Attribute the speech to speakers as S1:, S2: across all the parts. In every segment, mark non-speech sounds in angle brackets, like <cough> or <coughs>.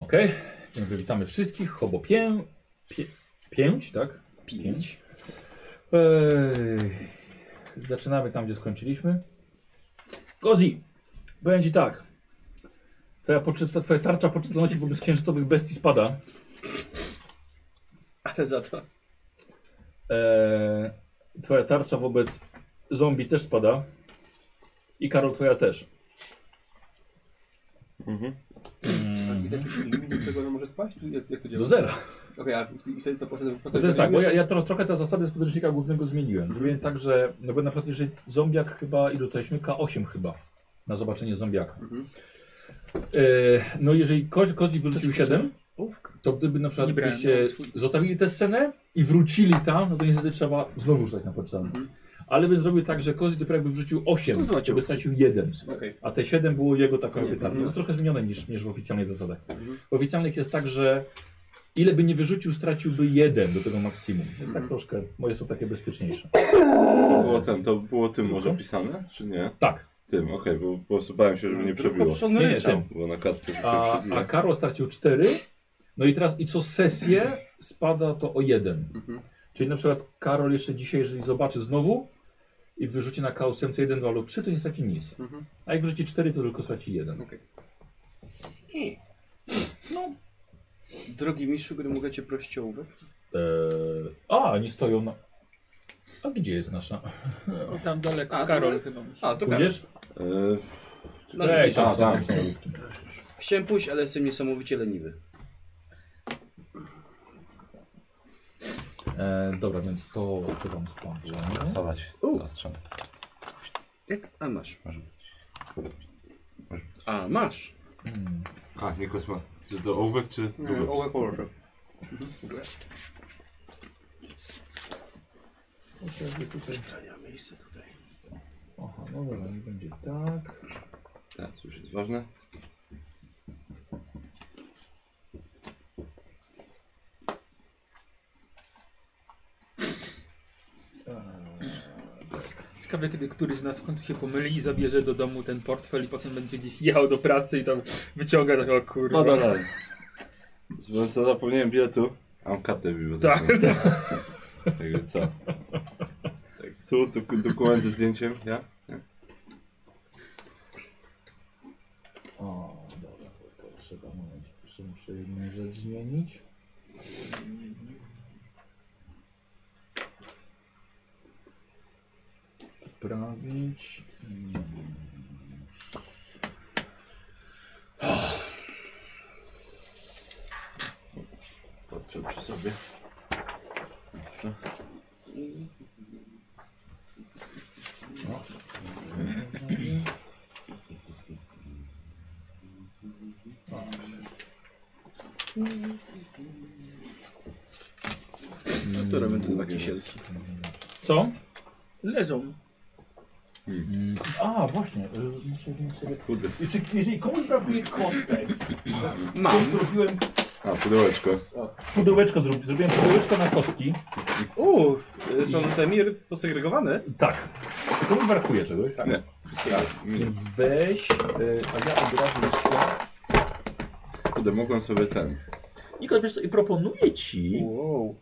S1: Okej, Dzień dobry, witamy wszystkich. Hobo pię... Pię... Pięć, tak? Pięć. Eee, zaczynamy tam, gdzie skończyliśmy. Gozi, powiem ci tak. Twoja, poczyta, twoja tarcza poczytalności wobec księżycowych bestii spada.
S2: Ale za to.
S1: Eee, twoja tarcza wobec zombie też spada. I Karol, twoja też.
S2: Mm.
S3: Mhm.
S2: Jest jakiś limit, do którego ona może spaść? Czy Jak, jak to działa?
S1: Do zera.
S3: No.
S2: Okej, a i wtedy co poszedł?
S1: To, jest tak, bo ja, ja tro, trochę te zasady z podręcznika głównego zmieniłem. Zrobiłem tak, że no bo na przykład jeżeli zombiak chyba i dostaliśmy K8 chyba na zobaczenie zombiaka.
S2: Mhm.
S1: E, no jeżeli kozi, kozi wyrzucił 7, to gdyby na przykład
S3: Nie brałem,
S1: byście
S3: miałem swój.
S1: zostawili tę scenę i wrócili tam, no to niestety trzeba znowu rzucać na poczytalność. Ale bym zrobił tak, że Kozi dopiero jakby wrzucił 8, to by stracił 1.
S2: Okej.
S1: A te 7 było jego taką
S2: Nie,
S1: jakby tarczą. To
S2: mhm.
S1: jest trochę zmienione niż, niż w oficjalnych zasadach.
S2: Mhm.
S1: W oficjalnych jest tak, że ile by nie wyrzucił, straciłby jeden do tego maksimum. Jest tak
S2: Mhm.
S1: troszkę, moje są takie bezpieczniejsze.
S4: To było, ten, to było tym może
S1: Tylko?
S4: pisane, czy nie?
S1: Tak,
S4: Tym, okej, bo po prostu bałem się, żeby nie przebiło.
S1: nie, nie, tym.
S4: Bo na kartce się
S1: A,
S4: przebiło.
S1: a Karol stracił 4. No i teraz i co sesję spada to o jeden.
S2: Mhm.
S1: Czyli na przykład Karol jeszcze dzisiaj, jeżeli zobaczy znowu i wyrzuci na K8 1, 2 lub 3, to nie straci nic.
S2: Mhm.
S1: A jak wyrzuci 4, to tylko straci jeden.
S2: Okej.
S3: I
S2: Drogi mistrzu, gdy mogę cię prosić o ołówek?
S1: Eee, a, oni stoją na... A gdzie jest nasza?
S3: tam daleko.
S2: A, to-
S3: Karol chyba musi.
S2: A, to
S1: Pójdziesz?
S4: E,
S2: No,
S1: Ej, tam
S4: a,
S1: są,
S4: tam
S1: tam są
S4: są.
S1: lodówki.
S2: Chciałem pójść, ale jestem niesamowicie leniwy.
S1: E, dobra, więc to, to tam spadło.
S5: Stawać.
S2: U.
S5: Zastrzem.
S2: Jak? A masz.
S5: Może być.
S2: A masz.
S1: Mm.
S4: a, nie kosma. Czy to ołówek, czy
S2: Ołówek,
S4: ołówek?
S2: ołówek położę. Ja miejsce tutaj.
S1: Aha, no dobra, nie będzie tak.
S4: Tak, co już jest ważne.
S1: Tak.
S3: Ciekawe, kiedy któryś z nas w końcu się pomyli i zabierze do domu ten portfel i potem będzie gdzieś jechał do pracy i tam wyciąga tak, takiego kurwa.
S4: Pada dalej. Zobacz, co zapomniałem biletu. A Mam kartę
S3: <laughs> Tak,
S4: biblioteczną.
S3: tak.
S4: Tak. Jakby co? Tak, tu, tu dokument ze zdjęciem, ja? ja?
S1: O, dobra, to trzeba moment. Jeszcze muszę jedną rzecz zmienić. Poprawić. Mm.
S4: Patrzę przy sobie. Dobrze.
S2: To robię te dwa kisielki.
S1: Co?
S3: Leżą.
S1: Hmm. A, właśnie, y, muszę wziąć sobie.
S4: Kurde.
S1: I Czy, jeżeli komuś brakuje kostek, to
S2: Mam.
S1: zrobiłem
S4: A, pudełeczko.
S1: pudełeczko, zro- zrobiłem pudełeczko na kostki.
S2: Uuu,
S5: y,
S2: są te mir posegregowane?
S1: Tak. Czy komuś brakuje czegoś?
S2: Tak.
S4: Nie.
S1: Więc weź, y, a ja od razu jeszcze...
S4: Kurde, mogłem sobie ten.
S1: Niko, wiesz co, i proponuję ci,
S2: Wow.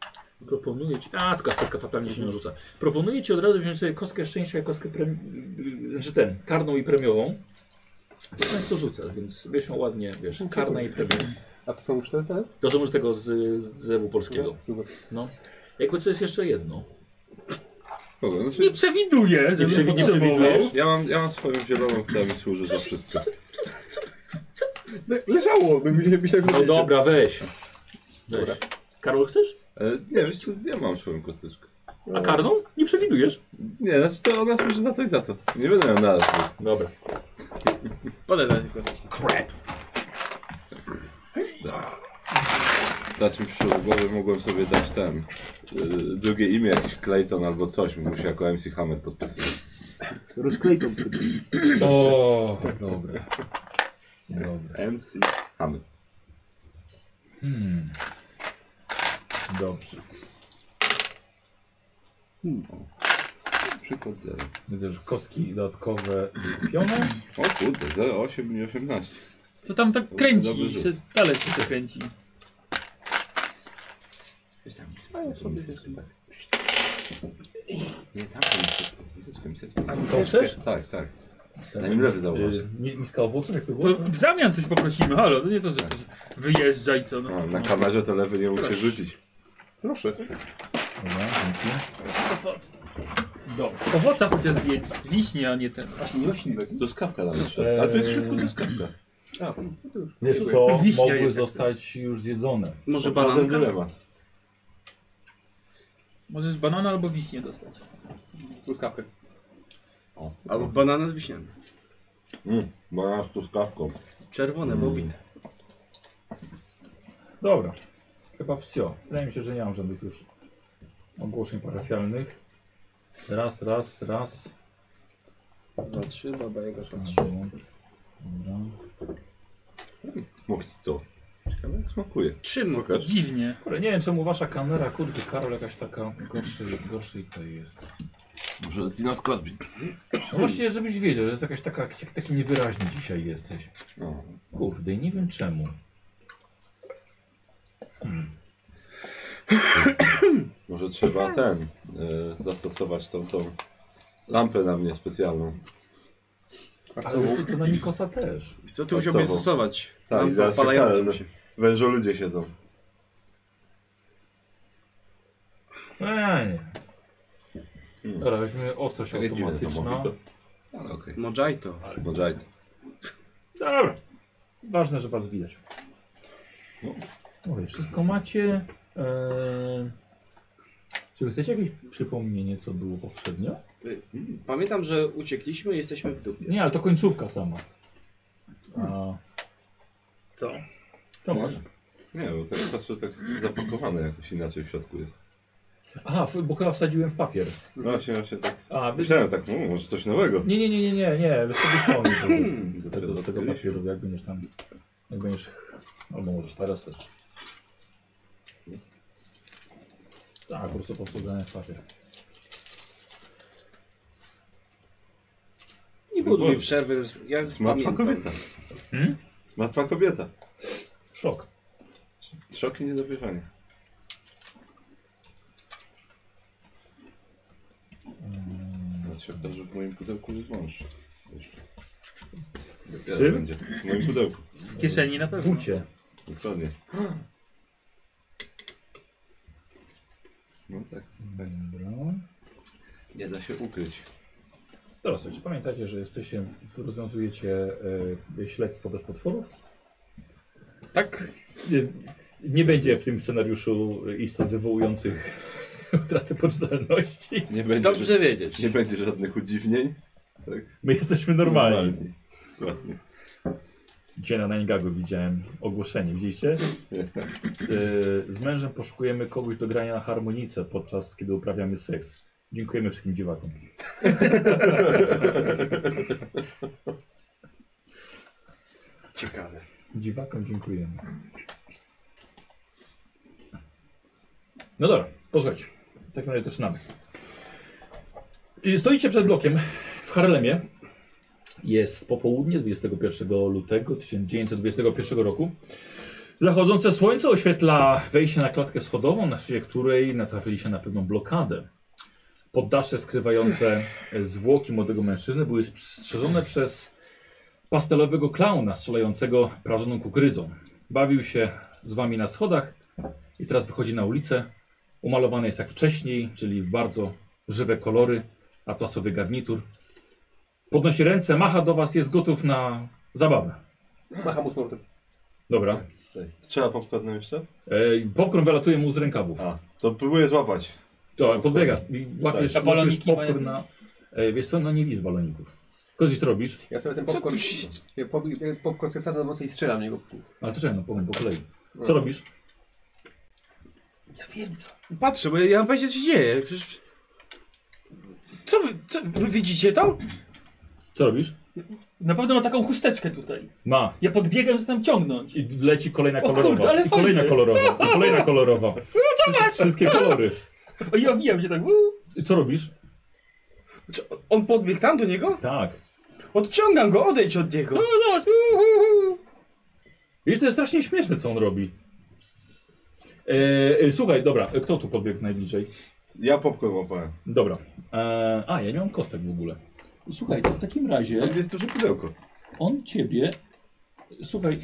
S1: proponuję ci, a tylko setka fatalnie się nie rzuca. Proponuję ci od razu wziąć sobie kostkę szczęścia i kostkę, prem, znaczy ten, karną i premiową. To często rzucasz, więc wiesz ją ładnie, wiesz, karna i premiowa.
S2: A to są już te? te?
S1: To są już tego z, z zewu polskiego.
S2: Super.
S1: No. Jakby co jest jeszcze jedno.
S4: Kogo? Znaczy,
S3: Nie przewiduję, że
S1: przewi- nie przewidujesz?
S4: Ja mam, ja mam swoją zieloną, która mi służy za wszystko.
S2: Le leżało, by mi się myślałem,
S1: No dobra, weź. Weź. Karol, chcesz?
S4: E, nie, wiesz co, ja mam swoją kosteczkę.
S1: A karną? Nie przewidujesz.
S4: Nie, znaczy to ona służy za to i za to. Nie będę miał naraz. bo-
S1: Dobra.
S2: Podaj te kostki.
S1: Crap.
S4: Dać mi przyszło do głowy, mogłem sobie dać ten. e, drugie imię, jakiś Clayton albo coś, mu się jako MC Hammer podpisywać.
S2: Rozklejką.
S1: O, dobra. Dobra.
S4: MC Hammer.
S1: Hmm. Dobrze. Hmm.
S4: Przykład 0.
S1: Widzę, że kostki dodatkowe wykupione.
S4: O kurde, 0,8 i 18.
S3: To tam tak kręci
S4: Dobry
S3: i
S4: rzut.
S3: się, dalej się kręci.
S4: tak. Nie, tam to miseczką, miseczką, miseczką.
S3: A
S1: To chcesz?
S4: Tak, tak.
S1: Tak.
S4: Zanim lewy zauważy.
S1: Yy, mi- miska owoców, jak to było?
S3: To w zamian coś poprosimy, halo, to nie to, że ktoś wyjeżdża i co. No,
S4: O, na kamerze to lewy nie mógł się rzucić. Proszę.
S1: Dobra, dzięki.
S3: Dobra. Owoca chociaż zjedź, wiśnie, a nie ten.
S2: Właśnie nie rośnie tak.
S4: To skawka nam jeszcze. A to jest szybko, to jest skawka.
S2: A, no to już.
S1: Wiesz co,
S3: Wiśnia
S1: mogły
S3: jest jak
S1: zostać już zjedzone.
S5: Może
S4: To żaden
S5: bananka?
S4: dylemat.
S3: Możesz banana albo wiśnie dostać.
S2: Truskawkę.
S4: O.
S5: Albo banana z wiśniami.
S4: Mm, banana z truskawką.
S5: Czerwone, bo obite.
S1: Dobra, chyba wsio. Wydaje mi się, że nie mam żadnych już ogłoszeń parafialnych. Raz, raz, raz.
S5: Dwa, trzy, baba jego patrzy.
S1: Dobra.
S4: Mojito. Ciekawe jak smakuje.
S5: Trzy mu.
S4: Pokaż.
S3: Dziwnie.
S1: Ale nie wiem czemu wasza kamera, kurde Karol, jakaś taka gorszej, gorszej to jest.
S6: Może Tina Scottby.
S1: No właśnie, żebyś wiedział, że jest jakaś taka, jak taki niewyraźny dzisiaj jesteś.
S4: No.
S1: Kurde, i nie wiem czemu.
S4: Może trzeba ten, y, zastosować tą, tą lampę na mnie specjalną.
S1: Ale wiesz co, to na Nikosa też.
S5: Wiesz Co tu musiałbyś
S4: Pracował.
S5: stosować?
S4: Tak,
S5: Tam
S4: i zaraz się
S5: podpalającą
S4: palę.
S5: się.
S4: Wężo ludzie siedzą.
S1: Eee, nie.
S4: Hmm.
S1: Dobra, weźmy ostrość
S4: Takie dziwne No, to
S1: automatyczna.
S4: mojito. Ale okej.
S5: Mojito.
S4: Mojito.
S1: Dobra. Ważne, że was widać. Mówię, wszystko macie. Eee, czy chcecie jakieś przypomnienie, co było poprzednio?
S5: Pamiętam, że uciekliśmy i jesteśmy w dupie.
S1: Nie, ale to końcówka sama. A,
S3: Co?
S1: Tomasz?
S4: Nie, bo tak patrzę, tak zapakowane jakoś inaczej w środku jest.
S1: Aha, w- bo chyba wsadziłem w papier.
S4: No właśnie, właśnie tak.
S1: A, wy...
S4: Myślałem tak, no, może coś nowego.
S1: Nie, nie, nie, nie, nie, nie. wy Sobie koniec po prostu do tego,
S4: Dopiero
S1: do tego
S4: odkryliśmy.
S1: papieru, jak będziesz tam... Jak będziesz... Albo możesz teraz też. Tak, po prostu posadzałem w papier.
S5: Nie
S4: No
S5: buduj
S4: Boże.
S5: przerwy. Ja
S4: Jest martwa kobieta.
S1: Hmm?
S4: Martwa kobieta.
S1: Szok.
S4: Szok i niedowierzanie. Teraz się okaże, że w moim pudełku jest wąż. Z
S1: czym?
S4: Będzie. W moim pudełku.
S3: W kieszeni na pewno.
S1: Bucie.
S4: Dokładnie. No tak. tak.
S1: Dobra.
S4: Nie da się ukryć.
S1: Teraz słuchajcie, pamiętajcie, że jesteście, rozwiązujecie e, śledztwo bez potworów.
S3: Tak?
S1: Nie, nie będzie w tym scenariuszu istot wywołujących <laughs> utratę poczytalności.
S4: Nie będzie,
S5: Dobrze wiedzieć.
S4: nie będzie żadnych udziwnień. Tak?
S1: My jesteśmy normalni.
S4: Dokładnie.
S1: Dzisiaj na Nangagu widziałem ogłoszenie, widzieliście? E, Z mężem poszukujemy kogoś do grania na harmonice, podczas kiedy uprawiamy seks. Dziękujemy wszystkim dziwakom.
S5: Ciekawe.
S1: Dziwakom dziękujemy. No dobra, posłuchajcie. W takim razie zaczynamy. Y, Stoicie przed blokiem w Harlemie. Jest popołudnie 21 lutego 1921 roku. Zachodzące słońce oświetla wejście na klatkę schodową, na szczycie której natrafiliście na pewną blokadę. Poddasze skrywające e, zwłoki młodego mężczyzny były strzeżone przez pastelowego klauna strzelającego prażoną kukurydzą. Bawił się z wami na schodach i teraz wychodzi na ulicę. Umalowany jest jak wcześniej, czyli w bardzo żywe kolory, atlasowy garnitur. Podnosi ręce, macha do was, jest gotów na zabawę.
S2: Macham usmortem.
S1: Dobra.
S4: Tutaj. Strzela popcornem jeszcze?
S1: E, popcorn wylatuje mu z rękawów.
S4: A, to próbuję złapać.
S1: To, podbiegasz i łapiesz,
S3: Tak. A
S1: łapiesz
S3: baloniki
S1: popcorn
S3: mają
S1: na... E, wiesz co, no nie widzisz baloników. Kozić to robisz,
S2: Ja sobie ten popcorn... Ja pop- ja popcorn sobie wsadzę do nocy i strzelam w niego.
S1: ale to czekaj, no powiem po kolei. Co
S3: No.
S1: robisz?
S2: Ja wiem co.
S5: Patrzę, bo ja mam powiedzieć, co się dzieje. Przecież... Co wy, co wy widzicie to?
S1: Co robisz?
S3: Na pewno ma taką chusteczkę tutaj.
S1: Ma,
S3: Ja podbiegam, żeby tam ciągnąć.
S1: I wleci kolejna
S3: O kurde,
S1: kolorowa.
S3: ale
S1: I kolejna
S3: fajnie. No
S1: kolorowa. I kolejna
S3: <laughs>
S1: kolorowa. Wszystkie, wszystkie kolory.
S3: O, ja wijam się tak. Uuu.
S1: I Co robisz?
S5: Co, on podbiegł tam do niego?
S1: Tak.
S5: Odciągam go, odejdź od niego. <laughs>
S3: O, zobacz. Uuu.
S1: Wiesz, to jest strasznie śmieszne, co on robi. E, e, słuchaj, dobra, e, kto tu podbiegł najbliżej?
S4: Ja popcorn łapałem.
S1: Dobra. E, a, ja nie mam kostek w ogóle. Słuchaj, to w takim razie
S4: Tam jest duże pudełko.
S1: on ciebie. Słuchaj,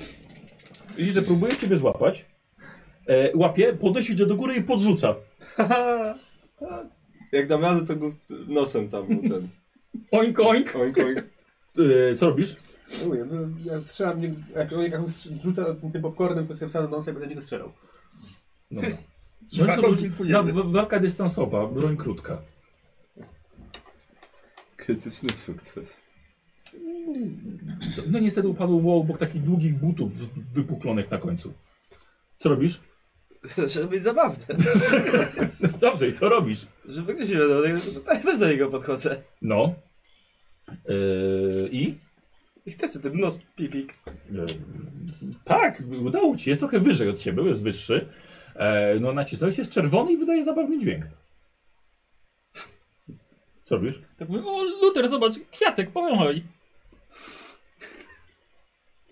S1: Liże próbuje ciebie złapać. E, łapie, podnosi cię do góry i podrzuca.
S4: Jak dam radę, to go nosem tam mu ten.
S1: Oink, oink.
S4: Oink, oink.
S1: E, co robisz?
S2: No mówię, no, ja strzelam, nie- jak on jak on strz- rzuca tym popcornem, to sobie wsadzę nosa i będę niego strzelał.
S1: Dobra. No i co, ludzie- na, w, walka dystansowa, broń krótka.
S4: Krytyczny sukces.
S1: To- No niestety upadł mu obok takich długich butów w- wypuklonych na końcu. Co robisz?
S5: Żeby być zabawne.
S1: Dobrze, i co robisz?
S5: Żeby ktoś nie wiadomo, tak- tak też do niego podchodzę.
S1: No. Yy, I?
S5: I chcę sobie ten nos pipik.
S1: Yy, tak, udało ci. się. Jest trochę wyżej od ciebie, jest wyższy. E, no nacisnąłeś, jest czerwony i wydaje zabawny dźwięk. Co robisz?
S3: Tak mówię, o Luther, zobacz, kwiatek, pomoj.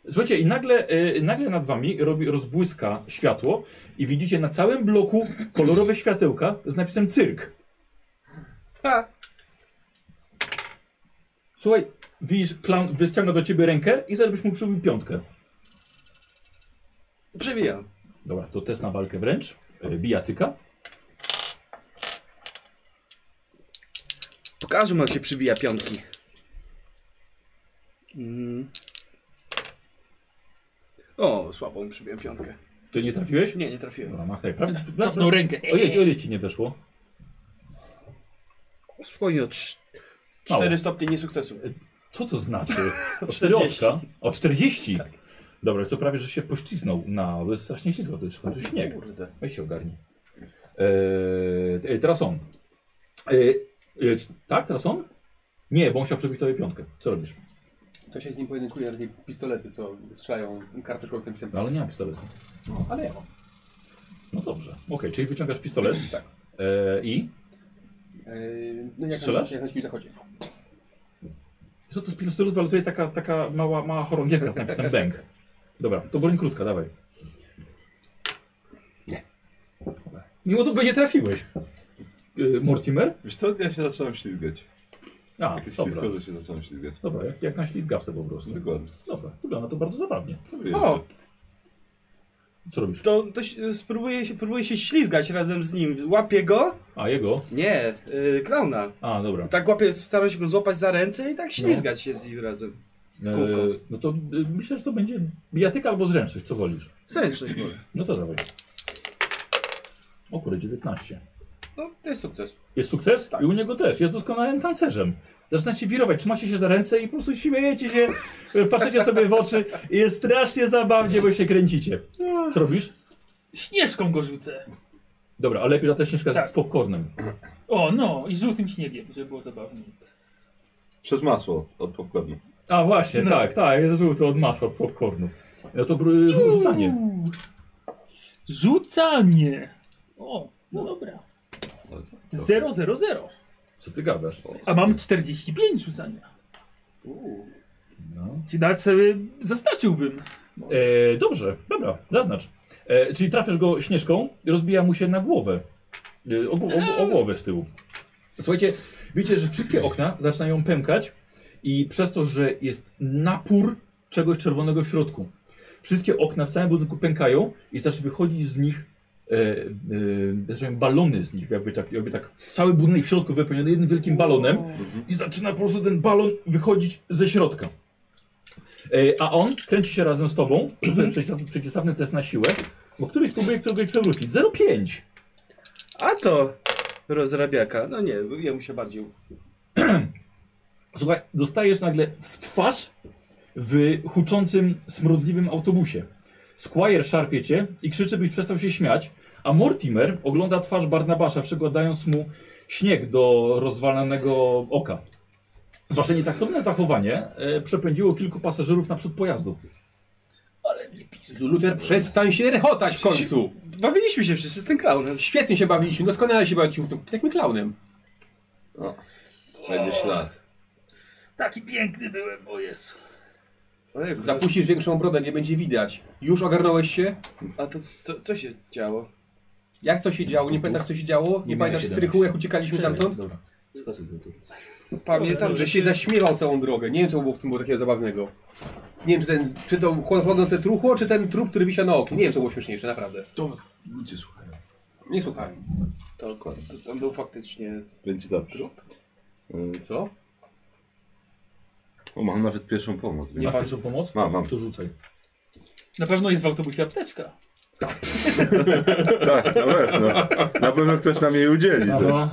S1: Słuchajcie, i nagle, yy, nagle nad wami robi, rozbłyska światło i widzicie na całym bloku kolorowe światełka z napisem cyrk.
S5: Ha!
S1: Słuchaj, widzisz, klan wyciąga do ciebie rękę i zaraz byś mu przybił piątkę.
S5: Przebijam.
S1: Dobra, to test na walkę wręcz. Yy, bijatyka.
S5: Pokażę mu, jak się przybija piątki. Mm. O, słabo mi przybija piątkę.
S1: Ty nie trafiłeś?
S5: Nie, nie trafiłem.
S1: Dobra, mach tak, prawda?
S3: Cofnął rękę.
S1: Ojej, ojej ci nie weszło.
S5: Spokojnie, o cz-
S1: Mało.
S5: 4 stopnie niesukcesu.
S1: Co to znaczy? O
S5: 40.
S1: czterdzieści? O 40. Dobra, co prawie, że się pościsnął na. Bo jest strasznie ślisko, to jest w końcu śnieg.
S5: Kurde.
S1: Weź się ogarnij. Eee, e, teraz on. Eee, e, c- tak, teraz on? Nie, bo on chciał przebić tobie piątkę. Co robisz?
S2: To się z nim pojedynkuje, takie pistolety, co strzelają karteczką pisem.
S1: No, ale nie mam pistoletu.
S2: No, ale ja mam.
S1: No dobrze. Okej, czyli wyciągasz pistolet.
S2: <clears throat> Tak.
S1: Eee, I?
S2: Yy, no jak
S1: Strzelasz?
S2: na, jak na ci to chodzi.
S1: Co to z pistoletu waletuje taka, taka mała, mała chorągiewka z
S2: <laughs>
S1: napisem bęk. Dobra, to broń krótka, dawaj. Nie. Mimo to go nie trafiłeś. Yy, Mortimer?
S4: Wiesz co, ja się zacząłem ślizgać.
S1: A,
S4: Jakieś
S1: dobra.
S4: ślisko, że się zacząłem ślizgać.
S1: Dobra, jak, jak na ślizgawce po prostu.
S4: Dokładnie.
S1: Dobra, wygląda to bardzo zabawnie.
S4: Co wy
S5: O,
S1: Co robisz?
S5: to, to się- spróbuję się, próbuję się ślizgać razem z nim. Łapię go?
S1: A, jego?
S5: Nie, yy, klauna.
S1: A, dobra.
S5: Tak łapię, staram się go złapać za ręce i tak ślizgać się z nim razem. kółko.
S1: E, no to y, myślę, że to będzie bijatyka albo zręczność, co wolisz.
S5: Zręczność może.
S1: No to dawaj. O kurde, 19.
S5: No, to jest sukces.
S1: Jest sukces?
S3: Tak.
S1: I u niego też. Jest doskonałym tancerzem. Zaczyna się wirować, trzymacie się za ręce i po prostu śmiejecie się, <laughs> y, patrzycie sobie w oczy i jest strasznie zabawnie, bo się kręcicie. Co robisz?
S3: Śnieżką go rzucę.
S1: Dobra, ale lepiej ta śnieżka
S3: Tak.
S1: z popcornem.
S3: O, no, i żółtym śniegiem, żeby było zabawniej.
S4: Przez masło od popcornu.
S1: A właśnie,
S3: No.
S1: tak, tak, jest żółto od masła, od popcornu. No to br- rzu- rzucanie.
S3: Uuu. Rzucanie. O, no dobra. Zero, zero, zero.
S1: Co ty gadasz?
S3: A mam 45 rzucania.
S1: No.
S3: Ci nawet sobie zaznaczyłbym.
S1: E, dobrze, dobra, zaznacz. E, czyli trafiasz go śnieżką, rozbija mu się na głowę. E, o, gł- o, o głowę z tyłu. Słuchajcie, widzicie, że wszystkie okna zaczynają pękać i przez to, że jest napór czegoś czerwonego w środku, wszystkie okna w całym budynku pękają i zaczyna wychodzić z nich e, e, zaczynają balony z nich, jakby tak, jakby tak cały budynek w środku wypełniony jednym wielkim balonem i zaczyna po prostu ten balon wychodzić ze środka. E, a on kręci się razem z tobą. <clears throat> Rzucaj przeciwstaw- przeciwstawny test na siłę. Bo któryś próbuje któregoś przewrócić. 0,5.
S5: A to rozrabiaka. No nie, jemu się bardziej.
S1: Słuchaj, dostajesz nagle w twarz w huczącym, smrodliwym autobusie. Squire szarpie cię i krzyczy, byś przestał się śmiać, a Mortimer ogląda twarz Barnabasza, przykładając mu śnieg do rozwalonego oka. Wasze nietaktowne zachowanie e, przepędziło kilku pasażerów naprzód pojazdu.
S2: Luther, przestań się rechotać w końcu!
S5: Bawiliśmy się wszyscy z tym klaunem.
S2: Świetnie się bawiliśmy, doskonale się bawiliśmy z tym takim klaunem.
S4: Będzie ślad.
S3: Taki piękny byłem, o Jezu.
S7: Ale za...
S2: Zapuścisz większą brodę, nie będzie widać. Już ogarnąłeś się?
S7: A to co, co się działo?
S2: Jak co się działo? Nie pamiętasz co się działo? Nie, pamiętasz strychu jak uciekaliśmy stamtąd?
S1: Dobra.
S7: Pamiętam,
S2: Że się zaśmiewał całą drogę. Nie wiem co było w tym było takiego zabawnego. Nie wiem czy, ten, czy to chłodzące truchło, czy ten trup, który wisiał na oknie. Nie wiem co było śmieszniejsze, naprawdę.
S6: To ludzie słuchają.
S2: Nie słuchaj.
S7: To, to, to tam był faktycznie
S4: Będzie dobrze.
S7: trup.
S4: Y,
S7: Co?
S4: O, mam nawet pierwszą pomoc.
S1: Nie
S4: Więc... <laughs>
S1: masz pierwszą pomoc?
S4: Mam, mam.
S1: To rzucaj.
S3: Na pewno jest w autobusie apteczka.
S4: Tak, na pewno. Na pewno ktoś nam jej udzieli. Też.
S1: Aha.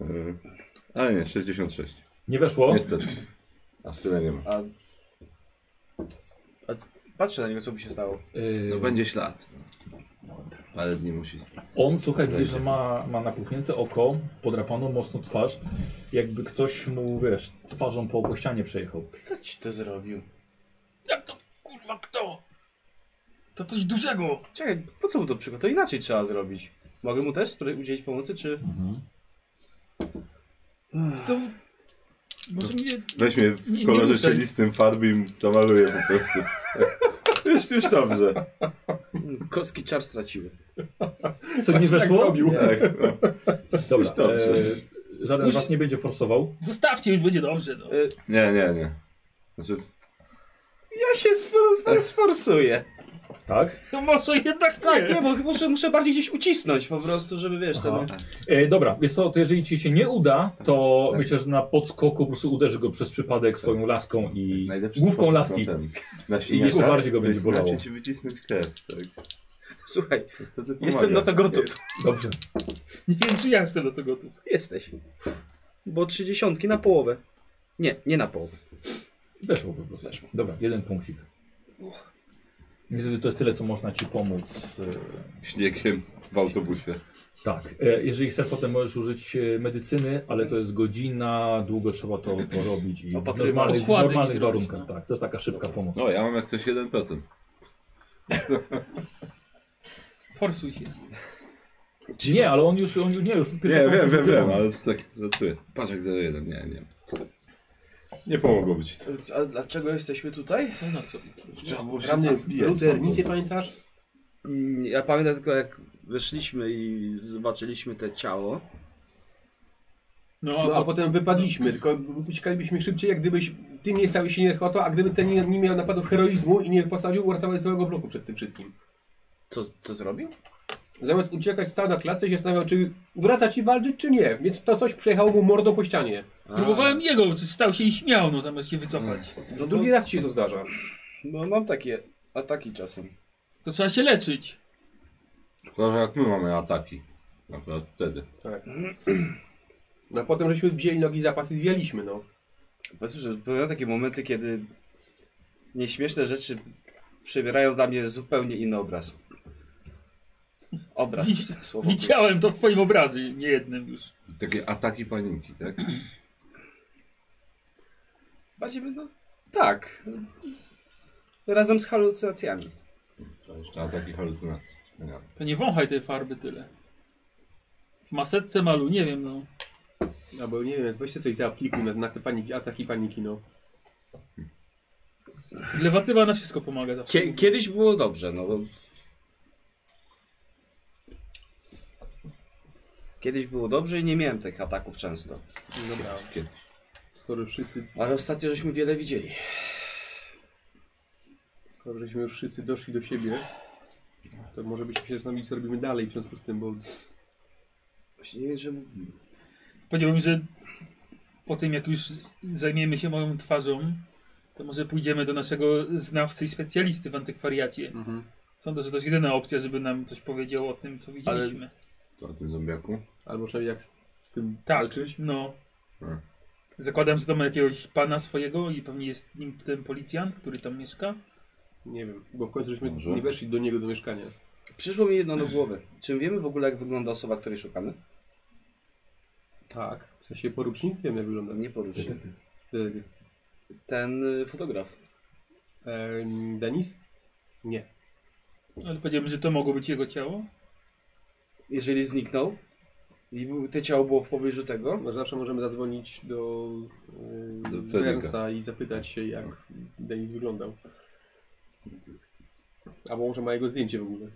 S4: Y, Ale nie, 66.
S1: Nie weszło.
S4: Niestety. Aż tyle nie ma.
S7: A... A patrzę na niego, co by się stało.
S1: Yy,
S6: No będzie ślad.
S4: Ale nie musi.
S1: On, słuchaj, widzisz, że ma, ma napuchnięte oko, podrapaną mocno twarz, jakby ktoś mu, wiesz, twarzą po ścianie przejechał.
S7: Kto ci to zrobił?
S3: Jak to kurwa kto? To coś dużego.
S7: Czekaj, po co mu to przykład? To inaczej trzeba zrobić. Mogę mu też spro- udzielić pomocy, czy...
S3: To... Może mnie...
S4: Weź mnie
S3: Nie- nie
S4: w kolorze
S3: ruszaj.
S4: cielistym farby i zamaluję po prostu. <laughs> już, już dobrze.
S7: Kostki czar straciły.
S1: Co nie weszło?
S4: Tak, no.
S1: Dobra,
S4: Dobrze.
S1: e, żaden z was nie będzie forsował.
S3: Zostawcie, już będzie dobrze. No.
S4: Nie, nie, nie. Znaczy,
S7: Ja się sforsuję.
S1: Tak?
S3: No może jednak
S7: Tak,
S3: nie.
S7: nie, bo muszę, muszę bardziej gdzieś ucisnąć po prostu, żeby wiesz, ten...
S1: Aha. E, dobra, jest to, to jeżeli ci się nie uda, to
S4: Tak.
S1: myślę, że na podskoku po prostu uderzy go przez przypadek swoją laską i
S4: Tak. najlepszy
S1: główką
S4: sposób
S1: laski.
S4: Na, ten, na
S1: jeszcze bardziej go
S4: to
S1: będzie
S4: jest
S1: bolało.
S4: Znaczy ci wycisnąć krew, tak.
S7: Słuchaj,
S4: Wtedy pomaga.
S7: jestem na to gotów.
S1: Dobrze.
S3: Nie wiem, czy ja jestem do tego gotów.
S7: Jesteś. Bo trzydziesiątki na połowę. Nie, nie na połowę.
S1: Weszło po prostu. Weszło. Dobra, jeden punkcik. Niestety to jest tyle, co można ci pomóc. e,
S4: Śniegiem w autobusie.
S1: Tak, e, jeżeli chcesz, potem możesz użyć e, medycyny, ale to jest godzina, długo trzeba
S4: <clears throat>
S1: to, to robić i w
S7: Opatrywać.
S1: normalnych, w
S3: Okłady nie
S1: normalnych
S3: zrobisz,
S1: warunkach,
S3: no.
S1: tak, to jest taka szybka pomoc.
S4: No, ja mam jak coś 1%.
S3: Forsuj się.
S1: Nie, ale on już, on już, nie, już
S4: Nie,
S1: pierwszy
S4: wiem,
S1: pomoc
S4: wiem,
S1: już
S4: wiem,
S1: ma.
S4: ale to tak żartuję. Patrz jak 01, nie, nie. Nie pomogło ci to.
S7: A dlaczego jesteśmy tutaj?
S3: Co znaczy? No, na sobie?
S6: Trzeba było się
S2: Ramię,
S6: zbijać.
S2: Ruder, nic nie pamiętasz?
S7: Mm, Ja pamiętam tylko jak weszliśmy i zobaczyliśmy te ciało.
S3: No,
S2: No a potem wypadliśmy, tylko uciekalibyśmy szybciej, jak gdybyś ty nie stałeś się narkotą, a gdyby ten nie, nie miał napadów heroizmu i nie postawił, uratowałeś całego bloku przed tym wszystkim.
S7: Co, co zrobił?
S2: Zamiast uciekać, stał na klatce i się zastanawiał, czy wracać i walczyć, czy nie. Więc to coś przejechało mu mordą po ścianie.
S3: Próbowałem jego, stał się i śmiał, no zamiast się wycofać.
S2: Już drugi raz ci się to zdarza.
S7: No mam takie ataki czasem.
S3: To trzeba się leczyć.
S4: Szkoda, że jak my mamy ataki. Akurat wtedy.
S2: No a potem żeśmy wzięli nogi za pas i zwialiśmy, no.
S7: Powiedzmy, że były takie momenty, kiedy nieśmieszne rzeczy przybierają dla mnie zupełnie inny obraz. Obraz,
S3: Widz-
S7: słowo.
S3: Widziałem to w twoim obrazie, nie jednym już.
S4: Takie ataki paniki, tak?
S7: Bardziej, no, tak. Razem z halucynacjami.
S4: To jeszcze ataki halucynacji. Wspaniale.
S3: To nie wąchaj tej farby tyle. W masetce malu, nie wiem, no.
S2: Albo nie wiem, weźcie coś zaaplikuj na, na te paniki, ataki paniki, no.
S3: Lewatywa na wszystko pomaga zawsze.
S7: Kie- kiedyś było dobrze, no. bo- Kiedyś było dobrze i nie miałem tych ataków często.
S2: Dobra,
S4: Kiedy?
S2: skoro wszyscy,
S7: Ale ostatnio żeśmy wiele widzieli.
S2: skoro żeśmy już wszyscy doszli do siebie, to może byśmy się zastanowili, co robimy dalej w związku z tym, bo
S7: Właśnie nie wiem, że...
S3: Powiedziałbym, że po tym jak już zajmiemy się moją twarzą, to może pójdziemy do naszego znawcy i specjalisty w antykwariacie. Sądzę, że to jest jedyna opcja, żeby nam coś powiedział o tym, co widzieliśmy.
S4: To o tym zombiaku?
S2: albo przynajmniej jak z, z tym
S3: Tak,
S2: walczyć.
S3: no.
S4: Hmm.
S3: Zakładam, że to ma jakiegoś pana swojego i pewnie jest nim ten policjant, który tam mieszka.
S2: Nie wiem, bo w końcu żeśmy
S4: Może.
S2: nie weszli do niego do mieszkania.
S7: Przyszło mi jedno do głowy. Czy wiemy w ogóle, jak wygląda osoba, której szukamy?
S2: Tak. W sensie porucznik? Wiem jak wygląda.
S7: Nie poruszy.
S2: E,
S7: Ten y, fotograf.
S2: e, Denis? Nie.
S3: Ale powiedziałbym, że to mogło być jego ciało.
S7: Jeżeli zniknął, I był- to ciało było w pobliżu tego.
S2: Może zawsze możemy zadzwonić do, y,
S4: Do
S2: do
S4: Fredrika.
S2: Bernsa i zapytać się, jak Denis wyglądał. Albo może ma jego zdjęcie w ogóle.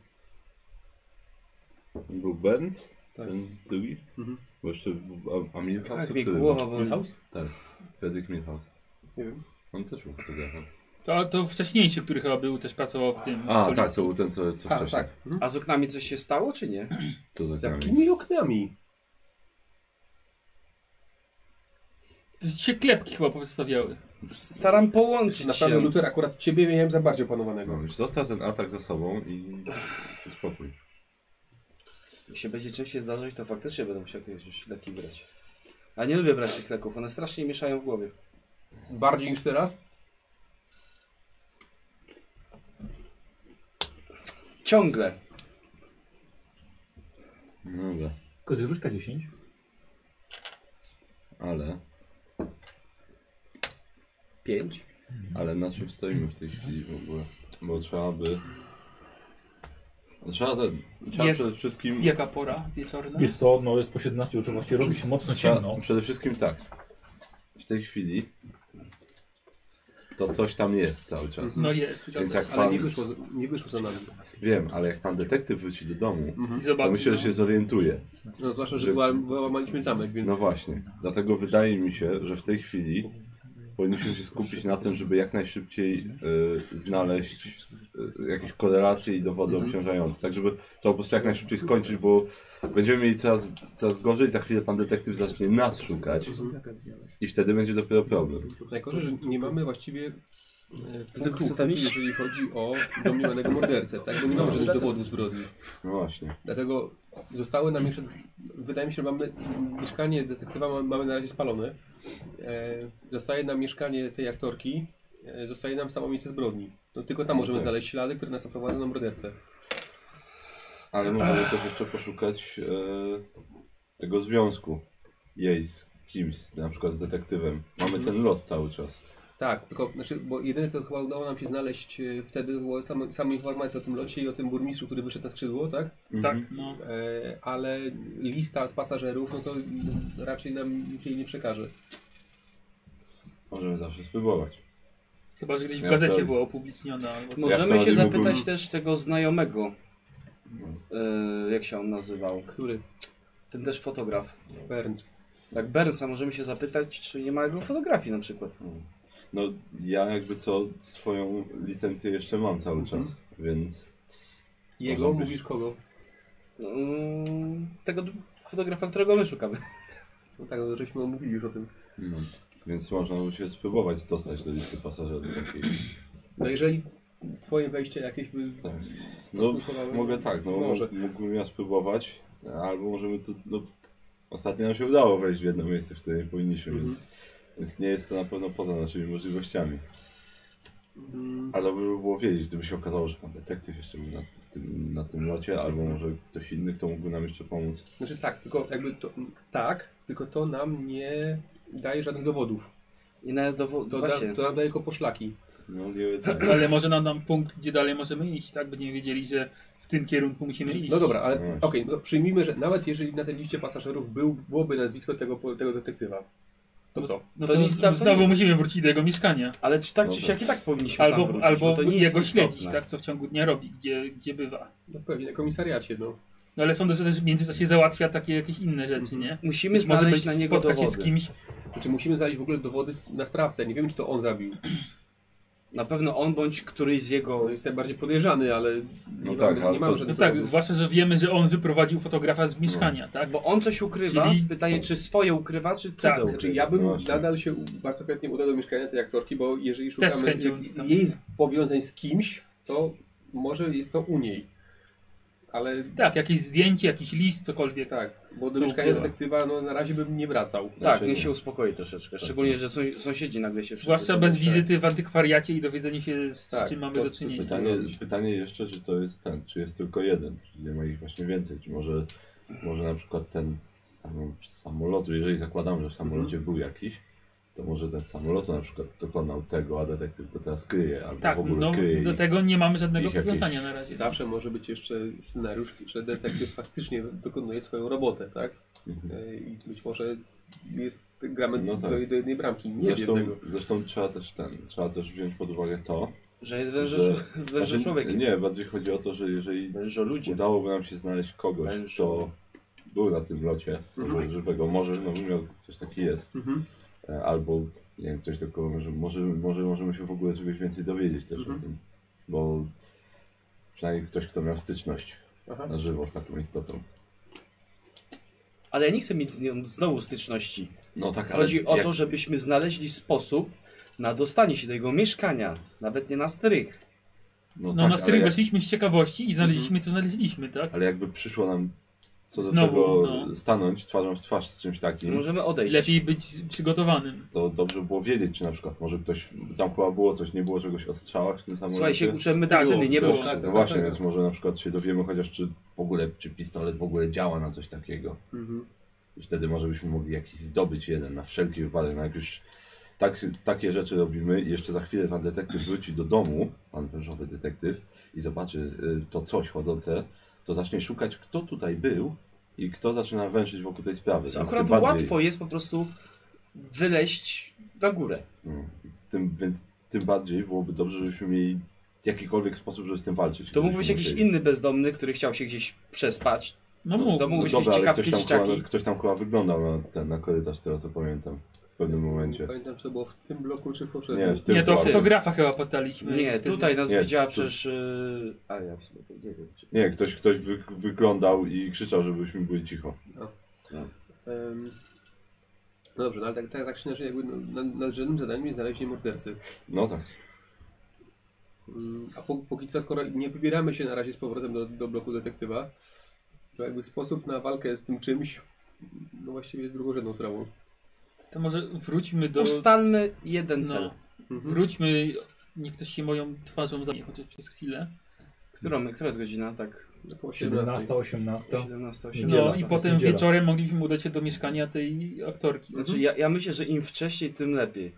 S4: Był Benz?
S2: Tak.
S4: Ten drugi?
S2: Mhm.
S4: Bo jeszcze był- a, a Milhouse?
S7: Tak,
S4: o
S7: mi
S4: którym?
S7: głowa boli.
S4: Tak, Fredrik Milhouse.
S2: Nie wiem.
S4: On też był fotografem.
S3: To, to wcześniejszy, który chyba był, też pracował w tym.
S4: A,
S3: w
S4: tak,
S3: policji.
S4: to był ten, co, co
S2: Tak,
S4: wcześniej.
S2: tak. Mhm.
S7: A z oknami coś się stało, czy nie?
S4: Co za
S2: Z
S4: nami.
S2: jakimi oknami? Znaczy,
S3: To się klepki chyba postawiały.
S7: Staram połączyć
S2: Naprawdę
S7: się.
S2: Luther, akurat ciebie miałem za bardziej opanowanego.
S4: No, już został ten atak za sobą i spokój.
S7: Jak się będzie częściej zdarzać, to faktycznie będę musiał jakieś leki brać. A nie lubię brać tych leków, one strasznie mieszają w głowie.
S2: Bardziej niż teraz?
S7: Ciągle.
S4: No dobra,
S1: Kozy rzućka 10.
S4: ale,
S7: Pięć.
S4: ale na czym stoimy w tej chwili w ogóle? Bo trzeba by... Trzeba, ten, trzeba
S3: Jest.
S4: przede wszystkim...
S3: Jaka pora wieczorna?
S1: Jest to, no jest po 17, już właściwie robi się mocno ciemno.
S4: Trzeba, przede wszystkim tak. W tej chwili to coś tam jest cały czas.
S3: No jest.
S4: Więc
S3: dobra.
S4: jak
S2: Ale
S4: pan...
S2: nie wyszło, nie wyszło za nami.
S4: Wiem, ale jak pan detektyw wróci do domu,
S3: I
S4: to
S3: zobaczy,
S4: myślę, że
S3: no.
S4: się zorientuje.
S2: No, zwłaszcza, że
S4: Że-
S2: była- łamaliśmy zamek, więc...
S4: No właśnie. Dlatego wydaje mi się, że w tej chwili powinniśmy się skupić na tym, żeby jak najszybciej y, znaleźć y, jakieś korelacje i dowody obciążające. Tak, żeby to po prostu jak najszybciej skończyć, bo będziemy mieli coraz, coraz gorzej. Za chwilę pan detektyw zacznie nas szukać i wtedy będzie dopiero problem.
S2: Najgorzej, że nie mamy właściwie e,
S7: chcę
S2: punktów,
S7: tam iść.
S2: jeżeli chodzi o domniemanego mordercę, tak? Bo nie mamy żadnych dowodów zbrodni.
S4: No właśnie.
S2: Dlatego zostały nam jeszcze, wydaje mi się, że mamy mieszkanie detektywa mamy, mamy na razie spalone. E, zostaje nam mieszkanie tej aktorki, e, zostaje nam samo miejsce zbrodni. No, tylko tam możemy
S4: Tak.
S2: znaleźć ślady, które nas naprowadzą na mordercę.
S4: Ale możemy też jeszcze poszukać e, tego związku jej z kimś, na przykład z detektywem. Mamy ten lot cały czas.
S2: Tak, tylko, znaczy, bo jedyne co chyba udało nam się znaleźć e, wtedy było same, same informacje o tym locie i o tym burmistrzu, który wyszedł na skrzydło, tak?
S3: Tak,
S4: Mhm.
S3: no.
S2: E, ale lista z pasażerów, no to mm, raczej nam nikt jej nie przekaże.
S4: Możemy zawsze spróbować.
S3: Chyba, że gdzieś w
S4: Ja
S3: gazecie
S4: wtedy-
S3: była opubliczniona. Albo coś.
S4: Ja
S7: Możemy
S4: wcale
S7: się
S4: nie
S7: zapytać
S4: mógłbym-
S7: też tego znajomego. E, jak się on nazywał?
S2: Który?
S7: Ten też fotograf.
S2: Burns.
S7: Tak, Bernsa możemy się zapytać, czy nie ma jego fotografii na przykład.
S4: No ja jakby co swoją licencję jeszcze mam cały czas, więc
S2: Jego?
S4: Może być.
S2: Mówisz kogo?
S7: Mm, tego d- fotografa, którego my szukamy.
S2: No tak, no, żeśmy mówili już o tym.
S4: no, więc można by się spróbować dostać do listy pasażerów takiej.
S2: No jeżeli twoje wejście jakieś by...
S4: Tak. No
S2: Posłuchałem.
S4: mogę tak, no
S2: Może.
S4: Może. mógłbym ja spróbować, albo możemy tu, no ostatnio nam się udało wejść w jedno miejsce, w które nie powinniśmy,
S2: Mhm.
S4: więc, więc nie jest to na pewno poza naszymi możliwościami.
S2: Mm,
S4: Ale by było wiedzieć, gdyby się okazało, że pan detektyw jeszcze był na tym, na tym locie, albo może ktoś inny, kto mógłby nam jeszcze pomóc.
S2: Znaczy tak, tylko jakby to... Tak, tylko to nam nie daje żadnych dowodów.
S7: I nawet do,
S2: To, da,
S7: No właśnie,
S2: to nam daje tylko poszlaki.
S4: No nie tak.
S3: Ale może nam nam punkt, gdzie dalej możemy iść, tak? Będziemy wiedzieli, że w tym kierunku musimy iść.
S2: No dobra, ale
S4: No
S2: okej,
S4: właśnie.
S2: no przyjmijmy, że nawet jeżeli na tej liście pasażerów był, byłoby nazwisko tego, po- tego detektywa, to co?
S3: No
S7: To
S3: to,
S7: nic tam-
S3: znowu musimy wrócić do jego mieszkania.
S7: Ale czy tak czy
S4: Dobra.
S7: siak i tak powinniśmy
S3: Albo,
S7: tam wrócić, bo
S3: albo
S7: to nie jest
S3: jego śledzić,
S7: istotne.
S3: tak? Co w ciągu dnia robi, gdzie, gdzie bywa.
S2: No pewnie, na komisariacie, no.
S3: No ale sądzę, że też w międzyczasie załatwia takie jakieś inne rzeczy, nie?
S7: Musimy
S3: Być może
S7: Mhm. znaleźć na
S3: być
S7: niego
S3: spotka się
S7: dowody.
S3: z kimś.
S2: Znaczy musimy znaleźć w ogóle dowody sp- na sprawcę. Nie wiem, czy to on zabił.
S7: Na pewno on bądź któryś z jego...
S2: On jest najbardziej podejrzany, ale nie
S4: No
S2: mamy,
S4: tak, ale
S2: nie mamy
S4: to-
S3: No
S2: żadnych
S3: tak,
S2: dowodów.
S3: zwłaszcza, że wiemy, że on wyprowadził fotografa
S7: No.
S3: z mieszkania, tak?
S7: Bo on coś ukrywa,
S3: Czyli-
S7: pytanie czy swoje ukrywa, czy cudze
S3: Tak.
S2: Znaczy,
S7: ukrywa.
S2: ja bym
S4: No właśnie.
S2: nadal się u- bardzo chętnie udał do mieszkania tej aktorki, bo jeżeli szukamy
S3: chęcią
S2: jak-
S3: bym tam-
S2: jej z- powiązań z kimś, to może jest to u niej. Ale
S3: Tak, jakieś zdjęcie, jakiś list, cokolwiek.
S2: tak, bo do
S3: Co
S2: mieszkania
S3: ukrywa?
S2: detektywa no, na razie bym nie wracał.
S7: Tak,
S4: Znaczy,
S7: niech się uspokoi troszeczkę.
S4: Tak.
S7: Szczególnie, że są, sąsiedzi nagle się...
S3: Zwłaszcza
S7: wszyscy tak.
S3: bez
S7: domyślają.
S3: wizyty w antykwariacie i dowiedzeniu się, z
S2: Tak,
S3: czym mamy
S2: co-
S3: do
S2: co-
S3: czynienia.
S4: Pytanie, pytanie jeszcze, czy to jest ten, czy jest tylko jeden, czy nie ma ich właśnie więcej, czy może, może na przykład ten z sam, z samolotu, jeżeli zakładam, że w samolocie był jakiś, to może ten samolot na przykład dokonał tego, a detektyw go teraz kryje, albo
S3: Tak,
S4: w ogóle
S3: no,
S4: kryje.
S3: do
S4: i-
S3: tego nie mamy żadnego
S4: ich jakieś-
S3: powiązania na razie.
S2: Zawsze może być jeszcze scenariusz, że detektyw faktycznie wykonuje swoją robotę, tak?
S4: Mhm.
S2: E, I być może jest, gramy
S4: No tak.
S2: do, do jednej bramki, nic
S4: Zresztą,
S2: jednego.
S4: zresztą trzeba też ten, trzeba też wziąć pod uwagę to,
S7: Że jest wężo,
S4: Że-
S7: wężo
S4: znaczy,
S7: człowiek.
S4: Nie, bardziej chodzi o to, że jeżeli
S7: Wężo ludzie.
S4: udałoby nam się znaleźć kogoś,
S7: Wężu.
S4: kto był na tym locie może żywego, może w Nowym Jorku ktoś taki jest,
S2: Mhm.
S4: e, albo nie wiem, ktoś takiego, że może, może możemy się w ogóle czegoś więcej dowiedzieć też
S2: Mhm.
S4: o tym, bo przynajmniej ktoś, kto miał styczność
S2: Aha.
S4: na żywo z taką istotą.
S7: Ale ja nie chcę mieć z nią znowu styczności.
S4: No tak,
S7: Chodzi o to, żebyśmy znaleźli sposób na dostanie się do jego mieszkania. Nawet nie na strych.
S4: no,
S3: No,
S4: tak,
S3: na
S4: ale,
S3: strych
S4: jak,
S3: weszliśmy z ciekawości i znaleźliśmy,
S7: Mhm.
S3: co znaleźliśmy, tak?
S4: ale jakby przyszło nam co do
S3: Znowu,
S4: tego
S3: no.
S4: stanąć twarzą w twarz z czymś takim,
S7: Możemy odejść.
S3: Lepiej być przygotowanym.
S4: to dobrze było wiedzieć, czy na przykład może ktoś, tam chyba było coś, nie było czegoś o strzałach w tym samolocie.
S7: Słuchaj, się uczę medycyny,
S3: Tak,
S7: nie
S3: tak,
S7: było.
S4: No właśnie, więc może na przykład się dowiemy chociaż, czy w ogóle, czy pistolet w ogóle działa na coś takiego.
S2: Mhm.
S4: I wtedy może byśmy mogli jakiś zdobyć jeden na wszelki wypadek, no jak już tak, takie rzeczy robimy i jeszcze za chwilę pan detektyw wróci do domu, pan wężowy detektyw, i zobaczy y, to coś chodzące, to zacznie szukać, kto tutaj był i kto zaczyna węszyć wokół tej sprawy.
S7: Więc
S4: A z tym
S7: Akurat
S4: bardziej-
S7: łatwo jest po prostu wyleść na górę.
S4: No, z tym, więc tym bardziej byłoby dobrze, żebyśmy mieli jakikolwiek sposób, żeby z tym walczyć.
S7: To mógł być
S4: Żebyśmy
S7: jakiś
S4: musieli-
S7: inny bezdomny, który chciał się gdzieś przespać.
S3: No
S7: No,
S3: mógł.
S7: to mógł- Mógłbyś
S4: dobra,
S7: mieć
S4: ale
S7: ciekawskie
S4: ktoś tam,
S7: dzieciaki.
S4: chyba, ktoś tam chyba wyglądał na, ten, na korytarz, z tego co pamiętam, w pewnym momencie.
S2: Pamiętam, czy to było w tym bloku, czy w
S4: Nie,
S2: poprzednim.
S4: w tym
S3: Nie, to
S4: właśnie.
S3: fotografa chyba podaliśmy.
S7: Nie,
S3: Wtedy.
S7: tutaj nas
S4: Hmm. Nie,
S7: widziała
S4: tu-
S7: przecież... Yy... A ja w sumie to nie wiem. Czy...
S4: Nie, ktoś, ktoś wy, wyglądał i krzyczał, żebyśmy byli cicho.
S2: Em, No dobrze, no ale tak, tak, tak czy inaczej, jakby no, na- nadrzędnym zadaniem jest znalezienie mordercy.
S4: No tak.
S2: Mm, A po, póki co, skoro nie wybieramy się na razie z powrotem do, do bloku detektywa, to jakby sposób na walkę z tym czymś, no właściwie jest drugorzędną sprawą.
S3: To może wróćmy do...
S7: Ustalmy jeden cel.
S3: No, wróćmy, niech ktoś się moją twarzą zajmie chociaż przez chwilę.
S7: Którą, która jest godzina? Tak,
S2: Około
S1: 17,
S2: 17.
S1: 18.
S7: 17,
S1: Niedziela.
S3: No
S7: 18.
S3: i potem
S1: Niedziela.
S3: wieczorem moglibyśmy udać się do mieszkania tej aktorki.
S7: Znaczy, ja, ja myślę, że im wcześniej, tym lepiej.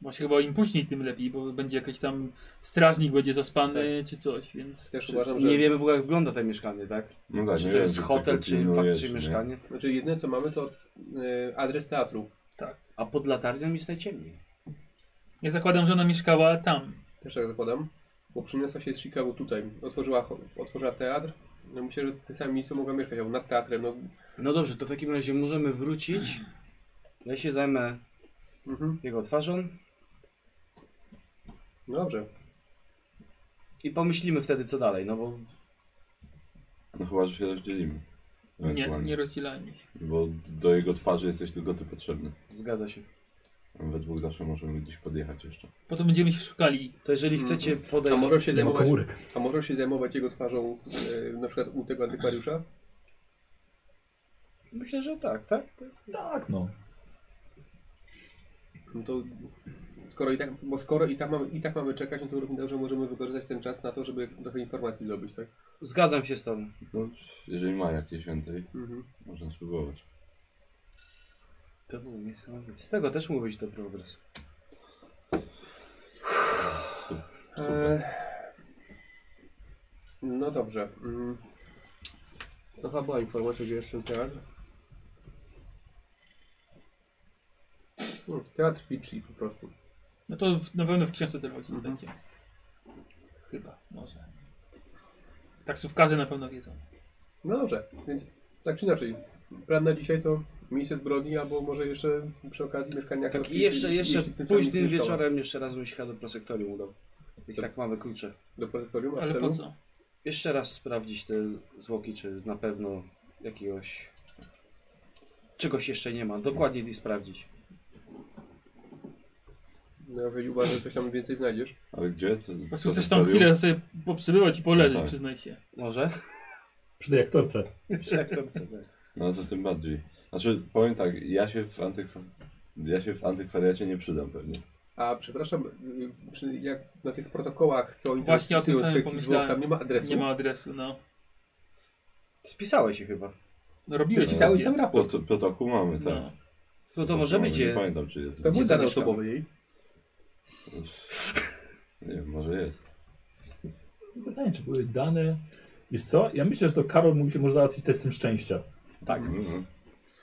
S3: Właśnie chyba im później tym lepiej, bo będzie jakiś tam strażnik będzie zaspany
S4: Tak.
S3: czy coś, więc...
S2: Też
S7: Czy
S2: uważam, że...
S7: nie wiemy w ogóle, jak wygląda to mieszkanie, tak?
S4: No tak
S7: czy
S4: nie
S7: to
S4: wiem,
S7: jest
S4: czy
S7: hotel,
S4: tylko
S7: czy
S4: pilnujesz,
S7: faktycznie
S4: nie?
S7: mieszkanie.
S2: Znaczy jedyne co mamy to e, adres teatru.
S7: A pod latarnią jest najciemniej.
S3: Ja zakładam, że ona mieszkała tam.
S2: Też tak zakładam. Bo przyniosła się z Chicago tutaj. Otworzyła, cho- otworzyła teatr. No myślę, że w tym samym miejscu mogła mieszkać, albo nad teatrem. No.
S7: No dobrze, to w takim razie możemy wrócić. Ja się zajmę
S2: Mhm.
S7: jego twarzą
S2: No dobrze.
S7: i pomyślimy wtedy, co dalej, no bo
S4: No chyba, że się rozdzielimy.
S3: Nie,
S4: Ewentualnie.
S3: nie rozdzielajmy się.
S4: Bo do jego twarzy jesteś tylko ty potrzebny.
S7: zgadza się.
S4: We dwóch zawsze możemy gdzieś podjechać jeszcze.
S3: Potem będziemy się szukali.
S7: To jeżeli chcecie
S2: A
S7: podejść...
S2: możesz się
S1: Nie ma
S2: zajmować,
S1: komórek.
S2: a możesz się zajmować jego twarzą e, na przykład u tego antykwariusza?
S7: Myślę, że tak, tak?
S1: Tak, no.
S2: No to skoro i tak, bo skoro i tak mamy, i tak mamy czekać, no to równie dobrze możemy wykorzystać ten czas na to, żeby trochę informacji zdobyć, tak?
S7: Zgadzam się z tobą.
S4: No, jeżeli ma jakieś więcej,
S2: Mhm.
S4: można spróbować.
S7: To było niesamowite. Z tego też mógł być dobry obraz. Eee,
S4: Super.
S2: E, No dobrze. Mm. To chyba była informacja, gdzie jest ten teatr. Hmm, Teatr Pitchy po prostu.
S3: No to w, na pewno w książce też chodzi
S2: Mhm.
S3: takie. Chyba, może. Taksówkarze na pewno wiedzą.
S2: No dobrze, więc tak czy inaczej, plan na dzisiaj to miejsce zbrodni, albo może jeszcze przy okazji mieszkania
S7: Tak
S2: Kotki,
S7: i jeszcze,
S2: jeśli-
S7: jeszcze
S2: jeśli w tym samym
S7: późnym
S2: miejscu mieszkała.
S7: wieczorem jeszcze raz bym się chyba do prosektorium udał. I tak mamy klucze.
S2: Do protokolium, a w
S3: Ale po
S2: celu?
S3: co?
S7: Jeszcze raz sprawdzić te zwłoki, czy na pewno jakiegoś... Czegoś jeszcze nie ma. Dokładnie i sprawdzić.
S2: No, jeżeli uważasz, że coś tam więcej znajdziesz.
S4: Ale gdzie? To,
S3: Po prostu chcesz tam chwilę sobie poprzebywać i poleżeć,
S4: No tak.
S3: przyznaj się.
S7: Może? <laughs>
S1: Przy tej aktorce.
S7: Przy aktorce, tak.
S4: No to tym bardziej. Znaczy, powiem tak, ja się w, antykwa... ja się w antykwariacie nie przydam pewnie.
S2: A przepraszam, y, przy, jak na tych protokołach, co oni tam
S3: Właśnie o tym
S2: wpisują z
S3: samym
S2: sekcji zwłok,
S3: pomyślałem.
S2: tam nie ma adresu.
S3: Nie ma adresu, no.
S7: Spisałeś się chyba.
S3: No robiłeś
S4: No.
S2: Cały,
S3: sobie.
S2: cały raport.
S4: Proto- Protokół mamy, tak.
S3: No.
S7: No to może być
S4: Nie
S7: je.
S4: pamiętam, czy jest.
S6: To był zadań
S7: zamieszkam.
S6: osobowy
S2: <laughs>
S6: jej.
S4: Nie wiem, może jest.
S1: Pytanie, czy były dane. Jest co? Ja myślę, że to Karol mógł się może załatwić testem szczęścia.
S4: Tak. Mhm.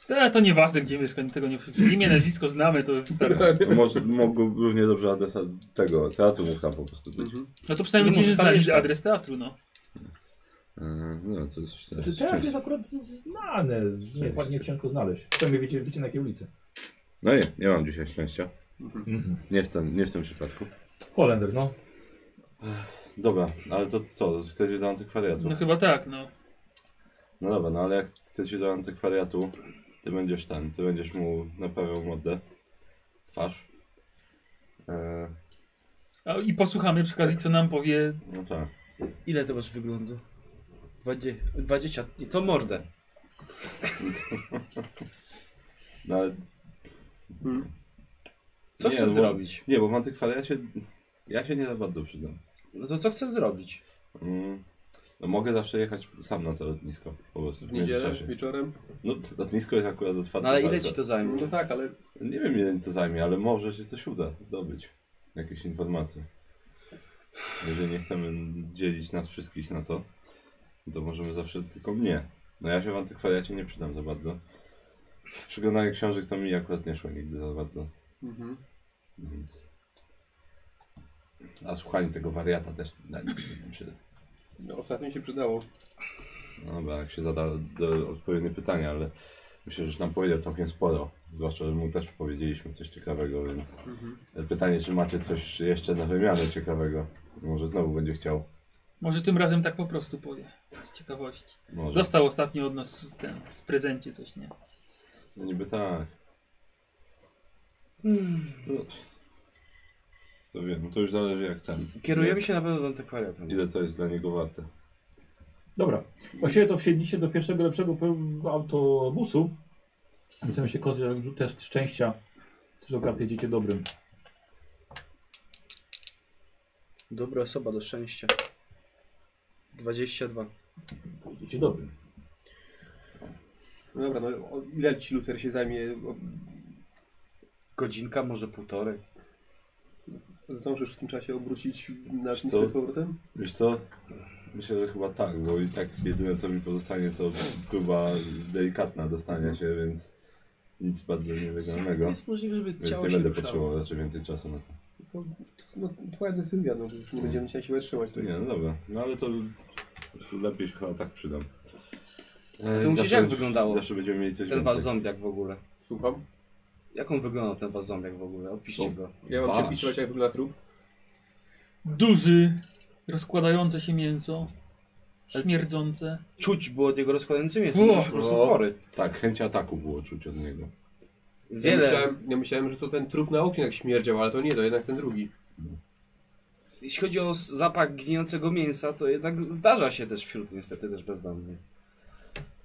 S3: To, to nieważne, gdzie mieszka, tego nie... Imię, nazwisko znamy, to
S2: Tak.
S3: wystarczy.
S4: No, może, mogło równie dobrze adresa tego teatru mógł tam po prostu być.
S2: Mhm.
S3: No to
S7: No
S3: przynajmniej
S7: może
S3: no,
S7: tam
S3: znaleźć
S7: mieszka.
S3: adres teatru, no.
S4: Yy, No, to jest,
S1: Znaczy
S4: to jest
S1: teraz
S4: szczęście.
S1: jest akurat znane. Nie, ładnie ciężko znaleźć. Przynajmniej wiecie, wiecie na jakiej ulicy.
S4: No nie, nie mam dzisiaj szczęścia.
S1: Mhm.
S4: Nie w tym, nie w tym przypadku.
S1: Holender, no.
S4: Dobra, ale to co? Chcecie do antykwariatu?
S3: No chyba tak, no.
S4: No dobra, no ale jak chcecie do antykwariatu, ty będziesz ten, ty będziesz mu naprawiał modę, twarz. E,
S3: A, I posłuchamy przy okazji, co nam powie...
S4: no tak.
S7: Ile to masz wyglądu? Dwadzie- Dwadzieścia. I to mordę.
S4: No ale
S2: Mhm.
S7: Co
S4: Nie, no
S7: chcesz
S4: bo-
S7: zrobić?
S4: nie, bo w antykwariacie ja się nie za bardzo przydam.
S7: No to co chcesz zrobić?
S4: Mm, no mogę zawsze jechać sam na to lotnisko, po prostu w
S2: W niedzielę,
S4: międzyczasie.
S2: wieczorem.
S4: No lotnisko jest akurat otwarte.
S7: No ale ile
S4: bardzo.
S7: ci to zajmie?
S2: No tak, ale
S4: Nie wiem ile to zajmie, ale może się coś uda zdobyć. Jakieś informacje. Jeżeli nie chcemy dzielić nas wszystkich na to, to możemy zawsze tylko mnie. No ja się w antykwariacie nie przydam za bardzo. Przeglądanie książek to mi akurat nie szło nigdy za bardzo,
S2: mhm.
S4: więc... A słuchanie tego wariata też na nic nie mi przyda.
S2: no, ostatnio się przydało.
S4: No dobra, jak się zada do, odpowiednie pytania, ale myślę, że już nam powiedział całkiem sporo. Zwłaszcza, że mu też powiedzieliśmy coś ciekawego, więc pytanie, czy macie coś jeszcze na wymianę ciekawego. Może znowu będzie chciał.
S3: Może tym razem tak po prostu powie. Z ciekawości.
S4: Może.
S3: Dostał ostatnio od nas ten, w prezencie coś, nie?
S4: No niby tak.
S7: Hmm.
S4: No, to wiem, no to już zależy jak ten.
S7: Kierujemy się na pewno do antykwariatu.
S4: Ile to jest dla niego warte.
S1: Dobra. Właściwie to wsiedliście do pierwszego lepszego pe- autobusu. W sensie kozy jak rzut test szczęścia. Też do karty jedziecie dobrym.
S7: Dobra osoba do szczęścia. 22.
S1: Jedziecie dobrym.
S2: No dobra, no o- ile ci Luther się zajmie? O-
S7: Godzinka, może półtorej.
S2: Zdążysz w tym czasie obrócić na
S4: Wiesz
S2: z
S4: co?
S2: powrotem?
S4: Wiesz co? Myślę, że chyba tak, bo i tak jedyne co mi pozostanie to próba delikatna dostania się, więc nic bardzo
S7: Jak to
S4: nielegalnego.
S7: jest możliwe, żeby
S4: Więc
S7: ciało
S4: nie
S7: się
S4: będę
S7: ruszało?
S4: potrzebował raczej więcej czasu na to.
S2: To, no, twoja decyzja, no to już nie będziemy cię na siłę trzymać
S4: To
S2: tutaj.
S4: nie, no dobra. No ale to lepiej się chyba tak przydam.
S7: To musisz jak wyglądało?
S4: Zawsze będziemy mieli coś
S7: Ten wasz
S4: więcej.
S7: zombiak w ogóle.
S2: Słucham?
S7: Jak on wyglądał ten wasz zombiak w ogóle? Opiszcie
S4: No,
S7: go.
S2: Ja mam
S4: Wasz.
S2: cię pisywać, jak wygląda trup.
S3: Duży, rozkładające się mięso, śmierdzące.
S7: Czuć było od jego rozkładającym jest.
S3: Było.
S7: Po prostu
S2: No.
S7: chory.
S4: Tak, chęć ataku było czuć od niego.
S2: Ja
S7: Wiele.
S2: myślałem, ja myślałem, że to ten trup na oknie jak śmierdział, ale to nie, to jednak ten drugi.
S7: Jeśli chodzi o s- zapach gnijącego mięsa, to jednak zdarza się też wśród niestety też bezdomnych.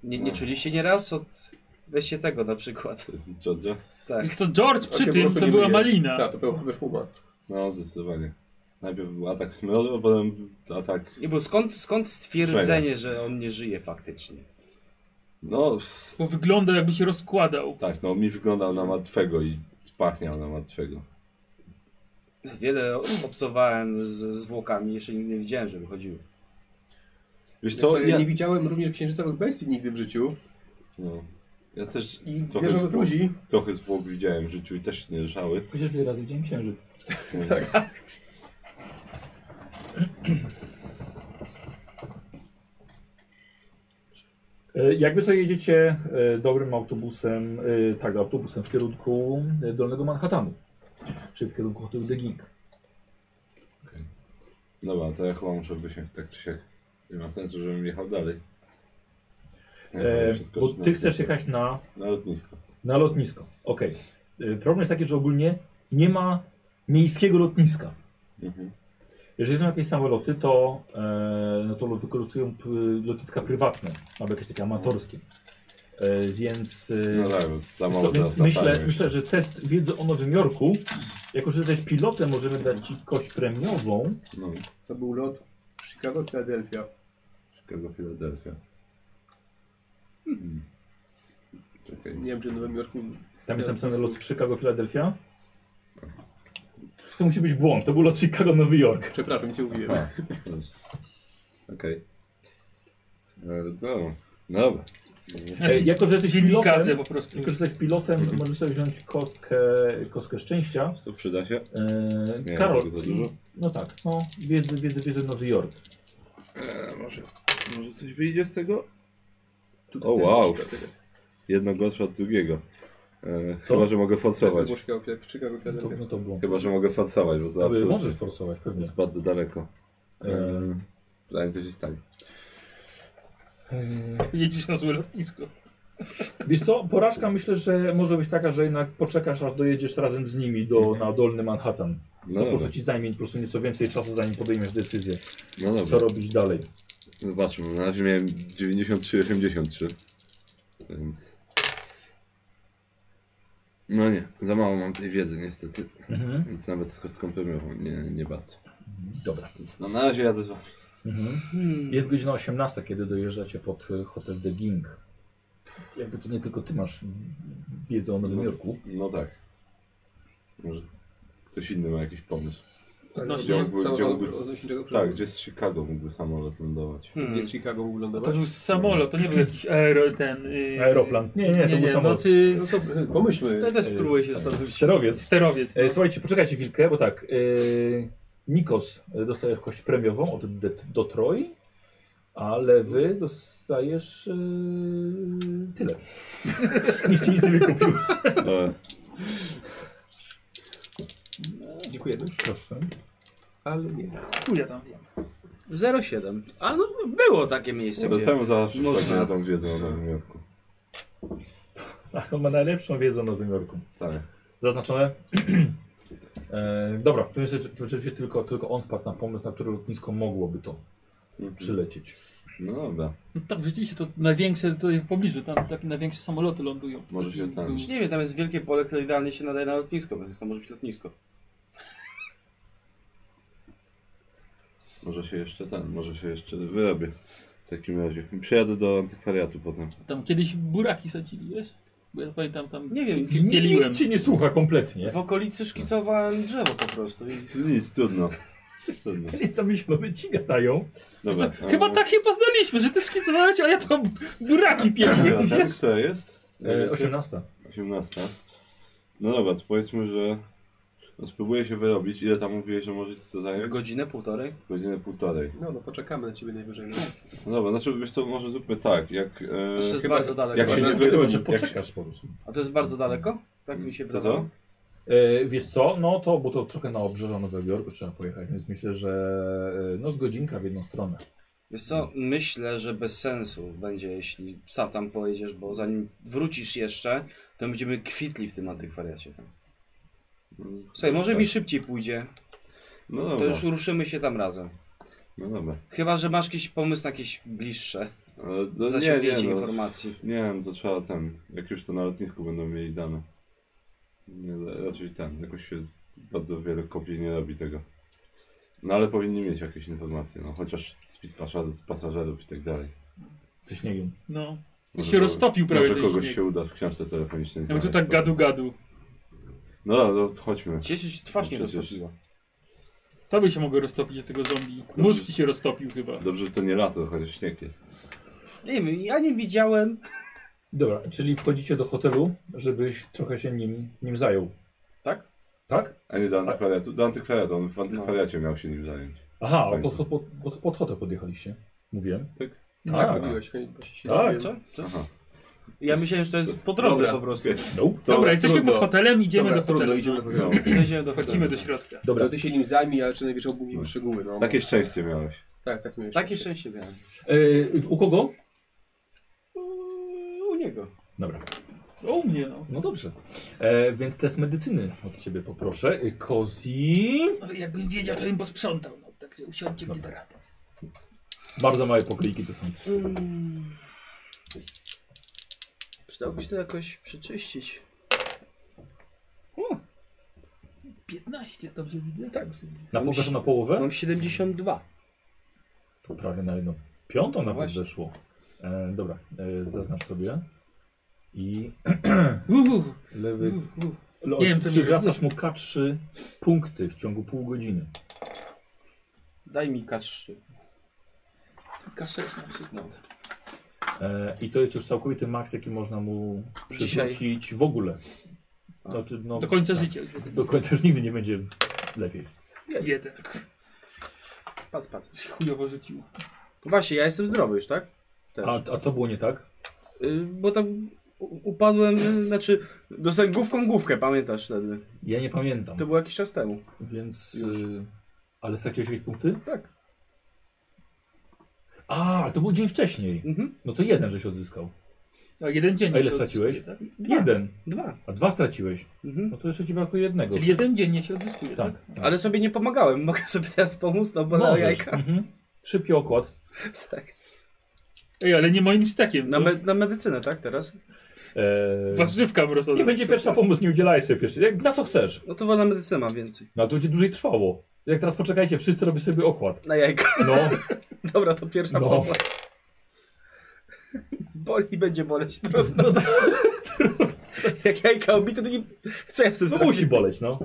S7: Nie,
S2: No.
S7: nie czuliście nieraz od... Weźcie tego na przykład. <laughs>
S4: To jest Georgia?
S7: Tak.
S3: Więc to George
S2: On się
S3: przy
S2: po
S3: tym
S2: prostu
S3: to
S2: nie
S3: była
S2: myje.
S3: malina.
S2: Tak, to był perfuma.
S4: No, zdecydowanie. Najpierw był atak smrodu, a potem atak...
S7: Nie, bo skąd, skąd stwierdzenie, że on nie żyje faktycznie?
S4: No, pff,
S3: Bo wyglądał jakby się rozkładał.
S4: tak, no mi wyglądał na martwego i pachniał na martwego.
S7: Wiele obcowałem z zwłokami, jeszcze nigdy nie widziałem, żeby chodziły.
S4: Wiesz
S2: Ja,
S4: co,
S2: sobie
S4: ja...
S2: nie widziałem również księżycowych bestii nigdy w życiu.
S4: No, ja też
S2: I
S4: trochę
S2: wierzę w
S4: zwłok,
S2: ludzi.
S4: trochę zwłok widziałem w życiu i też się nie ruszały.
S1: Chociaż tyle razy widziałem księżyc.
S4: Tak.
S1: E, Jakby co jedziecie e, dobrym autobusem, e, tak, autobusem w kierunku e, Dolnego Manhattanu, czyli w kierunku hotelu The Geek.
S4: Dobra, to ja chyba muszę wysiąść tak czy siak. Nie ma sensu, żebym jechał dalej. Ja
S1: E,
S4: chyba wszystko
S1: bo
S4: na-
S1: ty chcesz jechać na,
S4: Na lotnisko.
S1: na lotnisko. Okej. E, Problem jest taki, że ogólnie nie ma miejskiego lotniska.
S4: Mhm.
S1: Jeżeli są jakieś samoloty, to, e, no to wykorzystują p, lotniska prywatne, albo jakieś takie amatorskie. E, więc e,
S4: No tak, bo za mało
S1: Więc
S4: teraz
S1: myślę,
S4: latają.
S1: myślę, że test wiedzy o Nowym Jorku, jako że jesteś pilotem, możemy dać ci kość premiową.
S4: No,
S2: To był lot Chicago, Philadelphia.
S4: Chicago, Philadelphia. Hmm. Czekaj,
S2: Nie wiem, czy w Nowym Jorku
S1: Tam jest napisane lot z Chicago, Filadelfia. To musi być błąd, to był lot Chicago, Nowy Jork.
S2: Przepraszam, nic nie mówiłem.
S4: Aha, dobrze. Okej. E, No, no dobra.
S3: Znaczy,
S1: E, jako, że jesteś
S3: Dziennikarze
S1: pilotem,
S3: po prostu.
S1: jako, że jesteś pilotem możesz sobie wziąć kostkę, kostkę szczęścia.
S4: Co przyda się?
S1: E,
S4: Nie
S1: Karol,
S4: tego za dużo.
S1: no tak, no, wiedzy, wiedzy, wiedzy, Nowy Jork.
S6: E, może, może coś wyjdzie z tego?
S4: O wow. Jedno gorsze od drugiego. E, chyba, że mogę forsować.
S2: Łoszka, Chicago,
S1: No to,
S2: Filadelfia.
S1: no to błąd.
S4: Tak, Chyba, że mogę forsować, bo to
S1: Aby,
S4: absolutnie
S1: możesz forsować, pewnie.
S4: jest bardzo daleko.
S1: E,
S4: E, Pytanie, co się stanie.
S3: Jedziesz na złe lotnisko.
S4: Tak.
S1: Wiesz co, porażka myślę, że może być taka, że jednak poczekasz, aż dojedziesz razem z nimi do, na Dolny Manhattan.
S4: Mhm. No
S1: To po
S4: dobra,
S1: prostu ci zajmie po prostu nieco więcej czasu, zanim podejmiesz decyzję,
S4: no
S1: co
S4: dobra.
S1: robić dalej.
S4: Zobaczmy, na razie miałem 93-83. Więc... No nie, za mało mam tej wiedzy niestety.
S1: Mhm.
S4: Więc nawet z kostką premiową nie, nie bardzo.
S1: Dobra.
S4: Więc no, na razie jadę z wami. Mhm.
S1: Jest godzina 18, kiedy dojeżdżacie pod y, hotel The Ging. Jakby to nie tylko ty masz wiedzę o Nowym Jorku.
S4: No tak. Może ktoś inny ma jakiś pomysł. Gdzie
S3: Odnośnie,
S4: mógłby, gdzie
S2: samolot
S4: mógłby
S2: odnośnie
S4: z,
S2: tego
S4: tak,
S2: problemu.
S4: gdzie z Chicago mógłby samolot lądować.
S7: Hmm.
S2: Gdzie z Chicago mógł
S3: No to
S1: No
S2: lądować?
S3: był samolot, to nie był jakiś aero, ten... Yy,
S1: Aeroplan. Nie, nie, to był samolot.
S3: No, czy,
S2: No to pomyślmy.
S7: Ja też spróbuję się zastanowić.
S1: Sterowiec.
S3: sterowiec.
S1: E,
S3: No.
S1: Słuchajcie, poczekajcie chwilkę, bo tak. y, Nikos y, dostajesz kość premiową od Det- Dotroi, ale wy dostajesz y, tyle. <laughs> Nikt ci nic nie wykupił.
S4: E,
S2: Dziękujemy.
S1: Proszę.
S2: Ale nie.
S3: Chuja tam wiem.
S7: 07. A no, było takie
S2: No
S7: miejsce,
S4: do
S7: gdzie...
S4: temu zawsze
S7: Można.
S4: na tą wiedzę o Nowym Jorku.
S1: Tak, on ma najlepszą wiedzę o Nowym Jorku.
S4: Tak.
S1: Zaznaczone. <clears throat> e, dobra, tu jest rzeczy- tu rzeczywiście tylko, tylko on wpadł na pomysł, na które lotnisko mogłoby to przylecieć.
S4: No dobra.
S3: No tak, rzeczywiście to największe tutaj w pobliżu, tam takie największe samoloty lądują.
S4: Może się tam-
S3: Był-
S7: Nie wiem, tam jest wielkie pole, które idealnie się nadaje na lotnisko, więc tam może być lotnisko.
S4: Może się jeszcze ten, może się jeszcze wyrobię. W takim razie. I Przejadę do antykwariatu potem.
S3: Tam kiedyś buraki sadzili, wiesz? Bo ja pamiętam tam...
S7: Nie wiem,
S3: Pieliłem.
S1: Nikt cię nie słucha kompletnie. <laughs>
S7: w okolicy szkicowałem drzewo po prostu i...
S4: To Nic, trudno. Trudno.
S1: Nie zamyślone ci gadają. E,
S4: Dobra.
S3: Chyba tak się poznaliśmy, że ty skicowałeś, a ja to buraki piekłem,
S4: Antykwariatem,
S3: wiesz?
S4: która jest?
S1: E, 18.
S4: 18. No dobra, to powiedzmy, że no spróbuję się wyrobić. Ile tam mówiłeś, że możecie co zająć?
S7: Godzinę, półtorej?
S4: Godzinę półtorej.
S2: No, no poczekamy na ciebie najwyżej.
S4: No dobra, znaczy wiesz co, może zróbmy tak, jak...
S7: To już jest
S4: E,
S7: bardzo daleko.
S4: jak się nie
S2: Chyba, że-
S1: Chyba,
S4: wyroni,
S1: że
S4: jak się,
S1: poczekasz po prostu.
S7: A to jest bardzo daleko? Tak mi się
S4: Co, co?
S7: wydawało.
S1: E, wiesz co, no to, bo to trochę na obrzeża Nowego Jorku trzeba pojechać, więc myślę, że e, no z godzinka w jedną stronę.
S7: Wiesz co, myślę, że bez sensu będzie, jeśli psa tam pojedziesz, bo zanim wrócisz jeszcze, to będziemy kwitli w tym antykwariacie. Słuchaj, może mi szybciej pójdzie,
S4: Tak. No
S7: to
S4: dobra,
S7: już ruszymy się tam razem.
S4: no dobra.
S7: Chyba, że masz jakiś pomysł na jakieś bliższe
S4: Ale, no, nie,
S7: zasięgnięcie
S4: nie, no,
S7: informacji.
S4: nie, no to trzeba ten, jak już to na lotnisku będą mieli dane. Nie, ra- raczej ten, jakoś się bardzo wiele kopii nie robi tego. No ale powinni mieć jakieś informacje, no chociaż spis pasaż- pasażerów i tak dalej.
S1: Ze śniegiem.
S3: No. I
S4: Może
S3: się
S4: to-
S3: roztopił prawie
S4: Może
S3: ten
S4: kogoś
S3: śnieg.
S4: się uda w książce telefonicznej
S3: Ja bym tu
S4: znaleźć.
S3: tak gadu-gadu.
S4: No dobra, to chodźmy.
S7: Cieszę się, twarz nie
S4: No Przecież-
S7: roztopiła.
S3: To by się mogło roztopić od tego zombie. Mózg ci się roztopił chyba.
S4: Dobrze, że to nie lato, chociaż śnieg jest.
S7: Nie wiem, ja nie widziałem.
S1: Dobra, czyli wchodzicie do hotelu, żebyś trochę się nim, nim zajął.
S7: Tak?
S1: Tak?
S4: A nie do antykwariatu. Do antykwariatu, on
S3: No.
S4: w antykwariacie miał się nim zająć.
S1: Aha,
S4: Bardzo.
S1: pod, pod, pod, pod, pod hotel podjechaliście. Mówiłem.
S4: Tak.
S3: No.
S2: Tak,
S1: Tak.
S2: mówiłeś. chyba się
S1: Tak.
S2: śmiałem.
S7: Co? Co?
S4: Aha.
S7: Ja myślałem, że to jest po drodze
S2: Dobra.
S7: po
S4: <laughs>
S7: prostu.
S4: Okej.
S1: Tak, Nope.
S3: Dobra, jesteśmy
S2: trudno.
S3: pod hotelem, idziemy
S2: Dobra,
S3: do hotelu.
S2: trudno, idziemy do
S4: No.
S2: hotelu.
S7: Przejdziemy do hotelu.
S3: Wchodzimy do środka.
S1: Dobra.
S2: To ty się nim zajmij, ale czy najwyżej omówimy szczegóły. No.
S4: Takie szczęście miałeś.
S2: Tak, tak miałeś.
S7: Takie szczęście miałem.
S1: E, u kogo?
S7: U niego.
S1: Dobra.
S3: O mnie no.
S1: No dobrze. E, więc test medycyny od ciebie poproszę. E, Kozi.
S3: Ale jakbym wiedział, to bym posprzątał. No, także usiądźcie w
S1: Dobra.
S3: radę.
S1: Bardzo małe pokryjki to są.
S7: Przydałoby Mm. się to jakoś przeczyścić.
S3: 15, dobrze widzę? Tak.
S1: Na pokażę na połowę?
S7: Mam 72.
S1: To
S3: No
S1: prawie na jedną piątą nawet
S7: Właśnie.
S1: zeszło. E, dobra, e, zaznacz sobie. I
S3: Uhu,
S1: lewy.
S3: uhu, uhu.
S1: Le,
S3: Uh, Nie wiem, co mi-
S1: przywracasz mu K3 punkty w ciągu pół godziny.
S7: Daj mi K3.
S3: K6 na przykład.
S1: E, I to jest już całkowity maks, jaki można mu
S7: Dzisiaj.
S1: przywrócić w ogóle. Znaczy, no,
S3: Do końca
S1: tak.
S3: życia.
S1: Do końca już nigdy nie będzie lepiej.
S3: Jeden. Tak
S7: Pac, pac.
S3: Chujowo rzuciło.
S7: Właśnie, ja jestem zdrowy już, tak? Też.
S1: A, a co było nie tak?
S7: Y, bo tam u- upadłem, y, znaczy dostałem główką główkę, pamiętasz wtedy.
S1: Ja nie pamiętam.
S7: To było jakiś czas temu.
S1: Więc.
S7: Już.
S1: Y, ale straciłeś jakieś punkty?
S7: Tak.
S1: A, ale to był dzień wcześniej.
S7: Mhm.
S1: No to jeden żeś odzyskał.
S3: A jeden dzień.
S1: A ile
S3: się
S1: straciłeś?
S3: odzyskuje, tak?
S7: Dwa.
S1: Jeden.
S7: Dwa.
S1: A dwa straciłeś.
S7: Mhm.
S1: No to jeszcze ci brakuje jednego.
S3: Czyli jeden dzień nie się odzyskuje, tak?
S1: Tak. tak.
S7: Ale sobie nie pomagałem, <laughs> mogę sobie teraz pomóc, no bo na
S1: Możesz.
S3: tak?
S7: jajka. <laughs>
S1: Mhm. Szybki okład.
S7: Tak.
S3: Ej, ale nie moim stakiem,
S7: Na,
S3: co?
S7: me na medycynę, tak, teraz?
S1: Eee,
S3: Warzywka mrożona.
S1: nie będzie pierwsza pomoc, nie udzielaj sobie pierwszej. Jak na co chcesz.
S7: No to wolna medycyna ma więcej.
S1: No ale to będzie dłużej trwało. Jak teraz poczekajcie, wszyscy robią sobie okład.
S7: Na jajka. <laughs>
S3: <laughs>
S1: No,
S7: Dobra, to pierwsza
S1: No.
S7: pomoc. <laughs> Boli, będzie boleć.
S1: <laughs>
S7: Trudno.
S1: no, to-
S7: <laughs> Jak jajka obite, to nie... Co ja z tym
S1: no
S7: zrobię?
S1: musi boleć, no.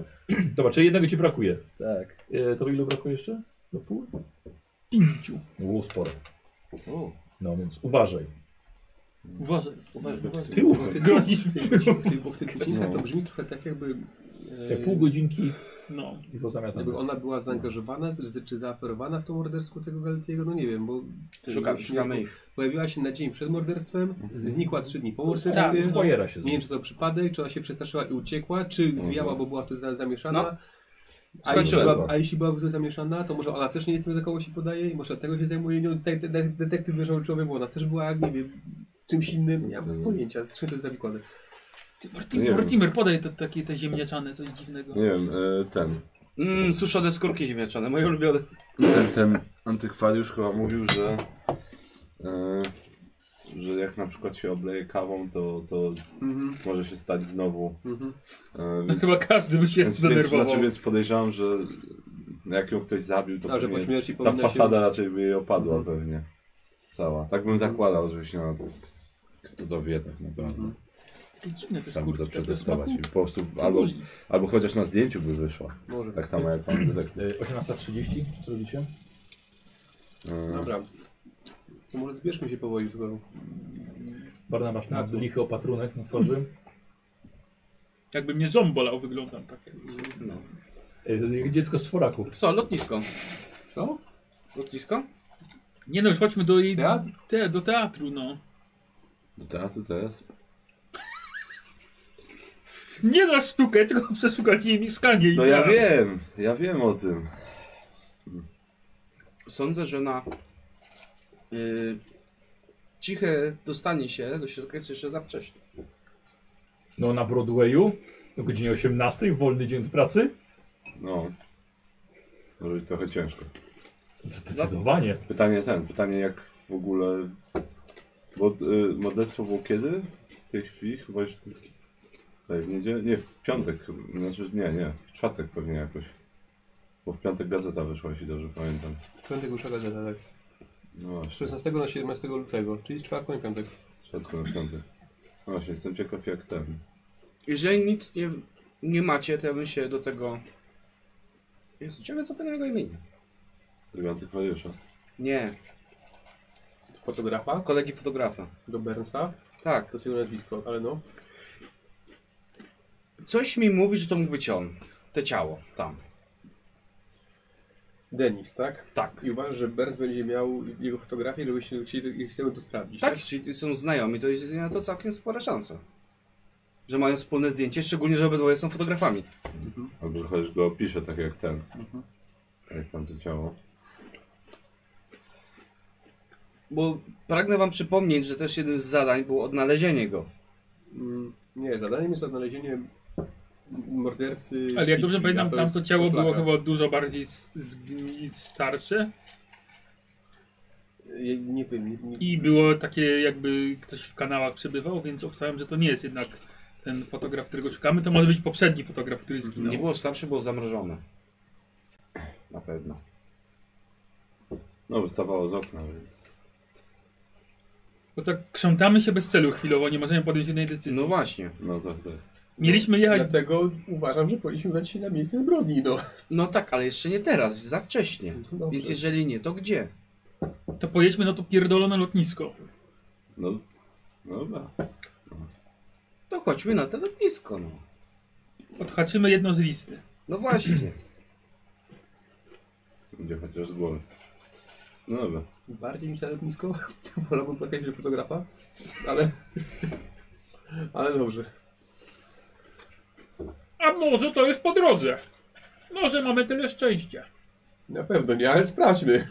S1: Dobra, czyli jednego ci brakuje.
S7: Tak.
S1: Eee, to ilu brakuje jeszcze? Do pół?
S3: pięciu.
S1: No, było sporo. No więc uważaj.
S3: Uważaj, uważaj,
S2: Ty-
S3: uważaj.
S2: ty-
S3: Ty
S1: No.
S3: Grozisz
S2: W
S3: mi.
S2: tych, w tych, bo w tych godzinach to brzmi trochę tak jakby...
S1: Te
S2: e,
S1: Tak pół godzinki
S3: No.
S1: i go zamiatam.
S2: Jakby ona była zaangażowana, czy- czy zaaferowana w to morderstwo tego Galtiego, no nie wiem, bo...
S7: Szukamy,
S2: bo-
S7: szukamy ich.
S2: Pojawiła się na dzień przed morderstwem, znikła trzy dni po
S1: Tak,
S2: morderstwie.
S1: Square'a się
S2: nie
S1: zrobi.
S2: wiem, czy to przypadek, czy ona się przestraszyła i uciekła, czy zwijała, bo była w to za, zamieszana.
S7: No.
S2: A jeśli,
S7: Skończyłem
S2: była,
S4: chyba.
S2: a jeśli była w to zamieszana, to może ona też nie jest tym, za kogo się podaje i może tego się zajmuje nią de de de- detektyw wieżowy człowiek, bo ona też była, nie wiem, czymś innym. Nie mam
S4: Mm.
S2: pojęcia, z czym to jest zawikłane.
S3: Ty,
S4: Nie
S3: Mortimer,
S4: wiem.
S3: Mortimer podaj to takie te ziemniaczane, coś dziwnego.
S4: Nie wiem, e, ten.
S7: Mmm, suszone skórki ziemniaczane, moje ulubione.
S4: Ten, ten antykwariusz chyba mówił, że, e, że jak na przykład się obleje kawą, to, to
S2: Mhm,
S4: może się stać znowu.
S2: mhm. <laughs>
S4: E,
S3: No
S4: więc,
S3: chyba każdy by się
S4: więc, więc,
S3: zdenerwował.
S4: znaczy, więc podejrzewam, że jak ją ktoś zabił, to
S2: A, że po
S4: pewnie,
S2: śmierci
S4: ta
S2: powinna
S4: fasada
S2: się... Mhm.
S4: raczej by jej opadła pewnie. Cała. Tak bym zakładał, żebyś na... Kto to wie tak naprawdę.
S2: Mhm.
S3: Takie dziwne te
S4: Chciałbym
S3: skórki.
S4: to
S3: takie
S4: przetestować
S3: smaku
S4: i po prostu albo,
S3: cebuli.
S4: albo chociaż na zdjęciu by wyszła.
S2: Może.
S4: Tak samo jak pan detektyw.
S1: Y, 18.30, co robicie?
S3: No.
S4: E,
S2: Dobra. To może zbierzmy się powoli, tylko...
S1: Barnabasz ma
S2: Na dół.
S1: lichy opatrunek na twarzy.
S3: Jakby mnie ząb bolał, wyglądam tak. jak-
S1: Y, jak Dziecko z czworaku.
S7: To co, lotnisko?
S2: Co?
S7: Lotnisko?
S3: Nie no, już chodźmy do jej...
S2: Teatr?
S3: Te, do teatru, no.
S4: Do teatru teraz?
S3: Nie na sztukę, tylko <laughs> przeszukać jej mieszkanie i
S4: No ja
S3: teatr.
S4: wiem, ja wiem o tym.
S7: Sądzę, że na y, ciche dostanie się do środka jest jeszcze za wcześnie.
S1: No na Broadwayu o godzinie 18, wolny dzień od pracy.
S4: No. Może być trochę ciężko.
S1: Zdecydowanie.
S4: Pytanie ten, pytanie jak w ogóle... Bo y, morderstwo było kiedy? W tej chwili? Chyba już... Tutaj w niedzielę? Nie, w piątek. chyba. Znaczy nie, nie. W czwartek pewnie jakoś. Bo w piątek gazeta wyszła, jeśli dobrze pamiętam.
S2: Piątek już gazeta, tak.
S4: No właśnie.
S2: 16 na 17 lutego, czyli tak. z czwartku i piątek.
S4: W czwartku na piątek. No właśnie, jestem ciekaw jak ten.
S7: Jeżeli nic nie, nie macie, to ja bym się do tego... Jezu, ciągle zapomniałem jego imienia.
S4: Tego antykwariusza.
S7: Nie,
S2: Fotografa
S7: kolegi fotografa.
S2: do Bernsa,
S7: Tak,
S2: to jest jego nazwisko, ale no.
S7: coś mi mówi, że to mógł być on. To ciało, tam.
S2: Denis, tak?
S7: Tak.
S2: I uważasz, że Berns będzie miał jego fotografię, żebyście chcieli, chcemy to sprawdzić.
S7: Tak, czyli są znajomi, to jest na to całkiem spora szansa. Że mają wspólne zdjęcie, szczególnie, że obydwoje są fotografami.
S4: Albo że chociaż go opiszę tak jak ten.
S2: Mhm.
S4: Tak jak tamto ciało.
S7: Bo pragnę wam przypomnieć, że też jednym z zadań było odnalezienie go.
S2: Mm, nie, zadaniem jest odnalezienie mordercy.
S3: Ale jak dobrze
S2: Pitchfielda,
S3: pamiętam, tam
S2: jest
S3: to ciało było
S2: poszlaka.
S3: chyba dużo bardziej z, zgni- starsze
S2: Ja Nie wiem, nie, nie,
S3: i było takie jakby ktoś w kanałach przebywał, więc obstawiam, że to nie jest jednak ten fotograf, którego szukamy. To może być poprzedni fotograf, który zginął.
S7: Nie było starsze, było zamrożone. Na pewno.
S4: No wystawało z okna, więc.
S3: Bo tak krzątamy się bez celu chwilowo, nie możemy podjąć jednej decyzji.
S7: No właśnie.
S4: No tak, tak.
S3: Mieliśmy jechać
S2: Dlatego uważam, że powinniśmy udać się na miejsce zbrodni, no.
S7: No tak, ale jeszcze nie teraz, za wcześnie.
S2: Dobrze.
S7: Więc jeżeli nie, to gdzie?
S3: To pojedźmy na to pierdolone lotnisko.
S4: No, no dobra.
S7: To chodźmy na to lotnisko, no.
S3: Odhaczymy jedno z listy.
S7: No właśnie.
S4: Będzie chociaż z głowy. No dobra.
S2: Bardziej niż na lotnisko. <laughs> Wolałbym płakać, że fotografa, ale... <laughs> Ale dobrze.
S3: A może to jest po drodze? Może mamy tyle szczęścia.
S2: Na pewno nie, ale sprawdźmy.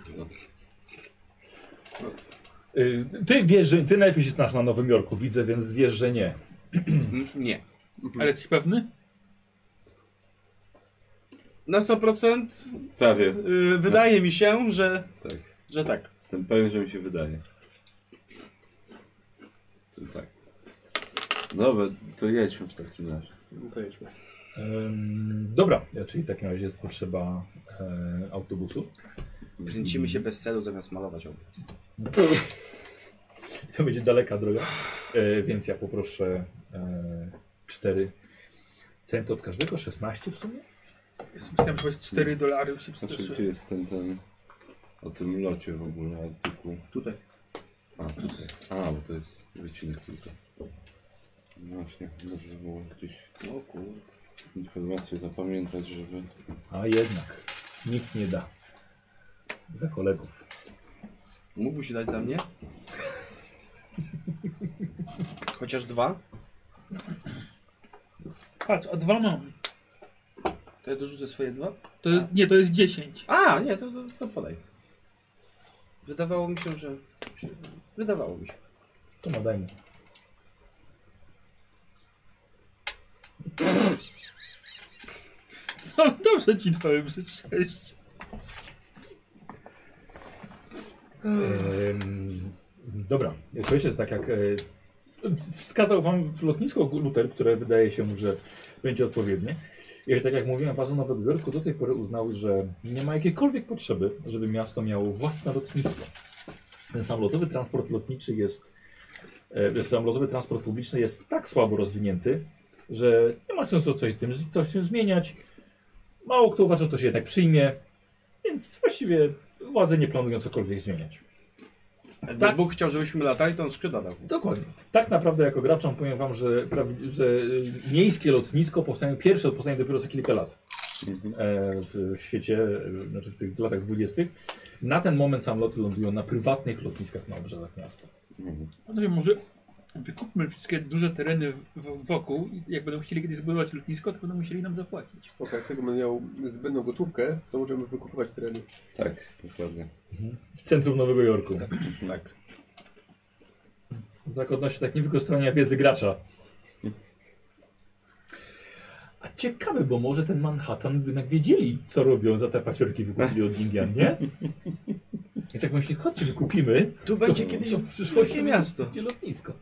S1: Y, Ty wiesz, że ty najlepiej się znasz na Nowym Jorku, widzę, więc wiesz, że nie.
S7: Mm, <clears throat> Nie.
S4: Mhm.
S3: Ale jesteś pewny?
S7: Na 100%
S4: Prawie.
S7: yy, wydaje mi się, że,
S4: Tak.
S7: że tak.
S4: Jestem pewien, że mi się wydaje. To Tak. Dobra, to jedźmy w takim razie.
S2: No To jedźmy.
S1: Ym, dobra, czyli w takim razie jest potrzeba e, autobusu. <laughs>
S7: Kręcimy się bez celu zamiast malować obraz.
S1: To będzie daleka droga, e, więc ja poproszę e, 4 centy od każdego, 16 w sumie.
S3: Myślałem, że 4 dolary już się
S4: Znaczy,
S3: przestraszyłem.
S4: gdzie jest ten, ten... O tym locie w ogóle artykuł.
S5: Tutaj.
S4: A, tutaj. A, bo to jest wycinek tylko. No Właśnie, dobrze by było gdzieś
S7: O kurde.
S4: informacje zapamiętać, żeby...
S1: A jednak, nikt nie da. Za kolegów.
S7: Mógłbyś dać za <laughs> mnie? Chociaż dwa?
S3: Patrz, a dwa mam.
S7: To ja dorzucę swoje dwa?
S3: To, jest- nie, to jest 10.
S7: A, nie, to, to, to podaj. Wydawało mi się, że... Wydawało mi się.
S1: To ma dajmy.
S3: <laughs> No, dobrze ci dałem, że 6.
S1: Em, dobra, słuchajcie, tak jak e, wskazał wam lotnisko Luter, które wydaje się, że będzie odpowiednie. I tak jak mówiłem, władze Nowego Jorku do tej pory uznały, że nie ma jakiejkolwiek potrzeby, żeby miasto miało własne lotnisko. Ten samolotowy transport lotniczy jest, e, ten samolotowy transport publiczny jest tak słabo rozwinięty, że nie ma sensu coś z tym coś z tym zmieniać. Mało kto uważa, że to się jednak przyjmie, więc właściwie władze nie planują cokolwiek zmieniać.
S7: Jakby
S1: Tak.
S7: Bóg chciał, żebyśmy latali, to on skrzydła dał.
S1: Dokładnie. Tak naprawdę jako graczom powiem wam, że, prawi- że y, miejskie lotnisko powstanie, pierwsze powstanie dopiero za kilka lat
S4: Mhm.
S1: e, w świecie, e, znaczy w tych latach 20. Na ten moment samoloty lądują na prywatnych lotniskach na obrzeżach miasta.
S4: Mhm.
S3: Panowie, może wykupmy wszystkie duże tereny w, w, wokół i jak będą chcieli kiedyś zbudować lotnisko, to będą musieli nam zapłacić.
S2: Ok, jak tego będę miał zbędną gotówkę, to możemy wykupować tereny.
S4: Tak, dokładnie.
S1: W centrum Nowego Jorku.
S4: Tak.
S1: Znak odnośnie tak niewykorzystania wiedzy gracza. A ciekawe, bo może ten Manhattan by jednak wiedzieli, co robią za te paciorki wykupili od Indian, nie? I tak myślę, chodźcie, że kupimy.
S7: Tu będzie
S1: To-
S7: kiedyś
S1: to w przyszłości
S7: wielkie miasto.
S1: Gdzie lotnisko?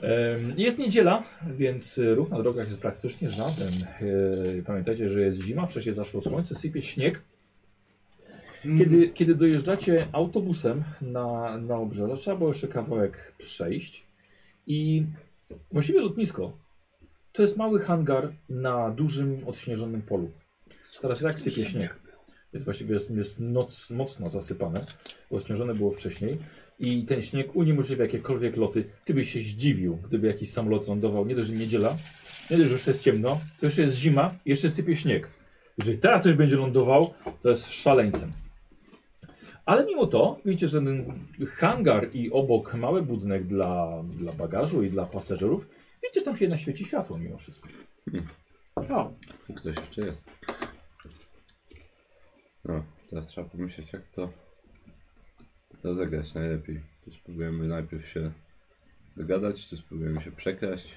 S1: Em, Jest niedziela, więc y, ruch na drogach jest praktycznie żaden. Y, Pamiętajcie, że jest zima, wcześniej zaszło słońce, sypie śnieg.
S7: Mm. Mhm.
S1: Kiedy, kiedy dojeżdżacie autobusem na, na obrzeże, trzeba było jeszcze kawałek przejść. I właściwie lotnisko to jest mały hangar na dużym, odśnieżonym polu. Teraz i tak sypie śnieg. Jest właściwie jest, jest noc, mocno zasypane, bo odśnieżone było wcześniej. I ten śnieg uniemożliwia jakiekolwiek loty. Ty byś się zdziwił, gdyby jakiś samolot lądował. Nie dość, że niedziela, nie dość, że już jest ciemno, to jeszcze jest zima, jeszcze sypie śnieg. Jeżeli teraz ktoś będzie lądował, to jest szaleńcem. Ale mimo to, widzicie, że ten hangar i obok mały budynek dla, dla bagażu i dla pasażerów, widzicie, że tam się jednak świeci światło mimo wszystko.
S4: Tu ktoś jeszcze jest. No, teraz trzeba pomyśleć, jak to rozegrać najlepiej. Czy spróbujemy najpierw się dogadać, czy spróbujemy się przekraść.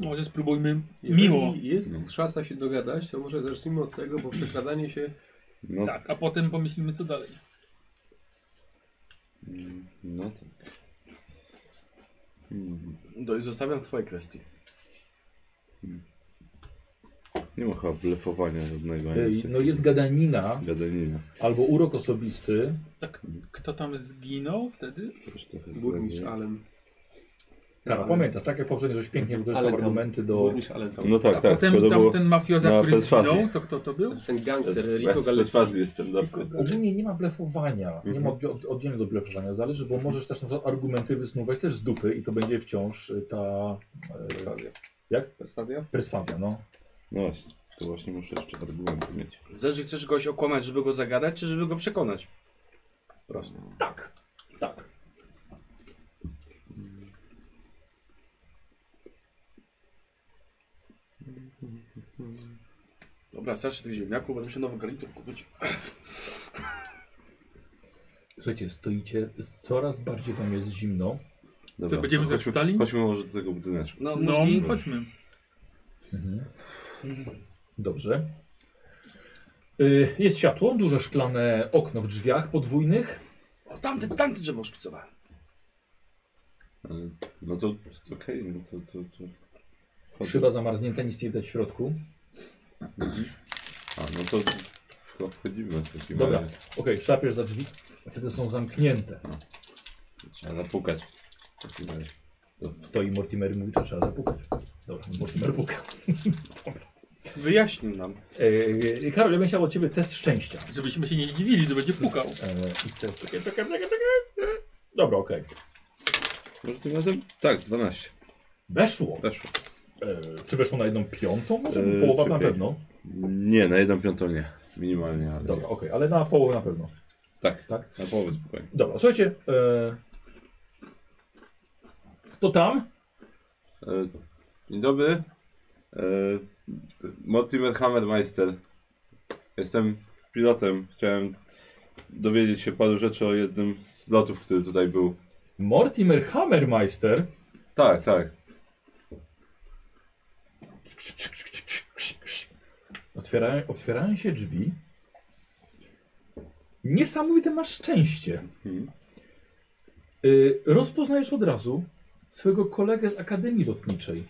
S3: Może spróbujmy miło.
S2: Jeżeli jest szansa się dogadać, to może zacznijmy od tego, bo przekradanie się...
S4: No
S3: Tak, a potem pomyślimy co dalej.
S4: Mm, No tak. Mm,
S7: Do, zostawiam twoje kwestie.
S4: Nie ma chyba blefowania żadnego.
S1: E,
S4: ani
S1: No jest gadanina
S4: Gadanina.
S1: albo urok osobisty.
S3: Tak, Kto tam zginął wtedy?
S4: Też trochę
S2: Burmistrz
S4: zgadnie.
S2: Allen.
S1: Kara, pamiętasz, tak jak poprzednio, żeś pięknie wykorzystał
S2: Mhm. Ale tam-
S1: argumenty do...
S2: Burmistrz Allen tam.
S4: No tak,
S3: A
S4: tak.
S3: potem
S4: tylko
S3: tam
S4: to było...
S3: ten mafioza,
S4: na No.
S3: który
S4: perswazji.
S3: zginął, to kto to był?
S2: Ten gangster,
S4: Ja
S2: Rico
S4: z
S2: Gales.
S4: perswazji jestem dobry.
S1: Ogólnie nie ma blefowania, nie
S2: Mhm.
S1: ma od- oddzielnie do blefowania, zależy, bo możesz też na to argumenty wysnuwać też z dupy i to będzie wciąż y, ta e,
S2: Perswazja.
S1: Jak?
S2: Perswazja?
S1: perswazja, no.
S4: No właśnie, to właśnie muszę jeszcze argumenty mieć.
S7: Zależy, chcesz kogoś okłamać, żeby go zagadać, czy żeby go przekonać? Proste.
S1: Tak, tak.
S7: Dobra, starszy tych ziemniaków, będę się nowy garnitur kupić.
S1: Słuchajcie, stoicie, z- coraz bardziej wam jest zimno.
S4: Dobra,
S3: będziemy
S4: chodźmy-
S3: zawstali?
S4: Chodźmy może do tego budyneczku.
S7: No,
S3: No,
S7: mózgi.
S3: chodźmy.
S1: Dobrze. Y, Jest światło, duże szklane okno w drzwiach podwójnych.
S7: O, tamte, tamte drzewo szkicowałem.
S4: Ale- No to to okej, no to... to, to... Chodź.
S1: Szyba zamarznięta, nic nie widać w środku.
S4: A, no to to wchodzimy w takim
S1: Dobra.
S4: razie.
S1: Okej, szapiesz za drzwi, wtedy są zamknięte.
S4: Trzeba zapukać. W takim razie.
S1: Stoi Mortimer i mówi, że trzeba zapukać. Dobra, Mortimer puka.
S7: Wyjaśnił nam.
S1: Yy, Karol, ja bym chciał od ciebie test szczęścia.
S3: Żebyśmy się nie zdziwili, że będzie pukał.
S1: E, i test... Czekaj, czekaj, czekaj, czekaj. Dobra, okej.
S4: Może tym razem? Tak, 12.
S1: Weszło.
S4: Weszło.
S1: E, czy weszło na jedną piątą? Może
S4: E,
S1: połowa na
S4: czekaj.
S1: pewno.
S4: Nie, na jedną piątą nie. Minimalnie, ale...
S1: Dobra, okej, ale na połowę na pewno.
S4: Tak,
S1: Tak?
S4: na połowę spokojnie.
S1: Dobra, słuchajcie. E... Kto tam?
S4: E, Dzień dobry. E, t- Mortimer Hammermeister. Jestem pilotem. Chciałem dowiedzieć się paru rzeczy o jednym z lotów, który tutaj był.
S1: Mortimer Hammermeister.
S4: Tak, tak.
S1: Otwierają, otwierają się drzwi. Niesamowite masz szczęście.
S4: Mhm.
S1: Y, rozpoznajesz od razu swojego kolegę z Akademii Lotniczej.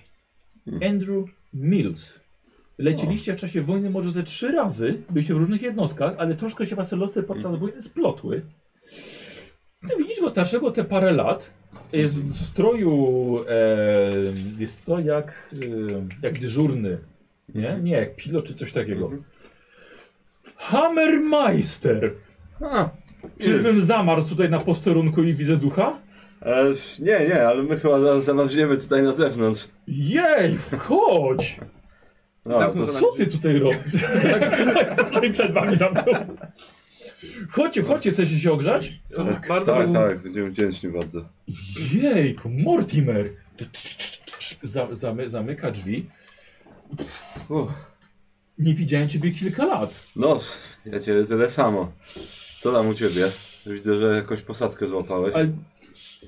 S1: Andrew Mills. Lecieliście w czasie wojny może ze trzy razy, byliście w różnych jednostkach, ale troszkę się wasze losy podczas wojny splotły. Ty widzisz go starszego te parę lat. Jest w stroju, e, jest co, jak, e, jak dyżurny. Nie? Nie, jak pilot czy coś takiego. Hammermeister! Czyżbym zamarzł tutaj na posterunku i widzę ducha?
S4: E, nie, nie, ale my chyba zaraz zamarzniemy tutaj na zewnątrz.
S1: Jej, wchodź!
S4: No,
S7: Zamknął
S4: to,
S7: za
S1: Co ty tutaj robisz? Tak, Tutaj przed wami zamknął. Chodźcie, chodźcie, chcecie się ogrzać?
S7: Bardzo
S4: tak,
S7: bym-
S4: tak, będziemy wdzięczni bardzo.
S1: Jejku, Mortimer! Za- zamy- Zamyka drzwi.
S4: Uff.
S1: Nie widziałem ciebie kilka lat.
S4: No, ja cię tyle samo. Co tam u ciebie? Widzę, że jakąś posadkę złapałeś.
S1: Ale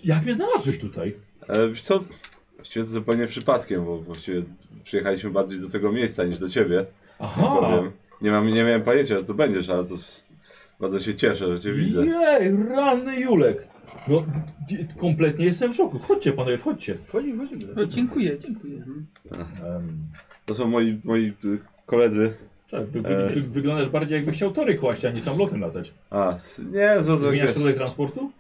S1: jak mnie znalazłeś tutaj?
S4: E, wiesz co? Właściwie to zupełnie przypadkiem, bo właściwie przyjechaliśmy bardziej do tego miejsca niż do ciebie.
S1: Aha!
S4: Powiem. Nie, mam, nie miałem pojęcia, że tu będziesz, ale to s- bardzo się cieszę, że cię widzę.
S1: Jej, ranny Julek! No, d- kompletnie jestem w szoku. Chodźcie panowie, wchodźcie.
S3: No, dziękuję, dziękuję.
S1: Em,
S4: To są moi, moi y, koledzy.
S1: tak, wy, wy,
S4: E.
S1: wy, wyglądasz bardziej jakbyś chciał tory kłaść, a nie samolotem latać.
S4: A, s- nie, zło, zło,
S1: Zmieniasz rodzaj transportu?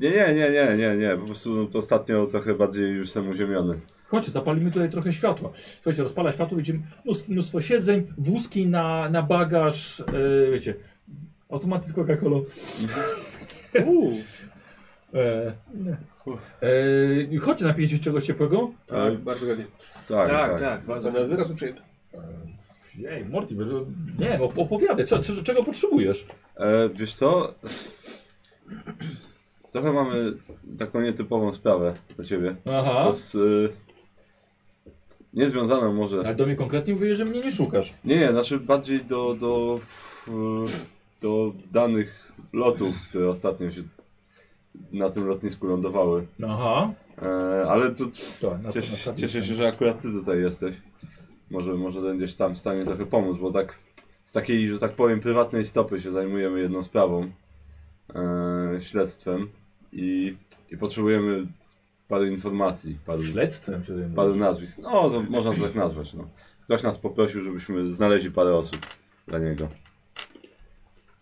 S4: nie, nie, nie, nie, nie, nie, po prostu no, to ostatnio trochę bardziej już jestem uziemiony.
S1: Chodźcie, zapalimy tutaj trochę światła. Słuchajcie, rozpala światło, widzimy mnóstwo, mnóstwo siedzeń, wózki na, na bagaż, e, wiecie, automaty z Coca-Colą.
S4: Mhm.
S1: <laughs> E, e, chodźcie, napijcie się czegoś ciepłego.
S2: Tak, bardzo ładnie.
S4: Tak,
S7: Tak,
S4: tak.
S7: tak, bardzo.
S2: Bardzo wyraz uprzejmy.
S1: Ej, Morty, bo- nie, op- opowiadaj, co, co, czego potrzebujesz?
S4: E, wiesz co? Trochę mamy taką nietypową sprawę do ciebie.
S1: Aha,
S4: To Z, y, niezwiązaną może.
S1: ale do mnie konkretnie mówię, że mnie nie szukasz.
S4: Nie, nie, znaczy bardziej do, do, y, do danych lotów, które ostatnio się na tym lotnisku lądowały.
S1: Aha,
S4: E, ale to
S1: to, na, tak
S4: cieszę, się-
S1: na-
S4: cieszę się, że akurat ty tutaj jesteś. Może, może będziesz tam w stanie trochę pomóc, bo tak z takiej, że tak powiem, prywatnej stopy się zajmujemy jedną sprawą, e, śledztwem i, i potrzebujemy parę informacji, paru,
S1: Śledztwem się zajmujesz.
S4: paru nazwisk. No, to można to tak nazwać. No. Ktoś nas poprosił, żebyśmy znaleźli parę osób dla niego.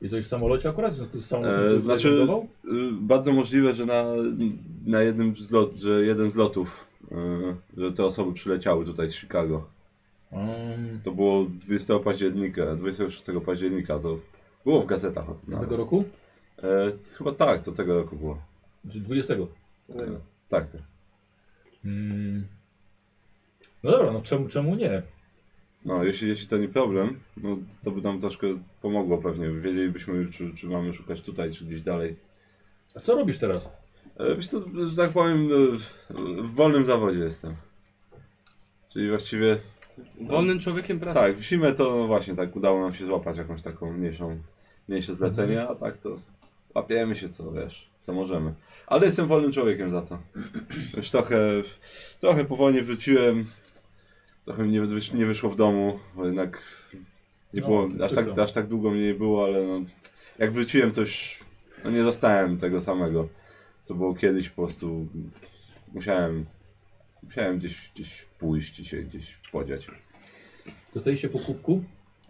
S1: I coś w samolocie akurat, w związku z samolotem,
S4: E,
S1: który
S4: znaczy-
S1: zrezygnował?
S4: Y, bardzo możliwe, że na, na jednym z lot, że jeden z lotów, y, że te osoby przyleciały tutaj z Chicago.
S1: Mm,
S4: To było 20 października, 26 października, to było w gazetach o tym.
S1: tego
S4: nawet.
S1: roku?
S4: E, chyba tak, to tego roku było.
S1: Czy 20?
S4: E, tak, tak.
S1: Mm. No dobra, no czemu, czemu nie?
S4: No, jeśli, jeśli to nie problem, no, to by nam troszkę pomogło pewnie. Wiedzielibyśmy, czy, czy mamy szukać tutaj, czy gdzieś dalej.
S1: A co robisz teraz?
S4: E, Wiesz co, że tak powiem, e, w- w wolnym zawodzie jestem. Czyli właściwie
S7: Wolnym człowiekiem pracy.
S4: Tak, w zimę to no właśnie tak udało nam się złapać jakąś taką mniejszą, mniejsze zlecenie,
S1: Mhm.
S4: a tak to łapiemy się co wiesz, co możemy. Ale jestem wolnym człowiekiem za to. Już trochę, trochę powolnie wróciłem, trochę mnie nie wysz- nie wyszło w domu, bo jednak nie
S1: No,
S4: było,
S1: to
S4: aż, tak,
S1: przykro.
S4: aż tak długo mnie nie było, ale no, jak wróciłem to już no nie dostałem tego samego, co było kiedyś po prostu. Musiałem, musiałem gdzieś, gdzieś pójść i się gdzieś podziać.
S1: Dostaje się po kubku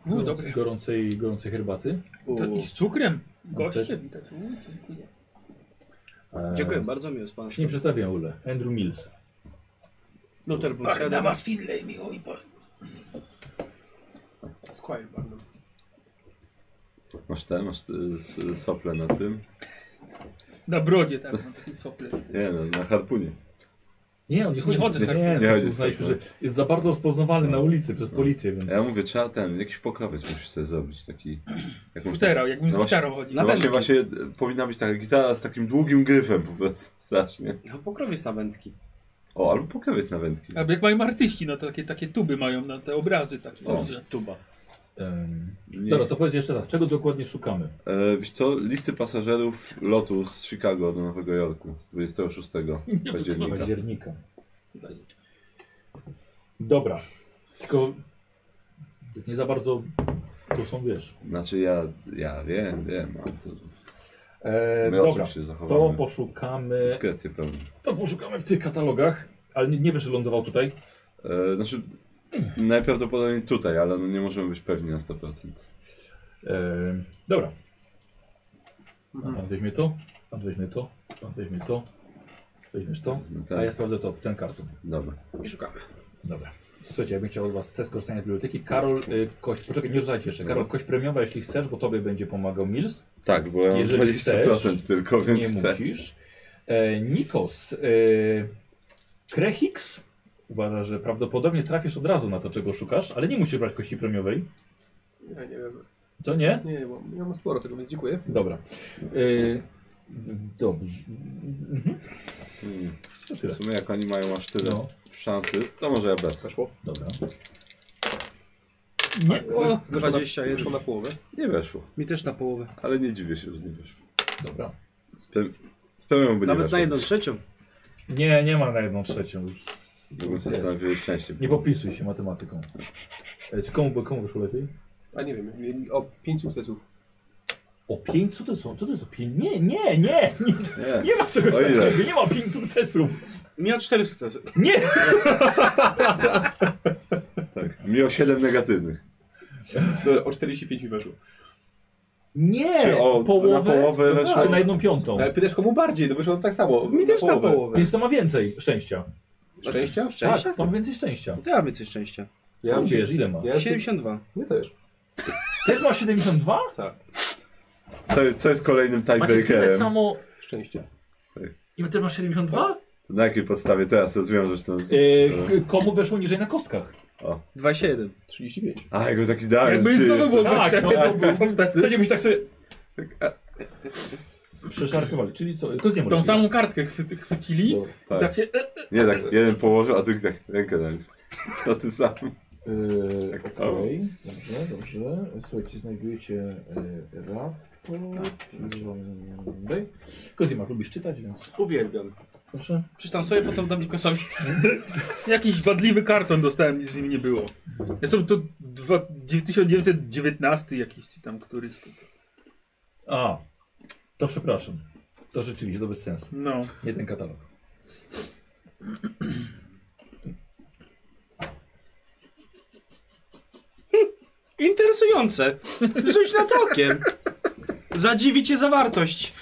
S3: No
S1: gorącej,
S3: dobra.
S1: gorącej, gorącej herbaty.
S3: To i z cukrem. Goście
S1: Też-
S3: widać. Uj, dziękuję.
S1: E,
S7: Dziękuję bardzo, miło z pana.
S1: Się nie przedstawiam, Ule. Andrew Mills.
S2: Luther von
S3: Barna
S2: Schroeder.
S3: was Finlay, miło i poznać.
S2: Squire Barnum.
S4: Masz ten, masz y, s- sople na tym?
S3: Na brodzie tak, mam taki sople.
S4: Nie, no, na harpunie.
S1: Nie, on nie
S3: Nie
S1: chodzi.
S3: chodzę z
S1: nie,
S3: harpunem.
S1: nie,
S4: Nie chodzi z
S1: uznaliśmy, że
S4: harpunem.
S1: jest za bardzo rozpoznawalny na ulicy przez policję, więc...
S4: A ja mówię, trzeba ten, jakiś pokrowiec musisz sobie zrobić, taki... jakąś-
S3: Futera, jakbym z
S4: No
S3: gitarą chodził.
S4: No właśnie, właśnie y, powinna być taka gitara z takim długim gryfem po prostu, <laughs> strasznie.
S7: No, pokrowiec na wędki.
S4: O, albo pokrowiec na wędki.
S3: Albo jak mają artyści, no to takie, takie tuby mają na te obrazy. Tak, w sensie.
S7: Tuba.
S1: Em,
S4: Nie.
S1: Dobra, to powiedz jeszcze raz, czego dokładnie szukamy?
S4: E, wiesz co, listy pasażerów lotu z Chicago do Nowego Jorku, 26
S1: <laughs>
S4: października.
S1: Października. Dobra, tylko tak nie za bardzo to są, wiesz.
S4: Znaczy ja, ja wiem, wiem, ale to...
S1: E,
S4: My
S1: dobra,
S4: oczywiście
S1: to
S4: zachowamy
S1: poszukamy,
S4: dyskrecję pewnie.
S1: to poszukamy w tych katalogach, ale nie, nie wiesz, że lądował tutaj.
S4: E, znaczy, <clears throat> najprawdopodobniej tutaj, ale no nie możemy być pewni na 100%.
S1: E, dobra,
S4: Mhm.
S1: A pan weźmie to, pan weźmie to, pan weźmie to, weźmiesz to,
S4: Powiedzmy,
S1: a ja
S4: Tak,
S1: sprawdzę to, ten karton.
S4: dobra.
S5: I szukamy.
S1: Dobra. Słuchajcie, ja bym chciał od Was test korzystania z biblioteki. Karol y, Kość, poczekaj, nie rzucajcie jeszcze.
S4: Mhm.
S1: Karol Kość premiowa, jeśli chcesz, bo Tobie będzie pomagał Mills.
S4: Tak, bo ja mam
S1: Jeżeli
S4: 20%
S1: chcesz,
S4: tylko,
S1: Nie
S4: więc chcę.
S1: musisz. E, Nikos, e, Krechix uważa, że prawdopodobnie trafisz od razu na to, czego szukasz, ale nie musisz brać kości premiowej.
S2: Ja nie wiem.
S1: Co nie?
S2: Nie, bo ja mam sporo tego, więc dziękuję.
S1: Dobra. E, dobrze. Mhm.
S4: Hmm.
S1: To tyle.
S4: W sumie jak oni mają aż tyle
S1: No,
S4: szansy, to może ja bez.
S2: Weszło.
S1: dobra.
S7: Nie,
S3: Tak.
S7: o,
S2: Weszło na,
S7: 21.
S2: weszło na połowę.
S4: Nie weszło,
S7: Mi też na połowę.
S4: ale nie dziwię się, że nie weszło.
S1: Dobra.
S4: Z pe- z pełnią by nie
S7: Nawet
S4: weszło.
S7: na jedną trzecią.
S1: Nie, nie ma na jedną trzecią już.
S4: Mogłem sobie co najwyżej szczęście.
S1: Nie popisuj się matematyką. E, Czy komu, komu wyszło lepiej?
S2: A nie wiem, mieli o 5 sukcesów.
S1: O pięć? Co to są? Co to jest o pięć? Nie, nie, nie! Nie,
S4: Nie.
S1: nie ma czegoś
S4: O ile?
S1: takiego, nie ma pięć sukcesów!
S7: Miał cztery sukcesy.
S1: Nie!
S4: Tak. Mi o 7 negatywnych.
S2: Dobra, o 45 mi weszło.
S1: Nie!
S4: Czy o- na połowę E,
S1: No tak,
S4: weszło?
S1: Czy na jedną piątą?
S2: Ale pytasz komu bardziej, no wyszło tak samo.
S7: Mi też na połowę.
S1: Więc to ma więcej szczęścia.
S2: Szczęścia?
S1: Tak, to ma więcej szczęścia.
S7: To ja mam więcej szczęścia.
S1: Skąd wiesz, ile ma?
S2: Ja, ja,
S7: 72.
S2: ja też.
S1: Też masz 72?
S4: Co jest, co jest kolejnym
S1: Macie tyle
S4: tiebreakerem?
S1: samo...
S2: Szczęście.
S1: I ty masz 72?
S4: To Na jakiej podstawie teraz rozwiążesz ten...
S1: Yy, k- komu weszło niżej na kostkach?
S7: 27.
S2: 35.
S4: A, jakby taki dałem.
S3: Jakby
S4: że
S3: znowu
S4: jeszcze-
S3: było
S1: Tak,
S3: <laughs> tak,
S1: no,
S3: tak,
S1: Wtedy byś tak sobie... Przeszarpywali, czyli co? To zjemy.
S3: Tą samą kartkę chwy, chwycili.
S1: Dobra.
S3: Tak.
S4: Tak.
S3: się, e, e,
S4: Nie, tak jeden położył, a drugi tak rękę na nim. Na tym samym.
S1: Yy,
S4: Tak,
S1: Okej, dobrze, dobrze. Słuchajcie, znajdujecie yy, raport. Tutaj. Kozima, lubisz czytać, więc
S7: Uwielbiam.
S1: proszę.
S7: Przeczytam sobie, potem dam Nikosowi.
S3: <laughs> jakiś wadliwy karton dostałem, nic w nim nie było. Zresztą to dwa, 1919 jakiś czy tam któryś. To,
S1: A, to przepraszam. To rzeczywiście, to bez sensu.
S3: no.
S1: Nie ten katalog.
S5: Interesujące. Rzuć nad okiem. Zadziwi cię zawartość.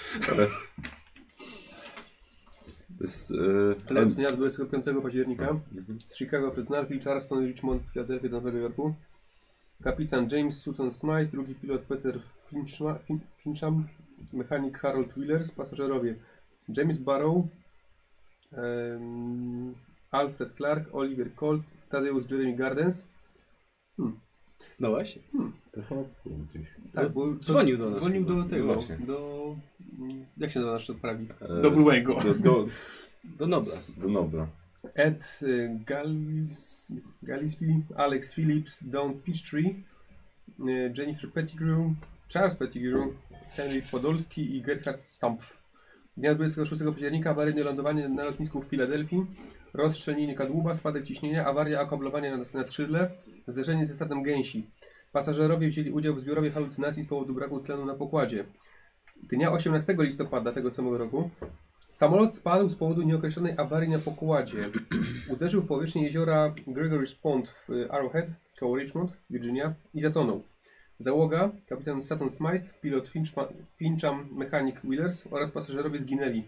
S4: To jest... Yy,
S2: Lot z dnia 25 października
S7: Mm.
S2: z Chicago przez Narville, Charleston, Richmond, Filadelfia do Nowego Jorku. Kapitan James Sutton Smythe, drugi pilot Peter Finchma- Fin- Fincham, mechanik Harold Willers, pasażerowie James Barrow, em, Alfred Clark, Oliver Colt, Tadeusz Jeremy Gardens.
S7: No właśnie.
S2: Tak, bo
S7: No, Dzwonił do nas.
S2: Dzwonił do
S4: No
S2: tego,
S4: właśnie.
S2: do... mm, Jak się nazywa nasz odprawnik?
S4: do
S2: byłego.
S4: E, Do, do,
S7: Do Nobla.
S4: do Nobla.
S2: Ed y, Gallis, Gillespie, Alex Phillips, Don Peachtree, y, Jennifer Pettigrew, Charles Pettigrew, Henry Podolski i Gerhard Stampf. Dnia 26 października awaryjne lądowanie na lotnisku w Filadelfii, rozstrzelnienie kadłuba, spadek ciśnienia, awaria akoblowania na, na skrzydle, zderzenie ze statem gęsi. Pasażerowie wzięli udział w zbiorowej halucynacji z powodu braku tlenu na pokładzie. Dnia 18 listopada tego samego roku Samolot spadł z powodu nieokreślonej awarii na pokładzie. Uderzył w powierzchnię jeziora Gregory's Pond w y, Arrowhead koło Richmond, Virginia i zatonął. Załoga, kapitan Sutton Smythe, pilot Finchma, Fincham, mechanik Willers oraz pasażerowie zginęli.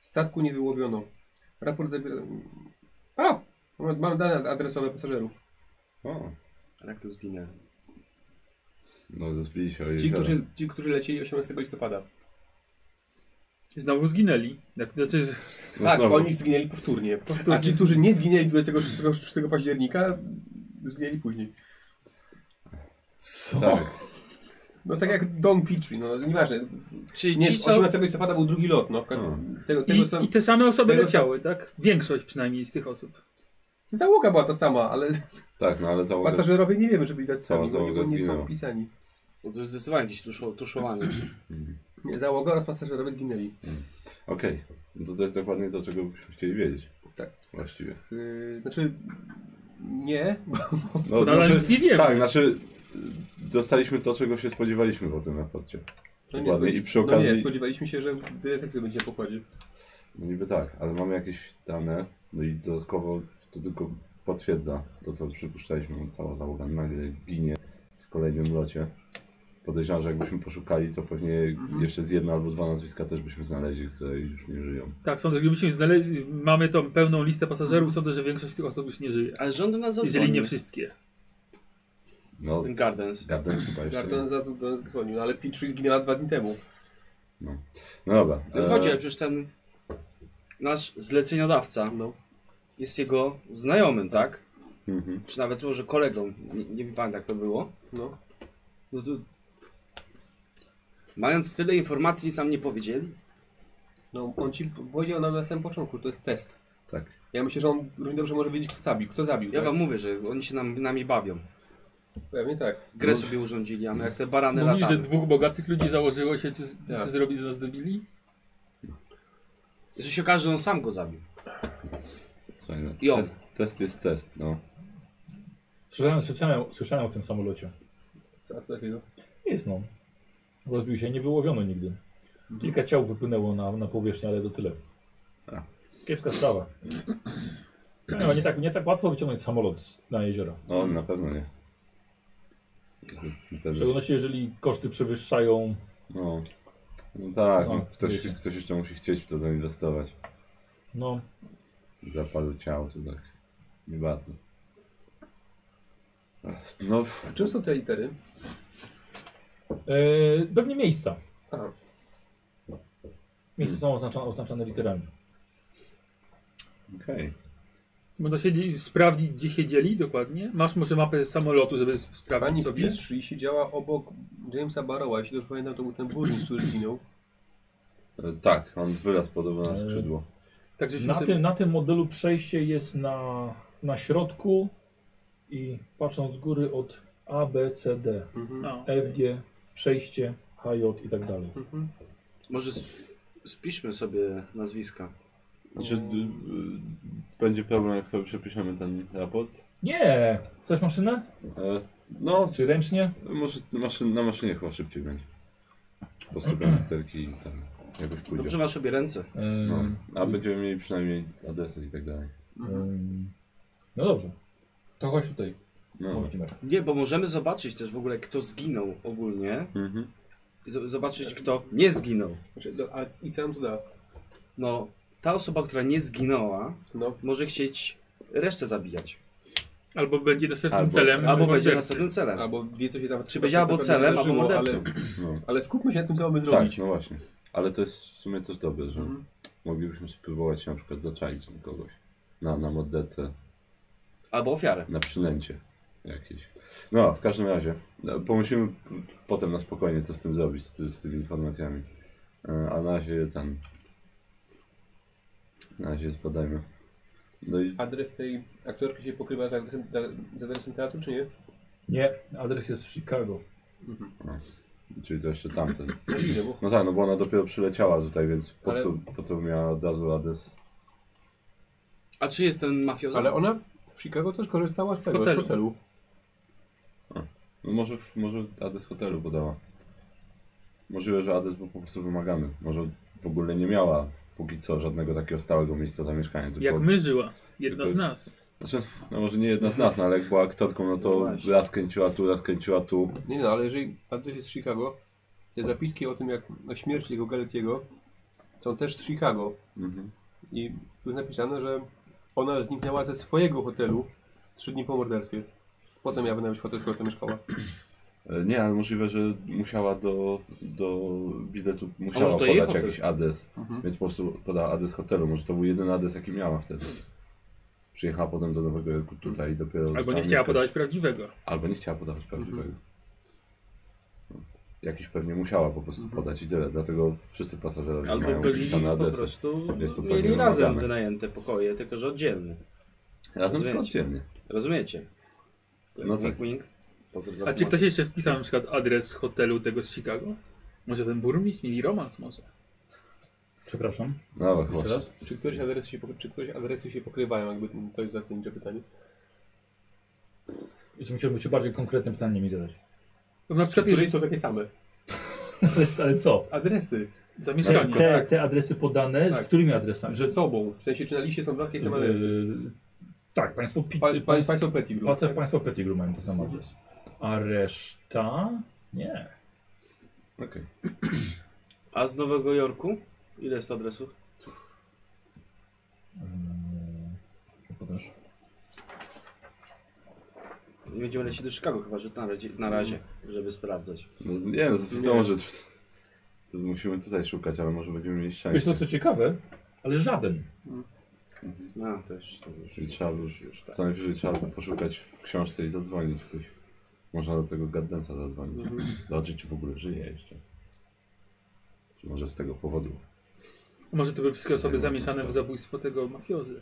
S2: Statku nie wyłowiono. Raport zawiera... A! Mam- Mam dane adresowe pasażerów.
S4: O,
S7: Ale jak to zginę?
S4: no rozbili się o
S2: Ci
S4: jezioro.
S2: którzy, ci, którzy lecieli 18 listopada.
S3: Znowu zginęli. Jak, znaczy, z-
S4: No
S2: tak,
S4: znowu.
S2: oni zginęli powtórnie. A ci, którzy nie zginęli 26 października, zginęli później.
S4: Co? Tak.
S2: No tak jak Don Petrie, no nieważne.
S5: Czyli
S2: Nie,
S5: ci, co...
S2: 18 listopada był drugi lot, no. W każdym,
S4: Hmm.
S2: tego, tego sam...
S3: I, I te same osoby
S2: tego sam-
S3: leciały, tak? Większość przynajmniej z tych osób.
S2: Załoga była ta sama, ale
S4: tak, no ale załoga...
S2: pasażerowie nie wiemy, czy byli tacy
S4: Cała
S2: sami, bo nie, bo
S4: załoga
S2: nie są
S4: zginęła.
S2: opisani.
S7: No to jest zdecydowanie jakieś tuszo, tuszowanie.
S2: Nie, załoga oraz pasażerowie zginęli.
S4: Mhm. Okej, no to to jest dokładnie to, czego byśmy chcieli wiedzieć.
S2: Tak.
S4: Właściwie.
S2: Yy, znaczy, nie, bo
S4: No,
S3: nadal nic nie wiemy.
S4: Tak, znaczy y, dostaliśmy to, czego się spodziewaliśmy po tym raporcie.
S2: no nie,
S4: Dokładnie,
S2: spodziew-
S4: i przy
S2: no nie,
S4: okazji-
S2: spodziewaliśmy się, że detektyw będzie na pokładzie.
S4: No niby tak, ale mamy jakieś dane, no i dodatkowo to tylko potwierdza to, co przypuszczaliśmy, bo cała załoga nagle ginie w kolejnym locie. Podejrzewam, że jakbyśmy poszukali, to pewnie jeszcze z jedno albo dwa nazwiska też byśmy znaleźli, które już nie żyją.
S3: Tak, sądzę, że gdybyśmy znaleźli, mamy tą pełną listę pasażerów, sądzę, że większość tych osób już nie żyje.
S7: Ale rząd do nas zadzwonił.
S3: Jeżeli nie wszystkie.
S4: No,
S7: Ten Gardens.
S4: Gardens chyba jeszcze.
S2: Garton
S4: nie.
S2: za- do nas zadzwonił, no, ale Petrie zginęła dwa dni temu.
S4: No dobra.
S7: No chodzi, ale przecież ten nasz zleceniodawca
S2: No.
S7: jest jego znajomym, tak?
S4: mhm.
S7: Czy nawet może kolegą. Nie, nie wiem pamiętam jak to było.
S2: No.
S7: No to... Mając tyle informacji sam nie powiedzieli?
S2: no, on ci powiedział nam na samym początku, to jest test.
S4: Tak.
S2: Ja myślę, że on równie dobrze może wiedzieć, kto zabił. Kto zabił,
S7: Ja
S2: tak?
S7: wam mówię, że oni się nam, nami bawią.
S2: Pewnie tak.
S7: Grę sobie urządzili, a my jak te barany
S3: Mówili, że
S7: latamy.
S3: dwóch bogatych ludzi założyło się, czy, czy
S2: Tak.
S3: zrobić z nas debili?
S7: Że się okaże, że on sam go zabił.
S4: Słuchaj, no,
S7: Ją.
S4: test, test jest test, no.
S1: Słyszałem, słyszałem, słyszałem o tym samolocie.
S2: Co, a co takiego?
S1: Jest no. Rozbił się, nie wyłowiono nigdy. Kilka ciał wypłynęło na, na powierzchnię, ale to tyle.
S4: A.
S1: Kiepska sprawa. Nie, no, nie, tak, nie tak łatwo wyciągnąć samolot z, na jeziora.
S4: No na pewno nie. Na
S1: W
S4: pewno się-
S1: szczególności jeżeli koszty przewyższają.
S4: No, no tak,
S1: No,
S4: no, ktoś,
S1: wiecie.
S4: ktoś jeszcze musi chcieć w to zainwestować.
S1: No,
S4: Dla paru ciał to tak nie bardzo. Ach, No,
S2: A czym są te litery?
S1: e, pewnie miejsca.
S2: Aha.
S1: Miejsca są oznaczane, oznaczane literami.
S4: okej.
S3: Można siedzi, sprawdzić, gdzie siedzieli dokładnie. Masz może mapę samolotu, żeby s- sprawdzić
S2: Pani
S3: sobie.
S2: Petrie siedziała obok Jamesa Barrowa, jeśli dobrze pamiętam, to był ten burmistrz, który zginął.
S4: E, Tak, on wyraz podobny na skrzydło.
S3: Tak, żeśmy
S1: Na
S3: sobie-
S1: tym, na tym modelu przejście jest na, na środku i patrząc z góry od A, B, C, D,
S3: No.
S1: F, G, przejście, H, J i tak dalej.
S2: Mhm.
S7: Może sp- spiszmy sobie nazwiska.
S4: Znaczy, d- y, będzie problem, jak sobie przepiszemy ten raport.
S1: Nie! Chcesz maszynę?
S4: E, No,
S1: Czy ręcznie?
S4: może maszyn, na maszynie chyba szybciej będzie. Po prostu literki i tam. jakoś pójdzie.
S7: Dobrze masz obie ręce.
S1: Ym,
S4: No.
S2: Mm.
S4: A będziemy mieli przynajmniej adresy i tak dalej.
S1: ym, no dobrze. To chodź tutaj,
S4: No.
S1: Mortimer.
S7: Nie, bo możemy zobaczyć też w ogóle, kto zginął ogólnie.
S4: Mhm.
S7: I zo- zobaczyć, kto nie zginął.
S2: Znaczy, do, a, I co nam to da?
S7: No, ta osoba, która nie zginęła,
S2: No,
S7: może chcieć resztę zabijać.
S3: Albo będzie następnym
S4: Albo-
S3: celem.
S7: Albo będzie
S3: mordercy.
S7: następnym celem.
S2: albo wie co się tam...
S7: Czy będzie albo
S2: na pewno
S7: celem, albo
S2: wydarzyło,
S7: mordercą.
S2: Ale,
S4: No.
S2: ale skupmy się na tym, co mamy
S4: Tak,
S2: zrobić.
S4: no właśnie. Ale to jest w sumie też dobre,
S7: Tak.
S4: że
S2: Mhm.
S4: moglibyśmy spróbować się na przykład zaczaić na kogoś. Na, na moddece,
S7: Albo ofiarę.
S4: na przynęcie jakieś. No, w każdym razie. no, Pomyślimy p- potem na spokojnie, co z tym zrobić, z, ty- z tymi informacjami. E, A na razie ten... Na razie zbadajmy. No i...
S2: Adres tej aktorki się pokrywa z adresem, z adresem teatru, czy nie?
S1: Nie, adres jest w Chicago.
S4: Czyli to jeszcze tamten.
S2: No ile, bo...
S4: No tak, no bo ona dopiero przyleciała tutaj, więc po,
S2: Ale-
S4: co, po co miała od razu adres?
S7: A czy jest ten mafioza?
S2: Ale ona w Chicago też korzystała z tego,
S3: Hotelu.
S2: z hotelu.
S4: No może, może adres hotelu podała. Możliwe, że adres był po prostu wymagany. Może w ogóle nie miała póki co żadnego takiego stałego miejsca zamieszkania. Tylko,
S3: Jak my żyła. Jedna
S4: Tylko-
S3: z nas.
S4: Znaczy, no może nie jedna z nas, no ale jak była aktorką, no
S7: No
S4: to
S7: właśnie.
S4: raz kręciła tu, raz kręciła tu.
S2: Nie no, ale jeżeli adres jest z Chicago, te zapiski o tym, jak o śmierci tego Galetiego są też z Chicago.
S4: Mhm.
S2: I tu jest napisane, że ona zniknęła ze swojego hotelu trzy dni po morderstwie. Po co miałaby nawet hotel, skoro tam mieszkała?
S4: E, Nie, ale możliwe, że musiała do, do biletu musiała
S7: może to jej
S4: podać
S7: hotel?
S4: jakiś adres.
S2: Mhm.
S4: Więc po prostu podała adres hotelu. Może to był jedyny adres, jaki miała wtedy. Przyjechała potem do Nowego Jorku tutaj i dopiero...
S3: Albo
S4: tam
S3: nie chciała
S4: mieszkać.
S3: podawać prawdziwego.
S4: Albo nie chciała podawać prawdziwego. Jakiś pewnie musiała po prostu podać i tyle. Dlatego wszyscy pasażerowie
S7: Albo
S4: mają
S7: byli
S4: wpisane
S7: po
S4: adresy.
S7: prostu
S4: Jest to pewnie
S7: mieli razem
S4: wymagane.
S7: wynajęte pokoje, tylko że oddzielne.
S4: Razem tylko
S7: Rozumiecie.
S4: oddzielnie.
S7: Rozumiecie?
S4: No
S7: wink,
S4: tak.
S7: wink. Pozdrow dla
S3: A czy
S7: Tomasa.
S3: ktoś jeszcze wpisał na przykład adres hotelu tego z Chicago? Może ten burmistrz mieli romans może?
S1: Przepraszam.
S4: No ale
S1: Jeszcze
S4: właśnie.
S1: raz.
S2: Czy któreś adresy się, pokry- czy któreś adresy się pokrywają? Jakby to jest zasadnicze pytanie.
S1: Jeszcze musiałby cię bardziej konkretne pytanie mi zadać. <laughs>
S3: No na
S2: Czy
S3: przykład
S2: któreś
S3: jeżeli
S2: są takie same?
S1: Ale co? Tak,
S2: Adresy.
S3: zamieszkanie.
S4: Tak.
S1: Te, te adresy podane
S2: Tak.
S1: z którymi adresami?
S2: Że sobą. W sensie, czy na liście są dwa takie same adresy?
S1: Yy, tak, państwo, pi,
S2: Pa- pa-
S1: państw-
S2: Państwo Petit Group.
S1: państwo, państwo Pettigrew mają ten sam adres. A reszta? Nie.
S4: Okej.
S7: A z Nowego Jorku? Ile jest adresów?
S1: Yy, Pokaż.
S7: Nie będziemy lecieć do Chicago chyba, że na razie, na razie żeby sprawdzać.
S4: No, nie, no to wiadomo, że to musimy tutaj szukać, ale może będziemy mieli
S1: Wiesz
S4: szczęście.
S1: to co ciekawe? Ale żaden.
S7: No, to już, to
S4: Czyli
S7: już.
S4: trzeba już, już Tak. co najwyżej trzeba by poszukać w książce i zadzwonić ktoś. Można do tego gaddenca zadzwonić. Zobaczyć, czy w ogóle żyje jeszcze. Czy może z tego powodu.
S3: Może to były wszystkie osoby
S4: Nie,
S3: zamieszane
S4: to Tak.
S3: w zabójstwo tego mafiozy.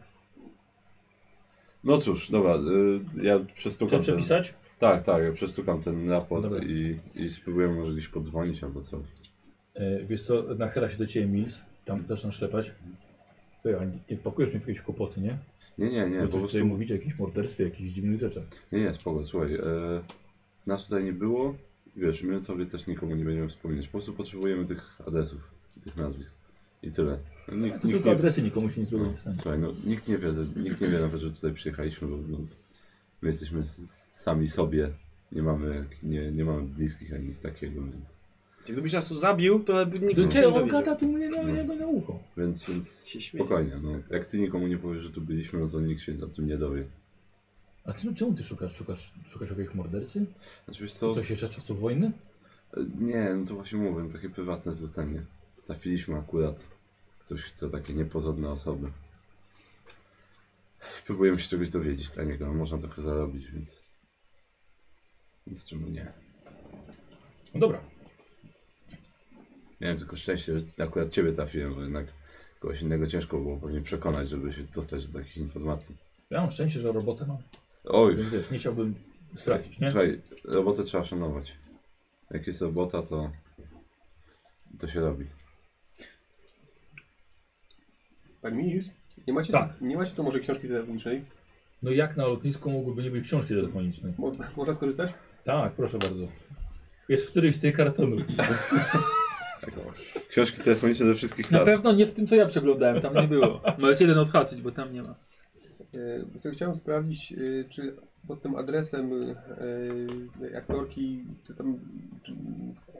S4: No cóż, dobra, y, ja
S1: Chcę
S4: przestukam ten,
S1: przepisać?
S4: Tak, tak, ja przestukam ten raport
S1: Dobra.
S4: i, i spróbuję może gdzieś podzwonić albo coś.
S1: Yy, wiesz co, nachyla się do ciebie Mills. Tam zaczyna szlepać. Ty, a nie, nie wpakujesz mi w jakieś kłopoty, nie?
S4: Nie, nie,
S1: Bo
S4: nie, po
S1: No coś
S4: prostu...
S1: tutaj mówicie o jakimś morderstwie, jakichś dziwnych rzeczach.
S4: Nie, nie, spoko, słuchaj, e, nas tutaj nie było, wiesz, my o tobie też nikomu nie będziemy wspominać, po prostu potrzebujemy tych adresów, tych nazwisk i tyle.
S1: To
S4: No, Nikt, nikt,
S1: tylko
S4: nie,
S1: adresy nikomu się nic złego nie stanie.
S4: słuchaj, no, nikt nie wie, nikt nie wie nawet, że tutaj przyjechaliśmy, bo no, my jesteśmy s- sami sobie, nie mamy, nie, nie mamy bliskich ani nic takiego, więc...
S7: Gdybyś nas tu zabił, to by nikt
S1: Do
S7: się nie
S1: ciebie No, on
S7: dowiedział.
S1: gada tu mnie na, na, na ucho.
S4: Więc, więc
S7: Się śmieje.
S4: spokojnie, no. Jak ty nikomu nie powiesz, że tu byliśmy, no to nikt się o tym nie dowie.
S1: A ty, no, czemu ty szukasz? Szukasz, szukasz jakiegoś mordercy?
S4: Znaczy wiesz co?
S1: To coś jeszcze z czasów wojny?
S4: e, Nie, no to właśnie mówię, no, takie prywatne zlecenie. Trafiliśmy akurat. Ktoś chce takie niepozorne osoby. Próbujemy się czegoś dowiedzieć dla niego, a można trochę zarobić, więc... Więc czemu nie?
S1: No dobra.
S4: Miałem tylko szczęście, że akurat ciebie trafiłem, bo jednak kogoś innego ciężko było pewnie przekonać, żeby się dostać do takich informacji.
S1: Ja mam szczęście, że robotę mam.
S4: Oj,
S1: Więc wiesz, nie chciałbym stracić, nie?
S4: Słuchaj, robotę trzeba szanować. Jak jest robota, to to się robi.
S2: Pan Minis? Tak, Nie macie,
S1: Tak.
S2: nie macie tu może książki telefonicznej?
S1: No jak na lotnisku mogłyby nie być książki telefoniczne?
S2: Mo- <laughs> Można skorzystać?
S1: Tak, proszę bardzo. Jest w którymś z tych kartonów.
S4: Książki telefoniczne ze wszystkich
S3: Na
S4: lat.
S3: pewno nie w tym, co ja przeglądałem, tam nie było. Możesz jeden odhaczyć, bo tam nie ma.
S2: E, Co chciałem sprawdzić, e, czy pod tym adresem e, aktorki, czy tam czy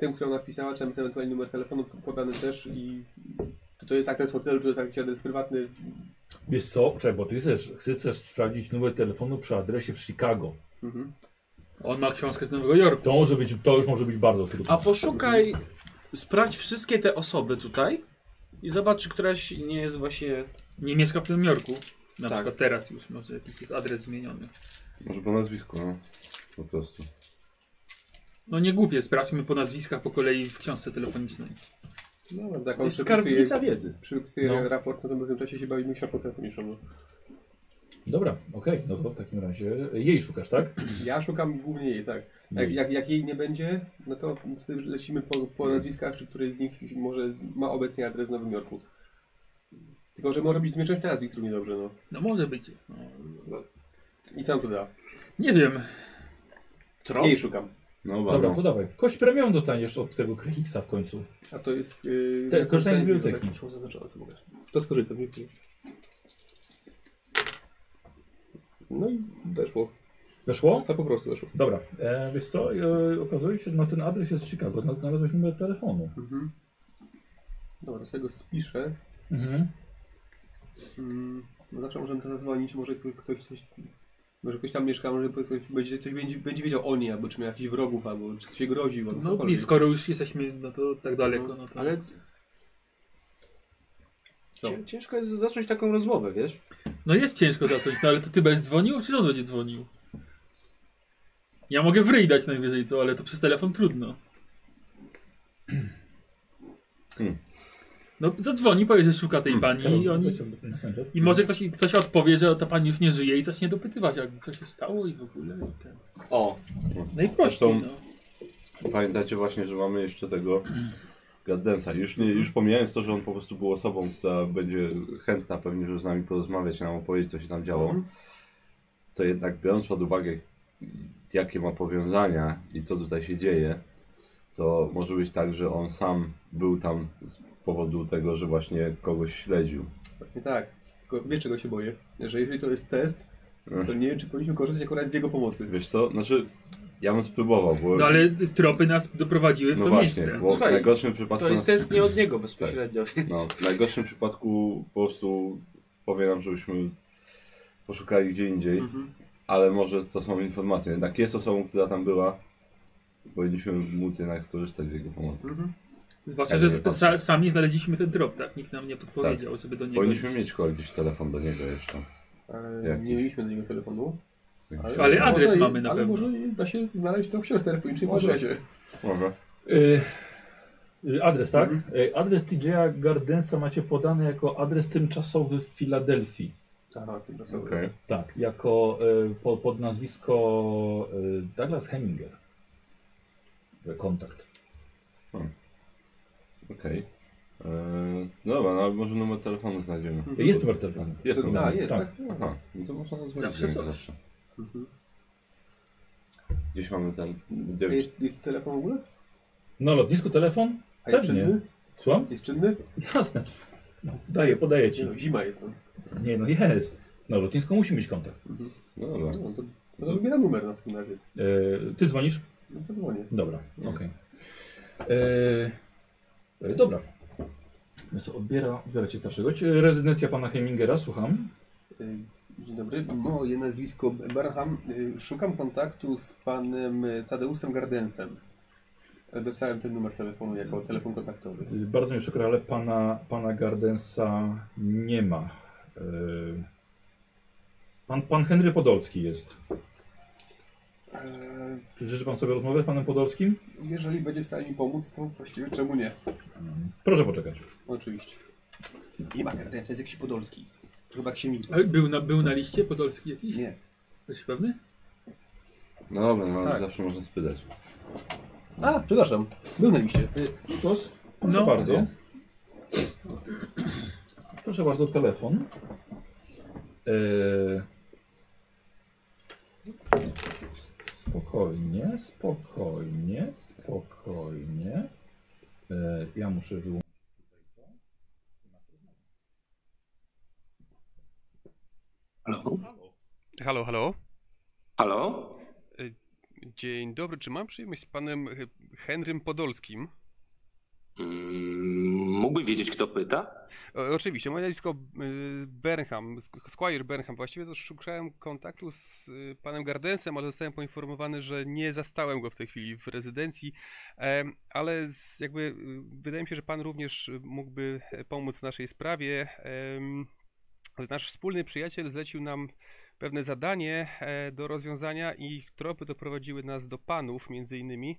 S2: tym, którą napisała, czy tam jest ewentualnie numer telefonu podany też i czy to jest adres hotelu, czy to jest jakiś adres prywatny.
S1: Wiesz co, Czekaj, bo ty chcesz, chcesz sprawdzić numer telefonu przy adresie w Chicago.
S2: Mhm.
S3: On ma książkę z Nowego Jorku.
S1: To, może być, to już może być bardzo
S5: A
S1: trudne.
S5: poszukaj, sprawdź wszystkie te osoby tutaj i zobacz, czy któraś nie jest właśnie...
S3: Nie mieszka w Nowym Jorku. Na
S5: Tak.
S3: przykład teraz już może jakiś jest adres zmieniony.
S4: Może po nazwisku, no. Po prostu.
S3: No nie głupie, sprawdźmy po nazwiskach po kolei w książce telefonicznej.
S2: No, tak,
S5: Jest skarbnica wiedzy.
S2: Przypisuję
S1: No.
S2: raport, no to my w tym czasie się bawimy książką telefoniczną. no.
S1: Dobra, okej, no to w takim razie jej szukasz, tak?
S2: Ja szukam głównie jej, tak. Jak, jak, jak jej nie będzie, no to wtedy lecimy po, po nazwiskach, czy któryś z nich może ma obecnie adres w Nowym Jorku. Tylko, że może być zmieszczenie nazwisk równie dobrze, no.
S3: No może być. No,
S2: I sam to da.
S3: nie wiem. No
S7: Trop?
S2: Jej szukam.
S4: No
S1: Dobra,
S4: ładno.
S1: podawaj. Kość premium dostaniesz od tego Krychiksa w końcu.
S2: A to jest... Yy,
S1: Te- korzystanie z biblioteki.
S2: Tak, muszę zaznaczone, to mogę. To skorzystam, dziękuję. No i weszło.
S1: Weszło?
S2: To po prostu weszło.
S1: Dobra, e, wiesz co, e, okazuje się, no ten adres jest z Chicago, no, znalazłeś numer telefonu.
S2: Mhm. Dobra, sobie go spiszę.
S1: Mhm.
S2: Mm, no zawsze możemy to zadzwonić, może k- ktoś coś. Może ktoś tam mieszka, może ktoś będzie, coś będzie, będzie wiedział o niej, albo czy miał jakichś wrogów, albo czy się groził, albo
S3: No i
S2: cokolwiek.
S3: skoro już jesteśmy no to tak daleko, no to...
S5: Ale
S2: Co?
S7: Cię- Ciężko jest zacząć taką rozmowę, wiesz?
S3: No jest ciężko zacząć, no ale to ty będziesz dzwonił, czy on będzie dzwonił? Ja mogę w ryj dać najwyżej to, ale to przez telefon trudno.
S4: Hmm.
S3: No zadzwoni, powie, że szuka tej pani i oni...
S1: Messenger.
S3: I może ktoś, ktoś odpowie, że ta pani już nie żyje i zacznie dopytywać, jak co się stało i w ogóle. I ten.
S7: O,
S3: Najprościej,
S4: Zresztą-
S3: no.
S4: Pamiętajcie właśnie, że mamy jeszcze tego Gaddensa. Już, nie, już pomijając to, że on po prostu był osobą, która będzie chętna pewnie, żeby z nami porozmawiać, nam opowiedzieć, co się tam działo, to jednak biorąc pod uwagę, jakie ma powiązania i co tutaj się dzieje, to może być tak, że on sam był tam z powodu tego, że właśnie kogoś śledził.
S2: Właśnie tak. Tylko wiesz czego się boję? Że jeżeli to jest test, to nie wiem czy powinniśmy korzystać akurat z jego pomocy.
S4: Wiesz co? Znaczy, ja bym spróbował, bo...
S3: no ale tropy nas doprowadziły w
S4: no
S3: to
S4: właśnie,
S3: miejsce.
S4: bo
S7: Słuchaj,
S4: w najgorszym przypadku...
S7: to jest
S4: nas-
S7: test nie od niego bezpośrednio, więc...
S4: No, w najgorszym przypadku po prostu powie nam, żebyśmy poszukali gdzie indziej,
S2: Hmm. Mhm.
S4: ale może to są informacje. Jednak jest osobą, która tam była, powinniśmy móc jednak skorzystać z jego pomocy.
S3: Zwłaszcza,
S4: Ja
S3: że
S4: nie wiem, Tak.
S3: s- sa, sami znaleźliśmy ten trop, tak? Nikt nam nie podpowiedział, żeby do niego...
S4: Powinniśmy
S3: iść.
S4: mieć kogoś gdzieś telefon do niego jeszcze.
S2: Ale
S4: Jakiś.
S2: nie E, mieliśmy do niego telefonu.
S3: Ale
S2: może
S3: adres
S2: i-
S3: mamy na
S2: ale
S3: pewno.
S2: Może i da się znaleźć to w książce telefonicznej w
S4: Może.
S2: adresie.
S4: Może.
S1: Y, y, adres, tak? Y, adres TJ'a Gardensa macie podany jako adres tymczasowy w Filadelfii.
S2: Aha, tymczasowo.
S4: Okej.
S1: Tak, jako y, po, pod nazwisko y, Douglas Heminger. Y, Kontakt.
S4: Okej. Eee, No dobra, no, ale może numer telefonu znajdziemy.
S1: Y, Jest numer telefonu.
S4: Jest numer.
S2: Da, jest,
S1: Tak.
S2: tak? No.
S4: Aha, no to można zadzwonić
S3: Zawsze
S4: do niego
S3: coś.
S4: zawsze.
S2: Mhm.
S4: Gdzieś mamy ten...
S2: A
S4: Gdzie...
S2: Jest, jest telefon w ogóle?
S1: Na lotnisku telefon?
S2: A jest
S1: Pewnie.
S2: czynny?
S1: Słucham?
S2: Jest czynny?
S1: Jasne. No, daję, podaję
S2: Nie
S1: ci.
S2: no, zima jest. No,
S1: Nie no, jest. Na lotnisku musi mieć kontakt.
S4: No dobra.
S2: no to, no to wybieram numer na w takim razie.
S1: Y, ty dzwonisz?
S2: No to dzwonię.
S1: Dobra, okej. E, e, dobra. Więc odbiera, odbiera cię starszego. Cie- Rezydencja pana Hemingera, słucham.
S2: Y, Dzień dobry, moje nazwisko Barham. Y, Szukam kontaktu z panem y, Tadeusem Gardensem. Y, Dostałem ten numer telefonu jako telefon kontaktowy.
S1: Y, Bardzo mi przykro, ale pana, pana Gardensa nie ma. E, Pan, pan Henry Podolski jest.
S2: E,
S1: Życzy pan sobie rozmowę z panem Podolskim?
S2: Jeżeli będzie w stanie mi pomóc, to właściwie czemu nie?
S1: Proszę poczekać.
S2: Oczywiście. Nie ma Gardensa, jest jakiś podolski. To chyba księgi.
S3: Ale Był na, był na liście Podolski jakiś?
S2: Nie.
S3: Jesteś pewny?
S4: No dobra, no,
S2: Tak.
S4: zawsze można spytać.
S2: A, przepraszam. Był na liście.
S1: Głos? Proszę
S3: No.
S1: bardzo.
S4: Nie.
S1: Proszę bardzo, telefon. E, Spokojnie, spokojnie, spokojnie. E, ja muszę wyłączyć.
S8: Halo?
S2: Halo, halo. E,
S8: Halo?
S2: Dzień dobry, czy mam przyjemność z panem e, Henrym Podolskim?
S8: Mm, Mógłbym wiedzieć, kto pyta?
S2: E, Oczywiście, moje nazwisko y, Bernham, Sk- Squire Bernham. Właściwie to szukałem kontaktu z y, panem Gardensem, ale zostałem poinformowany, że nie zastałem go w tej chwili w rezydencji. Em, Ale z, jakby y, wydaje mi się, że pan również y, mógłby e, pomóc w naszej sprawie. Em, Nasz wspólny przyjaciel zlecił nam pewne zadanie e, do rozwiązania i tropy doprowadziły nas do panów między innymi.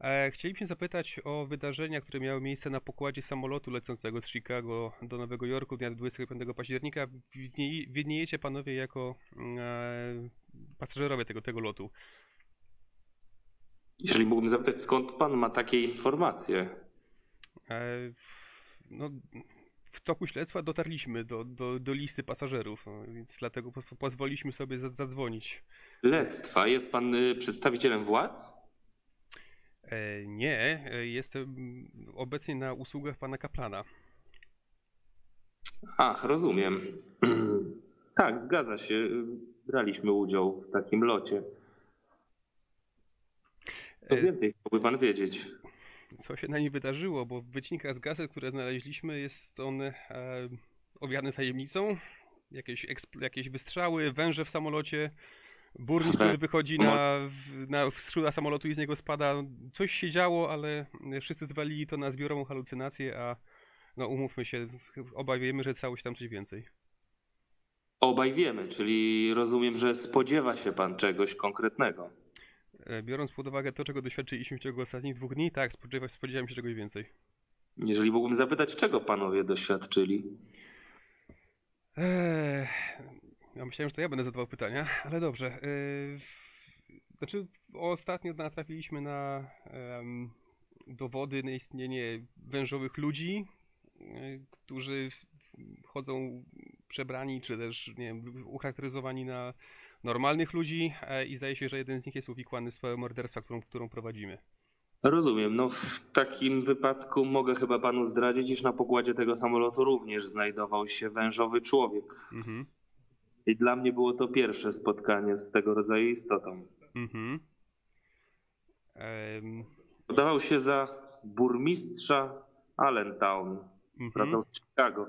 S2: E, Chcielibyśmy zapytać o wydarzenia, które miały miejsce na pokładzie samolotu lecącego z Chicago do Nowego Jorku dnia 25 października. Widnie- Widniejecie panowie jako mm, e, pasażerowie tego, tego lotu.
S8: Jeżeli mógłbym zapytać, skąd pan ma takie informacje?
S2: E, No, w toku śledztwa dotarliśmy do, do, do listy pasażerów, no, więc dlatego po- pozwoliliśmy sobie za- zadzwonić.
S8: Lectwa, jest pan y, przedstawicielem władz?
S2: E, Nie, e, jestem obecnie na usługach pana Kaplana.
S8: Ach, rozumiem. <clears throat> tak, zgadza się. Braliśmy udział w takim locie. Co
S2: E,
S8: więcej chciałby pan wiedzieć?
S2: co się na nim wydarzyło, bo w wycinkach z gazet, które znaleźliśmy, jest on e, owiany tajemnicą. Jakieś, ekspl- jakieś wystrzały, węże w samolocie, burmistrz,
S8: Tak.
S2: który wychodzi na, w- na skrzydła samolotu i z niego spada. Coś się działo, ale wszyscy zwalili to na zbiorową halucynację, a no umówmy się, obawiamy, że stało się tam coś więcej.
S8: Obaj wiemy, czyli rozumiem, że spodziewa się pan czegoś konkretnego.
S2: E, Biorąc pod uwagę to, czego doświadczyliśmy w ciągu ostatnich dwóch dni, tak, spodziewa- spodziewałem się czegoś więcej.
S8: Jeżeli mógłbym zapytać, czego panowie doświadczyli?
S2: Eee, ja myślałem, że to ja będę zadawał pytania, ale dobrze. Eee, w- znaczy, ostatnio natrafiliśmy na em, dowody na istnienie wężowych ludzi, e, którzy chodzą przebrani, czy też nie wiem, ucharakteryzowani na normalnych ludzi e, i zdaje się, że jeden z nich jest uwikłany w sprawę morderstwa, którą, którą prowadzimy.
S8: Rozumiem, no w takim wypadku mogę chyba panu zdradzić, iż na pokładzie tego samolotu również znajdował się wężowy człowiek.
S2: Mhm.
S8: I dla mnie było to pierwsze spotkanie z tego rodzaju istotą.
S2: Mhm. Em,
S8: Podawał się za burmistrza Allentown.
S2: mhm.
S8: Wracał z Chicago.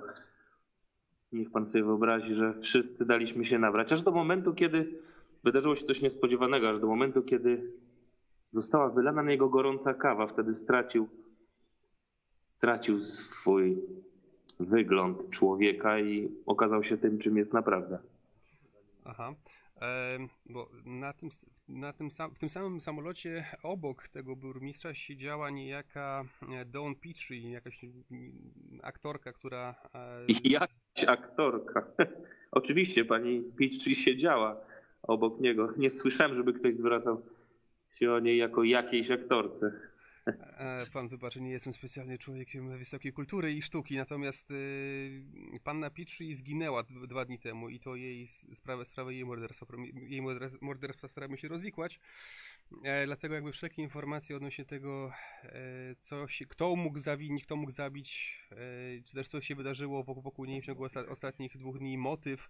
S8: Niech pan sobie wyobrazi, że wszyscy daliśmy się nabrać. Aż do momentu, kiedy wydarzyło się coś niespodziewanego, aż do momentu, kiedy została wylana na jego gorąca kawa. Wtedy stracił, stracił swój wygląd człowieka i okazał się tym, czym jest naprawdę.
S2: Aha. Em, Bo na tym, s- na tym sam, w tym samym samolocie obok tego burmistrza siedziała niejaka e, Dawn Petrie, jakaś mm, aktorka, która. e,
S8: I Jakaś aktorka. <laughs> Oczywiście pani Peachtree siedziała obok niego. Nie słyszałem, żeby ktoś zwracał się o niej jako jakiejś aktorce.
S2: E, Pan wybaczy, nie jestem specjalnie człowiekiem wysokiej kultury i sztuki, natomiast y, panna Petrie zginęła d- dwa dni temu i to jej s- sprawę, sprawę jej morderstwa, prom- jej morder- morderstwa staramy się rozwikłać. E, dlatego jakby wszelkie informacje odnośnie tego, e, co się, kto mógł zawinić, kto mógł zabić, e, czy też co się wydarzyło wokół, wokół niej w ciągu osta- ostatnich dwóch dni, motyw,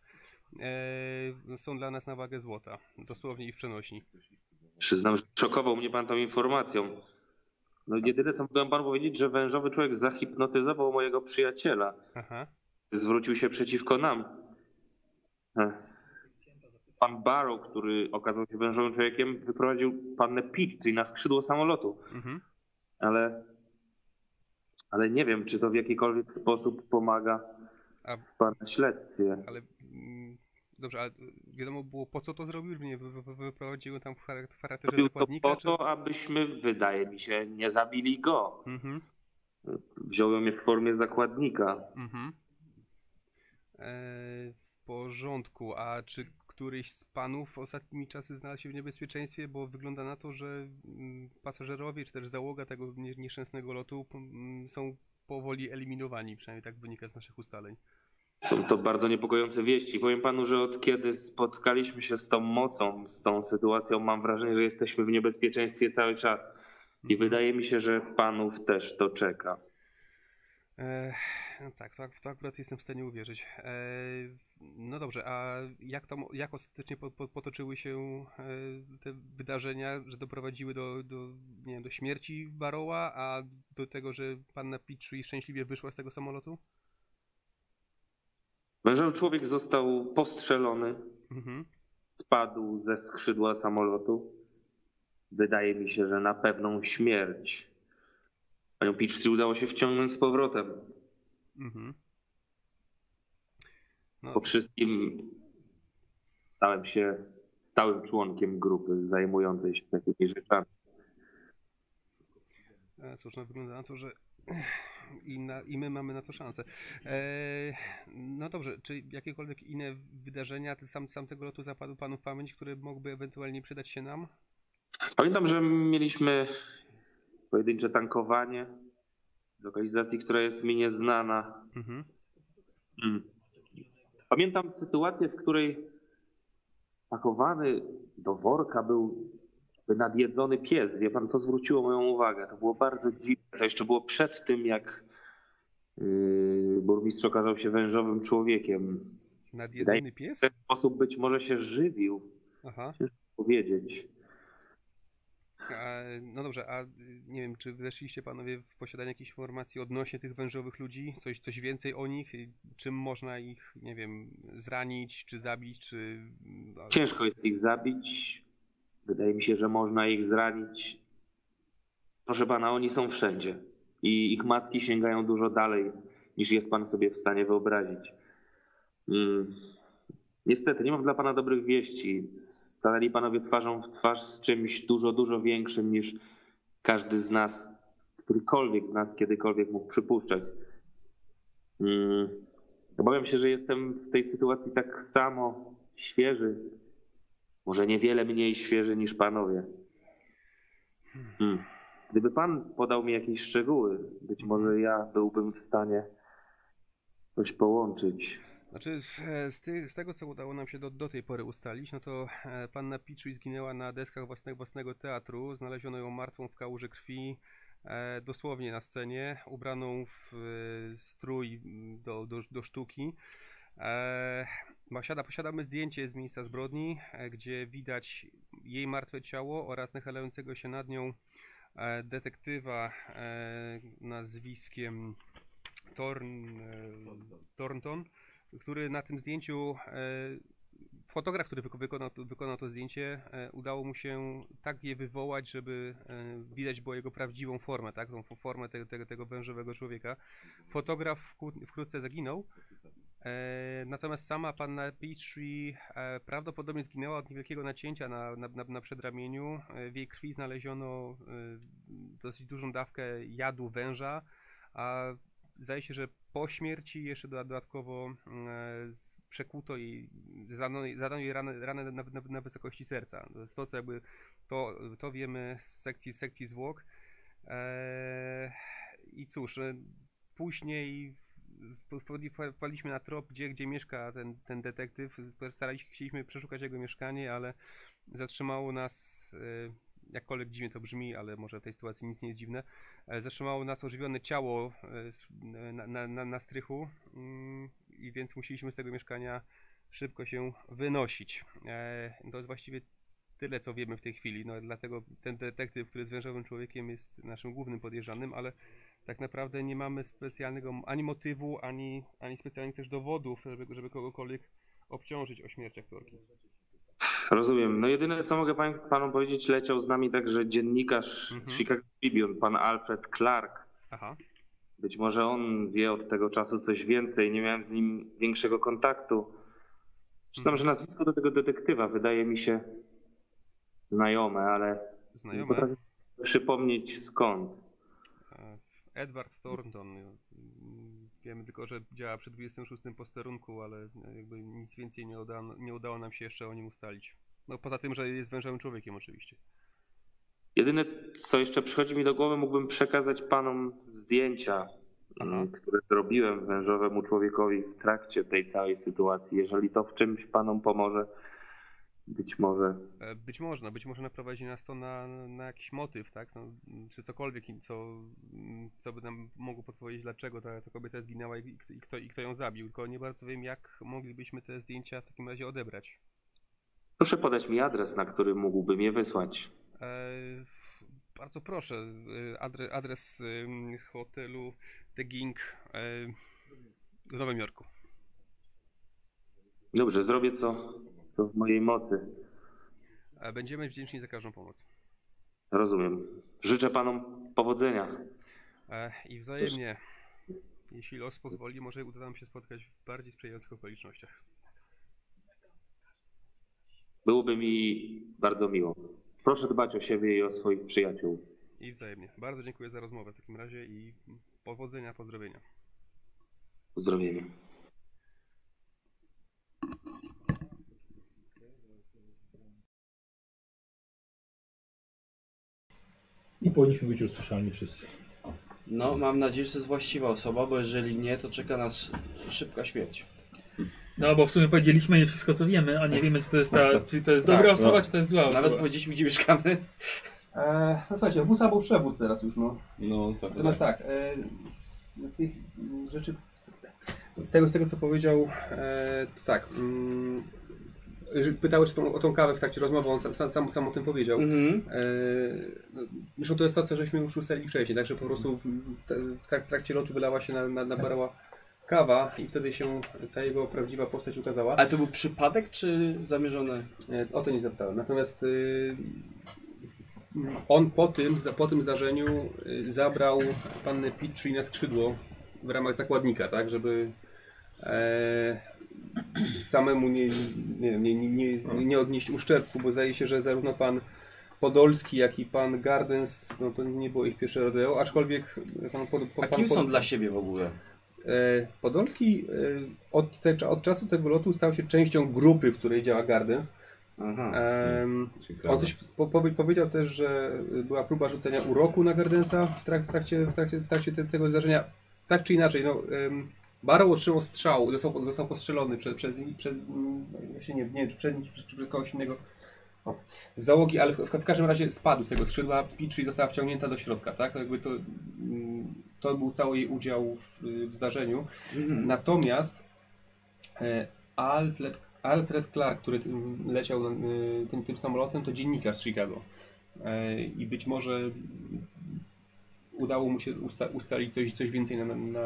S2: e, są dla nas na wagę złota, dosłownie i w przenośni.
S8: Przyznam, że szokował mnie pan tą informacją. No jedyne co mogłem panu powiedzieć, że wężowy człowiek zahipnotyzował mojego przyjaciela.
S2: Aha.
S8: Zwrócił się przeciwko nam. Ech. Pan Barrow, który okazał się wężowym człowiekiem, wyprowadził pannę Peachtree na skrzydło samolotu.
S2: Mhm.
S8: ale, ale nie wiem, czy to w jakikolwiek sposób pomaga
S2: A-
S8: w pana śledztwie.
S2: Ale mm, dobrze, ale wiadomo było po co to zrobił? Mnie wy- wy- wy- wyprowadziły tam w charak- w charakterze
S8: Robił to
S2: zakładnika?
S8: po to, abyśmy, wydaje mi się, nie zabili go.
S2: Czy... Mhm,
S8: Wziąłem je w formie zakładnika.
S2: mhm. Eee, w porządku, a czy któryś z panów ostatnimi czasy znalazł się w niebezpieczeństwie? Bo wygląda na to, że mm, pasażerowie, czy też załoga tego nie- nieszczęsnego lotu mm, są powoli eliminowani, przynajmniej tak wynika z naszych ustaleń.
S8: Są to bardzo niepokojące wieści. Powiem panu, że od kiedy spotkaliśmy się z tą mocą, z tą sytuacją, mam wrażenie, że jesteśmy w niebezpieczeństwie cały czas. I wydaje mi się, że panów też to czeka.
S2: E, no tak, to, ak- to akurat jestem w stanie uwierzyć. E, no dobrze, a jak tam, jak ostatecznie po, po, potoczyły się e, te wydarzenia, że doprowadziły do, do, nie wiem, do śmierci Baroła, a do tego, że panna Pitchley szczęśliwie wyszła z tego samolotu?
S8: Mężowy człowiek został postrzelony,
S2: Mhm.
S8: spadł ze skrzydła samolotu. Wydaje mi się, że na pewną śmierć. Panią Peachtree udało się wciągnąć z powrotem.
S2: Mhm.
S8: Po wszystkim stałem się stałym członkiem grupy zajmującej się takimi rzeczami.
S2: E, Cóż, no wygląda na to, że <clears throat> i, na, i my mamy na to szansę. E, no dobrze, czy jakiekolwiek inne wydarzenia ty sam, sam tego lotu zapadły panu w pamięć, które mogłyby ewentualnie przydać się nam?
S8: Pamiętam, że mieliśmy pojedyncze tankowanie w lokalizacji, która jest mi nieznana.
S2: Mhm.
S8: Mm. Pamiętam sytuację, w której pakowany do worka był nadjedzony pies. Wie pan, to zwróciło moją uwagę. To było bardzo dziwne. To jeszcze było przed tym, jak yy, burmistrz okazał się wężowym człowiekiem. Wydaje
S2: Nadjedzony
S8: mi się,
S2: pies?
S8: że W ten sposób być może się żywił,
S2: Aha.
S8: powiedzieć.
S2: A, no dobrze, a y, nie wiem, czy weszliście panowie w posiadanie jakichś informacji odnośnie tych wężowych ludzi? Coś, coś więcej o nich? Y, Czym można ich, nie wiem, zranić, czy zabić, czy... no, a-
S8: Ciężko jest ich zabić. Wydaje mi się, że można ich zranić. Proszę pana, oni są wszędzie. I ich macki sięgają dużo dalej, niż jest pan sobie w stanie wyobrazić. Mm. Niestety, nie mam dla pana dobrych wieści. Stanęli panowie twarzą w twarz z czymś dużo, dużo większym niż każdy z nas, którykolwiek z nas kiedykolwiek mógł przypuszczać. Mm. Obawiam się, że jestem w tej sytuacji tak samo świeży. Może niewiele mniej świeży niż panowie. Hmm. Gdyby pan podał mi jakieś szczegóły, być może ja byłbym w stanie coś połączyć.
S2: Znaczy, z- e, z, tych, z tego, co udało nam się do, do tej pory ustalić, no to e, panna Pichu zginęła na deskach własne, własnego teatru. Znaleziono ją martwą w kałuży krwi, e, dosłownie na scenie, ubraną w e, strój mm, do, do, do sztuki. E, posiada, posiadamy zdjęcie z miejsca zbrodni, e, gdzie widać jej martwe ciało oraz nachylającego się nad nią e, detektywa e, nazwiskiem Torn, e, Thornton, który na tym zdjęciu, e, fotograf, który wyko- wykonał to, wykonał to zdjęcie, e, udało mu się tak je wywołać, żeby e, widać było jego prawdziwą formę, tak, tą fo- formę tego, tego, tego wężowego człowieka. Fotograf wkrót- wkrótce zaginął, E, natomiast sama panna Petrie e, prawdopodobnie zginęła od niewielkiego nacięcia na, na, na, na przedramieniu. E, w jej krwi znaleziono e, dosyć dużą dawkę jadu węża, a zdaje się, że po śmierci jeszcze doda- dodatkowo mm, e, z- przekuto jej, zadano jej, zadano jej ranę, ranę na, na, na wysokości serca. To jest to, co jakby to, to wiemy z sekcji, z sekcji zwłok. Eee, I cóż, e, później w- w- wpadliśmy na trop, gdzie, gdzie mieszka ten, ten detektyw. Staraliśmy, chcieliśmy przeszukać jego mieszkanie, ale zatrzymało nas, e, jakkolwiek dziwnie to brzmi, ale może w tej sytuacji nic nie jest dziwne, e, zatrzymało nas ożywione ciało e, s- na, na, na, na strychu mm, i więc musieliśmy z tego mieszkania szybko się wynosić. E, To jest właściwie tyle, co wiemy w tej chwili, no dlatego ten detektyw, który jest wężowym człowiekiem jest naszym głównym podejrzanym, ale tak naprawdę nie mamy specjalnego ani motywu, ani, ani specjalnych też dowodów, żeby, żeby kogokolwiek obciążyć o śmierć aktorki.
S8: Rozumiem. No jedyne, co mogę pan, panu powiedzieć, leciał z nami także dziennikarz z Chicago Tribune, pan Alfred Clark.
S2: Aha.
S8: Być może on wie od tego czasu coś więcej. Nie miałem z nim większego kontaktu. Przyznam, że nazwisko do tego detektywa wydaje mi się znajome, ale nie
S2: Znajome.
S8: potrafię przypomnieć skąd.
S2: E, Edward Thornton. e, mm, Wiemy tylko, że działa przy 26 posterunku, ale e, jakby nic więcej nie, uda, nie udało nam się jeszcze o nim ustalić. No poza tym, że jest wężowym człowiekiem oczywiście.
S8: Jedyne, co jeszcze przychodzi mi do głowy, mógłbym przekazać panom zdjęcia, m, które zrobiłem wężowemu człowiekowi w trakcie tej całej sytuacji. Jeżeli to w czymś panom pomoże, Być może.
S9: E, Być może, być może naprowadzi nas to na, na jakiś motyw, tak? No, m, czy cokolwiek, i co, m, co by nam mogło podpowiedzieć, dlaczego ta, ta kobieta zginęła i, i, kto, i kto ją zabił. Tylko nie bardzo wiem, jak moglibyśmy te zdjęcia w takim razie odebrać.
S8: Proszę podać mi adres, na który mógłbym je wysłać.
S9: E, f- bardzo proszę, e, adre, adres em, hotelu The Ging e, w Nowym Jorku.
S8: Dobrze, zrobię co, co w mojej mocy.
S9: E, Będziemy wdzięczni za każdą pomoc.
S8: Rozumiem. Życzę panom powodzenia.
S9: E, I wzajemnie, jeśli los pozwoli, może uda nam się spotkać w bardziej sprzyjających okolicznościach.
S8: Byłoby mi bardzo miło. Proszę dbać o siebie i o swoich przyjaciół.
S9: I wzajemnie. Bardzo dziękuję za rozmowę w takim razie i powodzenia, pozdrowienia.
S8: Pozdrowienia.
S1: I powinniśmy być już słyszalni wszyscy.
S7: No, mam nadzieję, że to jest właściwa osoba, bo jeżeli nie, to czeka nas szybka śmierć.
S3: No bo w sumie powiedzieliśmy nie wszystko co wiemy, a nie wiemy czy to jest, ta, czy to jest dobra
S7: Tak,
S3: osoba,
S7: no.
S3: czy to jest zła osoba.
S7: Nawet powiedzieliśmy, gdzie mieszkamy.
S2: Eee, no słuchajcie, wóz albo przewóz teraz już, no.
S4: No, tak.
S2: Natomiast tak, e, z tych mm, rzeczy, z tego, z tego co powiedział, e, to tak, mm, że pytałeś o tą, o tą kawę w trakcie rozmowy, on sa- sa- sam, sam o tym powiedział.
S7: Mhm.
S2: E, no, Zresztą to jest to, co żeśmy już ustalili wcześniej, także po prostu w, w, trak- w trakcie lotu wylała się na, na, na barała kawa i wtedy się ta jego prawdziwa postać ukazała.
S7: Ale to był przypadek, czy zamierzone?
S2: E, O to nie zapytałem. Natomiast y, on po tym, zda- po tym zdarzeniu y, zabrał pannę Petrie na skrzydło w ramach zakładnika, tak, żeby e, samemu nie, nie, wiem, nie, nie, nie, nie odnieść uszczerbku, bo zdaje się, że zarówno pan Podolski, jak i pan Gardens, no to nie było ich pierwsze rodeo, aczkolwiek pan, pod,
S7: A
S2: pan,
S7: kim
S2: Pod-
S7: są dla siebie w ogóle?
S2: E, Podolski e, od, te, od czasu tego lotu stał się częścią grupy, w której działa Gardens.
S7: Aha.
S2: Em,
S4: Ciekawe.
S2: on coś po, po, powiedział też, że y, była próba rzucenia uroku na Gardensa w, trak, w trakcie, w trakcie, w trakcie te, tego zdarzenia. Tak czy inaczej, no, ym, Barrow otrzymał strzał, został, został postrzelony przez, przez, przez mm, właśnie nie, nie wiem, czy przez, nich, czy, przez- czy przez kogoś innego o, z załogi, ale w, w, w każdym razie spadł z tego skrzydła, Petrie została wciągnięta do środka, tak? To, jakby to, mm, to był cały jej udział w, w zdarzeniu.
S7: Mhm.
S2: Natomiast e, Alfred, Alfred Clark, który tym, leciał e, tym, tym samolotem, to dziennikarz z Chicago. E, I być może udało mu się usta ustalić coś, coś więcej na, na,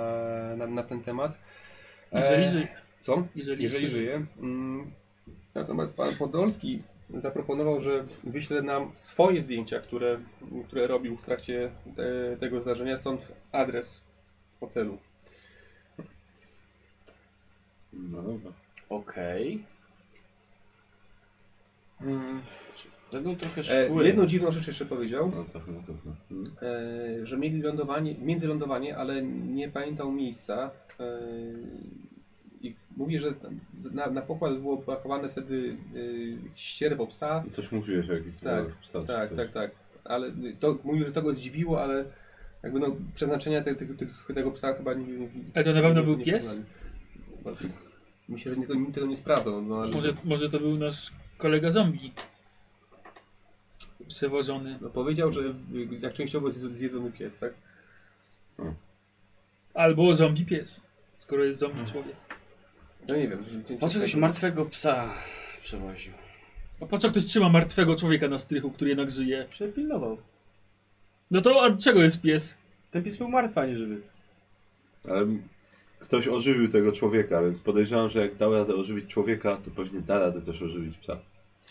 S2: na, na ten temat. E,
S3: Jeżeli, że,
S2: Co?
S3: jeżeli,
S2: jeżeli żyje. Mm, Natomiast pan Podolski zaproponował, że wyśle nam swoje zdjęcia, które, które robił w trakcie e, tego zdarzenia, stąd adres hotelu.
S4: No dobra.
S7: Okej. Będą trochę
S2: E,
S7: szły.
S2: jedną dziwną rzecz jeszcze powiedział,
S4: No to chyba pewno. Mhm.
S2: e, że mieli lądowanie, międzylądowanie, ale nie pamiętał miejsca. E, I mówi, że na, na pokład było pakowane wtedy e, ścierwo psa,
S4: Coś mówiłeś o jakichś
S2: Tak,
S4: sprawach psa czy
S2: Tak,
S4: coś.
S2: tak, tak. Ale to mówił, że to go zdziwiło, ale jakby no przeznaczenia te, tych- tych- tego psa chyba nie. nie-
S3: Ale to na pewno
S2: nie-
S3: był
S2: nie
S3: pies?
S2: poznali. Chyba- Myślę, że tego, tego nie sprawdzą. No, ale
S3: Może, może to był nasz kolega zombie. Przewożony.
S2: no, powiedział, że y, jak częściowo jest zjedzony pies, tak?
S3: Albo zombie pies. Skoro jest
S4: Hmm.
S3: zombie człowiek.
S2: No nie wiem.
S7: Po co ktoś martwego psa przewoził?
S3: A po co ktoś trzyma martwego człowieka na strychu, który jednak żyje?
S7: Przepilnował.
S3: No to od czego jest pies?
S7: Ten pies był martwy, a nie żywy.
S4: Ale m- ktoś ożywił tego człowieka, więc podejrzewam, że jak dał radę ożywić człowieka, to pewnie da radę też ożywić psa.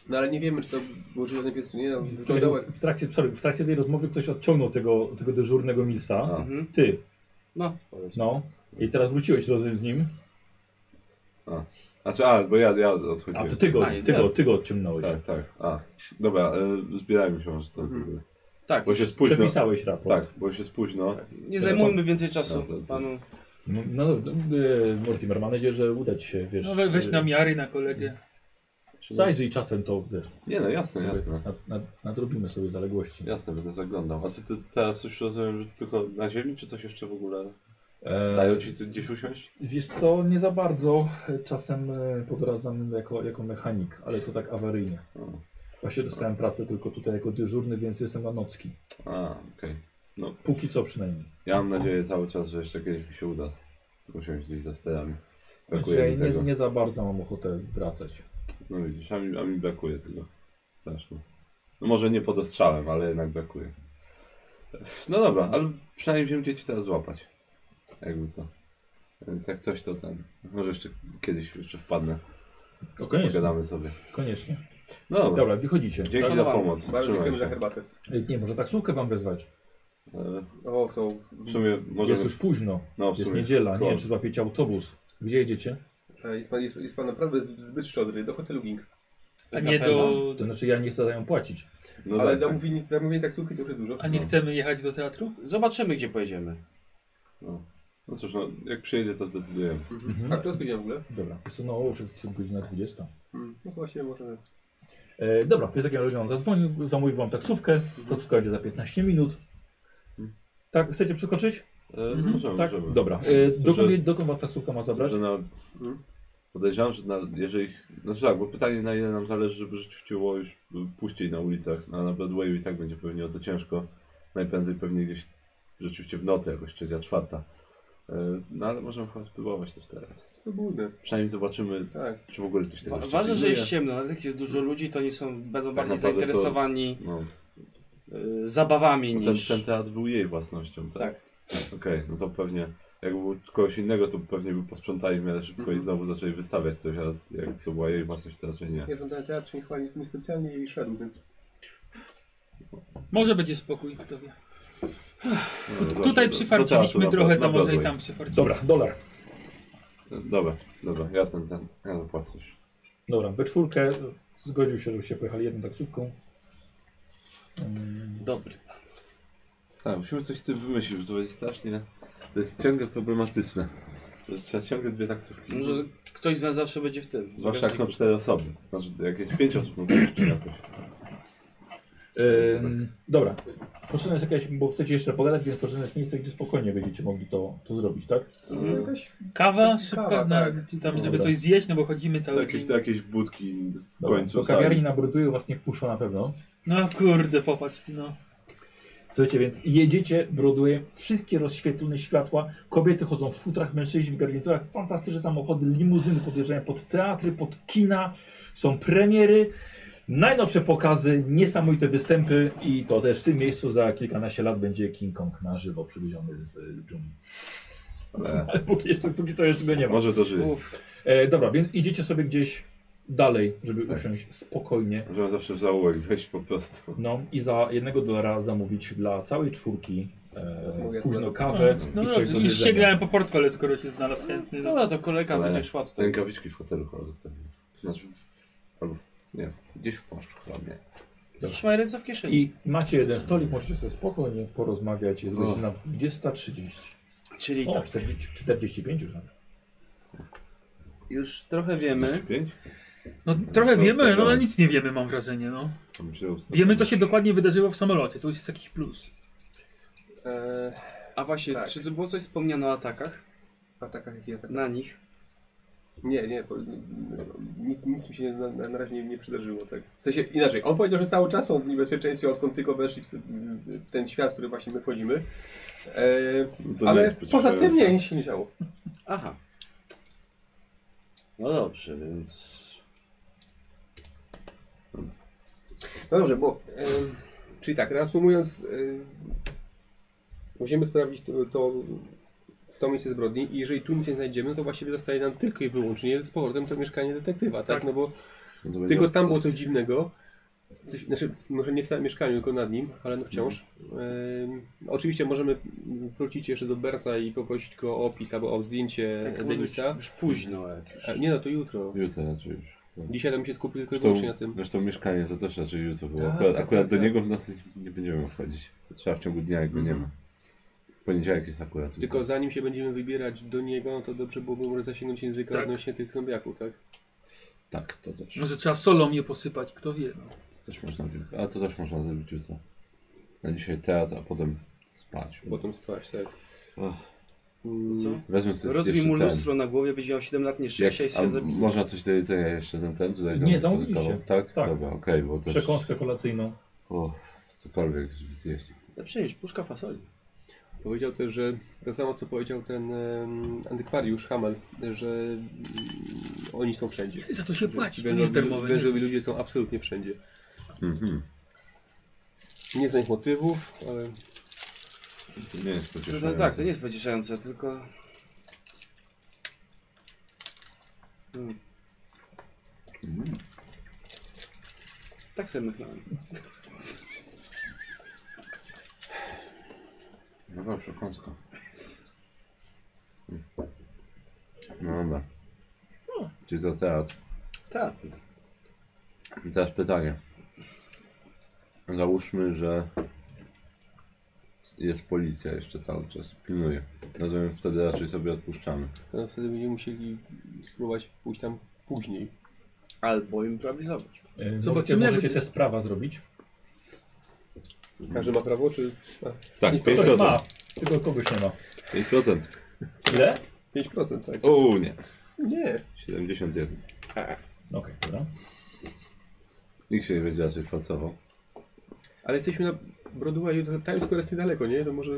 S2: No ale nie wiemy, czy to był żywotny pies, czy nie. No, wyglądał jak...
S1: W trakcie, sorry, w trakcie tej rozmowy ktoś odciągnął tego, tego dyżurnego Milsa.
S4: A.
S7: Mhm.
S1: Ty,
S7: No, powiedzmy.
S1: no. I teraz wróciłeś rozumiem z nim.
S4: Znaczy, a, bo ja, ja odchodziłem.
S1: A to ty go,
S7: A,
S1: ty
S7: ja.
S1: go, ty go odciągnąłeś.
S4: Tak, tak. A, dobra, e, zbierajmy się może stąd.
S2: Mhm.
S7: Tak,
S4: Bo się spóźno.
S1: Przepisałeś raport.
S4: Tak, bo się spóźno.
S7: nie zajmujmy więcej czasu
S4: No, to- to-
S7: panu.
S1: No, no dobra, e, Mortimer, mam nadzieję, że uda ci się, wiesz.
S3: No we, weź
S1: e,
S3: namiary na kolegę.
S1: Zajrzyj czasem to, wiesz.
S4: Nie no, jasne,
S1: sobie
S4: jasne.
S1: Na, na, nadrobimy sobie zaległości.
S4: Jasne, będę zaglądał. A ty, ty teraz już rozumiem, że tylko na ziemi, czy coś jeszcze w ogóle?
S1: E,
S4: Dają ci co- gdzieś usiąść?
S1: Wiesz co, nie za bardzo czasem e, podradzam jako, jako mechanik, ale to tak awaryjnie.
S4: O.
S1: Właśnie dostałem pracę tylko tutaj jako dyżurny, więc jestem na nocki.
S4: A, okej. No,
S1: Póki co przynajmniej.
S4: ja mam nadzieję cały czas, że jeszcze kiedyś mi się uda usiąść gdzieś za sterami.
S1: Znaczy,
S4: Brakuje
S1: ja
S4: mi
S1: nie,
S4: tego.
S1: nie za bardzo mam ochotę wracać.
S4: No widzisz, a mi, a mi brakuje tego. Strasznie. No może nie pod ostrzałem, ale jednak brakuje. No dobra, ale przynajmniej wiem gdzie ci teraz złapać. Jakby co. Więc jak coś to ten. Może jeszcze kiedyś jeszcze wpadnę.
S1: To koniecznie.
S4: Pogadamy sobie.
S1: Koniecznie.
S4: No dobra.
S1: Dobra, wychodzicie.
S4: Dzięki za
S7: Szanowanie.
S4: pomoc.
S2: Bardzo
S4: Trzymaj
S2: dziękujemy za
S4: się.
S2: herbatę.
S1: E, Nie, może taksówkę wam wezwać.
S4: E,
S2: O, to
S4: W sumie może.
S1: Jest już późno.
S4: No w
S1: Jest
S4: sumie.
S1: niedziela. Nie wiem,
S4: Koło.
S1: czy złapiecie autobus. Gdzie jedziecie?
S2: e, jest pan, jest, jest pan naprawdę z- zbyt szczodry. Do hotelu Ging.
S3: A nie do...
S1: To znaczy, ja nie chcę za nią płacić.
S4: No
S2: Ale
S4: tak, tak.
S2: zamówienie, zamówienie taksówki to już jest dużo.
S3: A nie chcemy jechać do teatru?
S7: Zobaczymy, gdzie pojedziemy.
S4: No. no cóż, no, jak przyjedzie to zdecydujemy.
S1: Mhm.
S2: A kto spędził w ogóle?
S1: Dobra, Wiesz co, no już jest godzina 20.
S2: Mm, No to właśnie może...
S1: E, dobra, więc jak on zadzwonił, zamówił wam taksówkę. Taksówka będzie za 15 minut. Tak, chcecie przeskoczyć?
S4: E, Możemy,
S1: Tak?
S4: możemy.
S1: Dobra. E,
S4: Dobrze.
S1: dokąd, je- dokąd wam taksówka ma zabrać?
S4: Że na,
S7: Hmm?
S4: podejrzewam, że na, jeżeli. Znaczy tak, bo pytanie na ile nam zależy, żeby rzeczywiście było już puściej na ulicach, a na Broadwayu i tak będzie pewnie o to ciężko. Najprędzej pewnie gdzieś rzeczywiście w nocy jakoś trzecia, czwarta. E, No ale możemy chyba spróbować też teraz.
S2: To budne.
S4: Przynajmniej zobaczymy,
S2: Tak.
S4: czy w ogóle ktoś tego
S7: Wa-
S4: jeszcze
S7: Ważne, że
S4: pilnuje.
S7: jest ciemno, nawet jak jest dużo ludzi, to nie są, będą
S4: Tak naprawdę
S7: bardziej
S4: to-
S7: zainteresowani
S4: No,
S7: y, zabawami
S4: bo ten,
S7: niż...
S4: ten teatr był jej własnością, tak?
S2: Tak.
S4: Okej, no to pewnie. Jakby był kogoś innego, to pewnie by posprzątali w miarę szybko i
S2: Mhm.
S4: znowu zaczęli wystawiać coś, a jak to była jej własność, to raczej nie.
S2: Ja żądałem teatr, nie chyba nic niespecjalnie jej szedł, więc...
S3: Może będzie spokój, kto wie.
S4: No, dobrze,
S3: Tutaj
S4: do- do teatru
S3: przyfarciliśmy
S4: na-
S3: trochę,
S4: na
S3: to może i
S4: Broadway.
S3: tam przyfarciliśmy.
S1: Dobra, dolar.
S4: Dobra, dobra, ja ten, ten, ja zapłacę już.
S1: Dobra, we czwórkę zgodził się, żebyście pojechali jedną taksówką. Mm,
S7: Dobry.
S4: Tak, musimy coś z tym wymyślić, bo to będzie strasznie, to jest ciągle problematyczne. To jest, trzeba ciągle dwie taksówki.
S7: Może ktoś z nas zawsze będzie w tym.
S4: Mhm. Zwłaszcza jak są cztery osoby. Znaczy, jak jest pięć osób, no to jeszcze jakoś.
S1: Ym, dobra, potrzebne jest jakaś, bo chcecie jeszcze pogadać, więc potrzebne jest miejsce, gdzie spokojnie będziecie mogli to, to zrobić, tak?
S2: Może jakaś...
S3: Kawa
S2: Kawa,
S3: szybka,
S2: tak.
S3: na, czy tam, żeby coś zjeść, no bo chodzimy
S4: Do
S3: cały
S4: jakiejś,
S3: dzień.
S4: do jakiejś budki w
S1: Dobra,
S4: końcu.
S1: Do kawiarni na Broadwayu was nie wpuszczą na pewno.
S3: No kurde, popatrz ty no.
S1: Słuchajcie, więc jedziecie Broadwayem, wszystkie rozświetlone światła, kobiety chodzą w futrach, mężczyźni w garniturach, fantastyczne samochody, limuzyny podjeżdżają pod teatry, pod kina, są premiery, najnowsze pokazy, niesamowite występy i to też w tym miejscu za kilkanaście lat będzie King Kong na żywo przywieziony z y, dżungli.
S4: Ale
S1: Ale póki, jeszcze, póki co jeszcze go nie ma.
S4: Może to żyje.
S1: E, dobra, więc idziecie sobie gdzieś dalej, żeby
S4: Tak.
S1: usiąść spokojnie.
S4: Możemy zawsze w zaułek wejść po prostu.
S1: No i za jednego dolara zamówić dla całej czwórki e,
S2: Mówię,
S1: późno
S2: to-
S1: kawę
S3: No
S1: i coś
S3: dobrze,
S1: do
S3: już
S1: jedzenia.
S3: sięgnąłem po portfel, skoro się znalazł chętny. No.
S7: Mhm. Dobra, to kolega
S4: Ale-
S7: będzie szła tutaj.
S4: Rękawiczki w hotelu chyba zostawimy. Znaczy, w, albo nie, gdzieś w płaszczu chyba nie.
S7: Trzymaj ręce w kieszeni.
S1: I macie jeden stolik, możecie sobie spokojnie porozmawiać. Jest godzina 20.30.
S7: Czyli
S1: O,
S7: tak,
S1: 40, 45 już nawet.
S7: już trochę wiemy.
S4: Pięć?
S3: no trochę wiemy, no ale nic nie wiemy mam wrażenie, no.
S4: To mi się ustawi.
S3: Wiemy co się dokładnie wydarzyło w samolocie, to już jest jakiś plus.
S2: E,
S7: A właśnie,
S2: Tak.
S7: czy było coś wspomniane o atakach?
S2: a taka jak ja tak.
S7: Na nich?
S2: Nie, nie, bo, nic, nic mi się na, na, na razie nie, nie przydarzyło, tak. W sensie inaczej, on powiedział, że cały czas są w niebezpieczeństwie, odkąd tylko weszli w, ten- w ten świat, w który właśnie my wchodzimy. E,
S4: No to nie
S2: ale
S4: jest
S2: poza tym nie,
S4: pocieszające.
S2: nic się nie działo.
S7: Aha. No dobrze, więc...
S2: No dobrze, bo. em, czyli tak, reasumując, em, musimy sprawdzić to, to, to miejsce zbrodni i jeżeli tu nic nie znajdziemy, to właściwie zostaje nam tylko i wyłącznie z powrotem to mieszkanie detektywa, tak? No bo
S4: No to będzie
S2: tylko tam
S4: osta-
S2: było coś dziwnego. Coś, znaczy, może nie w samym mieszkaniu, tylko nad nim, ale no wciąż.
S4: Mhm.
S2: Em, oczywiście możemy wrócić jeszcze do Berca i poprosić go o opis albo o zdjęcie
S7: Tak, może być
S2: Denisa.
S7: już późno, jak już...
S2: A, Nie no, to jutro.
S4: Jutro raczej już. No.
S2: Dzisiaj tam się skupił tylko i
S4: Zresztą,
S2: wyłącznie na tym.
S4: zresztą mieszkanie to też raczej jutro było.
S2: Tak,
S4: akurat
S2: tak, tak,
S4: akurat do
S2: tak. Mhm.
S4: niego w nocy nie będziemy wchodzić. Trzeba w ciągu dnia, jak go nie ma. Poniedziałek jest akurat.
S2: Tylko zanim się będziemy wybierać do niego, no to dobrze byłoby może zasięgnąć języka
S3: Tak. Mhm.
S2: odnośnie tych zombiaków, tak?
S4: Tak, to też.
S2: No-
S3: Może trzeba solą je posypać, kto wie. No.
S4: To też można, wy- a to też można zrobić jutro. Na dzisiaj teatr, a potem spać.
S2: Potem spać, tak.
S4: Ach,
S7: No Co?
S4: Wezmę sobie
S7: Rozbij
S4: jeszcze
S7: mu
S4: ten.
S7: lustro na głowie, będzie miał 7 lat, nie 6,
S4: Jak,
S7: jak,
S4: a
S7: się zabije.
S4: można coś do jedzenia jeszcze ten ten? Tutaj
S1: Nie,
S4: tam
S1: zamówiliście.
S4: pozyskało? Tak?
S1: Tak.
S4: Dobra, okej, bo też...
S1: Przekąskę kolacyjną.
S4: O, cokolwiek żeby zjeść.
S7: Lepsze niż No puszka fasoli.
S2: Powiedział też, że to samo co powiedział ten em, antykwariusz Hamel, że mm, oni są wszędzie.
S3: Za to się płaci, to nie
S2: Wężowi,
S3: jest darmowe. nie?
S2: wężowi ludzie są absolutnie wszędzie.
S4: Mhm.
S2: Nie znam ich motywów, ale
S4: To nie jest
S7: To,
S4: pocieszające.
S7: to, tak, to nie jest pocieszające, tylko... Hmm.
S4: Mm.
S7: Tak sobie myślałem.
S4: No dobrze, kąsko. Mm. No dobra. Czyli to teatr.
S7: Tak.
S4: I teraz pytanie. Załóżmy, że jest policja jeszcze cały czas, pilnuje. Rozumiem, wtedy raczej sobie odpuszczamy.
S2: to wtedy będziemy musieli spróbować pójść tam później.
S7: Albo improwizować.
S1: E, możecie,
S3: Zobaczymy, jak
S1: możecie
S3: będzie-
S1: test prawa zrobić.
S3: Mhm.
S2: Każdy ma prawo, czy
S4: Tak,
S1: Ktoś ma, tylko kogoś nie ma.
S4: 5%.
S1: Ile?
S2: 5%, tak?
S4: O nie,
S2: Nie.
S4: 71.
S1: Okej, dobra.
S4: Nikt się nie będzie raczej facował.
S2: Ale jesteśmy na Broadwayu, to Times Square jest niedaleko, nie? To może...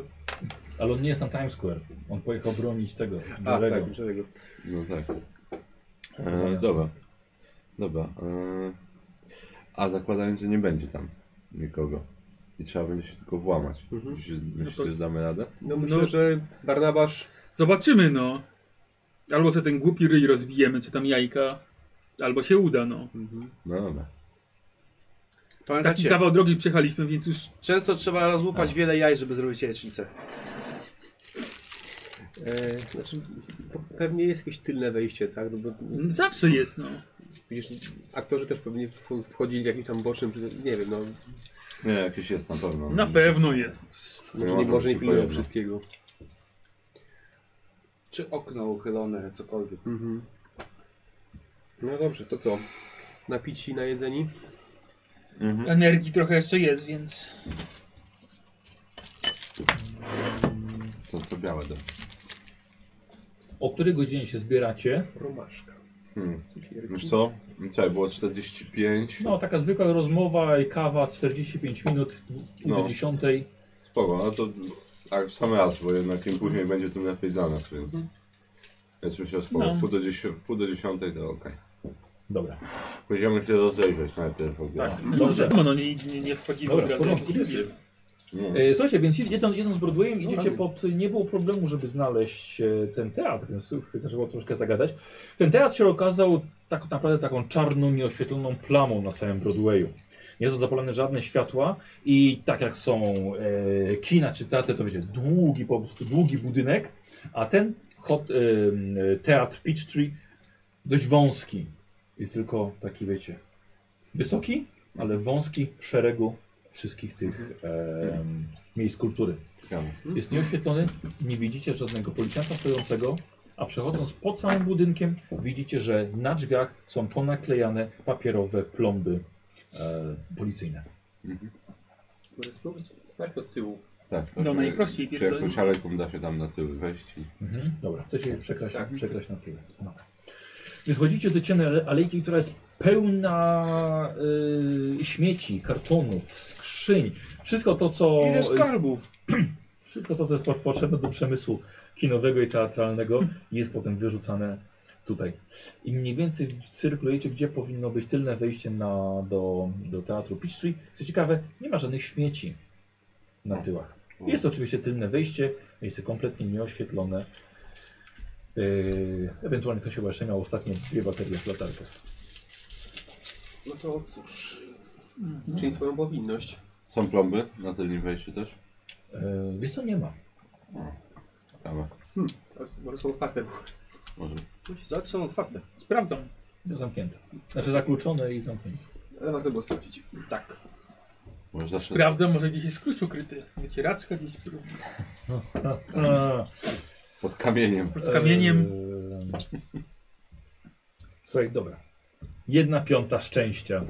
S1: Ale on nie jest na Times Square. On pojechał bronić tego.
S2: A,
S1: Jerego.
S2: tak, Jerego.
S4: No tak. E,
S1: Zamiast-
S4: dobra. Dobra. E, a zakładając, że nie będzie tam nikogo. I trzeba będzie się tylko włamać.
S2: Mhm.
S4: Myślisz,
S3: to-
S4: że damy radę?
S2: No myślę,
S3: No.
S2: że Barnabasz...
S3: Zobaczymy, no. Albo sobie ten głupi ryj rozbijemy, czy tam jajka. Albo się uda, no.
S4: No dobra.
S3: Taki
S7: Pamiętacie,
S3: kawał drogi przejechaliśmy, więc już
S7: Tak, często trzeba rozłupać wiele jaj, żeby zrobić jajecznicę.
S2: E, znaczy, pewnie jest jakieś tylne wejście, tak? No bo
S3: zawsze jest, no.
S2: widzisz, aktorzy też pewnie wch- wchodzili w jakimś tam bocznym, czy nie wiem, no.
S4: Nie, jakieś jest na pewno.
S3: Na pewno jest.
S2: Może
S4: No,
S2: nie, może nie
S4: tylko
S2: pilnują
S4: jedno.
S2: wszystkiego.
S7: Czy okno uchylone, cokolwiek.
S2: No dobrze, to co? Napici, najedzeni?
S3: Energii trochę jeszcze jest, więc...
S4: To, to białe do.
S1: O której godzinie się zbieracie?
S2: Romaszka.
S4: Hmm.
S2: Cukierki.
S4: Wiesz co? Czekaj, było 45.
S1: No, taka zwykła rozmowa i kawa 45 minut no.
S4: No.
S1: do 10.
S4: Spoko, no to tak w sam raz, bo jednak im
S3: Mhm.
S4: później będzie, tym lepiej dla nas, więc. Więc myślę, że spoko.
S3: No.
S4: W pół do dziesią- w pół do dziesiątej to okej.
S1: Dobra.
S4: Będziemy się rozejrzeć najpierw w ogóle.
S1: Dobrze.
S3: No, no nie, nie, nie wchodzimy
S1: Dobra,
S3: od
S1: w
S3: razu.
S1: porządku,
S3: Nie
S1: jest.
S3: wiem.
S4: No.
S1: E, Słuchajcie, więc jedną, jedną z Broadwayem idziecie
S2: rany.
S1: pod... Nie było problemu, żeby znaleźć e, ten teatr, więc chwyta, trzeba było troszkę zagadać. Ten teatr się okazał tak naprawdę taką czarną, nieoświetloną plamą na całym Broadwayu. Nie są zapalone żadne światła i tak jak są e, kina czy teatry, to wiecie, długi po prostu, długi budynek, a ten hot, e, teatr Peachtree dość wąski. Jest tylko taki, wiecie, wysoki, ale wąski w szeregu wszystkich tych e, miejsc kultury.
S4: Ciekawe.
S1: Jest nieoświetlony, nie widzicie żadnego policjanta stojącego, a przechodząc po całym budynkiem widzicie, że na drzwiach są ponaklejane papierowe plomby e, policyjne.
S2: Może spróbuj spać od tyłu.
S4: Tak.
S3: No,
S4: tak,
S3: najprościej
S4: Czy
S3: pierdolimy.
S4: jakąś aleką da się tam na tył wejść i...
S1: Mhm. Dobra, chcecie je przekraść,
S2: Tak.
S1: przekraść na tyle. Dobra. Więc chodzicie do ciemnej ale- alejki, która jest pełna y, śmieci, kartonów, skrzyń. Wszystko to, co
S5: Ile skarbów?
S1: Wszystko to, co jest po- potrzebne do przemysłu kinowego i teatralnego, jest potem wyrzucane tutaj. I mniej więcej w- cyrkulujecie, gdzie powinno być tylne wejście na, do, do teatru Peachtree. Co ciekawe, nie ma żadnych śmieci na tyłach. Jest oczywiście tylne wejście, miejsce kompletnie nieoświetlone. Yy, ewentualnie ktoś chyba jeszcze miał ostatnie dwie baterie w latarkach.
S2: No to cóż. Czyli swoją powinność.
S4: Są plomby na tylnym wejściu też?
S1: Yy, wiesz co, nie ma.
S4: Ciekawe.
S2: Może są otwarte.
S4: Może.
S7: Zobacz, są otwarte.
S3: Sprawdzam.
S1: To zamknięte. Znaczy zakluczone i zamknięte.
S2: Ale warto było sprawdzić.
S7: Tak.
S4: Może zawsze...
S3: Sprawdzam, może gdzieś jest klucz ukryty. Wycieraczka gdzieś pod
S4: Pod kamieniem.
S1: Eee.
S3: kamieniem.
S1: Ehm. Słuchaj, dobra. Jedna piąta szczęścia.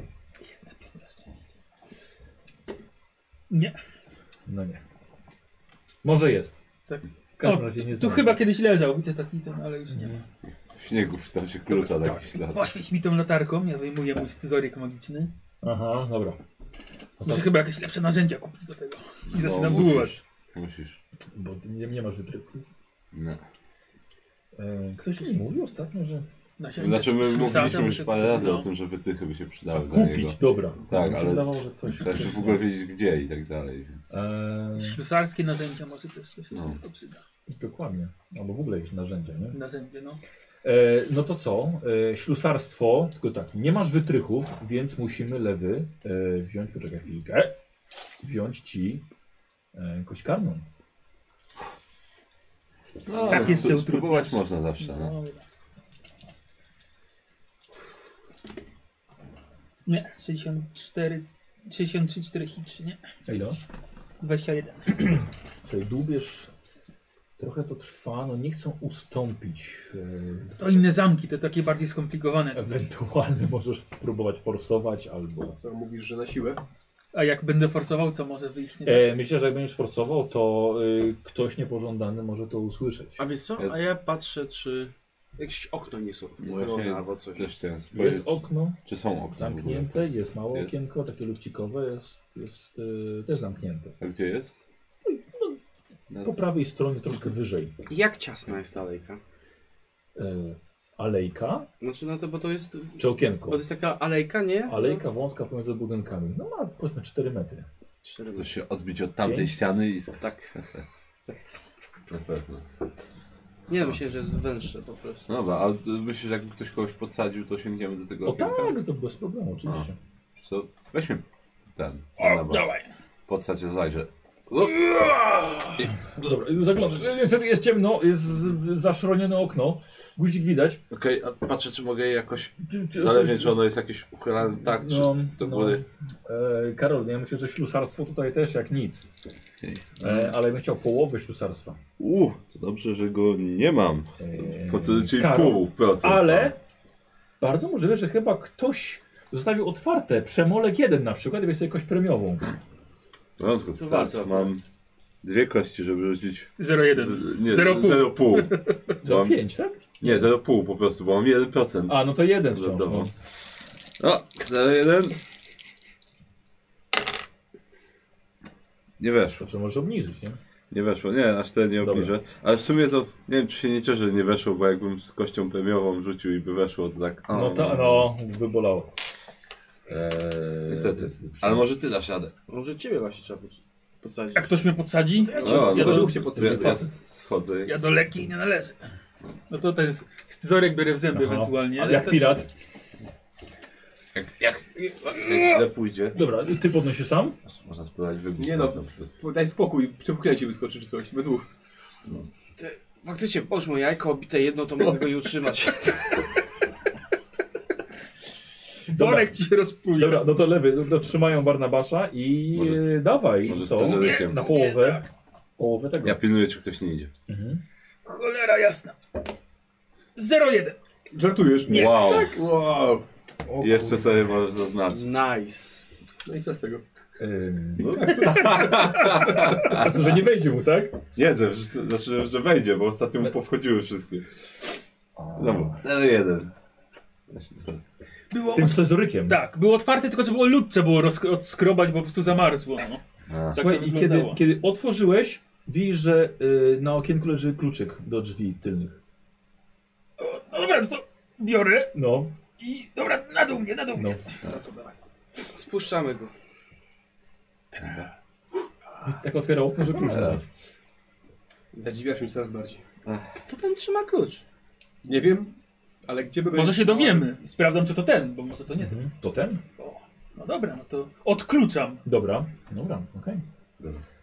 S3: Nie.
S1: No nie. Może jest.
S3: Tak.
S1: W każdym
S3: O,
S1: razie nie
S3: Tu
S1: znalazłem.
S3: chyba kiedyś leżał, widzę taki ten, ale już nie ma.
S4: W śniegu tam się klucza
S3: Tak,
S4: taki ślad.
S3: Poświeć mi tą latarką, ja wyjmuję mój scyzoryk magiczny.
S1: Aha, dobra.
S3: Muszę
S1: Ostatni-
S3: chyba jakieś lepsze narzędzia kupić do tego. I
S4: No,
S3: zaczynam dłubać.
S4: musisz. Musisz.
S1: Bo nie, nie masz wytryków.
S4: No.
S1: E, ktoś mi mówił ostatnio, że.
S3: Nasiądzie
S4: Znaczy my
S3: z- z
S4: mówiliśmy
S3: sadzem,
S4: już
S3: że-
S4: parę razy
S3: no.
S4: o tym, że wytychy by się przydały dla niego.
S1: Kupić, dobra.
S4: Tak,
S1: Mi się no.
S4: ale-
S1: Wydawało, że ktoś.
S4: Trzeba się w ogóle wiedzieć gdzie i tak dalej. Więc...
S1: E,
S3: Ślusarskie narzędzia może też to się
S4: No.
S3: wszystko przyda.
S1: dokładnie. Albo w ogóle jakieś narzędzia, nie?
S3: Narzędzie, no.
S1: E, no to co? E, ślusarstwo, tylko tak, nie masz wytrychów, więc musimy lewy e, wziąć, poczekaj chwilkę, wziąć ci e, kość karną.
S4: No,
S3: Tak
S4: no,
S3: jest,
S4: spró-
S3: że utrudniasz.
S4: Spróbować można zawsze. No.
S3: Nie, 64, 63, 43, nie,
S1: A ile?
S3: 21.
S1: Tutaj dłubiesz, trochę to trwa, no nie chcą ustąpić.
S3: To inne zamki, to takie bardziej skomplikowane.
S1: E, ewentualnie <laughs> możesz próbować forsować albo...
S2: Co mówisz, że na siłę?
S3: A jak będę forsował, co może wyjść? Nie
S1: E, myślę, że jak będziesz forsował, to e, ktoś niepożądany może to usłyszeć.
S5: A wiesz co? A ja patrzę, czy jakieś okno nie są.
S4: Właśnie
S5: Albo coś.
S4: też chciałem
S1: Jest
S4: spojrzeć,
S1: okno
S4: czy są okna w
S1: zamknięte,
S4: ogóle.
S1: jest małe
S4: Jest.
S1: okienko, takie lufcikowe, jest, jest e, też zamknięte.
S4: A gdzie jest? No,
S1: Po prawej stronie, troszkę wyżej.
S7: Jak ciasna jest ta alejka?
S1: E, alejka
S7: Znaczy, no to bo to jest.
S1: czy
S7: Bo
S1: okienko?
S7: to jest taka alejka, nie?
S1: Alejka wąska pomiędzy budynkami. No ma powiedzmy 4 metry.
S7: Cztery
S4: Coś się odbić od tamtej ściany i... Tak. Na pewno.
S7: Nie, myślę, że jest węższe po prostu.
S4: No dobra, ale ty myślisz, że jakby ktoś kogoś podsadził, to sięgniemy do tego
S1: O tak,
S4: okienka?
S1: to bez problemu oczywiście.
S4: Co? Weźmy ten.
S3: O,
S4: na bok.
S3: dawaj.
S4: Podsadź, zajrzę. O,
S1: No Dobra, zaglądasz. E, Niestety jest ciemno, jest z- zaszronione okno. Guzik widać.
S4: Okej, a patrzę czy mogę je jakoś...
S1: Ty- ty-
S4: Zależnie czy ono jest jakieś ukrywane tak, czy
S1: No,
S4: do
S1: no.
S4: góry.
S1: E, Karol, ja myślę, że ślusarstwo tutaj też jak nic. E, ale bym chciał połowę ślusarstwa.
S4: U, to dobrze, że go nie mam.
S1: E,
S4: Bo to czyli
S1: Karol,
S4: pół procent.
S1: Ale bardzo możliwe, że chyba ktoś zostawił otwarte przemolek jeden na przykład i weź sobie kość premiową.
S4: No, tylko
S7: To
S4: teraz
S7: warto.
S4: mam dwie kości, żeby rzucić...
S3: 01.
S4: E, z- nie,
S3: Zero pół.
S4: Zero pół.
S1: Za
S4: Mam-
S1: pięć, tak?
S4: Nie, zero pół po prostu, bo mam jeden procent.
S1: A, no to jeden wciąż.
S4: Wiadomo.
S1: No.
S4: O, 01. Nie weszło,
S1: Zawsze możesz obniżyć, nie?
S4: nie weszło, nie, aż tyle nie
S1: Dobra.
S4: obniżę. Ale w sumie to, nie wiem czy się nie cieszę, że nie weszło, bo jakbym z kością premiową rzucił i by weszło, to tak... o.
S1: No to, no, by bolało. Eee,
S4: Niestety. Ale może ty dasz radę.
S5: Może ciebie właśnie trzeba pod- podsadzić.
S3: Jak ktoś mnie podsadzi,
S4: No,
S3: ja,
S4: no,
S3: do,
S4: to się ja, ja schodzę.
S3: ja do lekkiej nie należę. No to ten scyzoryk biorę w zęby
S1: Aha.
S3: ewentualnie.
S1: jak pirat.
S4: Jak, jak, jak źle pójdzie.
S1: Dobra, ty podnosisz sam?
S4: Można spróbować wybić.
S2: Nie no.
S4: na to.
S2: Daj spokój, przepuknę ci wyskoczy czy coś, we dwóch.
S7: Faktycznie, połóż mu jajko, obite jedno, to mogę go nie utrzymać.
S3: Worek ci się rozpluje.
S1: Dobra, no to lewy, no to trzymają Barnabasza i
S4: Może z-
S1: e, dawaj,
S4: może z
S1: co?
S4: scyzorykiem.
S1: Na
S3: Nie
S1: połowę,
S3: tak.
S1: połowę tego.
S4: Ja pilnuję czy ktoś nie idzie.
S1: Mhm.
S3: Cholera jasna. 01.
S2: Żartujesz?
S3: Nie.
S4: wow.
S2: Wow.
S1: O,
S4: Jeszcze sobie możesz zaznaczyć.
S7: <laughs> Nice.
S2: No i co z tego?
S1: Ym, no. A co, <laughs> że nie wejdzie mu, tak?
S4: Nie, że, że- znaczy, że wejdzie, bo ostatnio mu powchodziły wszystkie. No Znowu, 01.
S3: Było
S1: Tym scyzorykiem.
S3: Tak, było otwarte, tylko trzeba było ludce było rozk- odskrobać, bo po prostu zamarzło. No.
S4: A.
S3: Tak to
S1: Słuchaj, i kiedy,
S3: wyglądało.
S1: kiedy otworzyłeś, widzisz, że y, na okienku leży kluczyk do drzwi tylnych.
S3: No dobra, no to biorę
S1: No,
S3: i dobra, na dół mnie, na dół
S1: no.
S3: mnie.
S7: Spuszczamy go.
S1: I tak otwiera okno, że klucz znalazł.
S2: Zadziwiasz mnie coraz bardziej.
S7: Kto tam trzyma klucz?
S2: Nie wiem, ale gdzie by go...
S3: Może się dowiemy. Sprawdzam, czy to ten, bo może to nie.
S1: Mhm. To ten?
S3: O, no dobra, no to odkluczam.
S1: Dobra, dobra, okej.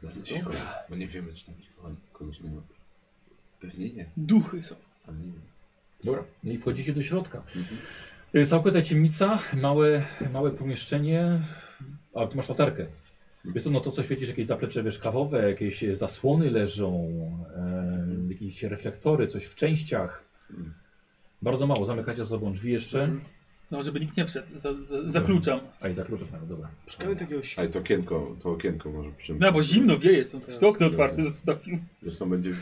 S4: Zaraz cicho, bo nie wiemy, czy tam nikogo, kogoś nie ma. Pewnie nie,
S3: Duchy są.
S4: ale nie wiem.
S1: Dobra, no i wchodzicie do środka. Y, Całkowita ciemnica, małe, małe pomieszczenie, a tu masz latarkę. Jest to, no to co świecisz, jakieś zaplecze wiesz, kawowe, jakieś e, zasłony leżą, e, jakieś reflektory, coś w częściach. Bardzo mało, zamykacie za sobą drzwi jeszcze.
S3: No, żeby nikt nie wszedł, za, za, zakluczam.
S1: A i zakluczasz nawet, dobra.
S7: Szukamy takiego
S4: A i
S7: świata.
S4: to okienko, to okienko może przymknąć.
S3: Tak, No, bo zimno wieje, stąd to okno otwarte zostawił.
S4: Zresztą będzie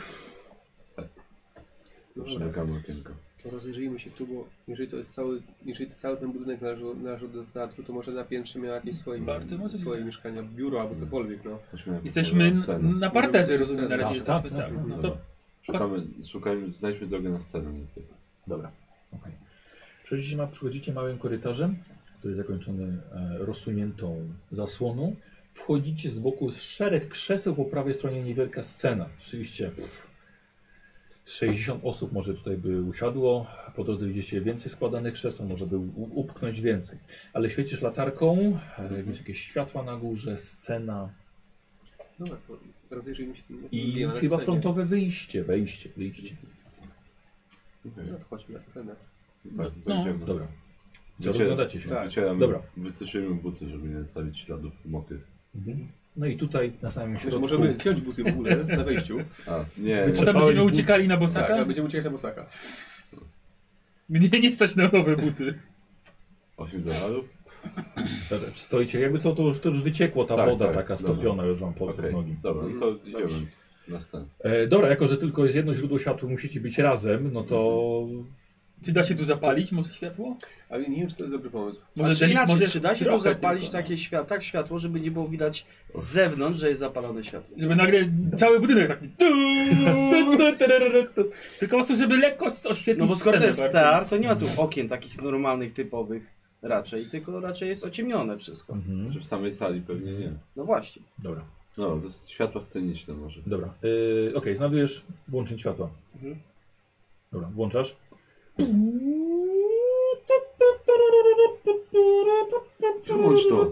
S4: Zawsze zamykamy okienko.
S2: To Rozejrzyjmy się tu, bo jeżeli to jest cały, jeżeli cały ten budynek należy, należy do teatru, to może na piętrze miał jakieś swoje,
S3: Bardzo możliwe.
S2: swoje mieszkania, biuro albo cokolwiek, no.
S4: Chodźmy na
S3: Jesteśmy
S4: na
S3: n-
S4: scenę.
S3: na parterze, rozumiem, na razie
S1: Tak, tak,
S3: jesteśmy, tak. No to tak.
S4: Szukamy, szukajmy, znajdźmy drogę na scenę. najpierw.
S1: Dobra, okej. Przechodzicie ma- Przychodzicie małym korytarzem, który jest zakończony e, rozsuniętą zasłoną. Wchodzicie z boku z szereg krzeseł, po prawej stronie niewielka scena. Rzeczywiście pff, 60 osób może tutaj by usiadło. Po drodze widzicie więcej składanych krzeseł, może by u- upknąć więcej. Ale świecisz latarką,
S2: Mhm.
S1: e, widzisz jakieś światła na górze, scena,
S2: Dobra, to rozejrzyjmy się. no,
S1: I
S2: zbijamy na
S1: chyba
S2: scenie.
S1: frontowe wyjście, wejście, wyjście.
S4: Okej,
S2: No, to chodźmy na scenę.
S4: Tak, to
S3: No.
S4: idziemy.
S1: Dobra. Co
S4: Wiecie-
S1: rozglądacie się?
S2: Tak.
S4: Wycieramy,
S1: Dobra.
S4: wycofujemy buty, żeby nie zostawić śladów mokrych.
S1: Mhm. No i tutaj na samym
S2: Znaczy,
S1: środku.
S2: możemy zdjąć buty w ogóle na wejściu,
S4: A, nie,
S3: czy tam będziemy uciekali na
S2: tak, a
S3: bosaka?
S2: będziemy uciekać na Bosaka.
S3: Mnie nie stać na nowe buty.
S4: 8 dolarów?
S1: Dobra, czy Stoicie, jakby co, to już, to już wyciekło ta
S4: Tak,
S1: woda
S4: tak,
S1: taka
S4: dobra.
S1: stopiona już wam pod,
S4: Okej,
S1: pod nogi.
S4: dobra, no to idziemy na scenę.
S1: E, dobra, jako że tylko jest jedno źródło światła, musicie być razem, no to
S4: Mhm.
S3: Czy da się tu zapalić może światło?
S2: Ale nie wiem, czy to jest dobry pomysł.
S3: Może
S7: Znaczy,
S3: deli-
S7: inaczej,
S3: może
S7: czy da się tu
S3: trochę
S7: zapalić
S3: tylko, no.
S7: takie światło, tak światło, żeby nie było widać z zewnątrz, że jest zapalone światło?
S3: Żeby nagle cały budynek taki... Tylko po prostu, żeby lekko oświetlić
S7: No bo skoro to
S3: scenę
S7: jest
S3: bardziej.
S7: star, to nie ma tu okien takich normalnych, typowych raczej, tylko raczej jest ociemnione wszystko.
S1: Mhm.
S4: Znaczy w samej sali pewnie nie.
S7: No właśnie.
S1: Dobra,
S4: No, to jest światła sceniczne może.
S1: dobra. E, Okej, znajdujesz włączenie światła.
S7: Mhm.
S1: Dobra, włączasz.
S4: Wyłącz to!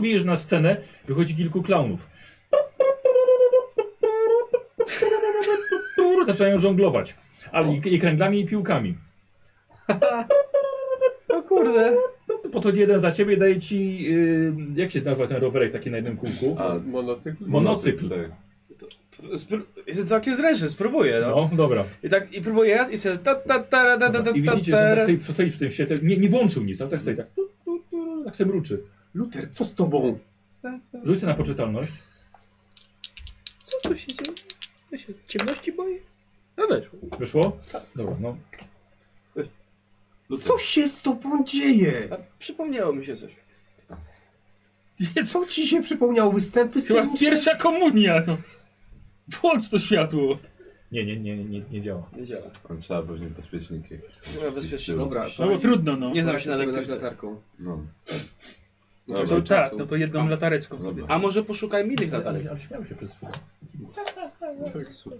S1: Widzisz na scenę, wychodzi kilku klaunów. Zaczynają żonglować, ale i, i kręglami, i piłkami.
S7: O kurde.
S1: Podchodzi jeden za ciebie, daje ci, y, jak się nazywa ten rowerek taki na jednym kółku?
S4: A,
S2: Monocykl?
S1: Monocykl. No
S4: tak.
S7: Spró- jestem całkiem zręczny, spróbuję, no.
S1: No, dobra.
S7: I tak, i próbuję ja- i sobie ta ta ta ta ta ta ta
S1: I widzicie, że on
S7: ta
S1: tak sobie stoi w tym świetle, nie, nie włączył nic, ale tak stoi, tak, tu, tu, tu, tak sobie mruczy.
S2: Luter, co z tobą?
S1: Rzuć sobie na poczytalność.
S5: Co tu się dzieje? Ja się ciemności boję?
S7: No weszło.
S1: Wyszło? Dobra, no.
S4: Luter.
S2: Co się z tobą dzieje?
S7: A, Przypomniało mi się coś.
S2: Co ci się przypomniało? Występy
S3: Chyba
S2: sceniczne?
S3: pierwsza komunia, no. Włącz to światło. No
S1: Nie, nie, nie, nie, nie działa.
S7: Nie działa.
S4: A Trzeba pewnie bezpieczniki.
S7: Chyba bezpiecznie.
S2: Dobra,
S3: No bo
S2: kochani,
S3: trudno, no.
S7: Nie znam się
S2: polecimy sobie
S7: na
S2: dać
S7: elektryce.
S2: latarką.
S4: No.
S2: Nie
S4: Dobra.
S3: To
S2: trzeba
S3: tak,
S2: czasu.
S3: no to jedną latareczką sobie.
S1: tak.
S4: Dobra.
S7: A może poszukajmy innych latarek?
S1: Ale, ale śmiał się przez chwilę.
S4: Tak, Super.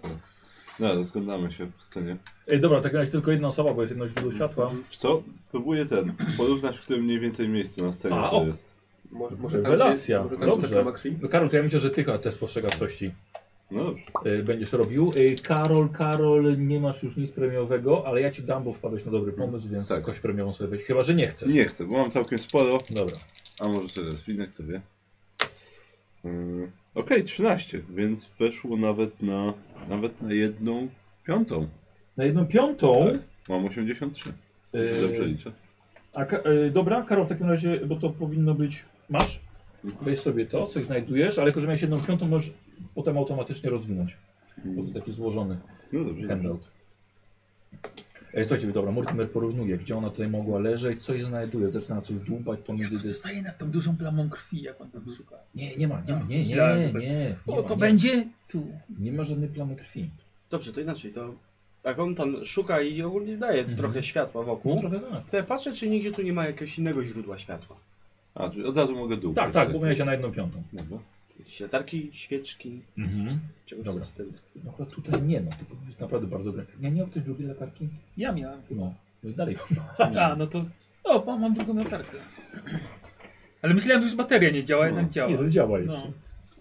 S4: No, rozglądamy się po scenie.
S1: Ej, dobra, tak razie tylko jedna osoba, bo jest jedno źródło światła.
S4: Wiesz co? Próbuję ten, porównać, w którym mniej więcej miejscu na scenie
S1: A,
S4: to
S1: o.
S4: jest.
S2: Może, może tam
S1: Rewelacja.
S2: Jest, może tam
S1: Dobrze.
S2: jest ta plama krwi?
S1: No Karol, to ja myślę, że ty chyba te spostrzegawczości
S4: No dobrze.
S1: y, będziesz robił. Y, Karol, Karol, nie masz już nic premiowego, ale ja ci dam, bo wpadłeś na dobry pomysł, więc
S4: Tak.
S1: kość premiową sobie weź. Chyba, że nie chcesz.
S4: Nie chcę, bo mam całkiem sporo,
S1: Dobra.
S4: a może sobie rozwinąć, kto wie. Yy, Okej, 13, więc weszło nawet na, nawet na jedną piątą.
S1: Na jedną
S4: Tak.
S1: piątą.
S4: Mam 83.
S1: y,
S4: Dobrze liczę.
S1: a, Ka- y, dobra, Karol, w takim razie, bo to powinno być. Masz? Weź sobie to, coś znajdujesz, ale jako, że miałeś jedną piątą, możesz potem automatycznie rozwinąć. Bo to jest taki złożony.
S4: No dobrze. dobrze.
S1: handout. E, Słuchajcie, dobra, Mortimer porównuje, gdzie ona tutaj mogła leżeć, coś znajduje, zaczyna coś dłubać pomiędzy dys...
S3: Zostaje nad tą dużą plamą krwi, jak on tam szuka.
S1: Nie, nie ma, nie ma, nie, nie, nie,
S3: Ja
S1: nie,
S3: tutaj-
S1: nie,
S3: O, to
S1: ma, nie,
S3: będzie tu.
S1: nie ma żadnej plamy krwi.
S7: Dobrze, to inaczej, to jak on tam szuka i ogólnie daje
S1: Mhm.
S7: trochę światła
S1: No,
S7: wokół,
S1: trochę tak.
S7: to ja patrzę, czy nigdzie tu nie ma jakiegoś innego źródła światła.
S4: A, czyli od razu mogę dół.
S1: Tak, tak, bo miałeś się na jedną piątą.
S4: Dobra.
S7: Jakieś latarki, świeczki,
S1: Mhm.
S7: czegoś
S1: Dobra.
S7: w tym stylu.
S1: No akurat tutaj nie ma, to jest naprawdę bardzo dobre. Nie, nie ma ktoś drugiej latarki?
S3: Ja miałem.
S1: No, no i dalej.
S3: A, no to... O, mam, mam drugą latarkę. Ale myślałem, że już bateria nie działa, jednak działa.
S1: Nie, no działa jeszcze.
S3: No.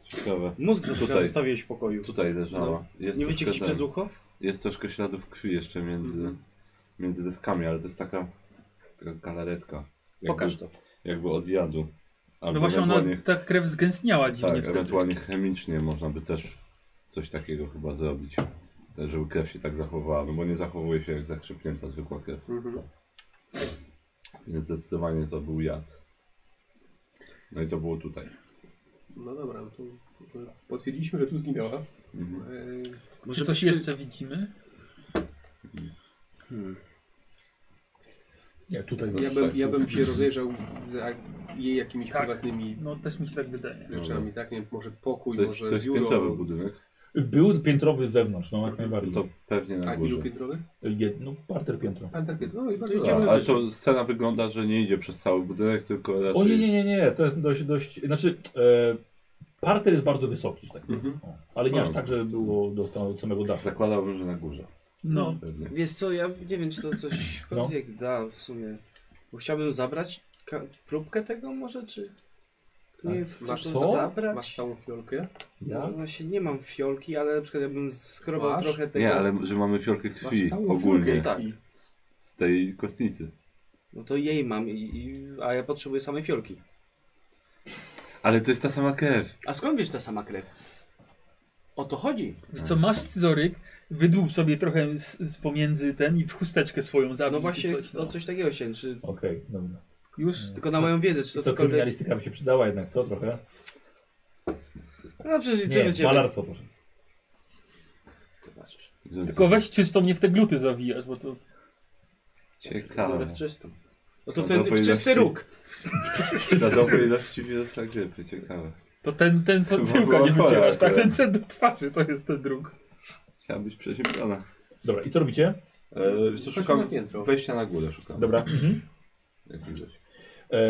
S4: Ciekawe.
S7: Mózg za
S4: Tutaj.
S7: tutaj zostawiłeś w pokoju.
S4: Tutaj leżała.
S7: No.
S4: Jest
S7: Nie wyciekł
S4: troszkę
S7: ci przez
S4: ten-
S7: ucho?
S4: Jest troszkę śladów krwi jeszcze między, między deskami, ale to jest taka, taka galaretka. Jakby,
S7: Pokaż to.
S4: Jakby od jadu. Albo
S3: No właśnie ona,
S4: ewentualnie,
S3: ta krew zgęstniała dziwnie
S4: tak,
S3: wtedy.
S4: ewentualnie chemicznie można by też coś takiego chyba zrobić. Żeby krew się tak zachowała, no bo nie zachowuje się jak zakrzepnięta zwykła krew.
S2: Mhm.
S4: Więc zdecydowanie to był jad. No i to było tutaj.
S2: No dobra, no to, to potwierdziliśmy, że tu zginęła.
S4: Mhm.
S2: Eee,
S3: Czy coś jeszcze widzimy?
S1: Nie, tutaj
S2: Ja
S1: was-
S2: bym,
S4: tak,
S2: ja
S4: no.
S2: bym się rozejrzał z a- jej jakimiś
S3: Tak.
S2: prywatnymi
S3: No też mi się tak wydaje.
S2: rzeczami, tak? Nie wiem, może pokój,
S4: No. To jest,
S2: może
S4: to jest
S2: biuro.
S4: piętrowy budynek.
S1: Był piętrowy z zewnątrz, no jak najbardziej.
S4: To pewnie na
S2: A ilu
S4: górze.
S2: piętrowy?
S1: Jedno, parter piętro.
S2: Panter piętro. No i bardzo
S4: A,
S2: ciemno.
S4: Tak, ale to scena wygląda, że nie idzie przez cały budynek, tylko raczej...
S1: O nie, nie, nie, nie, to jest dość, dość, znaczy e, parter jest bardzo wysoki, że tak powiem.
S2: Mhm.
S1: O, ale nie aż
S4: O.
S1: tak, żeby było do samego- samego dachu.
S4: Zakładałbym, że na górze.
S3: No,
S4: Pewnie.
S7: Wiesz co, ja nie wiem, czy to coś
S1: No.
S7: kobiet da w sumie. Bo chciałbym zabrać ka- próbkę tego może, czy... Nie,
S1: masz
S7: chcę
S1: co?
S7: to zabrać?
S2: Masz całą fiolkę.
S1: Ja?
S7: No właśnie nie mam fiolki, ale na przykład ja bym skrobał
S2: Masz?
S7: trochę tego.
S4: Nie, ale że mamy fiolkę krwi
S2: Masz całą
S4: ogólnie.
S2: fiolkę tak. krwi.
S4: Z, z tej kostnicy.
S7: No to jej mam, i, i, a ja potrzebuję samej fiolki.
S4: Ale to jest ta sama krew.
S7: A skąd wiesz ta sama krew? O to chodzi.
S3: wiesz co, masz scyzoryk, wydłub sobie trochę z, z pomiędzy ten i w chusteczkę swoją
S7: No
S3: zabij.
S7: właśnie,
S3: czy coś, no.
S7: o coś takiego się, czy...
S1: Okej, dobra.
S3: Już?
S7: Tylko na moją wiedzę, czy to
S1: To co,
S7: cokolwiek...
S1: kryminalistyka by się przydała jednak, co trochę?
S7: No przecież ty
S1: Nie,
S7: będziemy...
S1: malarstwo proszę.
S7: Zobaczysz.
S3: Tylko weź czystą mnie w te gluty zawijasz, bo to...
S4: Ciekawe.
S7: Biorę w czystą. No to
S4: No
S7: w ten
S4: to
S7: w
S4: powinnaś-
S7: czysty róg.
S4: Na dobrej ilości widoczna grypy, ciekawe.
S3: To ten, ten co
S4: Chyba
S3: tyłka
S4: była
S3: nie
S4: chora
S3: wycierasz, tak?
S4: akurat.
S3: Ten, ten do twarzy, to jest ten druk.
S4: Chciała być przeziębiona.
S1: Dobra, i co robicie?
S4: E, wiesz co,
S2: Chodźmy na
S4: szukam
S2: piętro.
S4: wejścia na górę. Szukam.
S1: Dobra. Mhm.
S4: Jak widać.
S1: E,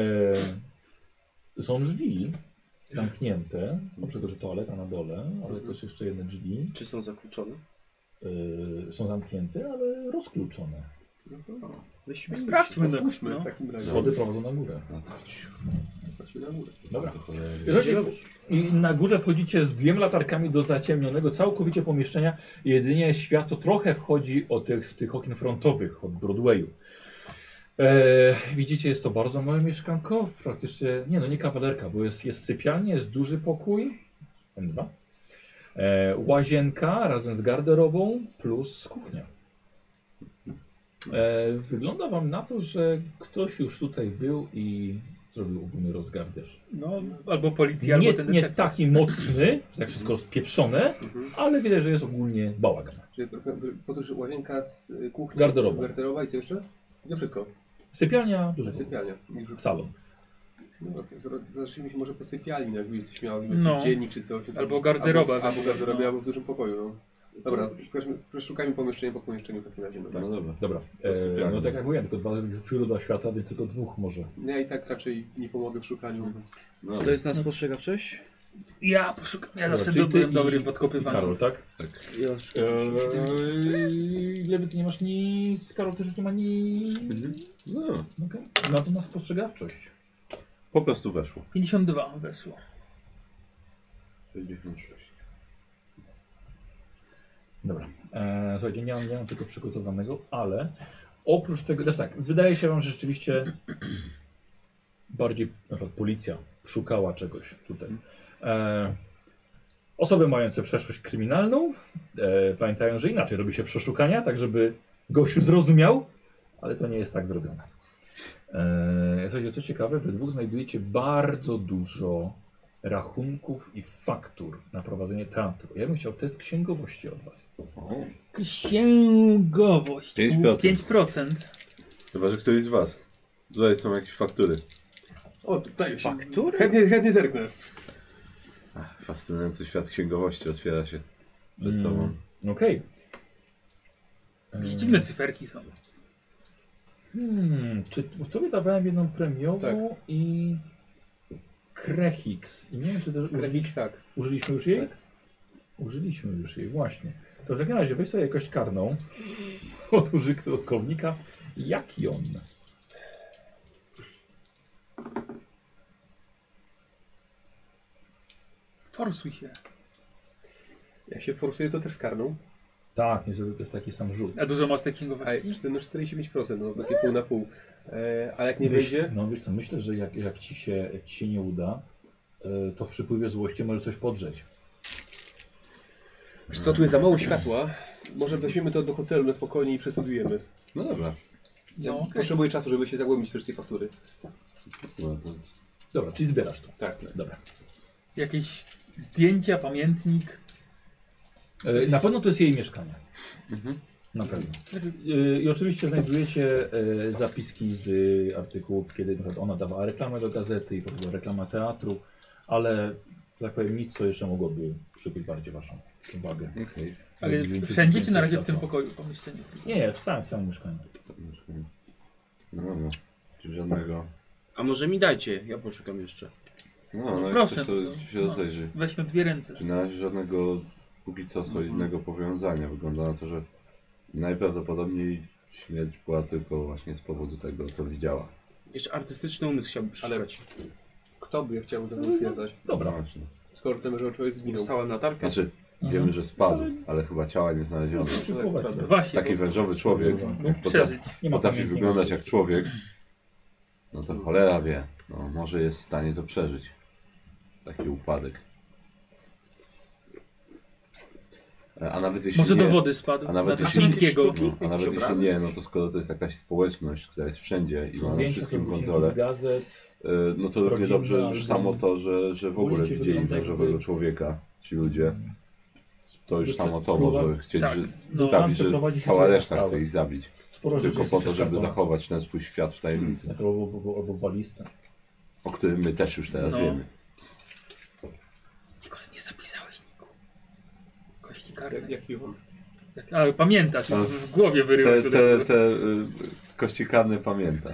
S1: są drzwi zamknięte, oprócz tego, że toaleta na dole, ale też jeszcze jedne drzwi
S7: Czy są zakluczone?
S1: e, są zamknięte, ale rozkluczone.
S2: no
S7: Weźmy.
S3: No. Sprawdźmy no.
S2: Otwórzmy
S3: no.
S2: w takim razie.
S1: Schody prowadzą na górę.
S4: No to chodź.
S2: Chodźmy na górę.
S1: Dobra.
S4: To cholera.
S1: Słuchajcie, i na górze wchodzicie z dwiema latarkami do zaciemnionego całkowicie pomieszczenia. Jedynie światło trochę wchodzi od tych, tych okien frontowych, od Broadwayu. E, widzicie, jest to bardzo małe mieszkanko, praktycznie, nie no, nie kawalerka, bo jest, jest sypialnia, jest duży pokój, M2, e, łazienka razem z garderobą plus kuchnia. E, wygląda wam na to, że ktoś już tutaj był i zrobił ogólny rozgardiaż.
S3: no albo policja,
S1: Nie,
S3: albo ten
S1: nie
S3: detektyw. Mhm.
S1: taki mocny, że tak wszystko rozpieprzone, ale widać, że jest ogólnie bałagan.
S2: Czyli trochę podróż łazienka z y, kuchni.
S1: Garderoba.
S2: Garderoba i co jeszcze? To wszystko.
S1: Sypialnia, duży pokój,
S2: Sypialnia.
S1: salon.
S2: No dobra, zro- zacznijmy się może po sypialni, jakby coś miało,
S3: No.
S2: no. dziennik czy coś.
S3: Albo garderoba.
S2: Albo, albo garderoba,
S3: No.
S2: albo w dużym pokoju, no. Dobra, chodźmy- szukajmy pomieszczenia po pomieszczeniu w takim razie. No.
S4: No dobra.
S1: Dobra, e, no tak jak mówiłem, tylko dwa źródła świata, więc tylko dwóch może.
S2: Ja i tak raczej nie pomogę w szukaniu, więc...
S4: No,
S7: To jest na spostrzegawczość?
S3: Ja poszukam, ja
S1: Dobra,
S3: zawsze
S1: czyli
S3: do,
S1: ty
S3: byłem
S1: i-
S3: dobry w
S1: I
S3: odkopywaniu.
S1: Karol, tak?
S7: Ja
S3: E,
S1: Eee, Lewy, ty nie masz nic, Karol też już nie ma nic.
S4: no,
S1: Okay. No to na spostrzegawczość.
S4: po prostu weszło.
S3: 52 wesło.
S4: 66.
S1: Dobra. E, słuchajcie, nie mam, nie mam tego przygotowanego, ale oprócz tego, znaczy tak, wydaje się wam, że rzeczywiście <clears throat> bardziej na przykład policja szukała czegoś tutaj. E, osoby mające przeszłość kryminalną e, pamiętają, że inaczej robi się przeszukania, tak żeby gościu zrozumiał, ale to nie jest tak zrobione. E, słuchajcie, co ciekawe, we dwóch znajdujecie bardzo dużo rachunków i faktur na prowadzenie teatru. Ja bym chciał test księgowości od was.
S4: O,
S3: Księgowość.
S4: 5%.
S3: 5%.
S4: Chyba, że któryś z was. Tutaj są jakieś faktury.
S2: O, tutaj się...
S7: Faktury?
S2: Chętnie, chętnie zerknę.
S4: Ach, Fascynujący świat księgowości otwiera się przed
S1: Mm.
S4: tobą.
S1: Okej.
S3: Jakieś dziwne cyferki są.
S1: Hmm, czy bo tobie dawałem jedną premiową
S2: Tak.
S1: i Krechix. I nie wiem, czy też użyliśmy,
S2: Tak.
S1: użyliśmy już jej? Użyliśmy już jej, właśnie. To w takim razie weź sobie jakość karną od użytku, od komnika. Jaki on?
S3: Forsuj się.
S2: Jak się forsuje, to też skarną.
S1: Tak, niestety to jest taki sam rzut.
S3: A dużo masz tej
S2: A
S3: księgowości?
S2: już ten 45%, no takie pół na pół. E, a jak nie
S1: Myśl-
S2: wyjdzie,
S1: No wiesz co, myślę, że jak, jak, ci, się, jak ci się nie uda, y, to w przypływie złości może coś podrzeć.
S2: wiesz co, tu jest za mało światła, może weźmiemy to do hotelu na spokojnie i przestudiujemy.
S4: No dobra.
S2: Ja
S3: No, okej.
S2: Potrzebuję czasu, żeby się zagłębić w wszystkie faktury.
S4: No, to...
S1: Dobra, czyli zbierasz to.
S2: Tak.
S1: Dobra.
S3: Jakieś zdjęcia, pamiętnik.
S4: Mhm.
S1: E, Na pewno to jest jej mieszkanie. Na pewno. Y, I oczywiście znajdujecie y, zapiski z y, artykułów, kiedy na przykład ona dawała reklamę do gazety i w ogóle reklama teatru, ale że tak powiem nic, co jeszcze mogłoby przykuć bardziej waszą uwagę.
S4: Okej.
S3: Ale
S1: Znajdujecie
S3: wszędzie czy na razie w
S1: więcej
S3: tym
S1: światła.
S3: pokoju, pomieszczeniu?
S1: Nie, w całym, w całym mieszkaniu.
S4: No, no. Czy żadnego.
S7: A może mi dajcie, ja poszukam jeszcze.
S4: No, no,
S3: Proszę,
S4: proszę, to
S3: to-
S4: ci się
S3: no.
S4: rozejrzy.
S3: Weź na dwie ręce.
S4: Czy na razie żadnego póki co solidnego
S1: Mhm.
S4: powiązania. Wygląda na to, że najprawdopodobniej śmierć była tylko właśnie z powodu tego, co widziała.
S7: Jeszcze artystyczny umysł chciałbym przeszukać.
S2: Kto by chciał to potwierdzać?
S1: Dobra.
S4: No Właśnie.
S2: Skoro ten że człowiek zginął.
S7: Dostałem latarkę.
S4: Znaczy,
S1: Mhm.
S4: wiemy, że spadł, ale chyba ciała nie znaleziono.
S1: Szykować.
S2: Dobra.
S3: Właśnie,
S4: Taki
S3: bo,
S4: wężowy człowiek,
S1: Dobra.
S4: jak
S3: mógł
S4: potrafi,
S3: przeżyć.
S1: Nie ma
S4: potrafi
S1: pamiętnika.
S4: wyglądać jak człowiek, no to cholera wie. No, może jest w stanie to przeżyć. Taki upadek. E, A nawet jeśli
S3: Może
S4: nie,
S3: do wody spadł.
S4: A nawet
S3: na
S4: jeśli-
S3: coś miękkiego.
S4: No, a nawet jeśli nie, no to skoro to jest jakaś społeczność, która jest wszędzie i ma na
S1: Zdjęcia są
S4: wszystkim
S1: wycięte
S4: kontrolę,
S1: z gazet.
S4: e, no to równie
S1: rodzinne
S4: dobrze
S1: albo-
S4: już samo to, że, że w ogóle
S1: Ulicy
S4: widzieli
S1: wygląda
S4: wężowego
S1: jakby- Mm. Znaczy,
S4: człowieka ci ludzie. To już samo to
S1: Próba-
S4: może chcieć że
S3: Tak.
S1: No, tam
S4: sprawić, że
S1: przeprowadzi się
S4: cała
S1: cała
S4: reszta
S1: stawa.
S4: chce ich zabić.
S1: Sporo rzeczy
S4: Tylko
S1: jest Mhm.
S4: po to,
S1: jeszcze
S4: żeby
S1: kartona.
S4: zachować ten swój świat w tajemnicy,
S1: Albo, albo, albo w walizce.
S4: o którym my też już teraz
S3: No.
S4: wiemy.
S3: Nikos, nie zapisałeś Niku. Kości
S2: Jak,
S3: karne.
S2: jak Juchon.
S3: A, pamiętasz,
S4: A.
S3: w głowie
S4: No. Te,
S3: wyryłeś od
S4: te,
S3: razu.
S4: te y, kości karne pamięta.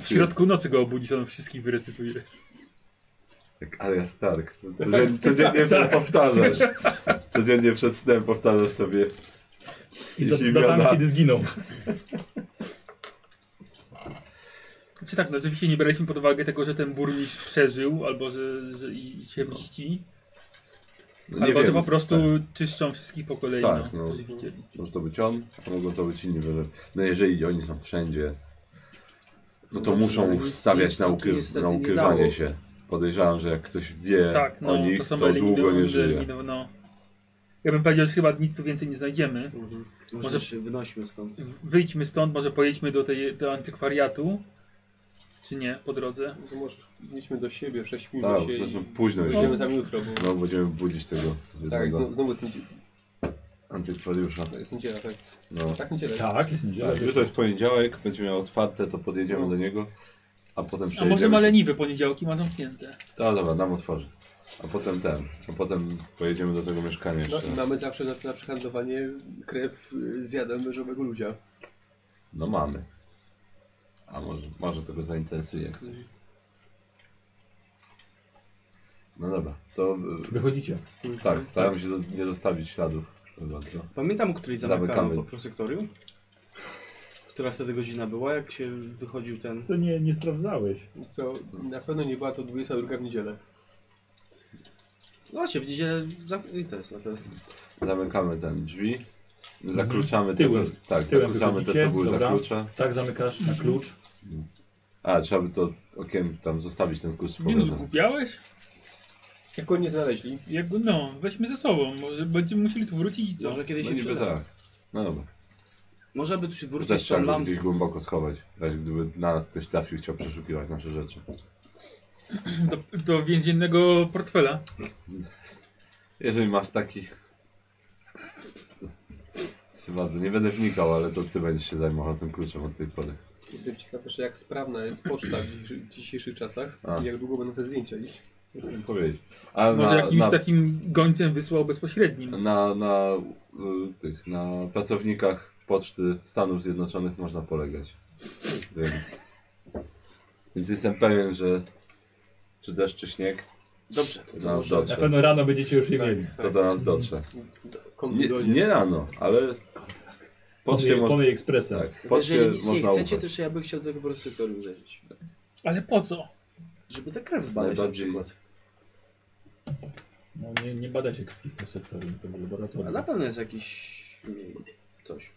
S3: W środku nocy go obudzisz, on wszystkich wyrecytuje.
S4: Jak Arya Stark. Codziennie, codziennie przed- powtarzasz. Codziennie przed snem powtarzasz sobie
S1: I
S4: ich
S1: za datami, kiedy
S3: <laughs>
S1: zginął.
S3: Czy tak, no, rzeczywiście nie braliśmy pod uwagę tego, że ten burmistrz przeżył, albo że, że i, i się mści,
S4: No
S3: albo że
S4: wiem.
S3: po prostu czyszczą wszystkich po kolei,
S4: Tak,
S3: no,
S4: no.
S3: którzy widzieli.
S4: Tak. Może to być on, a mogą to być inni wyżej. No jeżeli oni są wszędzie, no to
S7: No, ale
S4: muszą
S7: nic-
S4: stawiać
S7: nic
S4: na,
S7: to
S4: ukry
S7: niestety
S4: na
S7: nie
S4: ukrywanie
S7: dało.
S4: się. Podejrzewam, że jak ktoś wie
S3: Tak, no,
S4: o nich,
S3: to
S4: to,
S3: są
S4: długo nie żyje.
S3: eliminowane. No. Ja bym powiedział, że chyba nic tu więcej nie znajdziemy. Może-
S7: Może się wynośmy stąd.
S3: W- Wyjdźmy stąd, może pojedźmy do, tej, do antykwariatu. Czy nie, po drodze?
S2: To może idźmy do siebie, prześpimy
S4: Tak,
S2: się
S4: zresztą
S2: i
S4: późno
S2: pójdziemy
S4: już.
S2: tam jutro, bo...
S4: No będziemy budzić tego
S2: Tak,
S4: jednego
S2: znowu, znowu jest, niedziela,
S4: antykwariusza.
S2: jest niedziela, tak.
S4: No.
S2: Tak, niedziela.
S1: Tak, jest niedziela.
S4: Tak, jutro jest poniedziałek, będzie miał otwarte, to podjedziemy do niego, a potem
S3: A
S4: przejedziemy.
S3: może ma
S4: się-
S3: leniwe poniedziałki, ma zamknięte.
S4: A dobra, nam otworzy. A potem ten, a potem pojedziemy do tego mieszkania
S2: No
S4: jeszcze.
S2: i mamy zawsze na, na przehandlowanie krew y, z jadem wężowego ludzia.
S4: No mamy. A może, może tego zainteresuje ktoś. No dobra, to
S1: Wychodzicie.
S4: y, tak, staramy się do- nie zostawić śladów. Chyba, co?
S7: Pamiętam, o której zamykano
S4: Zamykamy.
S7: po prosektorium? Która wtedy godzina była, jak się wychodził ten...
S1: Co nie, nie sprawdzałeś?
S2: Co na pewno nie była to 22 w niedzielę.
S7: Zobaczcie, No w niedzielę zamknięte jest na pewno.
S4: Zamykamy ten drzwi, zakluczamy te, co,
S1: Mhm. Tyłem.
S4: tak,
S1: Tyłem
S4: zakluczamy te, co
S1: wychodzicie,
S4: były
S1: dobra.
S4: za klucza.
S1: Tak, zamykasz na klucz.
S4: A, trzeba by to okiem tam zostawić ten klucz z
S3: Nie no,
S4: powrotem.
S3: zgubiałeś?
S2: Jak go nie znaleźli,
S3: Jak, go- no, weźmy ze sobą, może będziemy musieli tu wrócić i co?
S7: Może kiedyś
S4: No
S7: się
S4: niby
S7: przyda.
S4: tak. No dobra.
S7: Może by tu się
S4: Też
S7: wrócić
S4: trzeba
S7: tą
S4: było
S7: lampą.
S4: gdzieś głęboko schować. W razie gdyby na nas ktoś trafił, chciał przeszukiwać nasze rzeczy. tak.
S3: Do, do więziennego portfela.
S4: Jeżeli masz taki. Się bardzo, nie będę wnikał, ale to ty będziesz się zajmował tym kluczem od tej pory.
S2: jestem ciekaw jeszcze jak sprawna jest poczta w dzisiejszy- w dzisiejszych czasach
S4: A.
S2: i jak długo będą te zdjęcia iść.
S4: Chciałem Powiedzieć. A
S3: Może
S4: na,
S3: jakimś
S4: na,
S3: takim gońcem wysłał bezpośrednim.
S4: na, na y, tych, na pracownikach poczty Stanów Zjednoczonych można polegać. Więc, więc jestem pewien, że czy deszcz, czy śnieg,
S7: Dobrze, to,
S4: to
S7: to
S4: do nas
S7: może...
S1: Na
S4: dotrze.
S1: pewno rano będziecie
S3: Tak.
S1: już je mieli.
S4: To do nas dotrze. Nie,
S2: Kondolnie.
S4: nie rano, ale poczcie
S1: Pony-
S4: można.
S1: Pony ekspresem.
S4: Tak,
S7: Jeżeli
S4: poczcie
S7: nic nie
S4: można
S7: chcecie,
S4: ufać.
S7: to jeszcze ja bym chciał do tego prosektorium zejść.
S3: Ale po co?
S7: Żeby tę krew zbadać na
S4: Najbardziej-
S7: przykład.
S1: No, nie, nie bada się krwi w sektorze, to w
S7: A na
S1: laboratorium.
S7: pewno jest jakiś... mm, coś.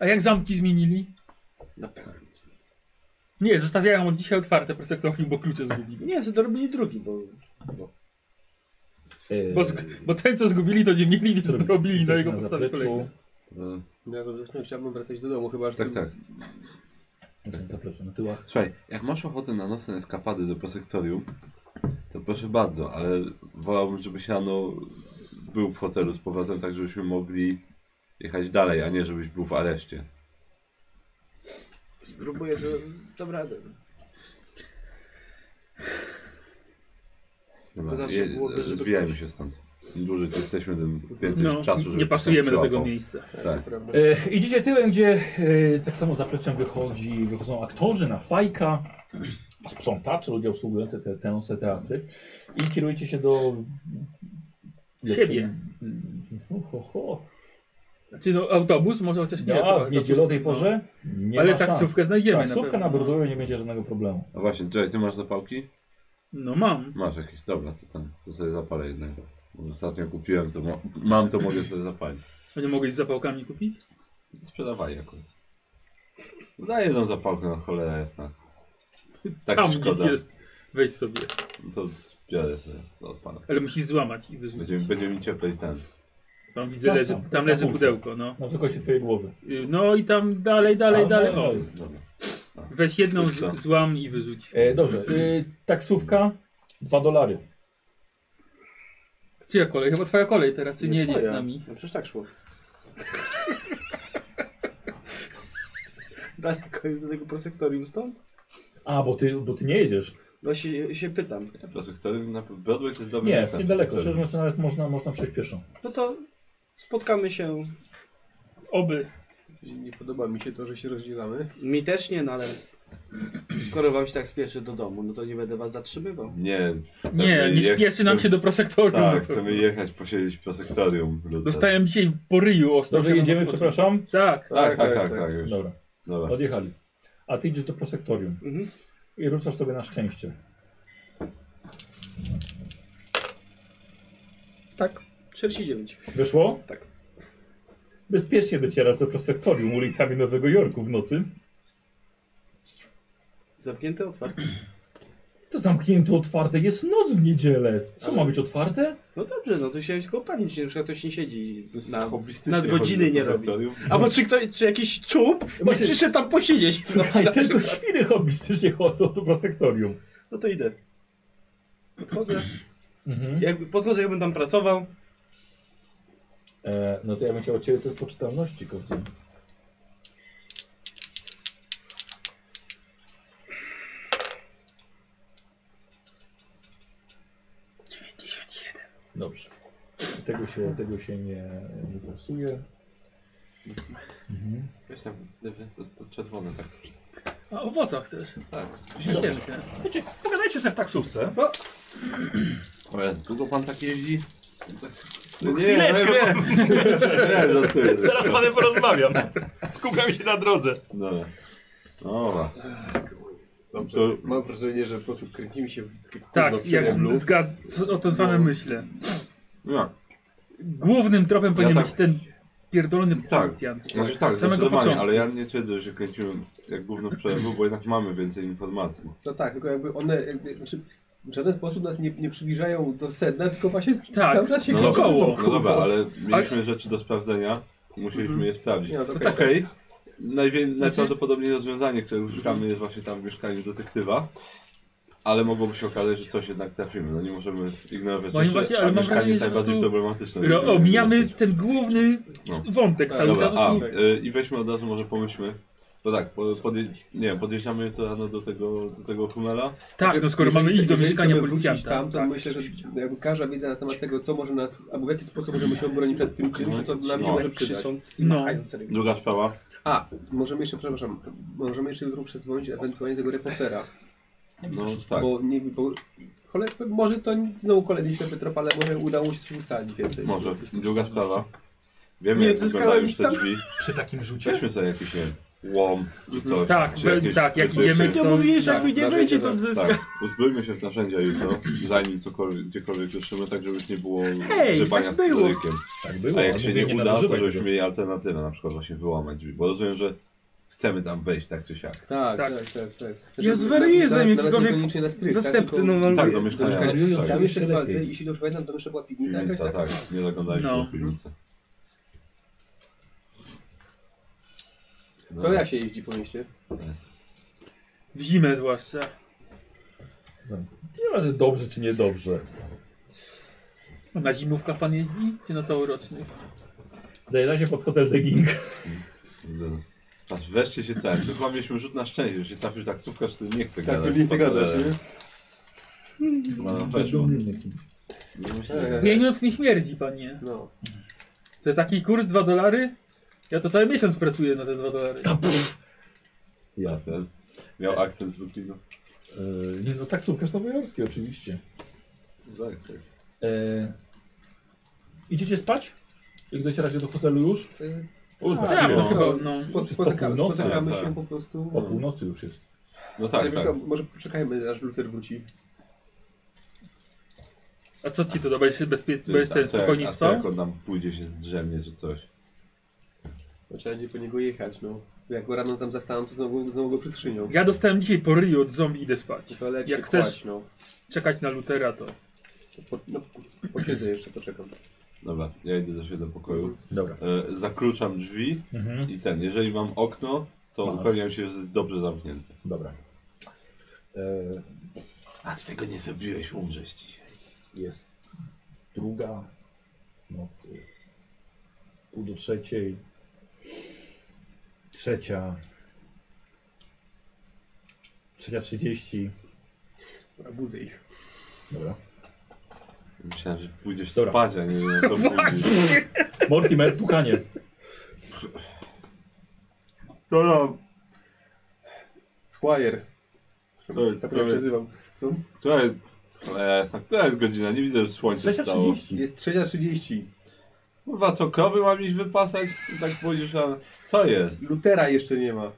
S3: A jak zamki zmienili?
S7: Na pewno. nic.
S3: Nie, zostawiają od dzisiaj otwarte prosektorium, bo klucze zgubili.
S7: Nie, to dorobili drugi, bo...
S1: Eee,
S3: Bo, zg- bo ten, co zgubili, to nie mieli, więc
S1: zrobi-
S3: zrobili na
S1: coś
S3: jego
S1: na
S3: podstawie
S1: zapleczu.
S3: kolejne.
S4: Y,
S2: Ja zresztą chciałbym wracać do domu, chyba że
S4: Tak, tak.
S1: Znaczy,
S3: Tak.
S1: na zapleczu, na tyłach.
S4: Słuchaj, jak masz ochotę na nocne eskapady do prosektorium, to proszę bardzo, ale wolałbym, żebyś rano był w hotelu z powrotem, tak żebyśmy mogli jechać dalej, a nie żebyś był w areszcie.
S7: Spróbuję z... Dobra,
S4: Dobra,
S7: To zawsze
S4: je-
S7: byłoby, żeby
S4: Zwijajmy
S7: ktoś-
S4: się stąd. Im dłużej tu jesteśmy, tym więcej
S3: No,
S4: czasu, żeby
S3: nie
S4: ktoś nas
S3: pasujemy do tego
S4: przyłapał.
S3: miejsca.
S4: Tak.
S2: Prawda.
S1: E, idziecie tyłem, gdzie e, tak samo zapleczem wychodzi, wychodzą aktorzy na fajka, sprzątacze, ludzie obsługujący te, te nose teatry i kierujecie się do... Mm,
S3: Siebie.
S1: Ho, ho, ho.
S3: Znaczy no, autobus może chociaż nie. chyba
S1: Ja, w
S3: za
S1: niedzielowej
S3: późno, no.
S1: porze nie
S3: Ale
S1: ma
S3: taksówkę znajdziemy
S1: szans. Taksówka
S3: pewno.
S1: na Bordeaux nie będzie żadnego problemu.
S4: A No właśnie, czekaj, ty masz zapałki?
S3: No mam.
S4: Masz jakieś, dobra, to tam, to sobie zapalę jednego. Bo Ostatnio kupiłem, to mo- mam, to mogę sobie zapalić.
S3: A nie mogłeś z zapałkami kupić?
S4: Sprzedawali akurat. Daj jedną zapałkę, no cholera jasna. Tak
S3: Tam
S4: szkoda.
S3: gdzie jest. Weź sobie.
S4: No To biorę sobie od pana.
S3: Ale musisz złamać i wyrzucić.
S4: Będzie, będzie mi cieplej ten.
S3: Tam widzę,
S1: Tam,
S3: leży,
S1: tam,
S3: tam
S1: na
S3: leży
S1: półce.
S3: pudełko, no.
S1: Na wysokości twojej głowy.
S3: Y, No i tam dalej, dalej,
S1: Tam,
S3: dalej.
S1: dalej,
S4: no.
S3: O,
S1: dalej.
S4: Dobra.
S3: weź jedną,
S4: Wiesz co?
S3: z, złam i wyrzuć.
S1: E, dobrze, e, taksówka, 2 dolary.
S3: Czyja kolej? Chyba twoja kolej teraz, czy nie jedziesz z nami?
S7: No przecież tak szło. <laughs>
S5: Daleko jest do tego prosektorium stąd?
S1: A, bo ty, bo ty nie jedziesz.
S5: No się, się pytam.
S4: Ja po prostu który na Broadway to jest dobry
S1: Nie,
S4: dostęp.
S1: niedaleko. Szczerze mówiąc, nawet można, można przejść pieszo.
S5: No to spotkamy się.
S3: Oby.
S2: Nie podoba mi się to, że się rozdzielamy.
S7: Mi też nie, no ale skoro wam się tak spieszy do domu, no to nie będę was zatrzymywał.
S4: Nie, chcemy
S3: Nie, nie
S4: jech-
S3: śpieszy nam
S4: chcemy-
S3: się do prosektorium. no
S4: Tak, chcemy jechać, posiedzieć po sektorium. lub-
S3: Dostałem dzisiaj po ryju ostro.
S1: Dobrze,
S3: siadam
S1: jedziemy,
S3: pod-
S1: przepraszam.
S3: Tak.
S4: Tak, tak, tak, tak, już.
S1: Dobra,
S4: Dobra.
S1: odjechali. A ty idziesz do prosektorium.
S7: Mhm.
S1: I ruszasz sobie na szczęście.
S5: Tak. 49.
S1: Wyszło?
S5: Tak.
S1: Bezpiecznie docierasz do prosektorium ulicami Nowego Jorku w nocy.
S7: Zamknięte, otwarte.
S1: To zamknięte, otwarte jest noc w niedzielę. Co
S7: Ale-
S1: ma być otwarte?
S7: No dobrze, no to się tylko upewnić, że na przykład ktoś nie siedzi z- na...
S4: hobbystycznie
S5: nadgodziny
S4: chodzi do
S5: nie robi.
S4: sektorium.
S5: Albo czy, ktoś, czy jakiś czub nie
S1: Właśnie-
S5: przyszedł tam posiedzieć?
S1: Słuchaj, tylko świry <laughs> hobbystycznie chodzą do prosektorium.
S5: No to idę. Podchodzę.
S1: Mhm.
S5: Jakby podchodzę, jakbym tam pracował.
S1: E, no to ja bym chciał od Ciebie test poczytalności, Kowcy. Dobrze. Tego się, tego się nie, nie forsuje. Mhm.
S4: Wiesz tam, to, to czerwone tak.
S3: A owoca chcesz?
S4: Tak.
S3: Święte.
S1: Wiecie, pogadajcie sobie w taksówce.
S4: O Jezu, długo pan tak jeździ? No nie,
S1: chwileczkę,
S4: no
S1: <laughs>
S4: nie, nie, no żartuję.
S1: Zaraz z panem porozmawiam. Skupiam się na drodze.
S4: Dobra. Dobra.
S2: Dobrze.
S4: To-
S2: Mam wrażenie, że po prostu kręcimy się w kurwa,
S3: Tak,
S2: w
S3: jak
S2: ciemno.
S3: zgad... co- o tym samym myślę.
S4: No,
S3: Głównym tropem powinien
S4: tak-
S3: być ten pierdolony policjant.
S4: znaczy tak,
S3: Od samego
S4: zdecydowanie,
S3: początku.
S4: ale ja nie twierdzę, że się kręciłem jak główną przerwę, bo jednak mamy więcej informacji.
S2: No tak, tylko jakby one jakby, znaczy, w żaden sposób nas nie, nie przybliżają do sedna, tylko właśnie
S3: Tak.
S2: cały czas się
S3: No
S4: dobra,
S2: kręcą
S3: koło.
S2: wokół.
S4: No dobra, ale mieliśmy rzeczy do sprawdzenia, musieliśmy je sprawdzić.
S2: Nie, no to
S4: Okej,
S3: Tak,
S2: okej.
S4: Najwię- najprawdopodobniej rozwiązanie, które używamy jest właśnie tam w mieszkaniu detektywa, ale mogłoby się okazać, że coś jednak trafimy, no nie możemy ignorować
S3: Moim
S4: rzeczy,
S3: właśnie,
S4: a
S3: ale mam
S4: mieszkanie
S3: wrażenie,
S4: jest
S3: że po
S4: najbardziej
S3: prostu
S4: problematyczne.
S3: Ro-
S4: Musimy
S3: Omijamy
S4: dostać.
S3: ten główny
S4: No.
S3: wątek cały
S4: Dobra,
S3: czas.
S4: a, y, i weźmy od razu może pomyślmy. Bo tak, po- podje- nie wiem, podjeżdżamy jutro rano do tego, do tego tunela.
S3: Tak, no skoro mamy
S2: Jeżeli
S3: iść do
S2: chcemy
S3: mieszkania
S2: wrócić
S3: policjanta.
S2: tam, to
S3: tak.
S2: myślę, że jakby każda wiedza na temat tego, co może nas, albo w jaki sposób możemy się obronić przed tym czymś, no to nam się
S4: No.
S2: może przydać.
S5: krzycząc
S3: No.
S5: ręką.
S4: Druga sprawa.
S2: A, możemy jeszcze, przepraszam, możemy jeszcze jutro przedzwonić ewentualnie tego reportera,
S4: No tak.
S2: bo nie bo cholera, może to nic- znowu kolejny ślepy trop, ale może udało się coś ustalić więcej.
S4: Może. Druga sprawa. Wiemy,
S5: Nie
S4: jak
S5: odzyskałem
S4: wyglądają już te
S5: listan.
S4: drzwi.
S1: Przy takim rzucie?
S4: Weźmy sobie jakiś nie wiem, łom czy coś.
S3: Tak,
S4: czy
S3: we-
S4: jakieś
S3: tak, jak
S4: wytyczy.
S3: idziemy,
S5: Ja
S7: No,
S3: To-
S5: mówię, że
S3: tak,
S5: jakby nie
S2: narzędzie
S5: będzie
S2: tak,
S5: to odzyskać.
S4: Tak, uzbrójmy się w narzędzia jutro, zanim cokolwiek, gdziekolwiek ruszymy, tak żebyś nie było
S5: Hej,
S4: grzebania
S5: tak
S4: z
S5: było.
S4: kryzykiem.
S1: Tak było.
S4: A jak się
S1: mówię,
S4: nie, uda, to
S1: nadużywaj
S4: żebyśmy
S1: tego.
S4: mieli alternatywę, na przykład właśnie wyłamać drzwi, bo rozumiem, że chcemy tam wejść tak czy siak.
S2: Tak, tak,
S3: Tak.
S2: tak, tak. tak.
S5: Ja zwariuję, zanim jakiekolwiek Następny,
S2: Następny,
S5: no, no,
S4: Tak, do mieszkania.
S1: Mieszkania.
S4: Tak.
S2: Tam jeszcze
S1: Jeszcze
S2: chyba,
S1: lepiej.
S2: jeśli dobrze pamiętam, to jeszcze była piwnica jakaś
S4: Piwnica,
S2: taka.
S4: tak. Nie zaglądaliśmy
S3: No.
S4: w piwnicę. No,
S2: To ja się jeździ po mieście.
S4: Tak,
S3: W zimę zwłaszcza.
S1: Nie ma, że dobrze czy niedobrze.
S3: A Na zimówkach pan jeździ? Czy na całorocznych?
S1: Zajęła się pod hotel Degging.
S4: Kurde. Patrz, wreszcie się tak. To chyba mieliśmy rzut na szczęście, że się trafił taksówkarz, który nie chce
S6: Tak,
S4: gadać.
S6: to nie chce gadać, nie?
S4: Ma na weszło. Nie myślę, że-
S3: Pieniądz nie śmierdzi, panie.
S2: No.
S3: Za taki kurs 2 dolary? Ja to cały miesiąc pracuję na te 2 dolary.
S4: Jasne. Miał akcent z no. Brooklynu.
S1: Yy, nie, no taksówkarz nowojorski oczywiście.
S4: Tak, tak.
S1: E, idziecie spać? Jak docieracie do hotelu już?
S2: Y,
S1: Już
S2: tak,
S1: właściwie.
S3: no,
S2: no,
S3: chyba, no.
S2: spot-
S1: Jest po
S2: Spotykamy,
S1: północy,
S2: spotykamy
S4: tak.
S2: się po prostu.
S1: O północy już jest.
S4: No
S2: Ale
S4: tak,
S2: wiesz
S4: tak.
S2: co, może poczekajmy, aż Luther wróci.
S3: A co ci to da? Będziesz bezpiecznie,
S4: Czyli
S3: będziesz
S4: tak,
S3: ten
S4: co jak-
S3: spokojnie
S4: a co
S3: spał?
S4: Jak on nam pójdzie się zdrzemnie czy coś.
S2: Trzeba będzie Znaczy, po niego jechać, no. Jak go rano tam zastałem, to znowu, znowu go przyskrzynią.
S3: Ja dostałem dzisiaj po ryju od zombie, idę spać.
S2: No to lepiej
S3: Jak
S2: się
S3: chcesz-
S2: kłać, no.
S3: Czekać na Lutera to.
S2: To Po, no. Posiedzę jeszcze, poczekam.
S4: Dobra, ja idę do siebie do pokoju.
S1: Dobra.
S4: E, zakluczam drzwi
S1: Mhm.
S4: i ten, jeżeli mam okno, to
S1: Masz.
S4: upewniam się, że jest dobrze zamknięte.
S1: Dobra. E,
S4: A ty tego nie zrobiłeś, umrzeć dzisiaj.
S1: jest druga nocy, pół do trzeciej, trzecia, trzecia trzydzieści.
S2: Dobra, Budzę ich.
S1: Dobra.
S4: Myślałem, że pójdziesz
S1: Dobra.
S4: spać, a nie
S1: <laughs>
S4: że to pójdziesz.
S1: Mortimer, pukanie.
S6: No, no,
S2: Squire.
S4: To-
S1: Tak
S2: Zapomniałem,
S4: to
S2: jak się
S4: jest-
S2: nazywam. Co?
S4: Która jest, cholera jasna, która jest godzina? Nie widzę, że słońce
S1: Trzecia
S4: wstało.
S1: trzydzieści.
S2: Jest 3.30.
S4: Kurwa, co, krowy mam iść wypasać? I tak pójdziesz, a co jest?
S2: Lutera jeszcze nie ma.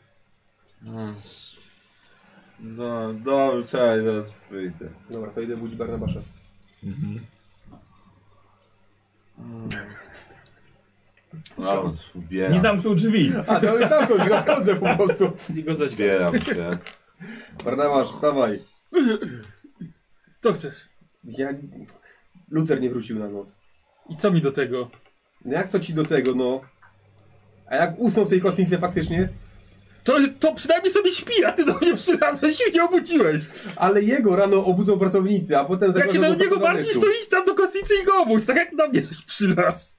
S4: No, dobrze, czekaj, zaraz wyjdę.
S2: Dobra, to idę budzić Barnabasza.
S4: No, ubieram, <laughs>
S1: Nie zamknął drzwi.
S2: A, to jest tamto, ja wchodzę po prostu.
S7: I go zaśpiewa.
S4: ubieram się.
S2: Barnabasz, wstawaj.
S3: Co chcesz?
S2: Ja... Luther nie wrócił na noc.
S3: I co mi do tego?
S2: No jak co ci do tego, no? A jak usnął w tej kostnicy faktycznie?
S3: To, to przynajmniej sobie śpi, a ty do mnie przylazłeś i nie obudziłeś.
S2: Ale jego rano obudzą pracownicy, a potem
S3: Jak się
S2: zagrożą
S3: na
S2: go
S3: niego
S2: pracą na
S3: martwisz,
S2: deszczu.
S3: to idź tam do kosnicy i go obudź, tak jak na mnie <laughs> żeś przylazł.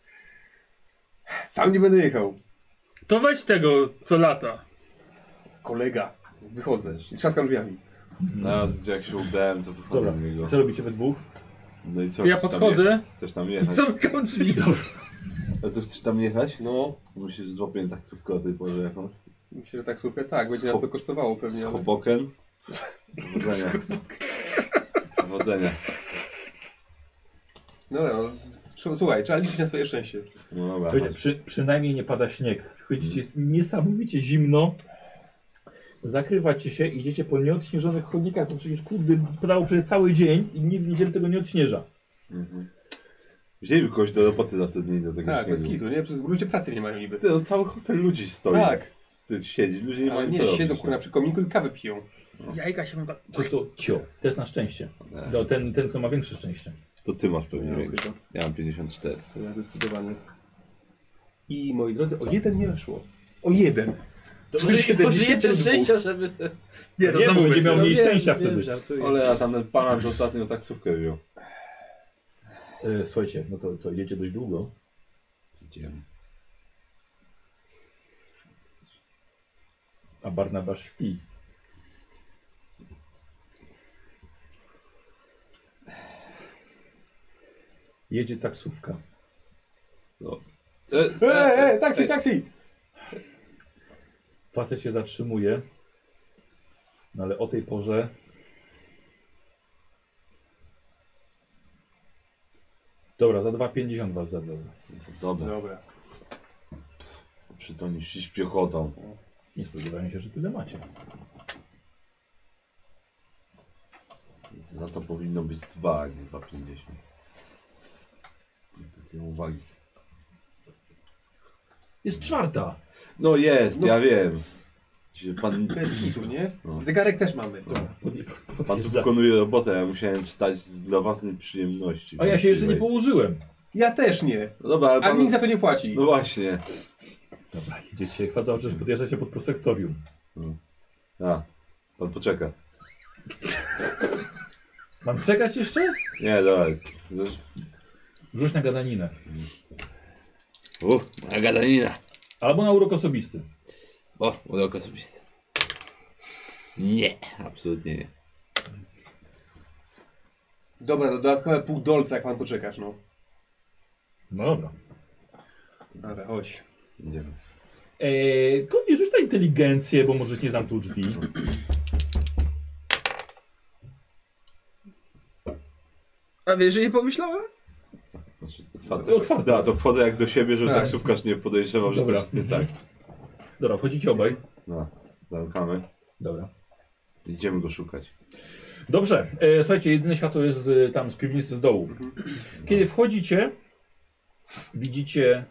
S2: Sam nie będę jechał.
S3: To weź tego, co lata.
S2: Kolega. Wychodzę. I trzaskam drzwiami.
S4: Nawet No, jak się ubrałem, to
S1: Dobra,
S4: wychodzę do niego.
S1: co robicie we dwóch?
S4: No i co?
S3: To ja
S4: chcesz tam
S3: podchodzę
S4: jechać? Chcesz tam
S3: i
S4: jechać?
S3: <laughs> zamykam drzwi.
S4: A co, chcesz tam jechać?
S2: No,
S4: Musisz złapać taksówkę o tej porze jakąś.
S2: myślę, że tak słuchaj, tak, będzie nas to kosztowało
S4: Z
S2: pewnie. ale-
S4: Hoboken. Powodzenia. Powodzenia.
S2: No, no. Trz- Słuchaj, trzeba liczyć na swoje szczęście.
S4: No dobra,
S1: Słuchajcie,
S4: chodź.
S1: Przy, przynajmniej nie pada śnieg. Wchodzicie, jest niesamowicie zimno. Zakrywacie się, idziecie po nieodśnieżonych chodnikach, to przecież kurde, padało przez cały dzień i nikt w niedzielę tego nie odśnieża.
S4: Mhm. Wzięli kogoś do roboty zatrudnieni do tego
S2: Tak, bez
S4: śniegu.
S2: kitu, nie? Przecież Ludzie pracy nie mają niby.
S4: Ty, no, cały hotel ludzi stoi.
S2: Tak.
S4: Ty, siedzi, ludzie nie
S2: Ale no?
S4: mają
S2: nie,
S4: co
S2: siedzą
S4: robić. no.
S2: kurna przy kominku i kawę piją.
S3: Jajka się tak...
S1: To to cio, to jest na szczęście. No, ten, ten, kto ma większe szczęście.
S4: To ty masz pewnie
S2: Ja mam
S4: większe. Ja mam 54.
S2: To ja zdecydowanie. I moi drodzy, o jeden nie weszło. O jeden.
S5: Dobrze, użyję też szczęścia, żeby se...
S3: Nie, to
S1: Nie, bo
S3: znowu
S1: będzie
S3: będzie
S1: miał
S3: miał...
S1: mniej szczęścia
S5: wiem,
S1: wtedy.
S5: żartuję.
S4: Ale a tam ten panan ostatnio taksówkę wziął.
S1: E, słuchajcie, no to, to idziecie dość długo.
S4: Idziemy.
S1: A Barnabasz śpi. Jedzie taksówka.
S4: E,
S2: Eee, e, taksi, taksi!
S1: Facet się zatrzymuje. No ale o tej porze. Dobra, za 2,50 was zabiorę.
S4: dobra,
S2: Dobra.
S4: przytonisz się z piechotą.
S1: Nie spodziewałem się, że tyle macie.
S4: Za to powinno być 2, a nie 2,50. Takie uwagi.
S1: Jest czwarta!
S4: No jest,
S2: No.
S4: ja wiem. Że Pan,
S2: Bez kitu, nie?
S4: No.
S2: Zegarek też mamy. Dobra.
S4: pan tu wykonuje robotę, ja musiałem wstać z- dla własnej przyjemności.
S1: A ja się jeszcze nie
S4: Wątpliwej.
S1: położyłem.
S2: Ja też nie.
S4: No dobra, ale
S2: A
S4: pan...
S2: nikt za to nie płaci.
S4: No właśnie.
S1: Dobra, idziecie. Chwadza oczy, że podjeżdżacie pod prosektorium.
S4: A, pan poczeka.
S1: Mam czekać jeszcze?
S4: Nie, dobra. Zresztą-
S1: Rzuć na gadaninę.
S4: Uff, moja gadanina.
S1: Albo na urok osobisty.
S4: O, urok osobisty. Nie, absolutnie nie.
S2: Dobra, to dodatkowe pół dolca, jak pan poczekasz, no.
S1: No dobra.
S2: Dobra, chodź.
S4: Idziemy.
S1: Eee, Kozi, rzuć na inteligencję, bo możesz nie zamknął drzwi.
S5: A wiesz, że nie pomyślałem?
S4: Znaczy, otwarte. Da, to wchodzę jak do siebie, że
S2: Tak.
S4: taksówkarz nie podejrzewał, że
S1: Dobra.
S4: coś jest nie tak.
S1: Dobra, wchodzicie obaj.
S4: No, zamykamy.
S1: Dobra.
S4: Idziemy go szukać.
S1: Dobrze, e, słuchajcie, jedyne światło jest z, tam z piwnicy z dołu. Kiedy wchodzicie, widzicie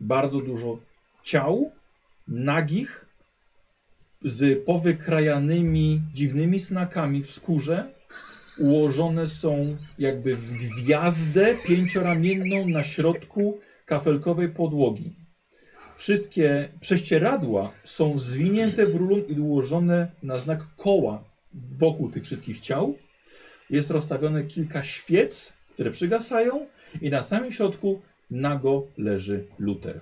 S1: bardzo dużo ciał, nagich, z powykrajanymi dziwnymi znakami w skórze. Ułożone są jakby w gwiazdę pięcioramienną na środku kafelkowej podłogi. Wszystkie prześcieradła są zwinięte w rulon i ułożone na znak koła wokół tych wszystkich ciał. Jest rozstawione kilka świec, które przygasają i na samym środku nago leży Luter.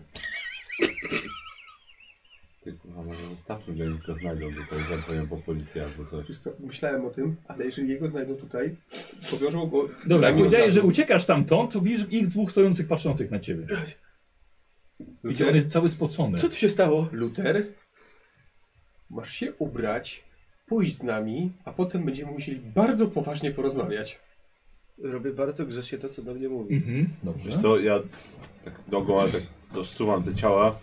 S4: Ty, kurwa, może zostawmy go tylko znajdą, bo to zadzwonią po policję albo coś.
S2: Wiesz co, myślałem o tym, ale jeżeli jego znajdą tutaj, powiążą go...
S1: Dobra, jak
S2: Znajdą
S1: powiedziałeś,
S2: od
S1: że
S2: razu.
S1: uciekasz tamtąd, to widzisz ich dwóch stojących, patrzących na ciebie. I on
S2: Luter,
S1: jest cały spocony.
S2: co tu się stało? Luter, masz się ubrać, pójść z nami, a potem będziemy musieli bardzo poważnie porozmawiać.
S7: Robię bardzo grzecznie to, co do mnie mówi.
S1: Mhm, dobrze.
S4: Wiesz co, ja tak nogą, ale tak rozsuwam te ciała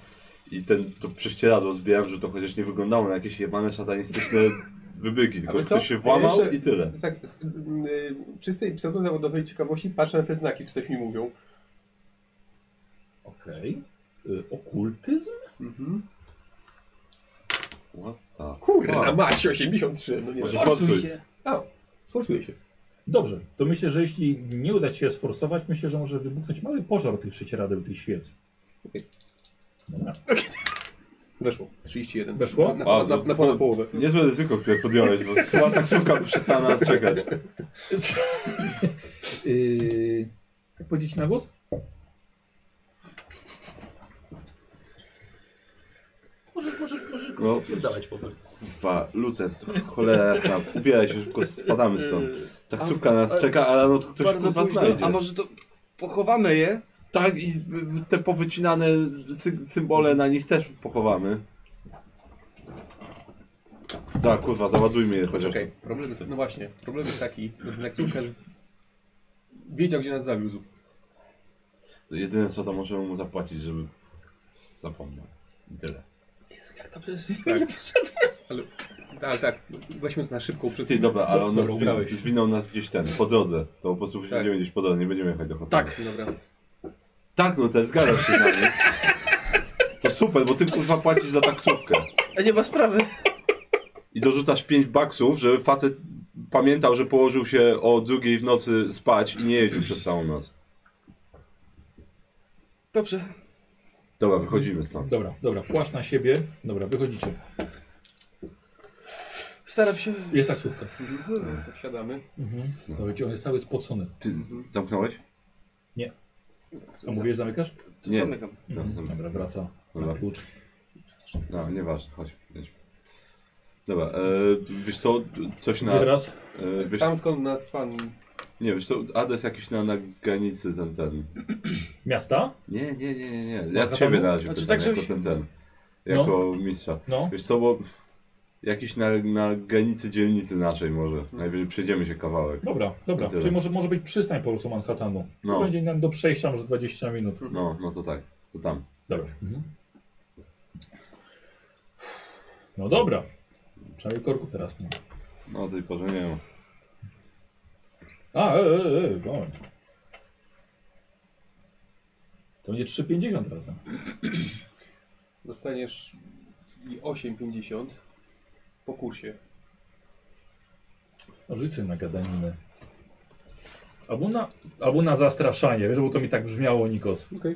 S4: i ten, to prześcieradło zbieram, że to chociaż nie wyglądało na jakieś jebane satanistyczne wybyki, tylko
S2: wiesz co?
S4: ktoś się włamał
S2: Ja jeszcze-
S4: i tyle.
S2: Z, tak, z mm, y, czystej pseudozawodowej ciekawości patrzę na te znaki, czy coś mi mówią.
S1: Okej. Y, Okultyzm?
S2: Mhm.
S4: What the
S2: Kurna,
S4: fuck?
S2: macie 83, no nie
S4: Może
S2: wiem.
S3: Forsuj
S4: forsuj.
S3: się.
S2: A, sforsuję się.
S1: Dobrze, to myślę, że jeśli nie uda ci się sforsować, myślę, że może wybuchnąć mały pożar tych przecieradeł, tych świec. Dobra.
S2: Weszło. 31.
S1: Weszło?
S2: Na, na,
S4: A,
S2: na, na
S4: to-
S2: ponad połowę.
S4: Niezłe ryzyko, które podjąłeś, bo chyba taksówka przestała na nas czekać.
S1: Yy, jak powiedzieć na głos? Możesz, możesz, możesz go
S4: No.
S1: odpierdalać powoli.
S4: Kurwa, Luther, to cholera jasna, ubieraj się szybko, spadamy stąd. Taksówka na nas czeka, a rano tu ktoś
S7: Bardzo
S4: kurwa
S7: późno.
S4: znajdzie.
S7: A może to pochowamy je?
S4: Tak i y, te powycinane sy symbole na nich też pochowamy. Tak, kurwa, załadujmy je chociaż.
S2: Czekaj, problem jest, no właśnie, problem jest taki, że taksówkarz wiedział, gdzie nas zawiózł.
S4: To jedyne co to możemy mu zapłacić, żeby zapomniał. I tyle.
S3: Jezu, jak dobrze, że
S2: <laughs> Tak, tak, weźmy to na szybką przed
S4: Ty, dobra, ale on nas
S1: Dobra,
S4: zwin
S1: ugrałeś.
S4: zwinął nas gdzieś ten, po drodze. To po prostu będziemy gdzieś po drodze, nie będziemy jechać do hotelu.
S3: Tak.
S2: Dobra.
S4: Tak, Luther, zgadzasz się na mnie. To super, bo ty kurwa płacisz za taksówkę.
S5: A nie ma sprawy.
S4: I dorzucasz 5 baksów, żeby facet pamiętał, że położył się o drugiej w nocy spać i nie jeździł przez całą noc.
S5: Dobrze.
S4: Dobra, wychodzimy stąd.
S1: Dobra, dobra, płaszcz na siebie. Dobra, wychodzicie.
S5: Staram się.
S1: Jest taksówka.
S2: Wsiadamy.
S1: Mhm. No wiecie, on jest cały spocony.
S4: Ty zamknąłeś?
S1: A mówisz, zamykasz?
S7: To
S4: Nie.
S7: zamykam.
S4: No,
S1: Mhm.
S4: zamykam.
S1: Dobra, wraca na
S4: Dobra.
S1: klucz.
S4: No, nieważne, chodź. jedźmy. Dobra, e, wiesz co, coś na...
S1: Gdzie teraz?
S4: E, wiesz,
S2: Tam skąd nas pan...
S4: nie, wiesz co, adres jakiś na, na granicy ten, ten.
S1: Miasta?
S4: Nie, nie, nie, nie, nie. Ja
S1: Mazatonu?
S4: ciebie na razie
S5: Znaczy,
S4: pytam,
S5: tak,
S4: jako
S5: żebyś-
S4: ten, ten. Jako mistrza.
S1: No.
S4: Wiesz co, bo jakiś na, na granicy dzielnicy naszej może. Najwyżej przejdziemy się kawałek.
S1: Dobra, dobra.
S4: Tyle.
S1: Czyli może, może być przystań po prostu Manhattanu.
S4: No.
S1: To będzie nam do przejścia może 20 minut.
S4: No, no to tak, to tam.
S1: Dobra. Mhm. No dobra. Przynajmniej korków teraz nie ma.
S4: No o tej porze nie wiem.
S1: A, e, e, e, moment. To będzie 3,50 razem.
S2: Dostaniesz i 8,50 po kursie.
S1: No, Rzuć sobie na gadaninę. Albo na, albo na zastraszanie, wiesz, bo to mi tak brzmiało, Nikos.
S2: Okej.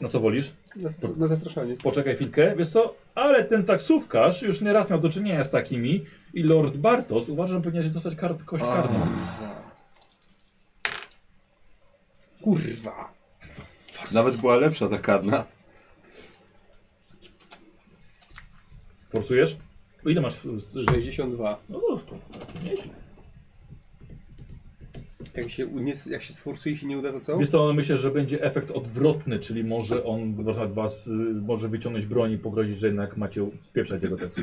S1: Na co wolisz?
S2: Na, na zastraszanie.
S1: Poczekaj chwilkę, wiesz co? Ale ten taksówkarz już nieraz miał do czynienia z takimi i Lord Bartos uważa, że powinien się dostać kart kość karną.
S5: Kurwa.
S4: Nawet była lepsza ta karna.
S1: Forsujesz? O ile masz? w- w- w-
S2: 62.
S1: No to w porządku, nieźle.
S2: Jak się, u- nie, jak się sforsuje i się nie uda, to co?
S1: Wiesz to myślę, że będzie efekt odwrotny, czyli może on was- was, y, może wyciągnąć broń i pogrozić, że jednak macie wpieprzać jego tekst.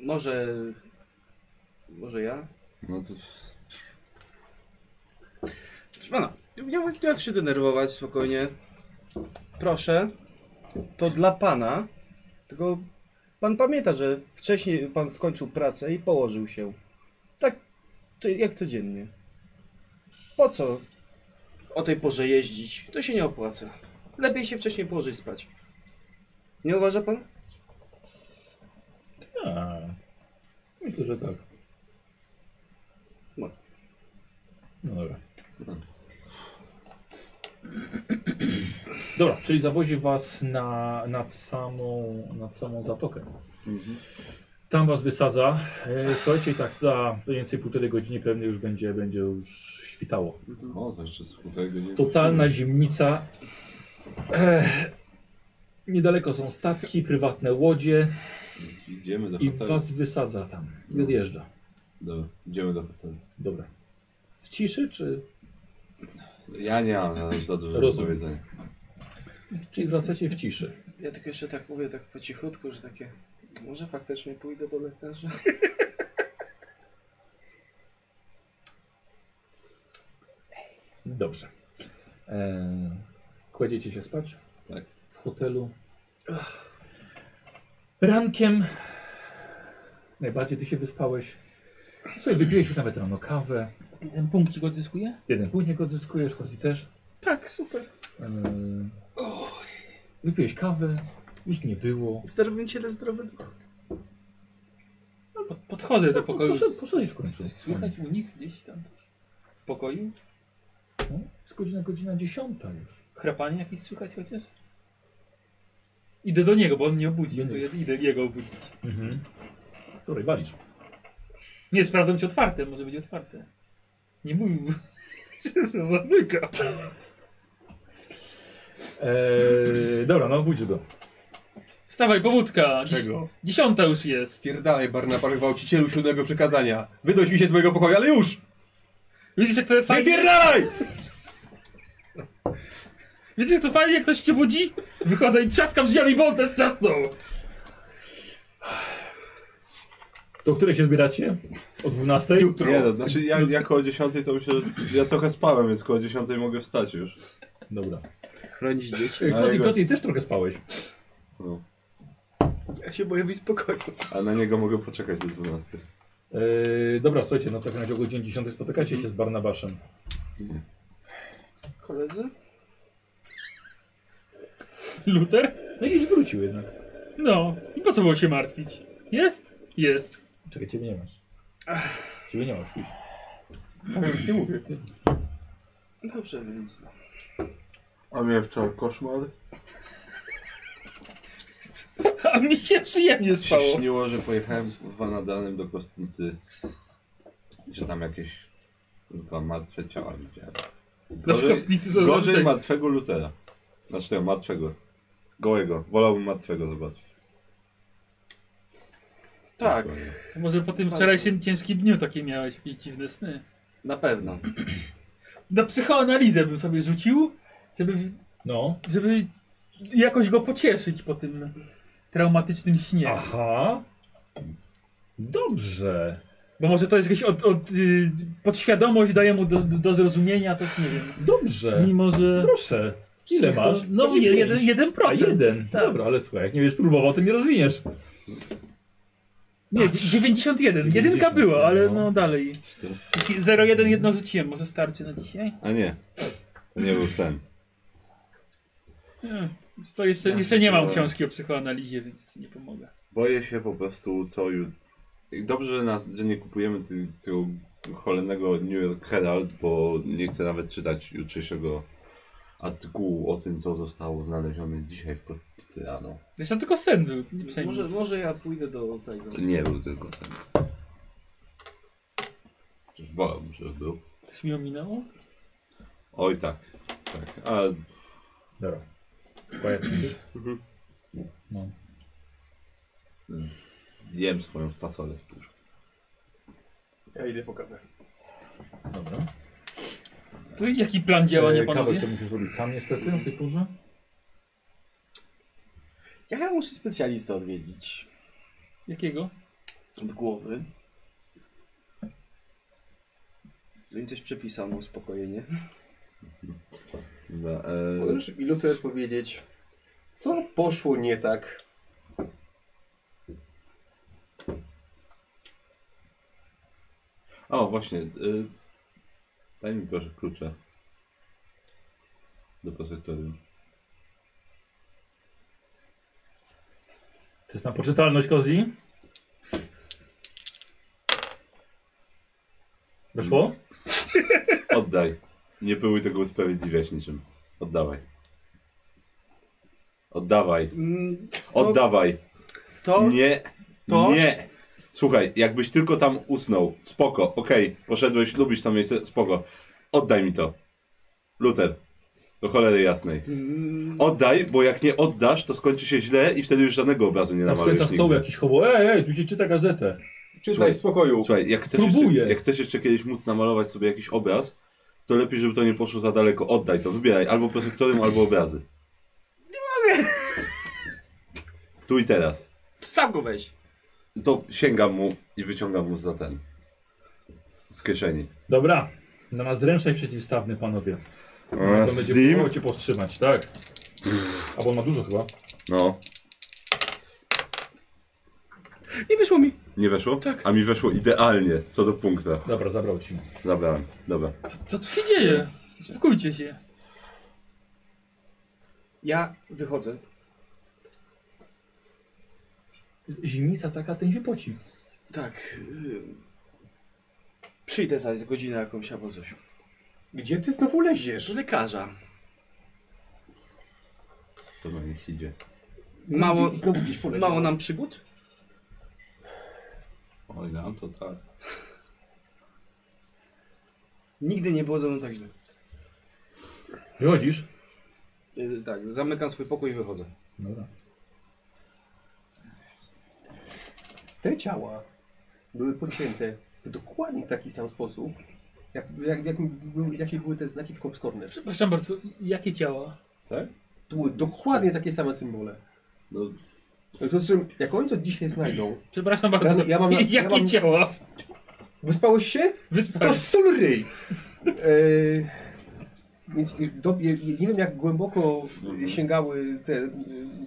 S7: Może... Może ja?
S4: No to...
S7: Proszę pana, nie, nie ma co się denerwować, spokojnie. Proszę, to dla pana, tylko pan pamięta, że wcześniej pan skończył pracę i położył się. Tak to jak codziennie. Po co o tej porze jeździć? To się nie opłaca. Lepiej się wcześniej położyć spać. Nie uważa pan?
S1: A, Myślę, że tak.
S7: No.
S1: No dobra. Dobra, czyli zawozi was na, nad, samą, nad samą zatokę. Tam was wysadza. E, Słuchajcie, i tak za mniej więcej półtorej godziny pewnie już będzie, będzie już świtało.
S4: No to jeszcze z półtorej godziny.
S1: Totalna zimnica. Ech. Niedaleko są statki, prywatne łodzie
S4: Idziemy do
S1: i
S4: hotelu.
S1: was wysadza tam. I odjeżdża.
S4: Dobra, idziemy do hotelu.
S1: Dobra. W ciszy, czy.
S4: Ja nie mam za dużo do
S1: Rozumiem.
S4: powiedzenia.
S1: Czyli wracacie w ciszy.
S7: Ja tylko jeszcze tak mówię, tak po cichutku, że takie... Może faktycznie pójdę do lekarza?
S1: Dobrze. Eee, kładziecie się spać?
S4: Tak.
S1: W hotelu. Rankiem. Najbardziej ty się wyspałeś. Słuchaj, wypiłeś już nawet rano kawę.
S3: Jeden punkcik odzyskuje?
S1: Jeden później go odzyskujesz, Kozi też.
S5: Tak, super.
S1: Eee, wypiłeś kawę, już nie było.
S5: W zdrowym ciele zdrowy duch.
S3: Pod, podchodzę do pokoju.
S1: Poszedł- Poszedłeś No, w końcu.
S3: Coś słychać u nich gdzieś tam? coś? W pokoju?
S1: No, jest godzina, godzina dziesiąta już.
S3: Chrapanie jakieś słychać chociaż? Idę do niego, bo on mnie obudził,
S1: Będę
S3: to ja
S1: już.
S3: idę jego obudzić.
S1: Mhm. Dobra, i walisz.
S3: Nie, sprawdzam ci otwarte, może być otwarte. Nie mówił, <laughs> że się zamyka.
S1: Eee, dobra, no budź go.
S3: Wstawaj, pobudka! Dziś-
S2: Czego?
S3: Dziesiąta już jest.
S2: Spierdalaj, Barnabar, gwałcicielu siódmego przekazania. Wydoś mi się z mojego pokoju, ale już!
S3: Widzisz, jak to fajnie,
S2: Wypierdalaj!
S3: widzisz, jak to fajnie, jak ktoś cię budzi? Wychodzę i trzaskam drzwiami, bo on też trzasnął.
S1: Do której się zbieracie? O 12?
S4: Nie no, znaczy ja, ja koło 10 to myślę, że ja trochę spałem, więc koło 10 mogę wstać już.
S1: Dobra.
S5: Chronić dzieci.
S1: Ej,
S4: A
S1: Kozi,
S4: jego-
S1: Kozi, też trochę spałeś.
S4: No.
S5: Ja się boję być spokojny.
S4: A na niego mogę poczekać do 12.
S1: Eee, dobra, słuchajcie, no tak na dzień 10 spotykacie się z Barnabaszem.
S7: Koledzy?
S3: Luther?
S1: No i gdzieś wrócił jednak.
S3: No. I po co było się martwić? Jest? Jest.
S1: Czekaj, ciebie nie masz. Ciebie nie masz, pójdź.
S2: Nie mówię.
S7: Dobrze, więc no.
S6: A miałem wczoraj koszmar.
S3: A mi się przyjemnie
S4: Mi się
S3: spało.
S4: śniło, że pojechałem wanadanem do kostnicy. i Że tam jakieś dwa martwe ciała widziałem.
S3: Na przykład nic są
S4: gorzej
S3: zazwyczaj-
S4: martwego Lutera. Znaczy tego martwego. Gołego. Wolałbym martwego zobaczyć.
S7: Tak,
S3: To Może po tym wczorajszym ciężkim dniu takie miałeś jakieś dziwne sny.
S7: na pewno.
S3: Na psychoanalizę bym sobie rzucił, żeby, w-
S1: No.
S3: żeby jakoś go pocieszyć po tym traumatycznym śnie.
S1: Aha. Dobrze.
S3: Bo No może to jest jakaś od, od, y, podświadomość daje mu do, do zrozumienia coś, nie wiem.
S1: Dobrze.
S3: Mimo, że...
S1: Proszę. Tak. Ile
S3: Psycho-
S1: masz?
S3: No
S1: Pewnie
S3: je-
S1: pięć.
S3: jeden, jeden
S1: A
S3: procent.
S1: jeden.
S3: Tak.
S1: Dobra, ale słuchaj, jak nie wiesz próbował, to nie rozwiniesz.
S3: Nie, dziew- 91.
S1: 90,
S3: Jedynka była, ale
S1: no.
S3: no dalej. 0-1 jedno rzuciłem, może starczy na dzisiaj?
S4: A nie. To nie był sen.
S3: Nie. Hmm. To jeszcze, jeszcze nie mam książki o psychoanalizie, więc ci nie pomogę.
S4: Boję się po prostu co ju... Dobrze, że, nas, że nie kupujemy ty, tego cholernego New York Herald, bo nie chcę nawet czytać jutrzejszego artykułu o tym, co zostało znalezione dzisiaj w kostnicy rano.
S3: Zresztą tylko sen był, to nie przejmuj.
S7: Może, może ja pójdę do tego.
S4: To nie był tylko sen. Przecież wolałbym, żeby był.
S3: Coś mi ominęło?
S4: Oj tak, tak, ale
S1: Dobra. Quiet przyjdziesz?
S2: Mhm.
S1: No.
S4: jem swoją fasolę z puszki.
S2: Ja idę po kawę.
S1: Dobra.
S3: To jaki plan działania,
S1: E, Kawę
S3: panowie?
S1: sobie musisz robić sam niestety na tej porze.
S7: Ja chyba muszę specjalistę odwiedzić.
S3: Jakiego?
S7: Od głowy. Żeby mi coś przepisał na uspokojenie.
S4: Dobra, e,
S10: Możesz mi Luther powiedzieć, co poszło nie tak?
S4: O, właśnie. Y, daj mi proszę klucze do posektorium.
S1: To jest na poczytalność Kozi. Weszło?
S4: Oddaj. Nie próbuj tego usprawiedliwiać niczym. Oddawaj. Oddawaj.
S7: Mm,
S4: Oddawaj.
S5: To
S4: Nie.
S5: to-
S4: Nie. Słuchaj, jakbyś tylko tam usnął. Spoko, okej. Poszedłeś, lubisz to miejsce, spoko. Oddaj mi to. Luther. Do cholery jasnej.
S10: Mm.
S4: Oddaj, bo jak nie oddasz, to skończy się źle i wtedy już żadnego obrazu
S1: Tam
S4: nie
S1: skończa
S4: namalujesz
S1: z Tak stołu
S4: nigdy.
S1: jakiś hobo. Ej, ej, tu się czyta gazetę.
S10: Czytaj
S4: Słuchaj,
S10: w spokoju.
S4: Słuchaj, jak chcesz, jeszcze,
S1: Próbuję.
S4: jak chcesz jeszcze kiedyś móc namalować sobie jakiś obraz, to lepiej, żeby to nie poszło za daleko. Oddaj to, wybieraj albo prosektorium, albo obrazy. Nie mogę. Tu i teraz.
S7: To sam go weź.
S4: To sięgam mu i wyciągam mu za ten. Z kieszeni.
S1: Dobra. No Na nas ręczaj przeciwstawny, panowie.
S4: E,
S1: To będzie
S4: z nim?
S1: próbował cię powstrzymać, tak? A bo on ma dużo chyba.
S4: No.
S5: Nie wyszło mi.
S4: Nie weszło? Tak. A mi weszło idealnie, co do punkta.
S1: Dobra, zabrał ci.
S4: Zabrałem. Dobra.
S3: Co tu się dzieje? Spokójcie się.
S7: Ja wychodzę.
S1: Zimnica taka, ten się poci.
S7: Tak. ym, Przyjdę za godzinę jakąś albo coś.
S10: Gdzie ty znowu leziesz?
S7: Do lekarza.
S4: To na nich idzie.
S7: Mało-
S10: I znowu gdzieś poleciał.
S7: Mało nam przygód?
S4: Oj, nam to tak.
S7: Nigdy nie było ze mną tak źle.
S1: Wychodzisz?
S7: Y, tak, zamykam swój pokój i wychodzę.
S1: Dobra.
S2: Te ciała były pocięte w dokładnie taki sam sposób, jak, jak, jak były, jakie były te znaki w Cops Corner.
S3: Przepraszam bardzo, jakie ciała?
S4: Tak?
S2: To były dokładnie takie same symbole.
S4: No,
S2: W związku z czym, jak oni to dzisiaj znajdą,
S3: Przepraszam
S2: Ja-
S3: bardzo,
S2: ja mam na- ja
S3: <laughs> jakie
S2: mam-
S3: ciała?
S2: wyspałeś się? To
S3: Wyspałem.
S2: sól ryj! E, więc i do, je- je- nie wiem, jak głęboko sięgały te y,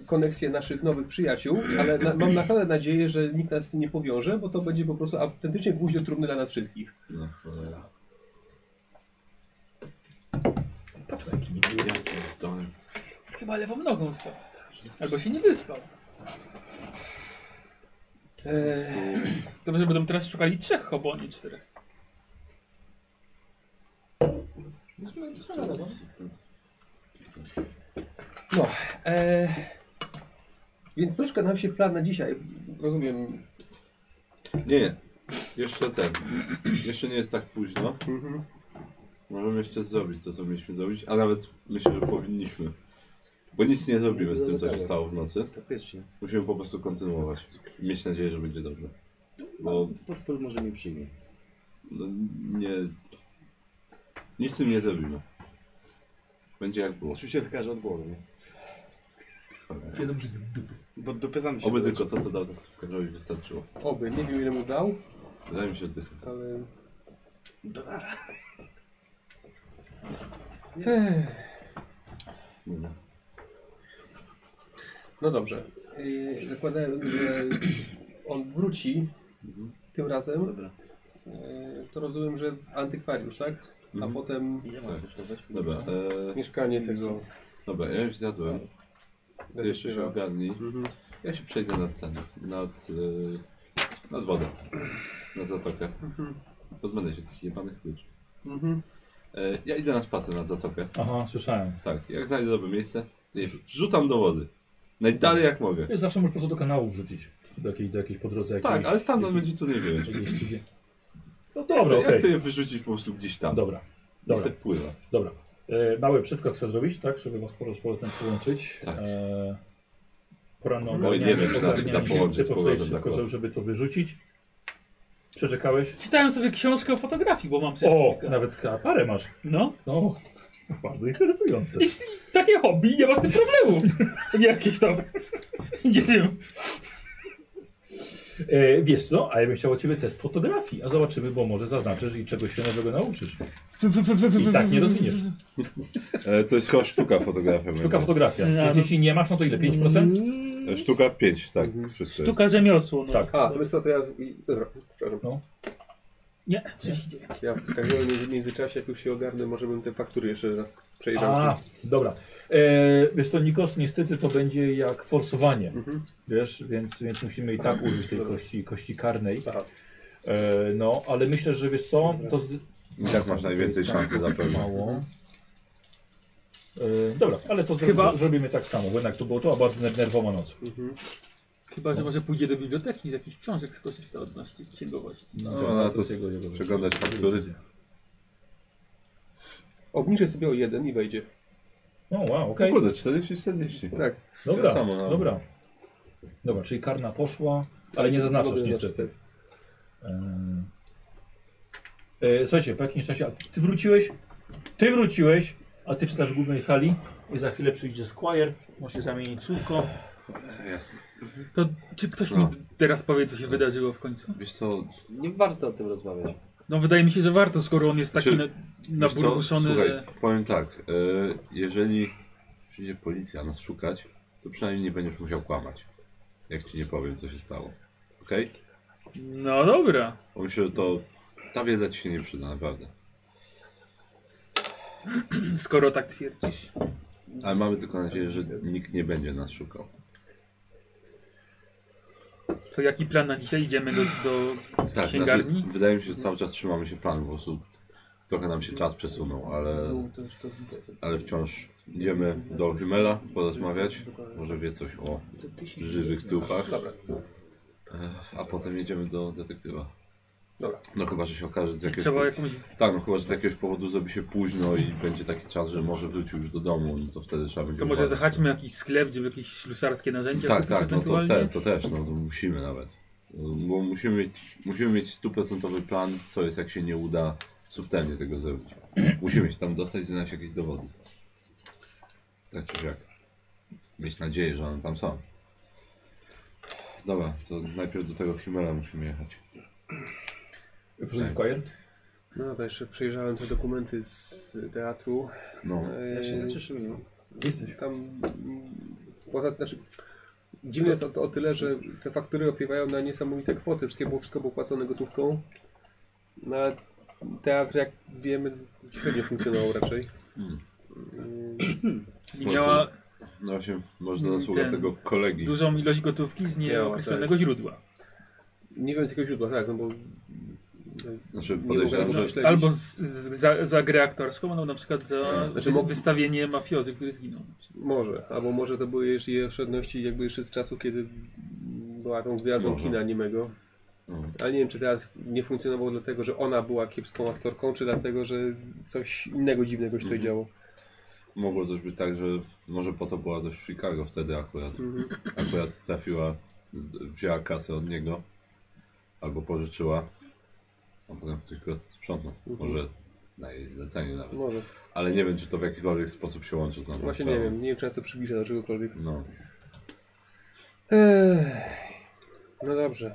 S2: koneksje naszych nowych przyjaciół, ale na, mam naprawdę nadzieję, że nikt nas z tym nie powiąże, bo to będzie po prostu autentycznie guźno trudny dla nas wszystkich.
S4: no, cholera.
S1: Patrz, jaki nie
S4: Ja pierdolę.
S3: Chyba lewą nogą stał. Albo się nie wyspał.
S2: E,
S3: To może będą teraz szukali trzech hobo, a nie czterech.
S2: No, e, więc troszkę nam się plan na dzisiaj, rozumiem.
S4: Nie, nie. Jeszcze ten. Jeszcze nie jest tak późno. Możemy jeszcze zrobić to, co mieliśmy zrobić, a nawet myślę, że powinniśmy. Bo nic nie zrobimy z tym, co się stało w nocy.
S7: Faktycznie.
S4: Musimy po prostu kontynuować. I Mieć nadzieję, że będzie dobrze. Bo
S7: Portfel może mnie przyjmie.
S4: no, nie. Nic z tym nie zrobimy. Będzie jak było.
S7: Oczywiście lekarze od głowy, nie?
S1: Wiadomo, że z dupy.
S7: Bo dopyzam się.
S4: Oby tylko to, co dał taksówkarzowi wystarczyło.
S2: Oby, nie wiem ile mu dał,
S4: Wydaje mi się oddychać.
S2: ale...
S4: Nie no.
S2: No dobrze. E, zakładając, że on wróci tym razem,
S7: Dobra.
S2: e, to rozumiem, że antykwariusz, tak? A
S4: Mhm.
S2: potem
S7: Ile mam kosztować?
S4: Dobra, e,
S2: mieszkanie tego...
S4: dobra, ja już zjadłem. Ty jeszcze się ogarnij. Ja się przejdę nad ten, nad, yy, nad wodę, nad zatokę. Pozbędę się tych jebanych ludzi.
S2: Mhm.
S4: E, ja idę na spacer nad zatokę.
S1: Aha, słyszałem.
S4: Tak, jak znajdę dobre miejsce, to je rzucam do wody. Najdalej jak mogę.
S1: Wiesz, zawsze możesz po prostu do kanału wrzucić. Do jakiej, do jakiejś po drodze.
S4: Tak,
S1: jakiejś-
S4: ale stamtąd
S1: jakiej-
S4: będzie tu nie wiem.
S1: jakiejś studzie. No dobra,
S4: ja chcę, ja
S1: okej.
S4: chcę je wyrzucić po prostu gdzieś tam.
S1: Dobra.
S4: Niech
S1: Dobra.
S4: se pływa.
S1: Dobra. E, mały przeskok chcę zrobić, tak? Żeby was po z powrotem połączyć.
S4: Tak.
S1: E, poranną
S4: No i nie wiem, czy nas uda połączyć
S1: Ty poszłeś
S4: z powrotem
S1: szybko,
S4: tak
S1: żeby- żeby to wyrzucić. Przeczekałeś.
S3: Czytałem sobie książkę o fotografii, bo mam przecież
S1: O,
S3: kilka.
S1: nawet ka- parę masz.
S3: No.
S1: No, <laughs> bardzo interesujące.
S3: Jeśli takie hobby, nie ma z tym problemu. Jakieś tam. Nie wiem.
S1: E, wiesz co, a ja bym chciał od ciebie test fotografii, a zobaczymy, bo może zaznaczysz i czegoś się nowego nauczysz. I tak nie rozwiniesz.
S4: E, to jest chyba sztuka fotografia.
S1: Sztuka fotografia. Więc jeśli nie masz, no to ile? 5%?
S4: E, Sztuka 5, tak. Wszystko jest.
S3: Sztuka rzemiosło. No.
S1: Tak.
S2: A, to myślę, to ja... i- Dobra, przepraszam.
S1: No.
S3: Nie, coś idzie.
S2: Ja w każdym razie w międzyczasie, jak już się ogarnę, może bym te faktury jeszcze raz przejrzał.
S1: A,
S4: tak.
S1: dobra. E, wiesz co, Nikos, niestety to będzie jak forsowanie.
S4: Mhm.
S1: Wiesz, więc, więc musimy i tak użyć tej kości, kości karnej. E, no, ale myślę, że wiesz co, to z...
S4: I tak masz najwięcej szansy zapewne.
S1: Mało. E, dobra, ale to
S3: Chyba-
S1: Chyba... zrobimy tak samo, bo jednak to było to, a bardzo ner- nerwowa noc.
S3: Chyba, że może pójdzie do biblioteki i z jakichś książek skorzysta odnośnie księgowości.
S4: No, ale to przeglądać faktury.
S2: Obniżę sobie o jeden i wejdzie.
S1: No, wow,
S4: No
S1: okej.
S4: kurde, 40-40.
S2: Tak.
S1: Dobra,
S4: Tyle samo, no.
S1: dobra. Dobra, czyli karna poszła, ale nie zaznaczasz
S2: Dobra,
S1: niestety. Ehm. E, słuchajcie, po jakimś czasie, a ty, ty wróciłeś, ty wróciłeś, a ty czytasz w głównej sali i za chwilę przyjdzie Squire, możecie zamienić słówko.
S4: Jasne.
S3: To czy ktoś
S4: No.
S3: mi teraz powie, co się wydarzyło w końcu?
S4: Wiesz co,
S7: Nie warto o tym rozmawiać.
S3: No wydaje mi się, że warto, skoro on jest taki
S4: Czy-
S3: na,
S4: Znaczy, wiesz co?
S3: naburmuszony,
S4: Słuchaj,
S3: że...
S4: powiem tak, e, jeżeli przyjdzie policja nas szukać, to przynajmniej nie będziesz musiał kłamać, jak ci nie powiem, co się stało. Okej?
S3: No dobra.
S4: Bo myślę, że to ta wiedza ci się nie przyda, naprawdę.
S3: Skoro tak twierdzisz.
S4: Ale mamy tylko nadzieję, że nikt nie będzie nas szukał.
S3: To jaki plan na dzisiaj? Idziemy do, do
S4: Tak, znaczy,
S3: księgarni?
S4: wydaje mi się, że cały czas trzymamy się planu, po prostu trochę nam się czas przesunął, ale, ale wciąż idziemy do Hymela porozmawiać, może wie coś o żywych trupach,
S2: Dobra,
S4: Ech, a potem jedziemy do detektywa.
S2: dobra.
S4: No chyba, że się okaże z jakiegoś...
S3: Trzeba jakąś...
S4: Tak, no chyba, że z jakiegoś powodu zrobi się późno i będzie taki czas, że może wrócił już do domu, no to wtedy trzeba będzie...
S3: To może
S4: uważać.
S3: zahaczmy jakiś sklep, gdzie jakieś ślusarskie narzędzia
S4: Tak,
S3: kupić
S4: tak, no to,
S3: ewentualnie?
S4: te, to też, no to musimy nawet. Bo musimy mieć, musimy mieć stuprocentowy plan, co jest, jak się nie uda subtelnie tego zrobić. Musimy się tam dostać i znaleźć jakieś dowody. Tak czy siak. Mieć nadzieję, że one tam są. Dobra, to najpierw do tego Himmela musimy jechać.
S1: Przyjdzie Squire.
S2: No dobra, jeszcze przejrzałem te dokumenty z teatru.
S4: No,
S2: Eee,
S7: Ja się zacieszyłem.
S1: Jesteś.
S2: Tam... mm, Poza, znaczy, dziwne jest o, o tyle, że te faktury opiewają na niesamowite kwoty. Wszystkie było, wszystko było płacone gotówką. No ale teatr, jak wiemy, średnio funkcjonował raczej.
S4: Mm.
S2: Mm,
S3: Czyli miała
S4: no właśnie, może zasługa
S3: Ten-
S4: tego kolegi.
S3: dużą ilość gotówki z
S4: tak.
S3: nieokreślonego źródła.
S2: Nie wiem z jakiego źródła, tak, no bo... no,
S4: Znaczy,
S2: nie
S4: podejrzewam,
S2: mogę
S4: że
S2: śledzić.
S3: Albo z, z, za, za grę aktorską, no na przykład za
S2: Znaczy,
S3: wys-
S2: mógł-
S3: wystawienie mafiozy, który zginął.
S2: Może, albo może to były jeszcze jej oszczędności jakby jeszcze z czasu, kiedy była tą gwiazdą
S4: Może.
S2: kina animego.
S4: Mhm.
S2: Ale nie wiem, czy teatr nie funkcjonował dlatego, że ona była kiepską aktorką, czy dlatego, że coś innego dziwnego się tutaj działo.
S4: Mogło też być tak, że może po to była dość w Chicago wtedy akurat.
S2: Mhm.
S4: Akurat trafiła, wzięła kasę od niego albo pożyczyła, a potem ktoś go sprzątnął.
S2: Mhm.
S4: Może na jej zlecenie nawet.
S2: Może.
S4: Ale nie wiem, czy to w jakikolwiek sposób się łączy z nami.
S2: Właśnie nie wiem, nie wiem, często przybliża do czegokolwiek.
S4: No,
S2: Ech. No dobrze.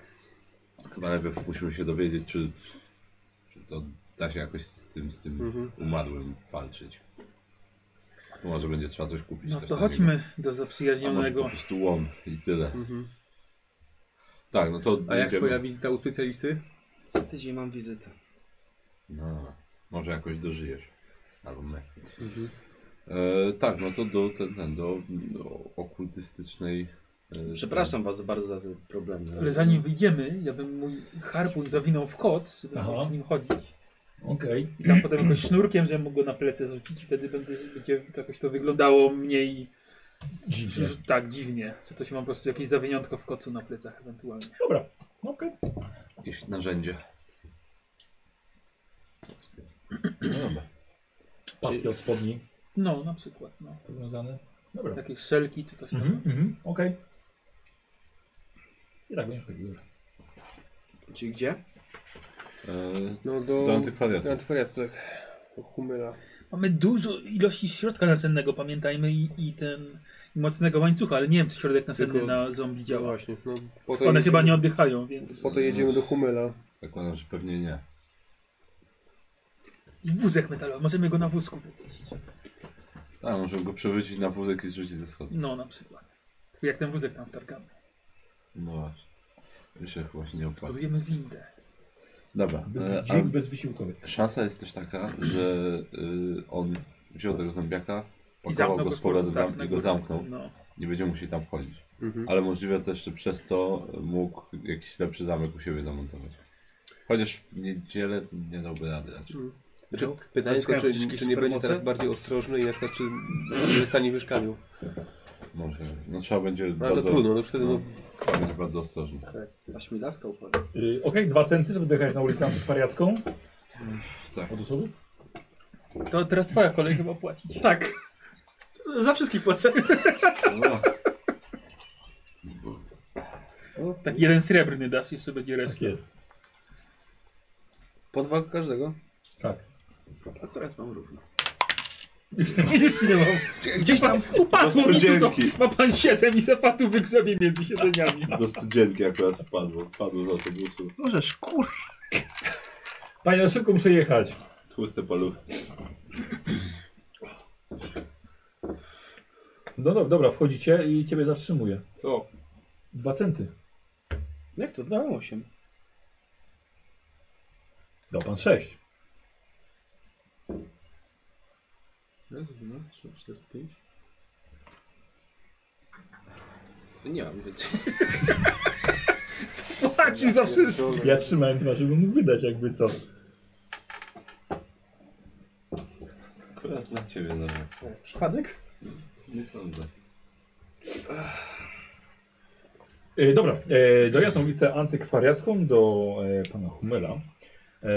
S4: chyba najpierw musimy się dowiedzieć, czy, czy to da się jakoś z tym, z tym
S2: Mhm.
S4: umarłym walczyć. Bo Może będzie trzeba coś kupić.
S3: No
S4: też
S3: to
S4: na niego.
S3: chodźmy do
S4: A może po
S3: zaprzyjaźnionego.
S4: prostu łom i tyle.
S2: Mhm.
S4: Tak, no to
S2: A jak
S4: idziemy.
S2: twoja wizyta u specjalisty?
S7: Co tydzień mam wizytę.
S4: No, może jakoś dożyjesz. Albo my.
S2: Mhm.
S4: E, tak, no to do, ten, ten, do, do okultystycznej. E,
S7: Przepraszam was bardzo za te problemy.
S3: Ale zanim wyjdziemy, ja bym mój harpun zawinął w kot, żeby
S1: Aha.
S3: mógł z nim chodzić.
S1: Okej.
S3: I tam potem jakoś sznurkiem, żebym mógł go na plecy rzucić i wtedy będzie, będzie to jakoś to wyglądało mniej...
S1: Dziwnie.
S3: Tak, dziwnie. Czy to się mam po prostu jakieś zawiniątko w kocu na plecach ewentualnie.
S1: Dobra, okej.
S4: Jakieś narzędzie. No dobra.
S1: Paski od spodni
S3: No, na przykład. No.
S1: powiązane. Dobra.
S3: Takie szelki czy coś tam.
S1: Mhm, mhm, okej. I tak będziesz chodził. dobra.
S7: Czyli gdzie?
S4: E,
S2: No do,
S4: Do antykwariatu.
S2: Do antykwariatu, tak. Do Humyla.
S3: Mamy dużo ilości środka nasennego, pamiętajmy, i, i ten i mocnego łańcucha, ale nie wiem, czy środek nasenny
S2: Tylko-
S3: na zombie
S2: No
S3: działa.
S2: właśnie. No, po to
S3: One
S2: jedziemy-
S3: chyba nie oddychają, więc.
S2: Po to jedziemy do Humyla.
S4: Zakładam, że pewnie nie.
S3: I wózek metalowy, możemy go na wózku wywieźć.
S4: A, Tak, możemy go przewrócić na wózek i zrzucić ze schodów.
S3: No, na przykład. Tylko jak ten wózek tam wtargamy.
S4: No właśnie. Myślę, że chyba się nie opłaca.
S3: Spozujemy windę.
S4: Dobra.
S1: Bez,
S4: e,
S1: dźwig bez wysiłkowy.
S4: a szansa jest też taka, że y, on wziął tego zombiaka,
S3: I
S4: pakował go z powrotem
S3: tak,
S4: tam
S3: na
S4: i go
S3: górę.
S4: zamknął.
S3: No.
S4: Nie będzie musiał tam wchodzić.
S2: Mhm.
S4: Ale możliwe też, że przez to mógł jakiś lepszy zamek u siebie zamontować. Chociaż w niedzielę nie dałby rady raczej.
S3: Mhm.
S2: Znaczy, pytanie
S5: Ale
S2: tylko, czy,
S5: skarb,
S2: czy,
S5: jakieś
S2: nie będzie
S5: supermoce?
S2: teraz bardziej ostrożny i na przykład, czy nie zostanie w mieszkaniu.
S4: Może tak być. No trzeba będzie
S2: No ale to
S4: bardzo...
S2: trudno, no wtedy no,
S4: Trzeba będzie bardzo ostrożnie.
S7: Aż mi laska upadła.
S1: Yy, okej, dwa centy, żeby dojechać na ulicę antykwariacką.
S4: Tak.
S1: Od osoby?
S3: To teraz twoja kolej chyba płacić.
S5: Tak. Za wszystkich płacę.
S4: No,
S3: Tak, jeden srebrny dasz, jeszcze będzie
S1: Tak
S3: reszta.
S1: jest.
S5: Po dwa każdego.
S1: Tak.
S5: Akurat mam równo.
S3: Już <laughs> nie, już nie mam.
S5: Gdzieś
S4: <laughs>
S5: tam.
S3: Upadło mi tu to.
S4: studzienki.
S3: Ma pan siedem i zapatu wygrzebie między siedzeniami.
S4: do studzienki akurat wpadło. Wpadło z autobusu.
S5: Możesz, kur...
S1: Panie, ja szybko muszę jechać.
S4: Tłuste paluchy.
S1: No dobra, dobra, wchodzicie i ciebie zatrzymuję.
S2: co?
S1: Dwa centy.
S5: Jak to? Dałem osiem.
S1: Dał pan sześć.
S2: Raz, dwa, trzy, cztery, pięć.
S7: No Nie mam więcej.
S3: Spłacił za wszystko.
S1: Ja trzymałem dwa, żeby mu wydać jakby co.
S4: Akurat dla ciebie zabrał.
S2: Przypadek?
S4: Nie sądzę.
S1: E, dobra, e, dojazd na ulicę antykwariacką do e, pana Humela. E,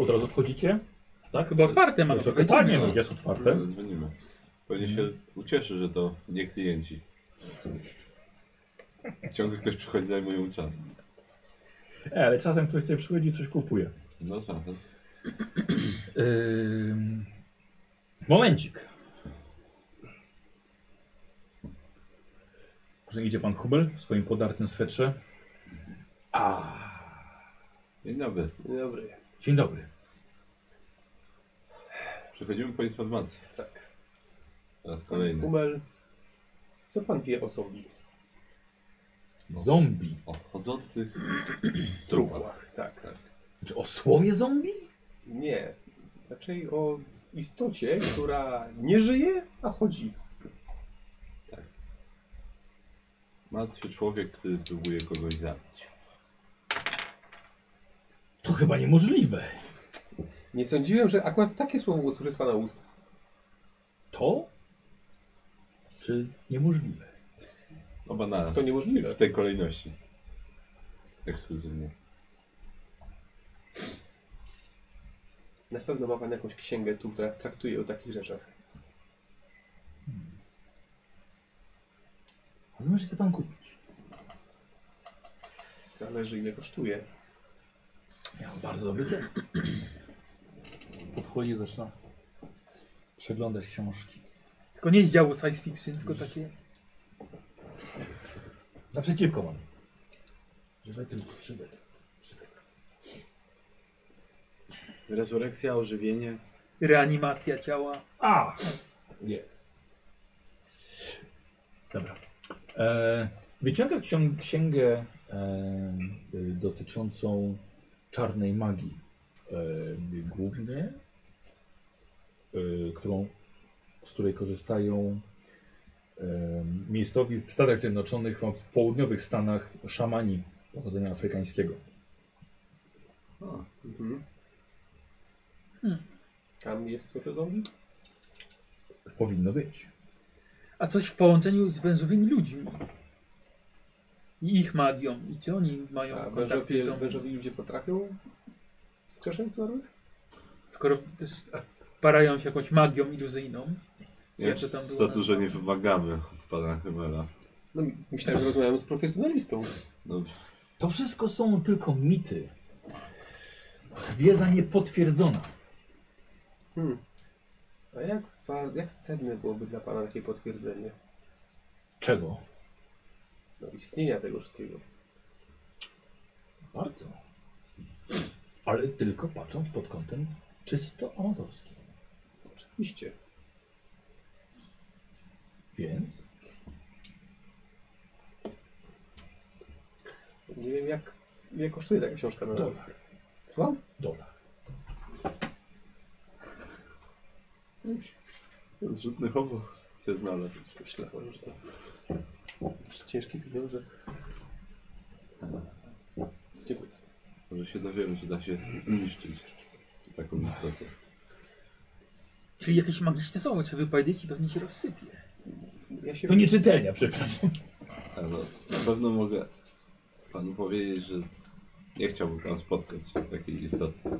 S1: od razu wchodzicie? Tak?
S3: Chyba otwarte ma.
S1: Jest
S3: to
S1: kopalnie,
S3: wejdziemy.
S1: no, jest otwarte.
S4: Yy, Dzwonimy. Pewnie się ucieszy, że to nie klienci. Ciągle ktoś przychodzi, zajmują czas.
S1: E, ale czasem ktoś tutaj przychodzi i coś kupuje.
S4: No czasem.
S1: Ym, Momencik. Może idzie pan Hubel w swoim podartym swetrze.
S4: Dzień dobry.
S2: Dzień dobry.
S1: Dzień dobry.
S4: Przechodzimy po informacje.
S2: Tak.
S4: Po raz kolejny.
S2: Humel. Co pan wie o zombie?
S1: No. Zombie.
S4: O
S2: <clears throat>
S4: chodzących trupach.
S2: Truchłach. Tak, tak.
S1: Znaczy o słowie zombie?
S2: Nie. Raczej o istocie, która nie żyje, a chodzi.
S4: Martwy człowiek, który próbuje kogoś zabić.
S1: To chyba niemożliwe.
S2: Nie sądziłem, że akurat takie słowo usłyszę z pana ust.
S1: To? Czy niemożliwe?
S4: Oba naraz.
S2: To niemożliwe.
S4: W tej kolejności. Ekskluzywnie.
S2: Na pewno ma pan jakąś księgę tu, która traktuje o takich rzeczach.
S1: Ale No może chce pan kupić.
S2: Zależy ile kosztuje.
S1: Miał bardzo dobry cel. Podchodzi, zaczyna przeglądać książki.
S3: Tylko nie z działu science fiction, tylko takie.
S1: Naprzeciwko mam. Żywe trup, żywe trup, żywe trup.
S7: Rezurekcja, ożywienie.
S3: Reanimacja ciała.
S1: A! Jest. Dobra. E, wyciąga ksią- księgę e, y, dotyczącą czarnej magii. E, głównie, e, którą, z której korzystają e, miejscowi w Stanach Zjednoczonych, w południowych Stanach, szamani pochodzenia afrykańskiego.
S2: Mhm.
S3: Hmm.
S2: Tam jest coś o zombie?
S1: Tak Powinno być.
S3: A coś w połączeniu z wężowymi ludźmi. I ich magią. I czy oni mają
S2: A
S3: kontakty z
S2: wężowie,
S3: zombie?
S2: wężowi ludzie potrafią skrzeszeń zmarłych?
S3: Skoro też parają się jakąś magią iluzyjną.
S4: Ja
S3: Zawsze
S4: już za
S3: było na-
S4: dużo nie wymagamy od pana Hymela.
S2: No, myślałem, że rozmawiam z profesjonalistą.
S4: No,
S1: To wszystko są tylko mity. Wiedza niepotwierdzona.
S2: Hmm. A jak, wa- jak cenne byłoby dla pana takie potwierdzenie
S1: Czego?
S2: no, istnienia tego wszystkiego?
S1: Bardzo. Ale tylko patrząc pod kątem czysto amatorskim.
S2: Oczywiście.
S1: Więc
S2: Nie wiem, jak, ile kosztuje taka książka na
S1: dolar,
S2: Słucham?
S1: dolar.
S4: zrzutny chowów się znalazł.
S2: Myślałem, że to jakieś ciężkie pieniądze. Dziękuję.
S4: Może się dowiemy, czy da się zniszczyć taką istotę.
S3: Czyli jakieś magiczne słowo cię wypowiedzieć i pewnie się rozsypie.
S2: Ja się...
S1: To nieczytelnia, przepraszam.
S4: Ale na pewno mogę panu powiedzieć, że nie chciałby pan spotkać takiej istoty.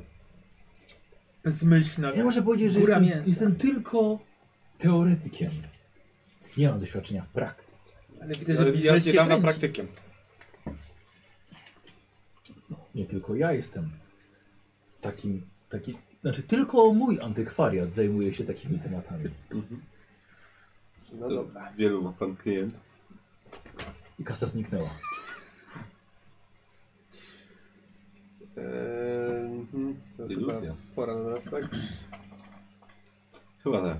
S3: Bezmyślna.
S1: Ja muszę powiedzieć, że
S3: góra
S1: jestem,
S3: mięsa.
S1: jestem tylko teoretykiem. Nie mam doświadczenia w praktyce.
S3: Ale widzę, że
S5: Ale ja
S3: biznes się
S5: niedawno
S3: kręci.
S5: praktykiem.
S1: Nie tylko ja jestem takim, taki, znaczy tylko mój antykwariat zajmuje się takimi tematami.
S2: No
S4: To
S2: dobra.
S4: Wielu ma pan klientów.
S1: I kasa zniknęła.
S2: Eee, mhm. to
S4: Iluzja.
S2: chyba pora na nas, tak?
S4: Chyba tak.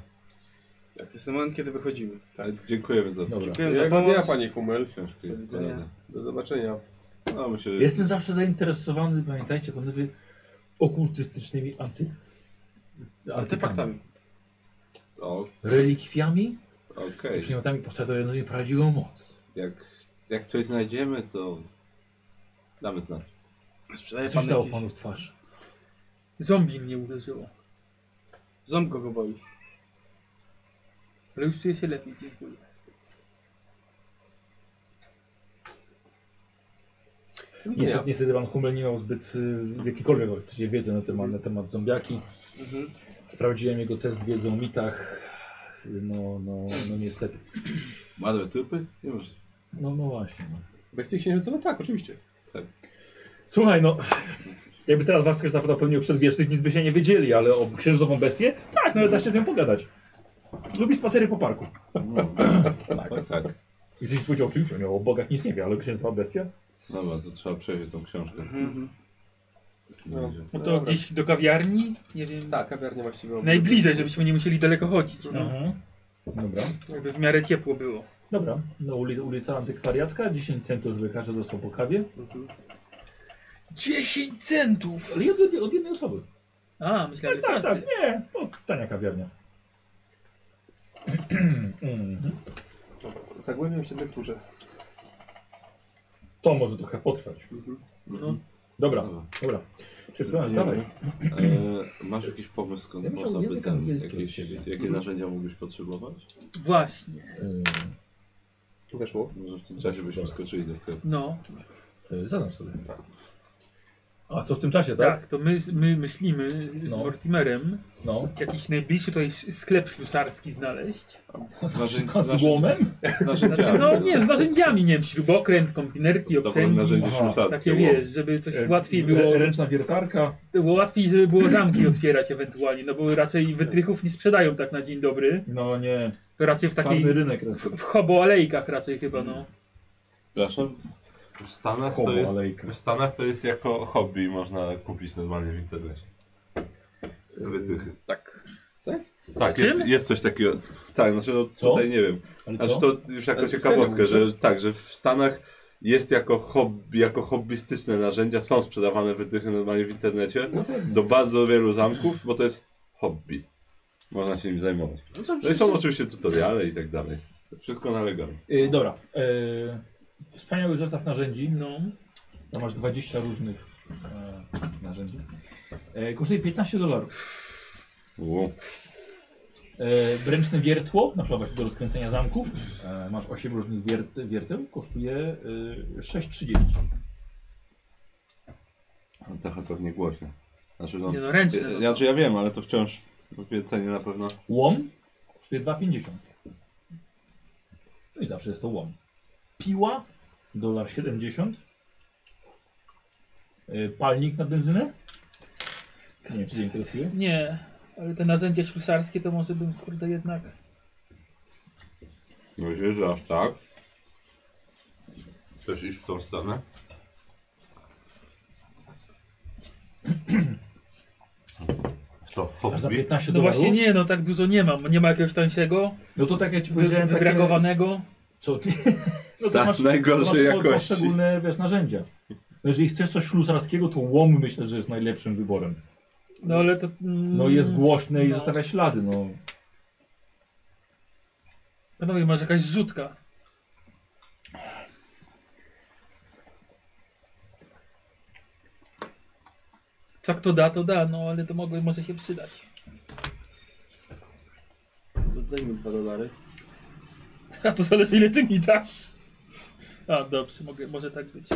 S7: Tak, to jest ten moment, kiedy wychodzimy.
S4: Ale dziękujemy za
S1: Dobra.
S7: Dziękuję za
S2: Miłego dnia,
S7: pomoc.
S2: panie Humel.
S4: książkę.
S7: Do widzenia.
S2: Tak. Do zobaczenia.
S4: No, myślę, że
S1: Jestem zawsze zainteresowany, pamiętajcie panowie, okultystycznymi anty... artefaktami.
S7: Artefaktami.
S4: o,
S1: Relikwiami i
S4: okej.
S1: przedmiotami posiadającymi prawdziwą moc.
S4: Jak, jak coś znajdziemy, to damy znać.
S7: Sprzedaje
S1: Coś
S7: pan
S1: dało
S7: jakieś...
S1: panu w twarz.
S3: Zombie mnie uderzyło.
S7: Ząb kogo boli.
S3: Ale już czuję się lepiej, dziękuję.
S1: Niestety, niestety pan Hummel nie miał zbyt y, jakiejkolwiek właściwie wiedzy na temat, na temat zombiaki.
S7: Mhm.
S1: Sprawdziłem jego test wiedzy o mitach. No, no, no niestety.
S4: Madłe trupy? Nie może.
S1: No, no właśnie. No.
S2: Bez tych księżycowych? Tak, oczywiście.
S1: Słuchaj, no. Jakby teraz was ktoś zapytał pewnie o przedwiecznych, nic by się nie wiedzieli, ale o księżycową bestię? Tak, nawet da się z nią pogadać. Lubi spacery po parku. <laughs>
S4: No,
S1: Tak.
S4: tak, tak.
S1: I ktoś powiedział, oczywiście, nie, o bogach nic nie wie, ale księżycowa bestia?
S4: Dobra, to trzeba przejrzeć tą książkę.
S2: Mhm. No.
S3: No to
S2: Dobra.
S3: gdzieś do kawiarni? Nie wiem.
S2: Tak, kawiarnia właściwie. obok.
S3: Najbliżej, żebyśmy nie musieli daleko chodzić. No.
S1: Mhm. Dobra.
S3: Jakby w miarę ciepło było.
S1: Dobra, no ulica, ulica Antykwariacka, 10 centów, żeby każdy dostał po kawie.
S2: Mhm.
S3: 10 centów!
S1: Ale od, jednej- od jednej osoby.
S3: A, myślałem, że
S1: Tak, tak,
S3: każdy.
S1: nie, to tania kawiarnia. Mhm.
S2: Zagłębiam się w lekturze.
S1: to może trochę potrwać.
S3: No.
S1: Dobra,
S4: Dobra.
S1: dobra. Przepraszam,
S4: Nie
S1: dawaj.
S4: wiem. E, masz jakiś pomysł, skąd
S1: Ja bym
S4: można
S1: chciał
S4: by
S1: język
S4: ten,
S1: angielski od
S4: jakieś,
S1: ciebie.
S4: jakie
S1: Mhm.
S4: narzędzia mógłbyś potrzebować?
S1: tak.
S3: Właśnie.
S1: Yy,
S2: Weszło.
S4: Może w tym czasie byśmy
S1: Dobra.
S4: skoczyli do sklepu.
S3: No,
S1: yy, zaznacz sobie. A co w tym czasie,
S3: tak,
S1: tak?
S3: to my, my myślimy z
S1: No.
S3: Mortimerem
S1: No.
S3: jakiś najbliższy tutaj sz- sklep ślusarski znaleźć.
S1: Na
S4: Narzędzi-
S1: przykład <laughs> z
S4: narzędzi-
S1: łomem?
S3: Znaczy, no nie, z narzędziami, nie wiem, śrubokręt, kombinerki,
S4: Podstawowe
S3: obcęgi.
S4: narzędzie
S1: Aha,
S4: ślusackie.
S3: Takie
S4: łom.
S3: wiesz, żeby coś
S1: E,
S3: łatwiej było,
S1: e, Ręczna wiertarka.
S3: było łatwiej, żeby było zamki otwierać ewentualnie, no bo raczej wytrychów nie sprzedają tak na dzień dobry,
S1: No nie,
S3: to raczej w takiej,
S1: czarny rynek.
S3: w, w hobo alejkach raczej chyba, no.
S4: Przepraszam. W Stanach,
S1: Hobo
S4: to jest,
S1: alejka.
S4: w Stanach to jest jako hobby, można kupić normalnie w internecie. Wytychy.
S2: Tak.
S4: Tak,
S3: czym?
S4: jest, jest coś takiego. Tak, znaczy no,
S1: Co?
S4: tutaj nie wiem.
S1: Ale
S4: Znaczy
S1: co?
S4: to już jako
S2: Ale
S4: ciekawostkę,
S2: serio,
S4: że tak, że w Stanach jest jako, hobby, jako hobbystyczne narzędzia, są sprzedawane wytychy normalnie w internecie do bardzo wielu zamków, bo to jest hobby. Można się nim zajmować. No i są oczywiście tutoriale i tak dalej. To Wszystko na Lego.
S1: Yy, dobra. Yy, wspaniały zestaw narzędzi.
S3: no.
S1: Tam masz 20 różnych e, narzędzi. E, kosztuje 15 dolarów.
S4: Wow.
S1: E, bręczne wiertło, na przykład właśnie do rozkręcenia zamków. E, masz 8 różnych wiert, wierteł, kosztuje e, 6,30.
S4: Trochę No pewnie głośno. Znaczy, no,
S3: Nie no, ręczne, no.
S4: Ja, znaczy ja wiem, ale to wciąż w cenie na pewno.
S1: Łom kosztuje 2,50. No i zawsze jest to łom. Piła dolar 70. Y, Palnik na benzynę? Nie wiem, czy cię interesuje.
S3: Nie, ale te narzędzia ślusarskie to może bym, kurde, jednak...
S4: No się, że aż tak. Chcesz iść w tą stronę? <clears throat> Co,
S1: Aż za
S4: hobby?
S1: 15
S3: No
S1: dolarów?
S3: właśnie nie, no tak dużo nie mam. Nie ma jakiegoś tańszego,
S1: No to tak jak ci
S3: wy-
S1: powiedziałem, takie-
S3: wybragowanego.
S1: Co ty? No to
S4: Tak, najgorszej
S1: masz po-
S4: jakości.
S1: poszczególne wiesz, narzędzia. No Jeżeli chcesz coś ślusarskiego, to łom myślę, że jest najlepszym wyborem.
S3: No ale to... mm,
S1: No jest głośne i
S3: no.
S1: zostawia ślady, no.
S3: Panowie, no masz jakaś rzutka. Co kto da, to da, no ale to mogę, może się przydać.
S6: Dajmy dwa dolary.
S3: <laughs> A to zależy ile ty mi dasz. A dobrze, mogę, może tak być.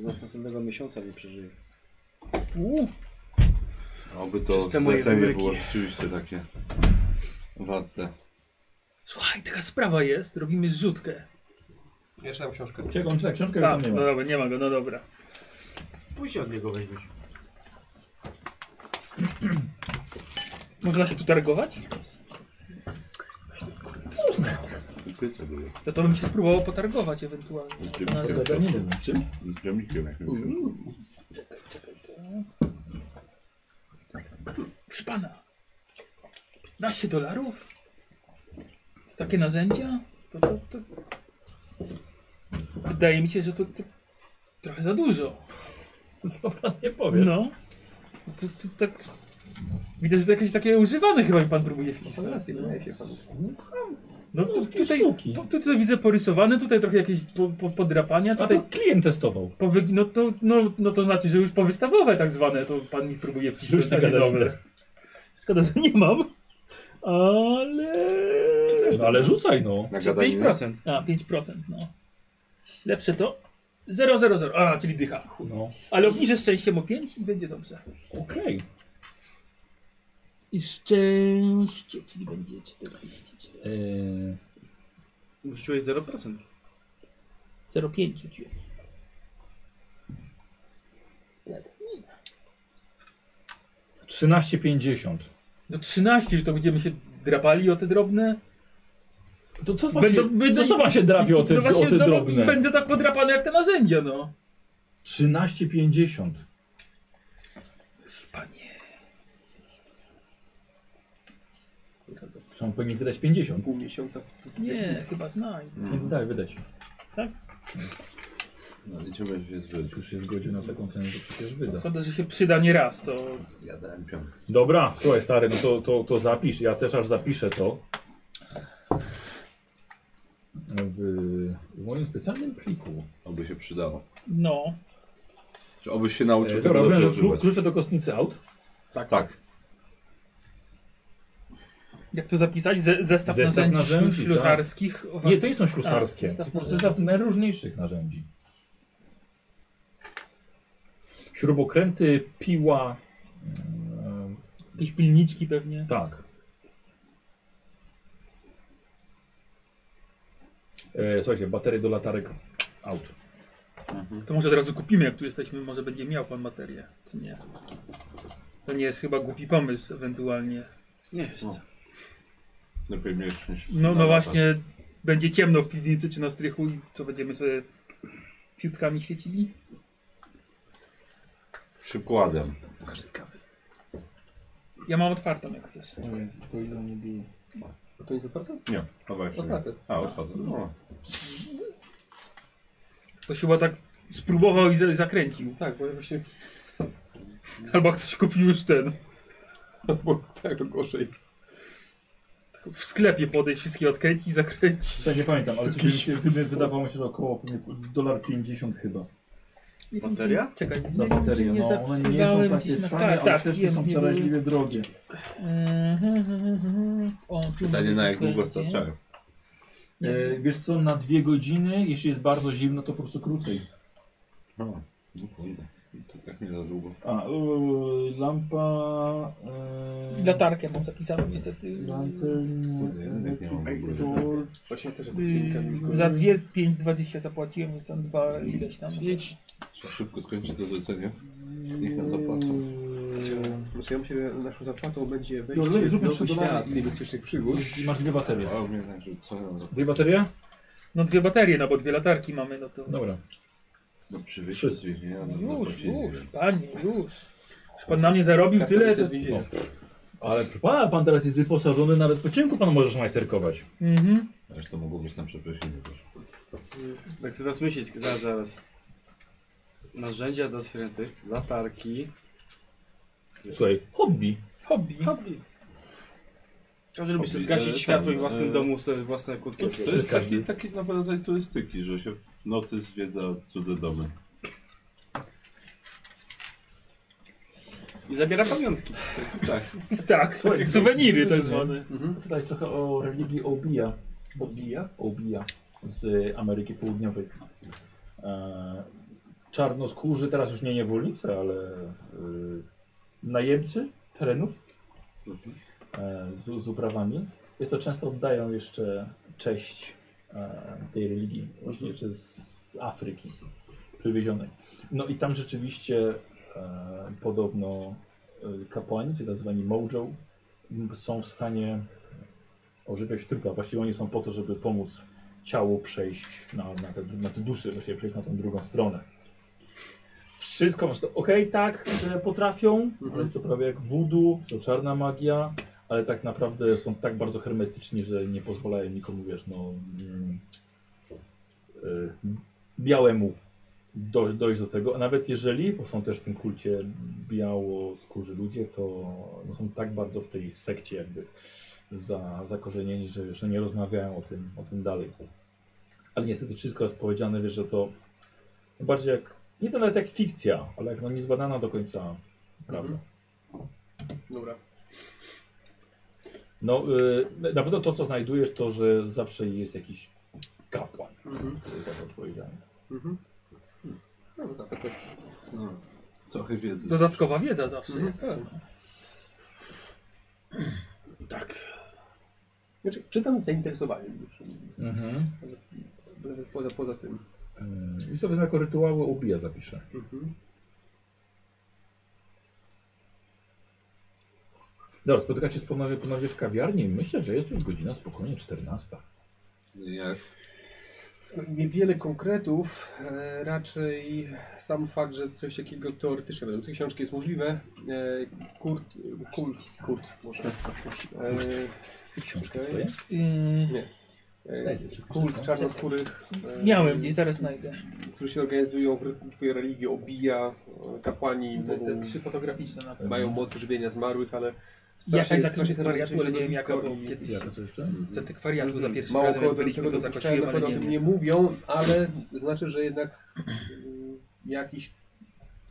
S7: Z nas następnego miesiąca nie przeżyje.
S3: Uuu,
S4: Oby to
S7: Czyste moje
S4: zlecenie
S7: wybryki.
S4: było rzeczywiście takie warte.
S3: słuchaj, taka sprawa jest, robimy zrzutkę.
S2: Ja czytam książkę.
S1: Czekam, czy tak, książkę
S3: A,
S1: tam nie ma.
S3: no dobra, nie ma go, no dobra.
S5: Później od niego weźmiesz.
S3: <clears throat> Można się tu targować?
S4: Kupyta były.
S3: No to bym się spróbował potargować ewentualnie. Na
S4: Dziękuję.
S1: Zgoda, nie wiem z
S3: no,
S1: czym.
S4: Z gromikiem jakimś.
S3: Proszę pana. 15 dolarów? To takie narzędzia? To, to, to... Wydaje mi się, że to, to trochę za dużo.
S1: Co pan nie powie?
S3: No. To, to, tak... Widać, że to jakieś takie używane chyba mi pan próbuje
S2: Pan
S3: wcisnąć.
S2: rację,
S3: no.
S2: wydaje się panu.
S3: No tu,
S1: Polskie
S3: tutaj,
S1: sztuki.
S3: tu- tutaj widzę porysowane, tutaj trochę jakieś po, po, podrapania,
S1: A
S3: tutaj...
S1: to klient testował.
S3: Powy... No, to, no, no to znaczy, że już powystawowe tak zwane, to pan mi próbuje wcisnąć
S1: Już taka
S3: takie nowe.
S1: dobra.
S3: tak Szkoda, że nie mam, ale...
S1: No, ale rzucaj no.
S4: Na
S7: Czy
S4: gadaninie?
S7: 5%?
S3: A, 5%, no. Lepsze to 0, 0, 0, a, czyli dycha. Chuj.
S1: no.
S3: Ale obniżę szczęściem o 5 i będzie dobrze.
S1: Okej.
S3: I szczęście, czyli będzie 44.
S1: Eee,
S7: Rzuciłeś 0%.
S3: 0,5 rzuciłem. Gadanina.
S1: 13,50.
S3: Do 13, No że to będziemy się drapali o te drobne.
S1: To co wam
S3: Będą-
S1: się,
S3: będą-
S1: to co wam się drapie o te,
S3: No właśnie,
S1: o te
S3: no,
S1: drobne?
S3: Będę tak podrapany jak te narzędzia, no.
S1: 13,50.
S3: Panie.
S1: Trzeba pewnie wydać 50.
S2: Pół miesiąca. w- w-
S3: Nie, chyba znajdę.
S1: Nie daj wydać.
S4: No idziemy się zbyć.
S1: Już się zgodził na taką cenę, to przecież wyda.
S3: Sądzę, że się przyda nie raz, to
S4: Ja dałem piątkę.
S1: Dobra, słuchaj stary, no to, to, to zapisz. Ja też aż zapiszę to. W, w moim specjalnym pliku.
S4: Oby się przydało.
S3: no.
S4: Czy obyś się nauczył
S1: E,
S4: tego
S1: dobra,
S4: dobrze
S1: rozumiem, że klu-
S4: używać?
S1: klucze do kostnicy aut.
S4: Tak, tak.
S3: Jak to zapisać? Ze,
S1: Zestaw
S3: zestaw, narzędzi,
S1: narzędzi,
S3: narzędzi ślutarskich. O,
S1: Nie, to nie są ślusarskie.
S3: A, zestaw
S1: To jest
S3: narzędzi.
S1: zestaw najróżniejszych narzędzi. Śrubokręty, piła. mm,
S3: Jakieś pilniczki pewnie.
S1: Tak. E, słuchajcie, baterie do latarek aut.
S3: Tak, To może od razu kupimy, jak tu jesteśmy. Może będzie miał pan materię, czy nie. To nie jest chyba głupi pomysł ewentualnie.
S7: Nie jest.
S4: No. Lepiej mieć niż...
S3: No, no właśnie, będzie ciemno w piwnicy czy na strychu i co, będziemy sobie fiutkami świecili?
S4: Przykładem.
S3: Ja mam otwartą, jak chcesz.
S6: O Jezu, po ile mnie bije.
S2: A to nie jest otwarte?
S4: Nie, to właśnie. nie.
S2: Otwarte.
S4: A, otwarte. No.
S3: To się chyba tak spróbował i z- zakręcił.
S2: Tak, bo ja właśnie... <laughs>
S3: Albo ktoś kupił już ten.
S2: Bo tak, to gorzej.
S3: W sklepie podejść, wszystkie odkręcić i zakręcić.
S1: Ja nie pamiętam, ale coś mi się, wtedy wydawało mi się, że około pewnie dolar 50 chyba.
S7: Bateria?
S3: Czekaj, nie
S1: Za
S3: wiem, czy
S1: baterię.
S3: nie
S1: No, one nie są
S3: zapisywałem
S1: takie
S3: gdzieś na- Tak,
S1: tanie, ale też nie
S3: wiem,
S1: są
S3: nie były.
S1: przeraźliwie drogie.
S3: Mhm, O, tu
S4: Pytanie
S3: może
S4: na
S3: być
S4: jak długo
S3: będzie.
S4: starczają.
S1: E, wiesz co, na dwie godziny, jeśli jest bardzo zimno, to po prostu krócej.
S4: No. No kurde, to tak nie za długo.
S1: A, yy, lampa... Yy,
S3: Latarkę mam zapisaną niestety.
S1: No,
S3: Y,
S4: Kurde, ja jednak nie mam w ogóle.
S6: Właśnie też
S1: tak
S3: Yy, za 2, 5, 20 zapłaciłem, więc tam dwa ileś tam.
S4: Trzeba szybko skończyć to zlecenie. Niech nam zapłacą.
S2: Znaczy ja myślę, że naszą zapłatą będzie
S1: No,
S2: wejście w
S1: zróbmy
S2: nowy
S1: trzy
S2: świat
S1: dolary.
S2: niebezpiecznych przygód.
S1: I masz dwie baterie.
S4: A mnie także co ja mam za...
S1: Dwie baterie?
S3: No dwie baterie, no bo dwie latarki mamy, no to...
S1: Dobra.
S4: No przywyższę z więzienia, no
S3: Już,
S4: zapłacili,
S3: już,
S4: więc-
S3: panie, już. Już pan na mnie zarobił tyle, to...
S2: to...
S1: Ale pan, pan teraz jest wyposażony, nawet po cienku pan możesz majsterkować.
S3: Mhm.
S4: Aż to mogło być tam przeprosiny też.
S7: Tak sobie teraz myśleć, zaraz, zaraz. Narzędzia do otwierania tych, latarki.
S1: Słuchaj, hobby.
S3: Hobby.
S7: Każdy lubi sobie
S4: Hobby,
S7: zgasić
S4: e,
S7: światło
S4: tam,
S7: i w własnym
S4: e,
S7: domu sobie własne
S4: To
S7: kłódki.
S4: jest
S1: każdy.
S4: taki, taki nowy rodzaj turystyki, że się w nocy zwiedza cudze domy.
S7: I zabiera pamiątki.
S4: Tak,
S3: Tak,
S1: Słuchaj,
S3: suweniry tak
S1: dobrze.
S3: zwane.
S1: Tutaj trochę o religii Obija. Obija? Obija z Ameryki Południowej. E, czarnoskórzy, teraz już nie niewolnicy, ale e, najemcy terenów e, z, z uprawami. Jest to często oddają jeszcze cześć e, tej religii, właśnie jeszcze z Afryki przywiezionej. No i tam rzeczywiście e, podobno e, kapłani, czy tak zwani mojo, m, są w stanie ożywiać trupy, a właściwie oni są po to, żeby pomóc ciału przejść na, na, te, na te duszy, właściwie przejść na tą drugą stronę. Wszystko masz to, okej, tak, e, potrafią, ale jest to prawie jak voodoo, jest to czarna magia, ale tak naprawdę są tak bardzo hermetyczni, że nie pozwalają nikomu, wiesz, no... Mm, y, białemu do, dojść do tego, a nawet jeżeli, bo są też w tym kulcie białoskórzy ludzie, to no, są tak bardzo w tej sekcie jakby za, zakorzenieni, że, że nie rozmawiają o tym, o tym dalej. Ale niestety wszystko jest powiedziane, wiesz, że to bardziej jak, nie to nawet jak fikcja, ale jak no niezbadana do końca prawda.
S2: Dobra.
S1: No, y, na pewno to, co znajdujesz, to, że zawsze jest jakiś kapłan, który jest za to odpowiedzialny.
S2: No bo tak, coś.
S4: no, trochę wiedzy.
S3: Dodatkowa wiedza zawsze.
S2: No Mhm.
S3: Tak.
S7: Tak.
S2: Znaczy, czytam z zainteresowaniem.
S1: Mhm.
S2: Nawet Poza, poza tym.
S1: I to wezmę Y, jako rytuały ubija zapiszę.
S2: Mhm.
S1: Dobra, spotykacie się ponownie, ponownie w kawiarni. Myślę, że jest już godzina spokojnie 14.
S4: Jak
S2: No, Niewiele konkretów, e, raczej sam fakt, że coś takiego teoretycznie według tej książki jest możliwe. E, Kurt, Kurt, Kurt, może.
S3: Tak,
S2: E,
S1: Książki
S2: Okej.
S1: twoje?
S3: Yy,
S2: nie. E,
S1: Daj sobie szybko,
S2: Kult
S1: szybko.
S2: czarnoskórych. e,
S3: miałem gdzieś, zaraz znajdę.
S2: Którzy się organizują, które religię obija, e, kapłani
S3: Te,
S2: mogą,
S3: te trzy fotograficzne na pewno.
S2: mają moc żywienia zmarłych, ale
S3: Jakaś
S2: strasznie, strasznie
S3: zakrycie
S2: hermetyczne
S3: wariatu, ale nie wiem jaka,
S2: środowisko
S3: bo
S2: i-
S3: kiedyś
S1: Jaka co jeszcze?
S3: z antykwariatu za pierwszym
S2: Mhm. Mało
S3: razem
S2: kogo
S3: jak
S2: do
S3: byliśmy
S2: tego
S3: to
S2: dopuszczają,
S3: zakończyłem,
S2: na
S3: ale
S2: pewno o
S3: nie
S2: tym
S3: wiem.
S2: nie mówią, ale znaczy, że jednak mm, jakiś...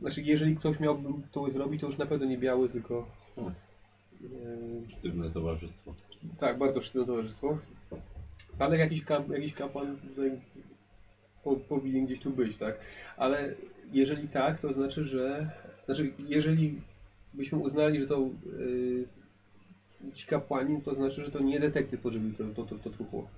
S2: Znaczy, jeżeli ktoś miałby to zrobić, to już na pewno nie biały, tylko...
S4: Hmm.
S2: e,
S4: sztywne towarzystwo.
S2: tak, bardzo szczytne towarzystwo. Ale jakiś, kap, jakiś kapłan tutaj po, powinien gdzieś tu być, tak? Ale jeżeli tak, to znaczy, że... Znaczy, jeżeli byśmy uznali, że to... e, ci kapłani, to znaczy, że to nie detektyw pożywił to, to, to, to truchło.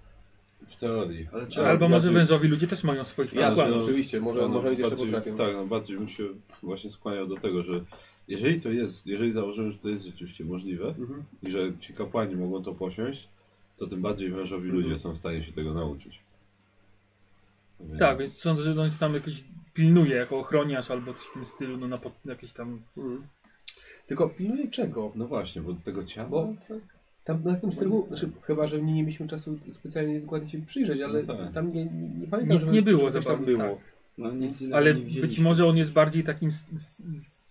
S4: W teorii.
S7: Ale czy...
S4: Tak,
S3: Albo może
S4: bardziej-
S3: wężowi ludzie też mają swoich
S4: Ja
S2: Jasne,
S3: kapłanów.
S4: no,
S2: oczywiście, może,
S4: no,
S2: może oni jeszcze
S4: bardziej-
S2: potrafią.
S4: Tak, no bardziej bym się właśnie skłaniał do tego, że jeżeli to jest, jeżeli założymy, że to jest rzeczywiście możliwe
S2: Mhm.
S4: i że ci kapłani mogą to posiąść, to tym bardziej wężowi ludzie są w stanie się tego nauczyć. Więc...
S3: Tak, więc sądzę, że on tam jakiś pilnuje jako ochroniarz albo coś w tym stylu, no na pod, jakieś tam...
S2: Mhm. Tylko pilnuję czego?
S4: No właśnie, bo tego ciała...
S2: Bo
S4: tak.
S2: tam na tym strychu, znaczy, chyba, że nie mieliśmy czasu specjalnie dokładnie się przyjrzeć, ale
S4: No tak.
S2: tam nie, nie, nie pamiętam,
S3: Nic
S2: żeby
S3: nie było
S2: coś
S3: za
S2: tam tak,
S3: bardzo,
S2: było.
S7: No nic innego
S3: Ale
S7: nie
S3: być
S7: widzieliśmy.
S3: może on jest bardziej takim s- s- s-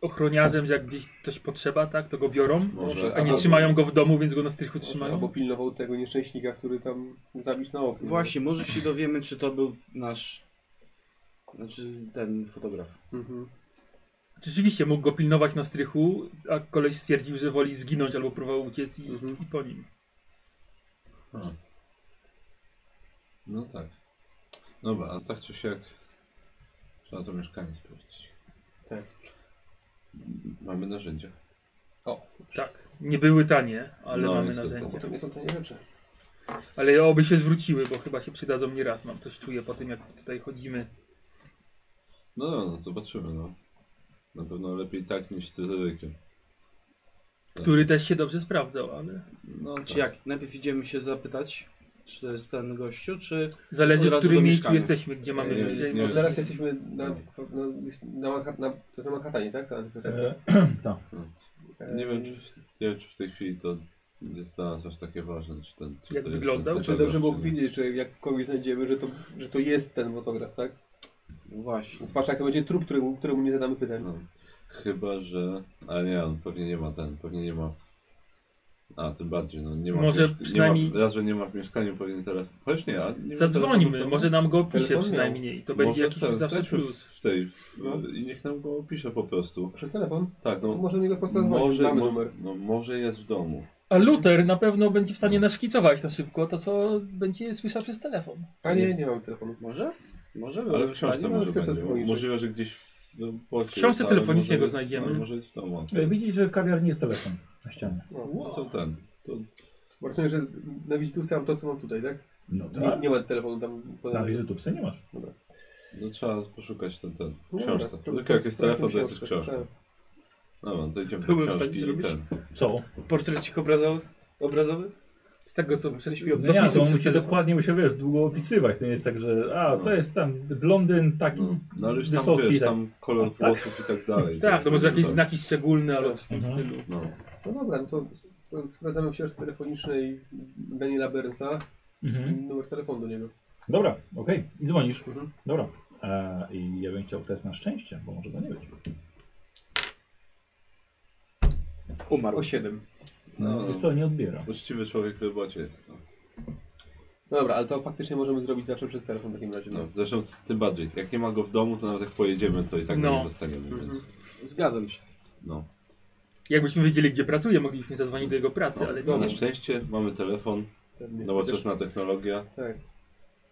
S3: ochroniarzem, że jak gdzieś coś potrzeba, tak, to go biorą,
S4: Może,
S3: a nie
S2: Albo-
S3: trzymają go w domu, więc go na strychu trzymają.
S2: Albo pilnował tego nieszczęśnika, który tam zabił na oknie.
S7: Właśnie, może się dowiemy, czy to był nasz... Znaczy, ten fotograf.
S2: Mhm.
S3: Rzeczywiście mógł go pilnować na strychu, a koleś stwierdził, że woli zginąć albo próbował uciec i,
S2: Mhm.
S3: i po nim.
S4: No tak. Dobra, a tak czy siak Trzeba to mieszkanie sprawdzić.
S2: Tak.
S4: Mamy narzędzia.
S2: O,
S3: tak. Nie były tanie, ale
S4: No,
S3: mamy
S4: niestety.
S3: narzędzia.
S2: To nie są tanie rzeczy.
S3: Ale oby się zwróciły, bo chyba się przydadzą nieraz. Mam coś czuję po tym, jak tutaj chodzimy.
S4: Tak. No, no, no zobaczymy, no. Na pewno lepiej tak niż z Cezarykiem.
S3: Który też się dobrze sprawdzał, ale
S7: No,
S3: tak.
S7: czy jak? Najpierw idziemy się zapytać, czy to jest ten gościu, czy...
S3: Zależy,
S7: od
S3: w
S7: razu
S3: którym
S7: do
S3: miejscu
S7: mieszkania?
S3: jesteśmy, gdzie mamy
S4: Nie,
S3: bliżej.
S4: nie.
S3: może-
S2: Zaraz jesteśmy na, na, na, Manha- na, to jest na Manhattanie, tak? Ta antykwariacja.
S1: Tak.
S4: Nie wiem, czy w, nie wiem, czy w tej chwili to jest dla nas aż takie ważne, czy ten... Czy
S3: Jak
S4: to jest ten
S3: wyglądał?
S2: Znaczy,
S4: fotograf,
S2: dobrze było
S4: czy nie.
S2: powiedzieć, że jak kogoś znajdziemy, że to, że to jest ten fotograf, tak?
S7: No właśnie.
S2: Zwłaszcza jak to będzie trup, któremu, któremu nie zadamy pytań.
S4: No. Chyba, że... Ale nie, on pewnie nie ma ten, pewnie nie ma... A, tym bardziej, no nie ma... w
S3: Może
S4: mieszk-
S3: przynajmniej-
S4: Nie ma, w- raz, że nie ma w mieszkaniu pewnie teraz... Chociaż nie, a... nie ma telefonu,
S3: Zadzwońmy,
S4: to-
S3: może nam go pisze
S2: Telefon
S3: przynajmniej. To
S4: Może
S3: będzie jakiś
S4: ten,
S3: już zawsze
S4: znajdźmy w-
S3: plus.
S4: W tej... W,
S2: No.
S4: I niech nam go opisze po prostu.
S2: Przez telefon?
S4: Tak,
S2: To
S4: no...
S2: może niego po prostu zadzwonić,
S4: Może,
S2: damy
S4: mo-
S2: numer.
S4: no, może jest w domu.
S3: A Luther na pewno będzie w stanie naszkicować na szybko to, co będzie słyszał przez telefon.
S2: A nie, nie mam telefonu.
S7: Może?
S3: No,
S7: Może?
S4: Ale w
S7: był
S4: książce
S2: stanie,
S4: może
S2: ale w książce
S4: będzie.
S2: telefonicznej.
S4: Możliwe, że gdzieś w, no, płocie
S3: W książce
S4: jest, ale może
S3: telefonicznej go
S4: jest-
S3: znajdziemy.
S4: ale Może jest w domu.
S1: E, Widzisz, że w kawiarni jest telefon na ścianie.
S2: No.
S4: No to ten. To...
S2: Bo rozumiem, że na wizytówce mam to, co mam tutaj, tak?
S1: No
S2: Nie,
S1: tak.
S2: nie ma telefonu tam
S1: Na
S2: podane.
S1: wizytówce nie masz.
S2: Dobra.
S4: No trzeba poszukać ten, ten. w
S2: No dobra,
S4: Książce.
S2: sprawdź-
S4: Tylko jak jest
S2: sprawdźmy
S4: telefon, to jest
S2: książkę,
S4: książka.
S2: tak.
S4: Dobra, to idziemy do
S7: Byłbym w stanie
S4: książki i
S7: zrobić.
S4: ten.
S1: Co?
S7: Portrecik obrazowy? obrazowy?
S3: Z tego, co przez
S7: Jesteśmy
S1: No nie,
S3: co
S1: to
S3: przez
S1: musi
S3: telefon.
S1: dokładnie musiał, wiesz, długo opisywać. To nie jest tak, że a, to
S4: No.
S1: jest tam blondyn taki
S4: No, no ale już tam,
S1: wysoki.
S4: wiesz,
S1: tak.
S4: tam kolor włosów i tak dalej.
S3: Tak, to może jakieś
S4: Tak.
S3: znaki szczególne albo coś w tym
S1: Mhm.
S3: stylu.
S4: No.
S2: No dobra, no to sp- sprawdzamy w książce telefonicznej Daniela Bernsa
S1: Mhm.
S2: numer telefonu do niego.
S1: Dobra, okej. I dzwonisz.
S2: Mhm.
S1: Dobra. E, I ja bym chciał test na szczęście, bo może to nie być.
S7: Umarł.
S2: O 7.
S4: No,
S1: Wiesz co, nie odbiera.
S4: Uczciwy człowiek w robocie jest. No.
S2: No dobra, ale to faktycznie możemy zrobić zawsze przez telefon w takim razie.
S4: No, zresztą tym bardziej. Jak nie ma go w domu, to nawet jak pojedziemy, to i tak
S3: No.
S4: go nie zostaniemy. Więc,
S7: Zgadzam się.
S4: no.
S3: Jakbyśmy wiedzieli, gdzie pracuje, moglibyśmy zadzwonić do jego pracy, ale
S4: no,
S3: nie.
S4: na szczęście mamy telefon,
S2: Pewnie.
S4: nowoczesna technologia,
S2: Chociaż- Tak.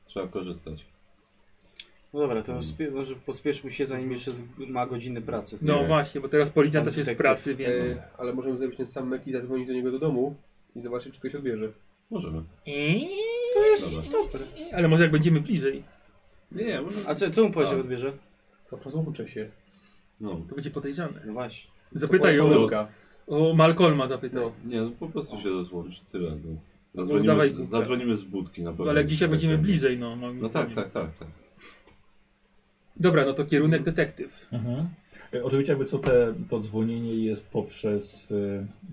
S4: trzeba korzystać.
S7: No dobra,
S3: Hmm.
S7: to spie- może pospieszmy się, zanim jeszcze z- ma godziny pracy.
S3: No
S4: Nie.
S3: właśnie, bo teraz policjant
S7: Pan
S3: też jest w
S7: detektyw.
S3: pracy, więc...
S2: E, ale możemy zrobić ten sam mek i zadzwonić do niego do domu i zobaczyć, czy ktoś odbierze.
S4: Możemy.
S3: To jest
S4: Dobra.
S3: dobre. Ale może jak będziemy bliżej,
S4: Nie, nie, może.
S7: A co, co mu powiedział
S4: A.
S7: odbierze?
S2: To rozłączę się.
S4: No.
S3: to będzie podejrzane.
S7: No właśnie.
S3: Zapytaj
S2: Moja
S3: o,
S2: pomyłka.
S3: o Malcolma, zapytaj.
S2: No.
S4: Nie, no po prostu się rozłączy, tyle. No.
S3: No,
S4: Zadzwonimy,
S3: dawaj budkę.
S4: zadzwonimy z budki na pewno.
S3: Ale gdzieś jak będziemy
S4: Tak,
S3: bliżej, no. moim
S4: No tak,
S3: zdaniem.
S4: tak, tak, tak.
S3: Dobra, no to kierunek detektyw.
S1: Mhm. E, Oczywiście jakby co te, to dzwonienie jest poprzez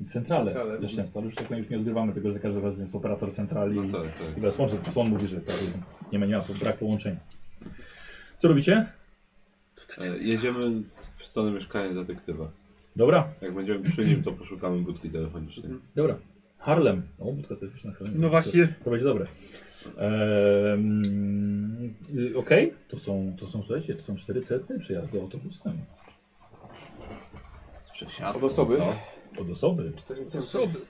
S1: e, centralę.
S2: Centralę.
S1: Też często, ale już tak powiem, już nie odgrywamy tego, że za każdym razem jest operator centrali.
S4: No tak, tak.
S1: I teraz łączy, to on mówi, że tak, nie ma, nie ma to brak połączenia. Co robicie?
S4: E, Jedziemy w stronę mieszkania detektywa.
S1: Dobra,
S4: Jak będziemy przy nim, to poszukamy budki telefonicznej.
S1: dobra. Harlem. O, budka też już na Harlem.
S3: No właśnie,
S1: To będzie dobre. Ehm, y, Okej, to, są, to są, słuchajcie, to są 400 przejazdy autobusem.
S4: Z przesiadką.
S2: Od osoby?
S4: co?
S1: Od osoby.
S3: osoby.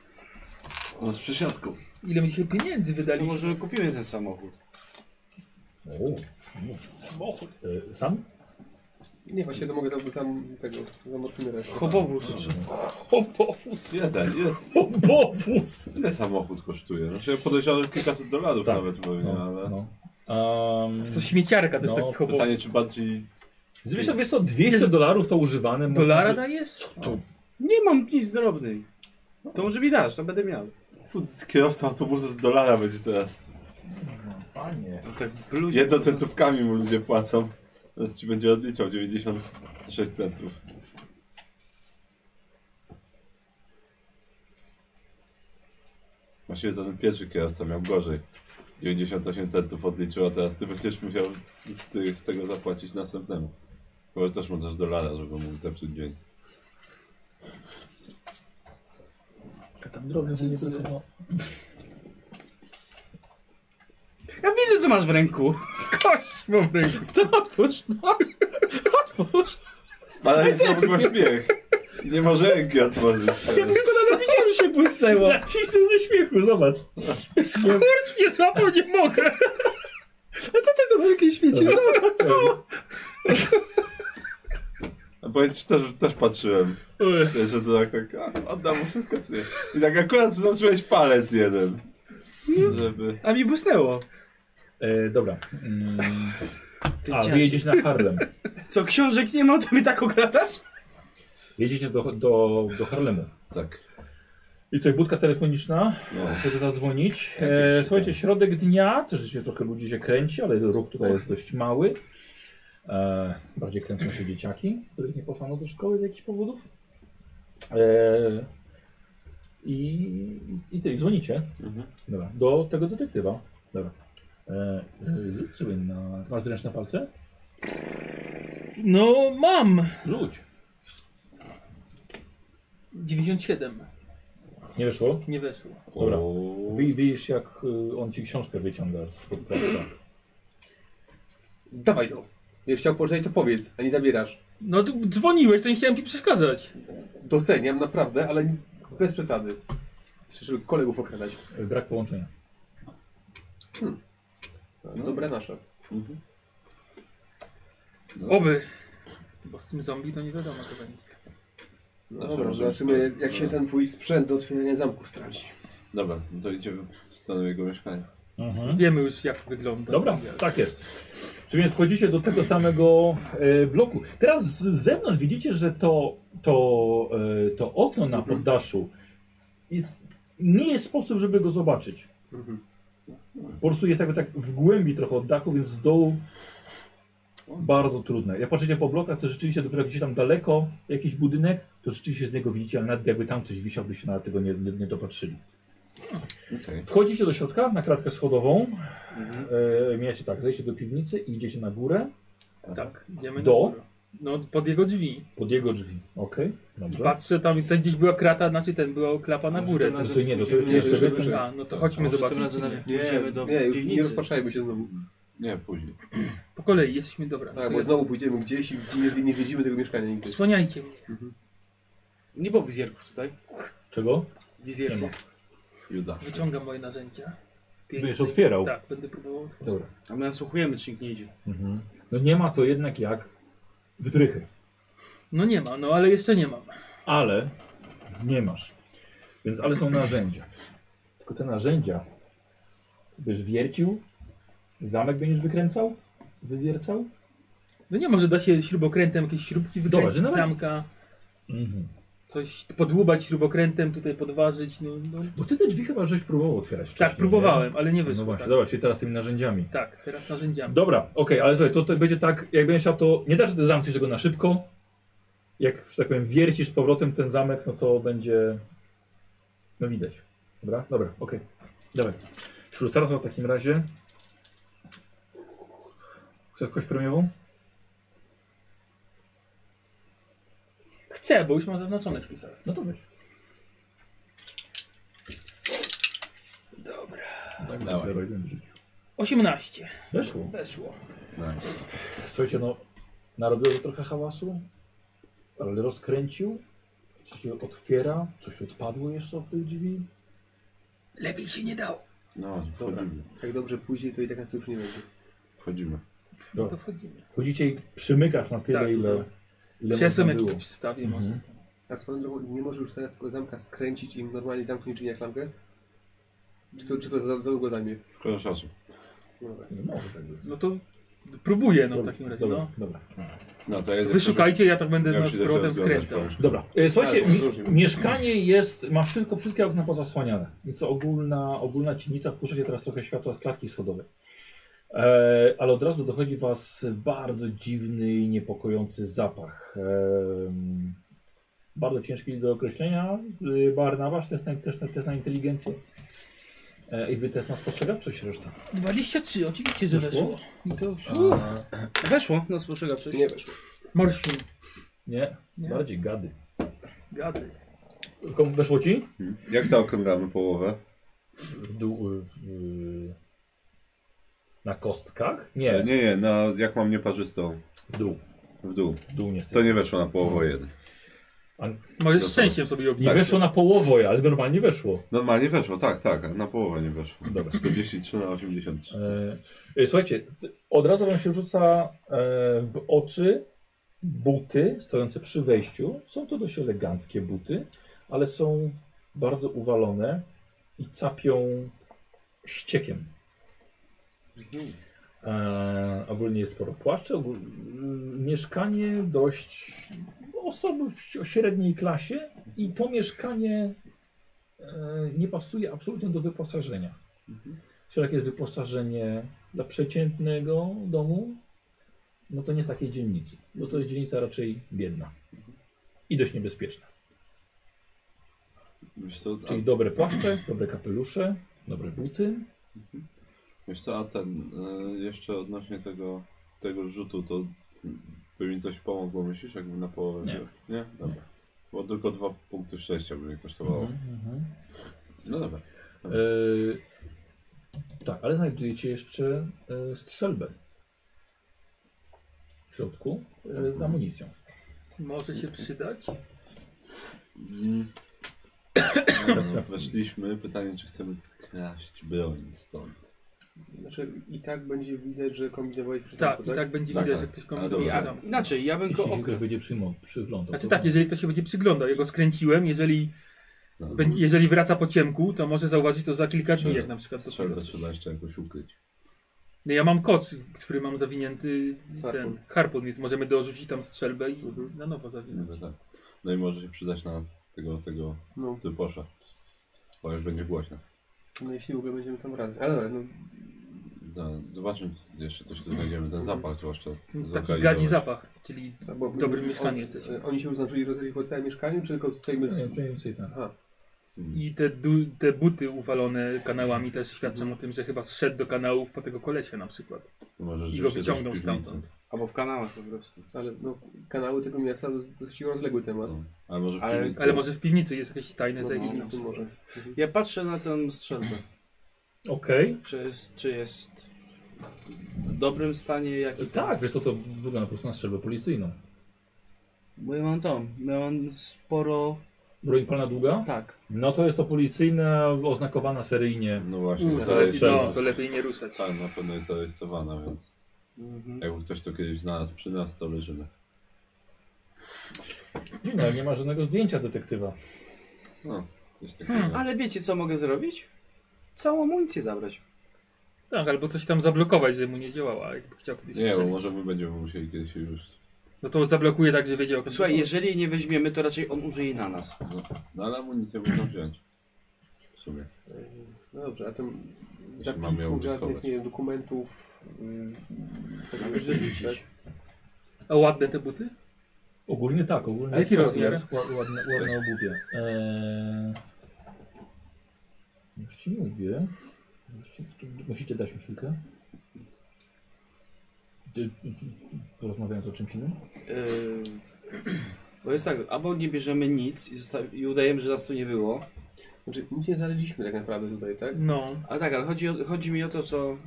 S4: No z przesiadką.
S3: Ile my dzisiaj pieniędzy
S7: Co,
S3: wydaliśmy?
S7: może kupimy ten samochód?
S1: O, Samochód. E, sam?
S2: Nie, właśnie to mogę tam, tam tego, zamotnąć.
S7: Chobowóz.
S3: Chobowóz.
S4: Jeden, jest.
S1: Chobowóz!
S4: Ile samochód kosztuje? Znaczy ja podejrzewam że kilkaset dolarów
S1: Tak.
S4: nawet pewnie, ale...
S1: No, no. Um,
S3: To śmieciarka też
S1: No,
S3: taki chobowóz.
S4: Pytanie, czy bardziej...
S1: Zresztą wiesz co, 200 dolarów to używane. można
S3: Dolara
S1: by-
S3: dajesz?
S1: Co No, to?
S7: Nie mam nic drobnej. To może mi dasz, to będę miał.
S4: Kierowca autobusu z dolara będzie teraz.
S1: Panie.
S7: Tak z bluzie.
S4: Jedno centówkami mu ludzie płacą. Teraz ci będzie odliczał 96 centów. Właściwie to ten pierwszy kierowca miał gorzej. 98 centów odliczył, a teraz ty będziesz musiał z, ty, z tego zapłacić następnemu. Chyba że też mu dasz dolara, żeby mu zepsuć dzień.
S1: A tam drobne że nie było.
S7: Ja widzę, co masz w ręku. <laughs>
S3: Kość mam w ręku.
S7: To otwórz. No. Otwórz.
S4: Spada się w ogóle śmiech. I nie może ręki otworzyć.
S7: Ja tylko nawet widziałem, że się
S1: No.
S7: <laughs> błysnęło.
S1: Zacisnął ze śmiechu, zobacz.
S3: Skurcz mnie złapał, nie mogę.
S7: <laughs> A co ty to wielkie świecie?
S1: Dobra.
S4: powiem ci, też, też patrzyłem. Wiesz, Że to tak, tak, a, oddam mu wszystko, czy nie? I tak akurat zobaczyłeś palec jeden. Żeby...
S5: A mi błysnęło.
S1: E, dobra. Mm. A, wy jedziecie na Harlem.
S5: Co, książek nie ma, to mi tak okradasz?
S1: Jedziecie do, do, do Harlemu.
S4: Tak.
S1: I tutaj budka telefoniczna, żeby zadzwonić. E, słuchajcie, środek dnia, też rzeczywiście trochę ludzi się kręci, ale ruch tutaj jest dość mały. E, bardziej kręcą się dzieciaki, których nie posłano do szkoły z jakichś powodów. E, i, I tyle, I dzwonicie. Dobra, do tego detektywa. Dobra. E, e, rzuć sobie na... Masz ręczne palce?
S3: No, mam.
S1: Rzuć.
S3: 97.
S1: Nie wyszło?
S3: Nie weszło.
S1: Dobra. Wy, widzisz jak y, on ci książkę wyciąga z podprawca.
S2: Dawaj to. Jak chciał poczytać, to powiedz, a nie zabierasz.
S3: No, to dzwoniłeś, to nie chciałem ci przeszkadzać.
S2: Doceniam naprawdę, ale bez przesady. Jeszcze, żeby kolegów okradać.
S1: Y, Brak połączenia.
S2: Dobre No. nasze.
S1: No.
S3: Oby. Bo z tym zombie to nie wiadomo, co będzie.
S2: No
S4: może
S2: dobra,
S4: być
S2: zobaczymy
S4: tak.
S2: jak się ten twój sprzęt do otwierania zamku sprawdzi.
S4: Dobra, no to idziemy w stronę jego mieszkania.
S1: Mhm.
S3: Wiemy już, jak wygląda.
S1: Dobra,
S3: zombie.
S1: tak jest. Czyli więc wchodzicie do tego samego e, bloku. Teraz z zewnątrz widzicie, że to, to, e, to okno na poddaszu jest, nie jest sposób, żeby go zobaczyć. Po prostu jest jakby tak w głębi trochę od dachu, więc z dołu bardzo trudne. Jak patrzycie po blokach, to rzeczywiście dopiero gdzieś tam daleko jakiś budynek, to rzeczywiście z niego widzicie, ale nawet jakby tam ktoś wisiał, byście na tego nie, nie, nie dopatrzyli.
S4: Okej.
S1: Wchodzicie do środka na kratkę schodową. E, mijacie tak, zejście do piwnicy i idziecie na górę
S3: Tak, idziemy
S1: Do?
S3: Na górę. no, pod jego drzwi.
S1: pod jego drzwi. Okej,
S3: I
S1: dobrze.
S3: patrzę, tam, tam gdzieś była krata, znaczy ten, była klapa na
S1: Może
S3: górę.
S1: tym razem To nie, no to jest
S3: Nie,
S1: jeszcze
S3: żeby
S1: wyżej.
S3: ten- A, no to
S4: Tak,
S3: chodźmy
S4: może tym
S3: zobaczyć.
S6: razem
S3: czy nie.
S6: nawet-
S2: Nie, Mm.
S6: Pójdziemy do
S2: nie, już nie
S6: piwnicy.
S2: rozpaczajmy się znowu.
S4: Nie, później.
S3: Po kolei jesteśmy dobra.
S2: Tak,
S3: To
S2: bo
S3: jest-
S2: znowu pójdziemy gdzieś i nie, nie zwiedzimy tego mieszkania nigdy.
S3: Słaniajcie mnie.
S5: Nie było wizjerków tutaj.
S1: Czego?
S5: Wizjerków.
S4: Juda.
S3: Wyciągam moje narzędzia.
S1: Będziesz otwierał.
S3: Tak, będę próbował otworzyć.
S1: Dobra.
S5: A my nasłuchujemy, czy nikt nie idzie.
S1: Mhm. No nie ma to jednak jak wytrychy,
S3: No nie ma, no ale jeszcze nie mam.
S1: ale nie masz. Więc ale są narzędzia. Tylko te narzędzia byś wiercił, zamek będziesz wykręcał, wywiercał.
S3: No nie może da się śrubokrętem jakieś śrubki
S1: Dobra, że
S3: wykręcić z
S1: nawet-
S3: zamka,
S1: Mhm.
S3: coś podłubać śrubokrętem, tutaj podważyć, no, no.
S1: Bo ty te drzwi chyba żeś próbował otwierać wcześniej,
S3: Tak, próbowałem, ale nie
S1: Nie? No
S3: wyszło.
S1: właśnie,
S3: tak.
S1: dobra, czyli teraz tymi narzędziami.
S3: tak, teraz narzędziami.
S1: Dobra, okej, ale słuchaj, to, to będzie tak, jak będziesz chciał, to nie da się zamknąć tego na szybko. Jak, że tak powiem, wiercisz z powrotem ten zamek, no to będzie, no widać. Dobra, dobra, okej. Dobra. Ślucarstwo w takim razie. Chcesz kość premiową?
S3: Chcę, bo już mam zaznaczone ślusarstwo.
S1: No to weź.
S3: Dobra.
S1: Tak,
S4: Dawaj.
S1: 0,1 w życiu.
S3: 18.
S1: Weszło.
S3: Weszło.
S4: Nice.
S1: Słuchajcie, no, narobiło to trochę hałasu, ale rozkręcił, coś się otwiera, coś odpadło jeszcze od tych drzwi.
S3: Lepiej się nie dało.
S4: No, wchodzimy.
S2: Jak dobrze pójdzie, to i tak nas już nie będzie.
S4: Wchodzimy.
S3: No
S1: Dobra.
S3: to wchodzimy.
S1: Wchodzicie i przymykasz na tyle,
S3: Tak,
S1: ile, ile
S3: Krzesłem
S1: można było.
S3: jakiś wstawię może.
S1: Mhm.
S2: A swoją drogą, nie może już teraz tego zamka skręcić i normalnie zamknąć drzwi na klamkę? Czy to, czy to za, za długo zajmie?
S4: Szkoda czasu.
S2: Dobra.
S1: Nie może tak być.
S3: No to próbuję no w
S1: Dobra,
S3: takim razie.
S1: dobra,
S3: No.
S1: dobra.
S4: No to jedę.
S3: Wyszukajcie, ja tak będę
S4: Ja
S3: no,
S4: się
S3: z
S4: też
S3: powrotem
S4: rozglądać
S3: skręcał.
S4: powiem.
S1: Dobra, e, słuchajcie,
S3: Tak,
S2: Albo
S1: mi,
S2: wzdłuż.
S1: mieszkanie jest, ma wszystko, wszystkie okna pozasłaniane. Więc ogólna, ogólna ciemnica, wpuszczacie teraz trochę światła z klatki schodowej. E, ale od razu dochodzi was bardzo dziwny i niepokojący zapach. Em, bardzo ciężki do określenia. E, Barnabasz, test na, test, na, test na inteligencję. E, I wy test na spostrzegawczość reszta.
S4: tak.
S1: E,
S3: 23, oczywiście, że
S1: Weszło?
S3: weszło. I to
S1: A,
S5: Weszło, no spostrzegawczość.
S2: Nie weszło.
S3: morsin.
S1: nie,
S3: Nie.
S1: bardziej gady.
S3: Gady.
S1: Tylko Weszło ci?
S4: Hmm. Jak zaokrągamy połowę?
S1: W dół, y, y, na kostkach? Nie,
S4: Nie, nie, na, jak mam nieparzystą?
S1: w dół.
S4: W dół.
S1: W dół niestety.
S4: To nie weszło na połowę jeden.
S3: Możesz
S4: Dobra.
S3: z szczęściem sobie
S1: Nie
S3: obniżyć.
S4: Tak.
S1: weszło na połowę, ale normalnie weszło.
S4: Normalnie weszło, tak, tak, ale na połowę nie weszło.
S1: Dobra.
S4: 43 na 83.
S1: E, e, słuchajcie, t- od razu wam się rzuca e, w oczy buty stojące przy wejściu. Są to dość eleganckie buty, ale są bardzo uwalone i capią ściekiem. E, ogólnie jest sporo płaszczy. Ogól, m, mieszkanie dość osoby w si- o średniej klasie i to mieszkanie e, nie pasuje absolutnie do wyposażenia. Czyli jak jest wyposażenie dla przeciętnego domu, no to nie z takiej dzielnicy, bo to jest dzielnica raczej biedna i dość niebezpieczna.
S3: Tak.
S4: Wiesz co,
S1: Czyli
S4: a-
S1: dobre płaszcze, dobre kapelusze, dobre buty.
S4: Wiesz co, a ten, y, jeszcze odnośnie tego, tego rzutu, to by mi coś pomogło, myślisz, jakby na połowę?
S1: Nie.
S4: wziął? Nie? Dobra. Bo tylko dwa punkty szczęścia by mnie kosztowało.
S1: Mhm.
S4: No dobra. dobra.
S1: Yy, tak, ale znajdujecie jeszcze yy, strzelbę w środku yy,
S3: Mhm.
S1: z amunicją.
S3: Może się przydać?
S4: Mm. No, no, weszliśmy, pytanie czy chcemy kraść broń stąd.
S2: Znaczy i tak będzie widać, że kombinowałeś przez
S3: Tak,
S2: zamku,
S3: i tak będzie
S4: Tak,
S3: widać,
S4: tak.
S3: jak ktoś
S4: A,
S3: kombinuje
S4: dobra.
S3: sam.
S7: Inaczej, ja bym
S1: Jeśli
S7: go
S1: się
S7: okradł.
S1: ktoś będzie przyjmą, przyglądał.
S3: Znaczy
S1: No to-
S3: tak, jeżeli ktoś się będzie przyglądał, jego skręciłem, jeżeli,
S4: No,
S3: bę- jeżeli wraca po ciemku, to może zauważyć to za kilka dni, jak na przykład to
S4: Strzelbę trzeba jeszcze jakoś ukryć.
S3: No Ja mam koc, który mam zawinięty ten
S2: Harpun.
S3: harpun, więc możemy dorzucić tam strzelbę i na nowo
S4: No,
S3: zawinąć.
S4: to tak. no i może się przydać na tego, tego
S2: No.
S4: cyposza. Bo już będzie głośno.
S2: No jeśli w ogóle będziemy tam razem. Ale dobra, no,
S4: No, zobaczmy jeszcze coś tu znajdziemy, ten zapach zwłaszcza.
S3: Taki
S4: zlokalizować.
S3: Tak, gadzi zapach, czyli
S2: tak,
S3: w dobrym mieszkaniu
S2: on- e,
S3: jesteśmy.
S2: Oni się uznaczyli rozeli po całym mieszkaniu, czy tylko tutaj my...
S1: Nie, mniej więcej tak.
S2: Aha,
S4: Mm.
S3: I te, du- te buty uwalone kanałami też świadczą o tym, że chyba zszedł do kanałów po tego kolesia na przykład.
S4: Może
S3: I go
S4: rzeczywiście coś w
S3: wyciągnął
S4: piwnicy.
S3: stamtąd.
S7: Albo w kanałach po prostu.
S2: ale no, kanały tego miasta to jest dosyć rozległy temat.
S4: No. Ale może w
S7: Ale-
S4: piwnicy.
S3: Ale może w piwnicy jest jakieś tajne
S2: No,
S3: zejście. na
S2: no, może.
S3: przykład.
S7: Ja patrzę na tę strzelbę.
S1: Okej.
S7: Czy jest, czy jest w dobrym stanie, jaki ten.
S1: Tak, wiesz co, to wygląda po prostu na strzelbę policyjną.
S7: Bo ja mam tą, ja mam sporo...
S1: Broń palna długa?
S7: Tak.
S1: No to jest to policyjna, oznakowana seryjnie.
S4: No właśnie,
S3: Kurde,
S4: zarejestrowana.
S3: No, to lepiej nie ruszać.
S4: Tak, na pewno jest zarejestrowana, więc
S7: Mhm.
S4: jakby ktoś to kiedyś znalazł przy nas, to leżymy.
S1: Dziwne, ale nie ma żadnego zdjęcia detektywa.
S4: No, coś
S3: Hmm,
S4: takiego.
S7: Ale wiecie co mogę zrobić? Całą amunicję zabrać.
S3: Tak, albo coś tam zablokować, żeby mu nie działała, jakby chciał kiedyś
S4: Nie, bo
S3: strzelić.
S4: może my będziemy musieli kiedyś się już...
S3: No to zablokuje tak, że wiedział.
S7: Słuchaj, jeżeli jej nie weźmiemy, to raczej on użyje na nas.
S4: No, no ale amunicję można wziąć. W sumie.
S2: No dobrze, a tym
S4: mam ją
S2: zapisków
S4: wychować.
S2: żadnych, nie wiem, dokumentów... Yy, tego
S7: Mogę
S2: nie
S7: wyrzucić.
S2: tak?
S3: A ładne te buty?
S1: Ogólnie tak, ogólnie.
S3: A jaki
S1: tak,
S3: rozmiar?
S1: jest ła- Ładne, ładne obuwie. Eee... Już ci mówię. Już ci... Musicie dać mi chwilkę. Ty- Porozmawiając o czymś innym?
S7: Yy, bo jest tak, albo nie bierzemy nic i, zosta- i udajemy, że nas tu nie było.
S2: Znaczy, nic nie znaleźliśmy tak naprawdę tutaj, tak?
S3: No.
S7: A tak, ale chodzi, o, chodzi mi o to, co...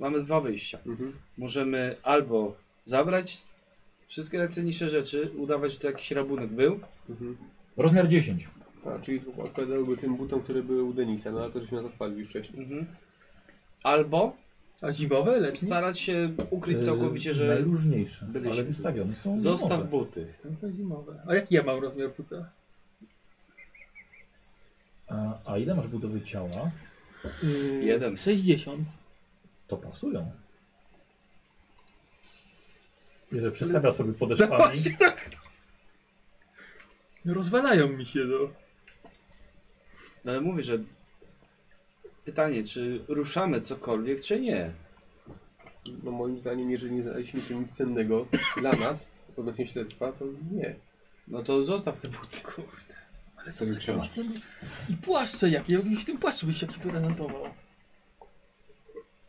S7: Mamy dwa wyjścia.
S2: Mhm.
S7: Możemy albo zabrać wszystkie najcenniejsze rzeczy, udawać, że to jakiś rabunek był.
S2: Mhm.
S1: Rozmiar 10.
S2: A, czyli odpowiadałyby tym butom, które były u Denisa, no ale to żeśmy na to wpadli wcześniej.
S7: Mhm. Albo
S3: A zimowe? Letnie?
S7: starać się ukryć
S1: Eee,
S7: całkowicie, że
S1: Najróżniejsze, ale
S7: byliśmy.
S1: wystawione są.
S7: zostaw
S1: nowe.
S7: buty.
S3: Chcę coś zimowe. A jaki ja mam rozmiar buta?
S1: A, a ile masz budowy ciała?
S3: Yy,
S7: Jeden.
S3: 60.
S1: To pasują. Jeżeli przystawia sobie podeszwami.
S3: Właśnie tak. No Rozwalają mi się, no.
S7: No ale mówię, że pytanie, czy ruszamy cokolwiek, czy nie.
S2: No moim zdaniem, jeżeli nie znaleźliśmy tu nic cennego dla nas, odnośnie śledztwa, to nie.
S7: No to zostaw te buty.
S3: Kurde. Ale
S4: Sobie książki.
S3: I płaszcze jakie? Ja bym W tym płaszczu byś jakiś prezentował.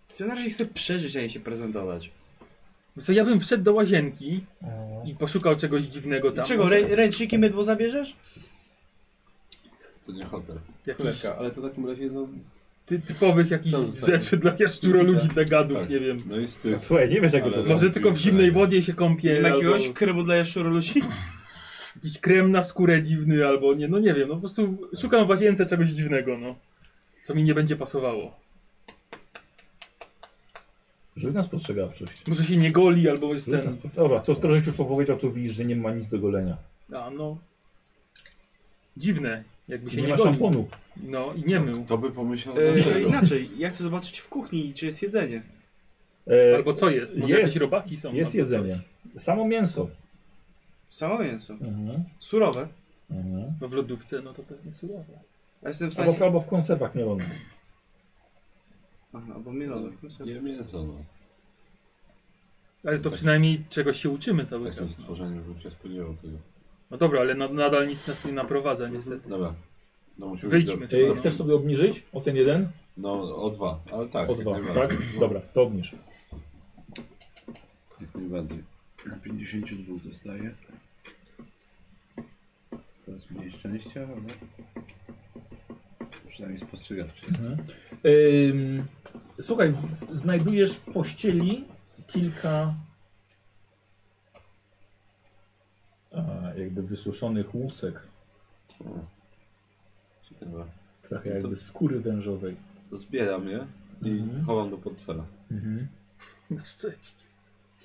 S7: Scenariusz chce przeżyć, a nie się prezentować.
S3: No Co, ja bym wszedł do łazienki
S1: Eee,
S3: i poszukał czegoś dziwnego tam.
S7: Czego, rę, ręczniki mydło zabierzesz?
S4: To nie hotel.
S3: Jakichś
S2: Cholewka, ale to w takim razie, no...
S3: ty, typowych jakichś
S2: Co zostaje?
S3: rzeczy dla jaszczuro ludzi, dla gadów,
S4: Tak.
S3: nie wiem.
S4: No i styk.
S1: Słuchaj, nie wiesz jak
S4: Ale
S1: to są.
S3: Może tylko w zimnej wodzie się kąpię.
S7: Nie ma jakiegoś
S3: albo
S7: kremu dla jaszczuru ludzi?
S3: Jakiś krem na skórę dziwny albo nie, no nie wiem, no po prostu szukam w łazience czegoś dziwnego, no. Co mi nie będzie pasowało.
S1: Rzuć na spostrzegawczość.
S3: Może się nie goli albo jest
S1: Rzuć na
S3: ten.
S1: spostrzegawczość. Dobra, to skoro już to powiedział, to widzisz, że nie ma nic do golenia.
S3: A no. Dziwne, jakby się
S1: Nie
S3: nie,
S1: ma
S3: golił.
S1: szamponu.
S3: No i nie mył.
S4: To by pomyślał
S7: E, to
S4: dlaczego.
S7: inaczej, ja chcę zobaczyć w kuchni, czy jest jedzenie.
S1: E,
S3: Albo co jest? Może jakieś robaki są,
S1: Jest
S3: albo
S1: jedzenie. Samo mięso.
S7: Samo mięso.
S1: Mhm.
S7: Surowe.
S1: Mhm.
S3: No w lodówce, no to pewnie surowe.
S7: Ja jestem w
S1: Albo,
S7: stanie...
S1: w, albo w konserwach mielonych.
S7: Aha, albo mielone.
S4: Nie mięso, no.
S3: Ale
S1: Tak.
S3: to przynajmniej czegoś się uczymy cały
S4: Takim
S3: czas. No.
S4: stworzeniu Tak bym się spodziewał tego.
S3: no dobra, ale na- nadal nic nas nie naprowadza niestety.
S4: Dobra. No musimy
S3: Wyjdźmy.
S4: Do,
S1: E,
S4: do,
S1: chcesz sobie obniżyć o ten jeden?
S4: no o dwa, ale tak.
S1: O
S4: jak
S1: dwa,
S4: najbardziej.
S1: tak?
S4: No,
S1: Dobra, to obniż.
S4: Jak najbardziej.
S6: Na 52 zostaje. Coraz mniej szczęścia, ale... Przynajmniej spostrzegawczy.
S1: Ym, słuchaj, w- znajdujesz w pościeli kilka a, jakby wysuszonych łusek,
S4: O. Ciekawe.
S1: trochę jakby skóry wężowej.
S4: To zbieram je i
S1: Mhm.
S4: chowam do portfela.
S1: Mhm.
S3: Na szczęście.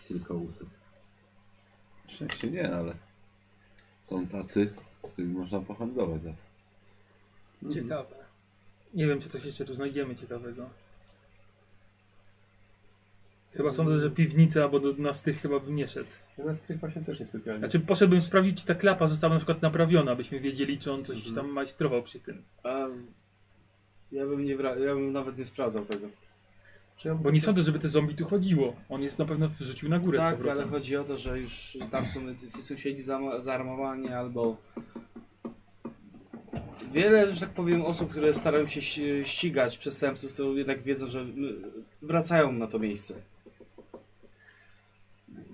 S4: Kilka łusek. Szczęście nie, ale są tacy, z którymi można pohandlować za to.
S2: Mhm.
S3: Ciekawe. Nie wiem, czy coś jeszcze tu znajdziemy ciekawego. Chyba sądzę, że piwnica, albo do, na strych chyba bym nie szedł.
S2: Ja na strych właśnie też nie specjalnie.
S3: Znaczy poszedłbym sprawdzić, czy ta klapa została na przykład naprawiona, byśmy wiedzieli, czy on coś
S7: Mhm.
S3: tam majstrował przy tym.
S7: A, ja, bym nie wra- ja bym nawet nie sprawdzał tego.
S2: Czy ja
S3: Bo nie sądzę, żeby te zombie tu chodziło. On jest na pewno wrzucił na górę z
S7: Tak, ale
S3: powrotem.
S7: chodzi o to, że już tam są ci sąsiedzi zam- zaarmowani albo... Wiele, że tak powiem, osób, które starają się ści- ścigać przestępców, to jednak wiedzą, że mm, wracają na to miejsce.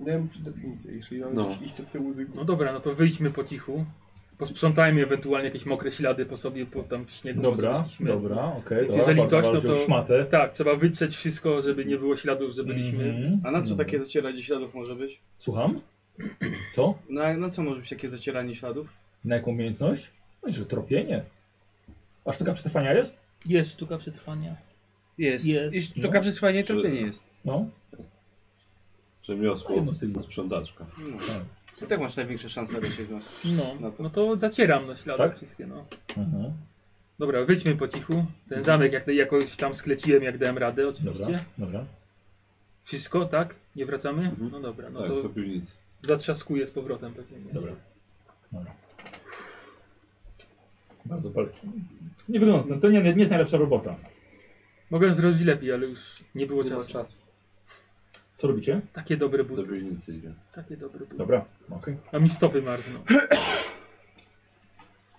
S2: Ja bym przy definicji, jeśli mamy
S4: No.
S2: iść do tyłu, do-
S3: No dobra, no to wyjdźmy po cichu. Posprzątajmy ewentualnie jakieś mokre ślady po sobie, po tam w śniegu. może
S1: Dobra,
S3: byliśmy.
S1: dobra, okej.
S3: Więc
S1: dobra,
S3: jeżeli
S1: bardzo
S3: coś, no
S1: walczył
S3: to-
S1: w szmatę.
S3: Tak, trzeba wytrzeć wszystko, żeby nie było śladów, że byliśmy.
S1: Mhm.
S7: A
S3: No.
S7: na co
S1: Dobra.
S7: takie zacieranie śladów może być? No,
S1: Słucham? <clears throat> Co?
S7: Na, na co może być takie zacieranie śladów?
S1: Na jaką umiejętność? No i że tropienie. A sztuka przetrwania jest?
S3: Jest sztuka przetrwania.
S5: Jest.
S3: Jest.
S5: Jeśli to przetrwanie, to
S4: Czy-
S5: nie jest.
S1: No.
S4: Rzemiosło,
S1: Jedno z tych-
S4: sprzątaczka.
S7: No.
S1: Tak.
S7: To tak masz największe szanse raczej z nas.
S3: No,
S7: No to-
S3: no to zacieram no ślady
S1: Tak?
S3: wszystkie, no.
S1: Mhm.
S3: Dobra, wyjdźmy po cichu. Ten zamek jak, jakoś tam skleciłem, jak dałem radę, oczywiście.
S1: Dobra, dobra.
S3: Wszystko, tak? Nie wracamy?
S4: Mhm.
S3: No dobra, no
S4: tak,
S3: to
S4: to piwnicy.
S3: zatrzaskuję z powrotem pewnie. nie?
S1: Dobra. Dobra. Bardzo bardzo. Nie wygląda. To nie, nie jest najlepsza robota.
S3: Mogłem zrobić lepiej, ale już nie było
S2: nie ma
S3: czasu.
S2: czasu.
S1: Co robicie?
S3: Takie dobre
S4: Do
S3: buty.
S4: piwnicy idzie.
S3: Takie dobre buty.
S1: Dobra, okej.
S3: A mi
S1: <laughs>
S3: stopy marzną.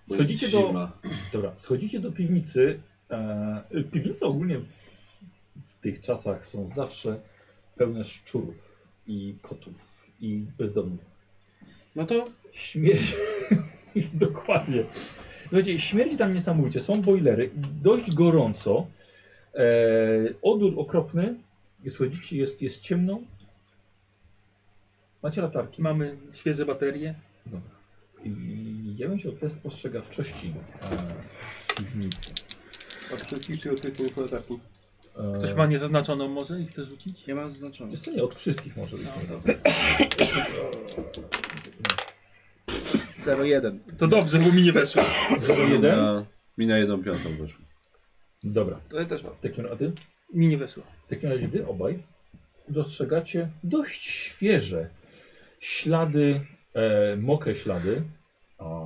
S4: Bo
S1: Schodzicie
S4: jest
S1: do.
S4: zima.
S1: Dobra, schodzicie do piwnicy. E, piwnice ogólnie w, w tych czasach są zawsze pełne szczurów i kotów i bezdomnych.
S7: No to
S1: Śmierć. <laughs> Dokładnie. Słuchajcie, śmierć tam niesamowicie. Są bojlery. Dość gorąco. E, odór okropny. Słuchajcie, jest, jest ciemno. Macie latarki.
S3: Mamy świeże baterie.
S1: Dobra. I ja bym chciał test postrzegawczości e, piwnicy.
S2: Od wszystkich czy od tych, co nie są na taki.
S1: E,
S3: Ktoś ma niezaznaczoną może i chce rzucić?
S7: nie ma znaczenia.
S1: Jest to nie od wszystkich może być.
S3: No.
S1: tak.
S5: 0,1.
S3: To dobrze, bo mi nie weszło.
S1: 0,1.
S4: Na- Mi na jedną piątą weszło.
S1: Dobra.
S5: To ja też mam.
S1: W takim, a ty?
S3: Mi nie weszło.
S1: W takim razie wy obaj dostrzegacie dość świeże ślady, e, mokre ślady. A,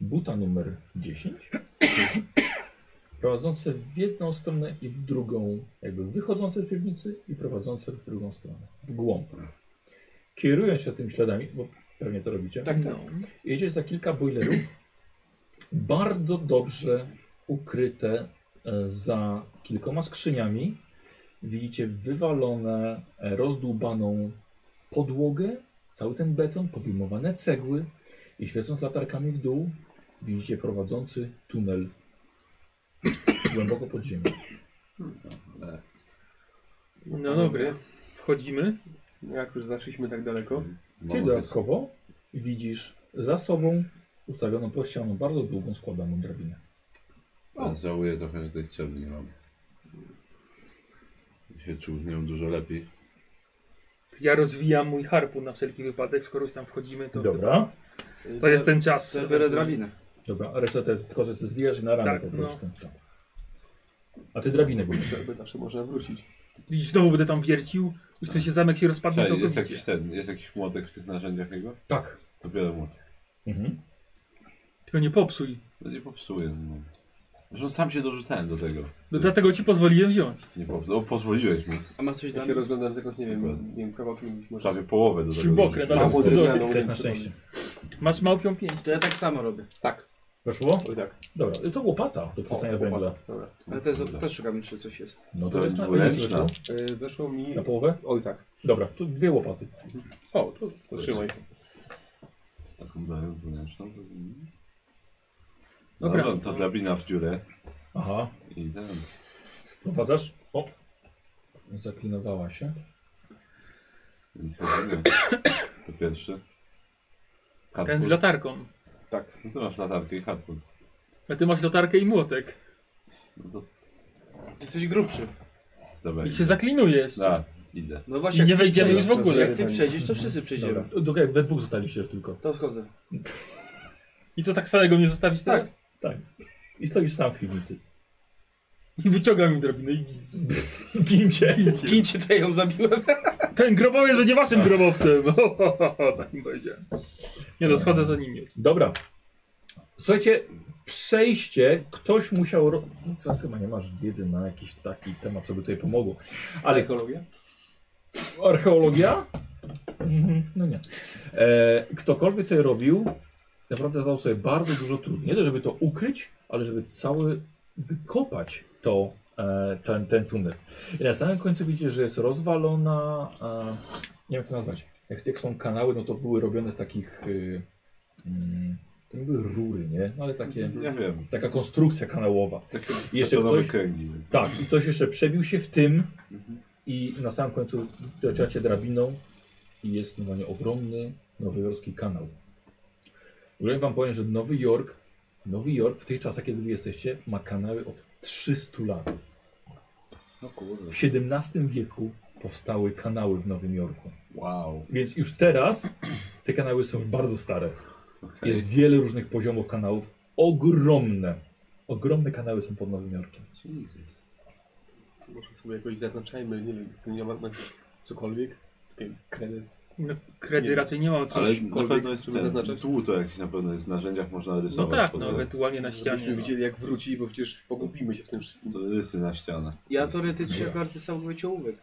S1: buta numer 10. <coughs> Prowadzące w jedną stronę i w drugą, jakby wychodzące z piwnicy i prowadzące w drugą stronę, w głąb. Kierując się tymi śladami, bo pewnie to robicie,
S3: Tak, no.
S1: jedzie za kilka boilerów, bardzo dobrze ukryte e, za kilkoma skrzyniami. Widzicie wywalone, e, rozdłubaną podłogę, cały ten beton, powyjmowane cegły i świecąc latarkami w dół widzicie prowadzący tunel <clears throat> głęboko pod ziemię.
S3: No dobra. Wchodzimy.
S2: Jak już zaszliśmy tak daleko.
S1: Ty
S4: Mam
S1: dodatkowo widzisz za sobą ustawioną prościaną, bardzo długą, składaną drabinę.
S3: No.
S4: Teraz żałuję trochę, że tej strzelby nie mam. się czuł z nią dużo lepiej.
S3: To Ja rozwijam mój harpun na wszelki wypadek, skoro już tam wchodzimy, to
S1: Dobra.
S3: chyba- to jest ten czas.
S7: To biorę drabinę.
S1: Dobra, a resztę te tylko, że ze zwijasz i na ramię
S3: Tak,
S1: po prostu. Tak. A ty drabinę budzisz.
S2: Jakby zawsze można wrócić.
S3: I znowu będę tam wiercił, już ten się zamek się rozpadnie
S4: Czekaj, Tak. jest
S3: całkowicie.
S4: jakiś ten, jest jakiś młotek w tych narzędziach jego?
S1: Tak.
S4: To biorę młotek.
S1: Mhm.
S3: Tylko nie popsuj.
S4: No nie popsuję. No. Zresztą sam się dorzucałem do tego.
S3: No dlatego ci pozwoliłem wziąć.
S4: Nie popsuł. O, pozwoliłeś mi.
S7: A masz coś
S2: Ja
S7: dla
S2: się
S7: mnie?
S2: rozglądam z jakąś, nie wiem, nie wiem kawałkiem może.
S4: Prawie połowę do tego.
S3: Śrubokręt,
S4: dorzuciłem.
S3: ale-
S2: Albo
S3: Zombie,
S2: drewnianą,
S1: To
S2: wiem,
S1: jest na
S2: co
S1: szczęście.
S3: Masz małpią pięć.
S7: To ja tak samo robię.
S2: to- Tak,
S1: Weszło?
S2: oj tak.
S1: Dobra, to łopata do przystania
S2: O, łopata.
S1: węgla.
S2: Dobra.
S7: Ale też, też szukam, czy coś jest.
S1: No
S4: To
S1: to jest na,
S4: dwuręczna.
S1: weszło?
S2: Yy, Weszło mi...
S1: na połowę?
S2: Oj tak.
S1: Dobra, to dwie łopaty.
S2: O, to, to trzymaj.
S4: Z taką dają dwunęczną. to- mm.
S3: Dobra.
S4: Dobra, to drabina w dziurę.
S1: Aha,
S4: I ten.
S1: wprowadzasz? O! Zaklinowała się.
S4: Nic chyba nie. To pierwszy.
S3: Ten z
S4: Harpun.
S3: latarką.
S4: Tak. No to masz latarkę i harpun.
S3: A ty masz latarkę i młotek.
S4: No to
S7: Ty jesteś grubszy.
S4: dawaj.
S3: I się zaklinujesz.
S4: Da, idę.
S7: No
S3: I
S7: właśnie.
S3: nie
S7: jak ty
S3: wejdziemy
S7: przejdziesz-
S3: już w ogóle.
S7: Jak ty przejdziesz, to wszyscy przejdziemy.
S1: Dobra, Dobra, we dwóch zostaliście już tylko.
S7: To wchodzę.
S3: I co, tak samego mnie zostawić teraz?
S1: Tak. I stoisz sam w piwnicy. <laughs>
S3: I wyciągam im drabinę i gin.
S1: Gincie.
S7: Gincie, to ja ją zabiłem.
S3: Ten grobowiec będzie waszym grobowcem. <laughs> Ho, ho, ho, ho, tak im powiedziałem. Nie no, schodzę za nimi.
S1: Dobra. Słuchajcie, przejście ktoś musiał. Ro... Nic was chyba nie masz wiedzy na jakiś taki temat, co by tutaj pomogło. Ale
S2: Ekologia?
S1: archeologia? Mhm, no nie. E, ktokolwiek to robił, naprawdę zdał sobie bardzo dużo trudu. Nie to, żeby to ukryć, ale żeby cały wykopać to, e, ten, ten tunel. I na samym końcu widzicie, że jest rozwalona. E, nie wiem, jak to nazwać. Jak, jak są kanały, no to były robione z takich. Y, mm, to nie były rury, nie? No, ale takie.
S4: Nie wiem. Tak
S1: Taka konstrukcja kanałowa.
S4: Takie
S1: I jeszcze
S4: betonowe
S1: ktoś-
S4: kręgi.
S1: Tak, i ktoś jeszcze przebił się w tym
S4: Mhm.
S1: i na samym końcu docieracie drabiną i jest normalnie ogromny nowojorski kanał. W ogóle wam powiem, że Nowy Jork, Nowy Jork w tych czasach, kiedy wy jesteście, ma kanały od 300 lat.
S4: No
S1: W
S4: kurde.
S1: XVII wieku powstały kanały w Nowym Jorku.
S4: Wow.
S1: Więc już teraz te kanały są bardzo stare.
S4: Okej.
S1: Jest wiele różnych poziomów kanałów. Ogromne. Ogromne kanały są pod Nowym Jorkiem.
S4: Jesus.
S2: Może sobie jakoś zaznaczajmy, nie wiem, nie ma, ma cokolwiek. Takie kredyt.
S3: No, kredy
S2: Nie.
S3: raczej nie mam.
S4: Ale
S3: Coś.
S4: na pewno jest
S2: żeby
S4: ten,
S2: zaznaczać?
S4: tłu to jakiś na pewno jest w narzędziach można
S3: No
S4: rysować.
S3: tak,
S4: pod
S3: no,
S4: te-
S3: ewentualnie na ścianie.
S2: Żebyśmy
S3: No.
S2: widzieli jak wróci, bo przecież pogubimy się w tym wszystkim.
S4: to rysy na ścianach.
S7: Ja teoretycznie jako artysta mógłbym cię ołówek.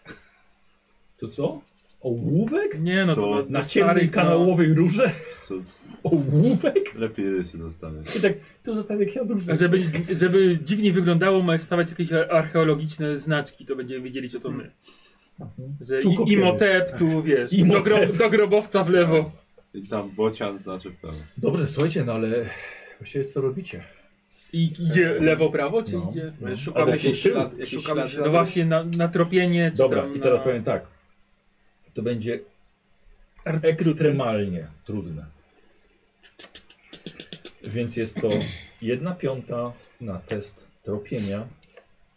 S1: To co? Ołówek?
S3: Nie no, to
S4: Co?
S1: Na ciemnej
S3: starych, no,
S1: kanałowej rurze?
S4: Co,
S1: Ołówek?
S4: lepiej rysy dostawiać.
S1: I tak, tu zostawię kwiatów.
S3: Żeby, żeby dziwnie wyglądało, ma stawiać jakieś archeologiczne znaczki, to będziemy wiedzieli, co to my. Że
S1: Hmm. Tu
S3: i-
S1: kopiemy. Tak.
S3: Imhotep, tu wiesz, do,
S1: Imhotep.
S3: gro, do grobowca w lewo.
S4: I tam bocian znaczy w prawo.
S1: Dobrze, słuchajcie, no ale właściwie co robicie?
S3: I idzie lewo, prawo, czy
S1: No.
S3: idzie...
S1: No.
S7: Szukamy
S1: Albo
S7: się
S1: w tył.
S7: ślad,
S2: Jakiś
S7: szukamy
S2: ślad-
S7: śladu.
S3: No właśnie, na, na tropienie, czy
S1: Dobra,
S3: tam
S1: i teraz
S3: na...
S1: powiem tak. To będzie
S3: Ekstrem.
S1: ekstremalnie trudne. Więc jest to jedna piąta na test tropienia.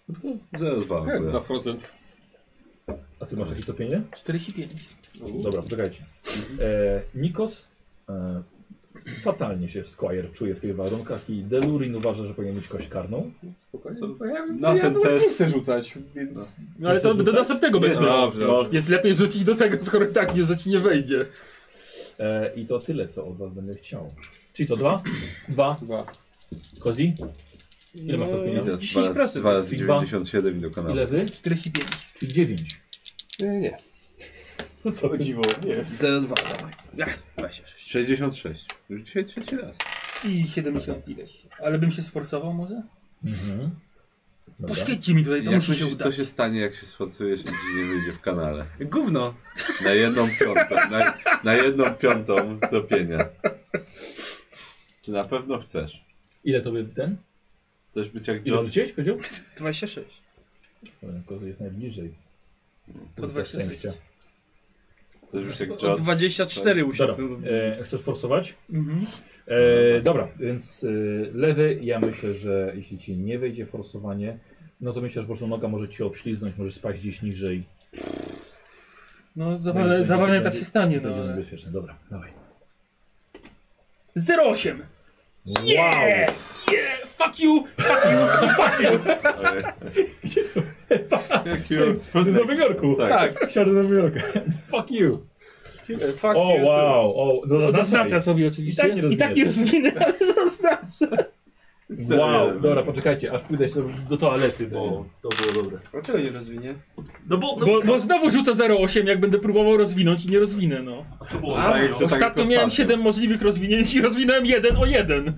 S3: No
S4: Zero dwa akurat.
S2: 2%.
S1: A ty masz jakieś tropienie?
S3: 45.
S1: Dobra, poczekajcie. E, Nikos e, fatalnie się Squire czuje w tych warunkach i Delurin uważa, że powinien mieć kość karną.
S2: Spokojnie.
S4: Co?
S2: Bo Ja,
S4: Na
S2: ja
S4: ten
S2: nawet
S4: test.
S2: nie chcę rzucać, więc...
S3: No ale to
S1: Myślę, że
S3: do
S1: tak.
S3: następnego będzie.
S4: Dobrze. No,
S3: Jest lepiej rzucić do tego, skoro i tak nie, że ci nie wejdzie.
S1: E, I to tyle, co od was będę chciał. Czyli to dwa? Dwa.
S2: Dwa.
S1: Kozi? Ile masz tropienia?
S4: I teraz
S7: 10
S4: dwa-
S7: procent.
S4: Dwa razy
S1: I dwa.
S4: 97 i do kanału.
S1: Ile wy?
S3: 45.
S1: Czyli dziewięć.
S2: Nie, nie.
S1: Co
S2: O dziwo, nie. No.
S6: 02, dawaj.
S4: 66. Już dzisiaj trzeci raz.
S3: I 70 ileś. Ale bym się sforsował może?
S1: Mhm. Dobra.
S3: Poświeci mi tutaj, to
S4: Jak
S3: musi się
S4: myślisz, co
S3: udać.
S4: się stanie, jak się sfacujesz i ci nie wyjdzie w kanale?
S7: Gówno.
S4: Na jedną piątą. Na, na jedną piątą topienia. Czy na pewno chcesz?
S1: Ile to by ten?
S4: Chcesz być jak
S1: Ile
S4: John?
S1: rzuciłeś, Kozioł?
S7: 26.
S1: Kozi jest najbliżej.
S7: To
S1: Za
S7: 26.
S1: szczęście.
S4: Chcesz być jak
S7: O
S4: John?
S7: 24
S1: Dobra,
S7: usiadłem.
S1: e, chcesz forsować?
S3: Mhm.
S1: E, dobra, więc e, lewy, ja myślę, że jeśli ci nie wejdzie forsowanie, No to myślę, że po prostu noga może cię obślizgnąć, możesz spaść gdzieś niżej.
S3: No,
S1: No i
S3: zapewne,
S1: będzie-
S3: zapewne tak
S1: będzie-
S3: się stanie, no.
S1: Będzie
S3: ale-
S1: niebezpieczne, dobra, dawaj.
S3: 08! Yeah! Yeah! Fuck you! Fuck you! Fuck you!
S4: Tak.
S1: <laughs> Z Nowego Jorku.
S4: Tak.
S1: Książę z Nowego Jorku. Fuck you.
S7: Fuck
S1: O,
S7: you,
S1: wow. O, no, zaznaczaj.
S3: Zaznacza sobie
S1: I
S3: oczywiście.
S1: tak nie rozwiniesz.
S3: rozwinę, ale <laughs> zaznacza.
S1: Wow, dobra, poczekajcie, aż pójdę się do, do toalety, bo to było dobre.
S7: Dlaczego nie rozwinie?
S1: No bo,
S3: Bo, bo znowu rzucę 08, jak będę próbował rozwinąć i nie rozwinę, no.
S1: co było?
S4: Zdaje się, tak jak
S3: Ostatnio miałem
S4: ostatnio.
S3: 7 możliwych rozwinięć i rozwinąłem jeden o jeden.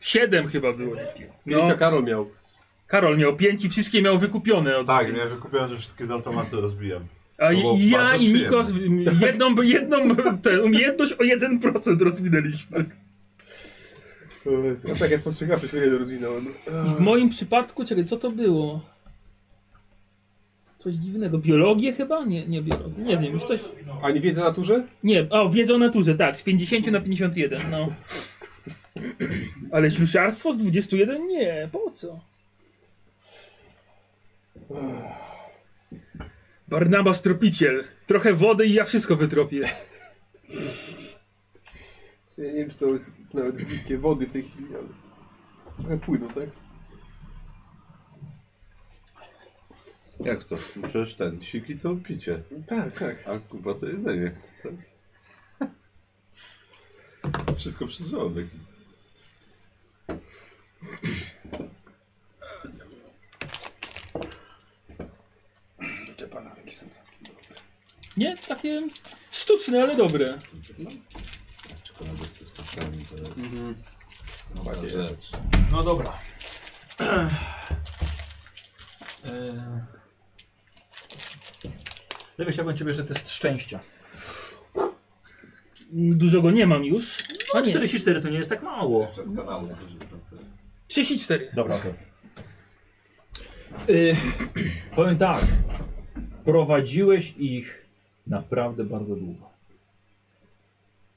S3: 7 chyba było.
S2: Pięcia
S3: No,
S2: Karol miał.
S3: Karol miał 5 i wszystkie miał wykupione od
S11: Tak,
S3: więc-
S11: mnie wykupiłem, że wszystkie z automatu rozbijam.
S3: A
S11: To było
S3: i- ja
S11: bardzo
S3: i
S11: przyjemne.
S3: Nikos jedną, jedną <laughs> tę umiejętność o 1% rozwinęliśmy.
S6: No tak, ja spostrzegawczo się jeden rozwinąłem.
S3: I w moim przypadku, czekaj, co to było? Coś dziwnego. Biologię chyba? Nie, nie biologię. Nie wiem, już coś.
S2: Ani wiedza o naturze?
S3: Nie, o, wiedzę o naturze, tak, z 50 na 51, no. Ale ślusarstwo z 21? Nie, po co? Barnabas tropiciel. Trochę wody i ja wszystko wytropię.
S6: W sumie nie wiem, czy to jest nawet bliskie wody w tej chwili, ale... Trochę płyną, tak?
S4: Jak to? No Przecież ten siki to picie,
S6: Tak, tak.
S4: a kuba to jedzenie. Tak? Wszystko przez żołądek.
S6: Te bananki są takie.
S3: Nie, takie sztuczne, ale dobre.
S4: Czekolada z cystrykami to jest
S2: Mhm.
S4: nowa rzecz.
S1: No dobra. Eee. Lewy, chciałbym ciebie jeszcze test szczęścia.
S3: Dużo go nie mam już.
S1: No,
S3: A nie,
S1: 44 to nie jest tak mało.
S4: Przez kanał skorzystam.
S3: 34.
S1: Dobra, to. Y, <clears throat> powiem tak. Prowadziłeś ich naprawdę bardzo długo.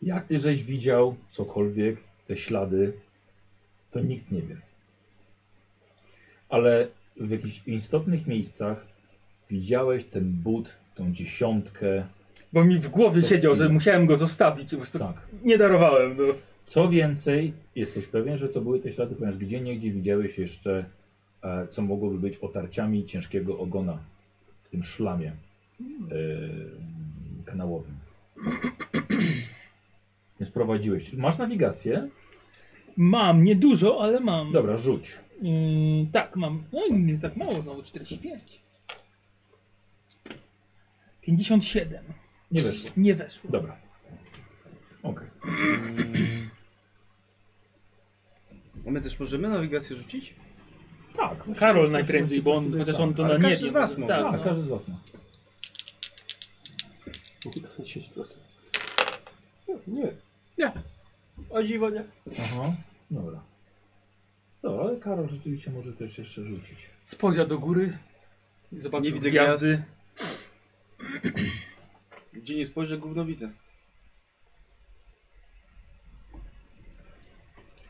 S1: Jak ty żeś widział cokolwiek, te ślady, to nikt nie wie. Ale w jakichś istotnych miejscach widziałeś ten but, tą dziesiątkę.
S3: Bo mi w głowie
S1: Co
S3: siedział, że
S1: chwilę.
S3: musiałem go zostawić. Po prostu
S1: Tak.
S3: Nie darowałem, no.
S1: Co więcej, jesteś pewien, że to były te ślady, ponieważ gdzie niegdzie widziałeś jeszcze, e, co mogłoby być otarciami ciężkiego ogona w tym szlamie e, kanałowym. <clears throat> Więc prowadziłeś. Masz nawigację?
S3: Mam, niedużo, ale mam.
S1: Dobra, rzuć.
S3: Yy, tak, mam. No i nie tak mało, znowu 45. 57.
S1: Nie weszło.
S3: Nie weszło.
S1: Dobra. Okej.
S7: A my też możemy nawigację rzucić?
S1: Tak. właśnie-
S3: Karol
S1: właśnie-
S3: najprędzej,
S1: właśnie-
S3: bo on,
S1: właśnie-
S3: chociaż
S1: tak.
S3: on to
S7: Ale
S3: na nie
S7: każdy z nas może.
S3: Tak,
S1: Tak,
S3: no.
S1: każdy z was ma.
S2: Nie.
S7: O dziwo, nie.
S1: Aha. Dobra. Dobra, ale Karol rzeczywiście może też jeszcze rzucić.
S3: Spojrzał do góry i zobaczył
S7: Nie widzę
S3: gwiazdy.
S7: Gdzie nie spojrzę, gówno widzę.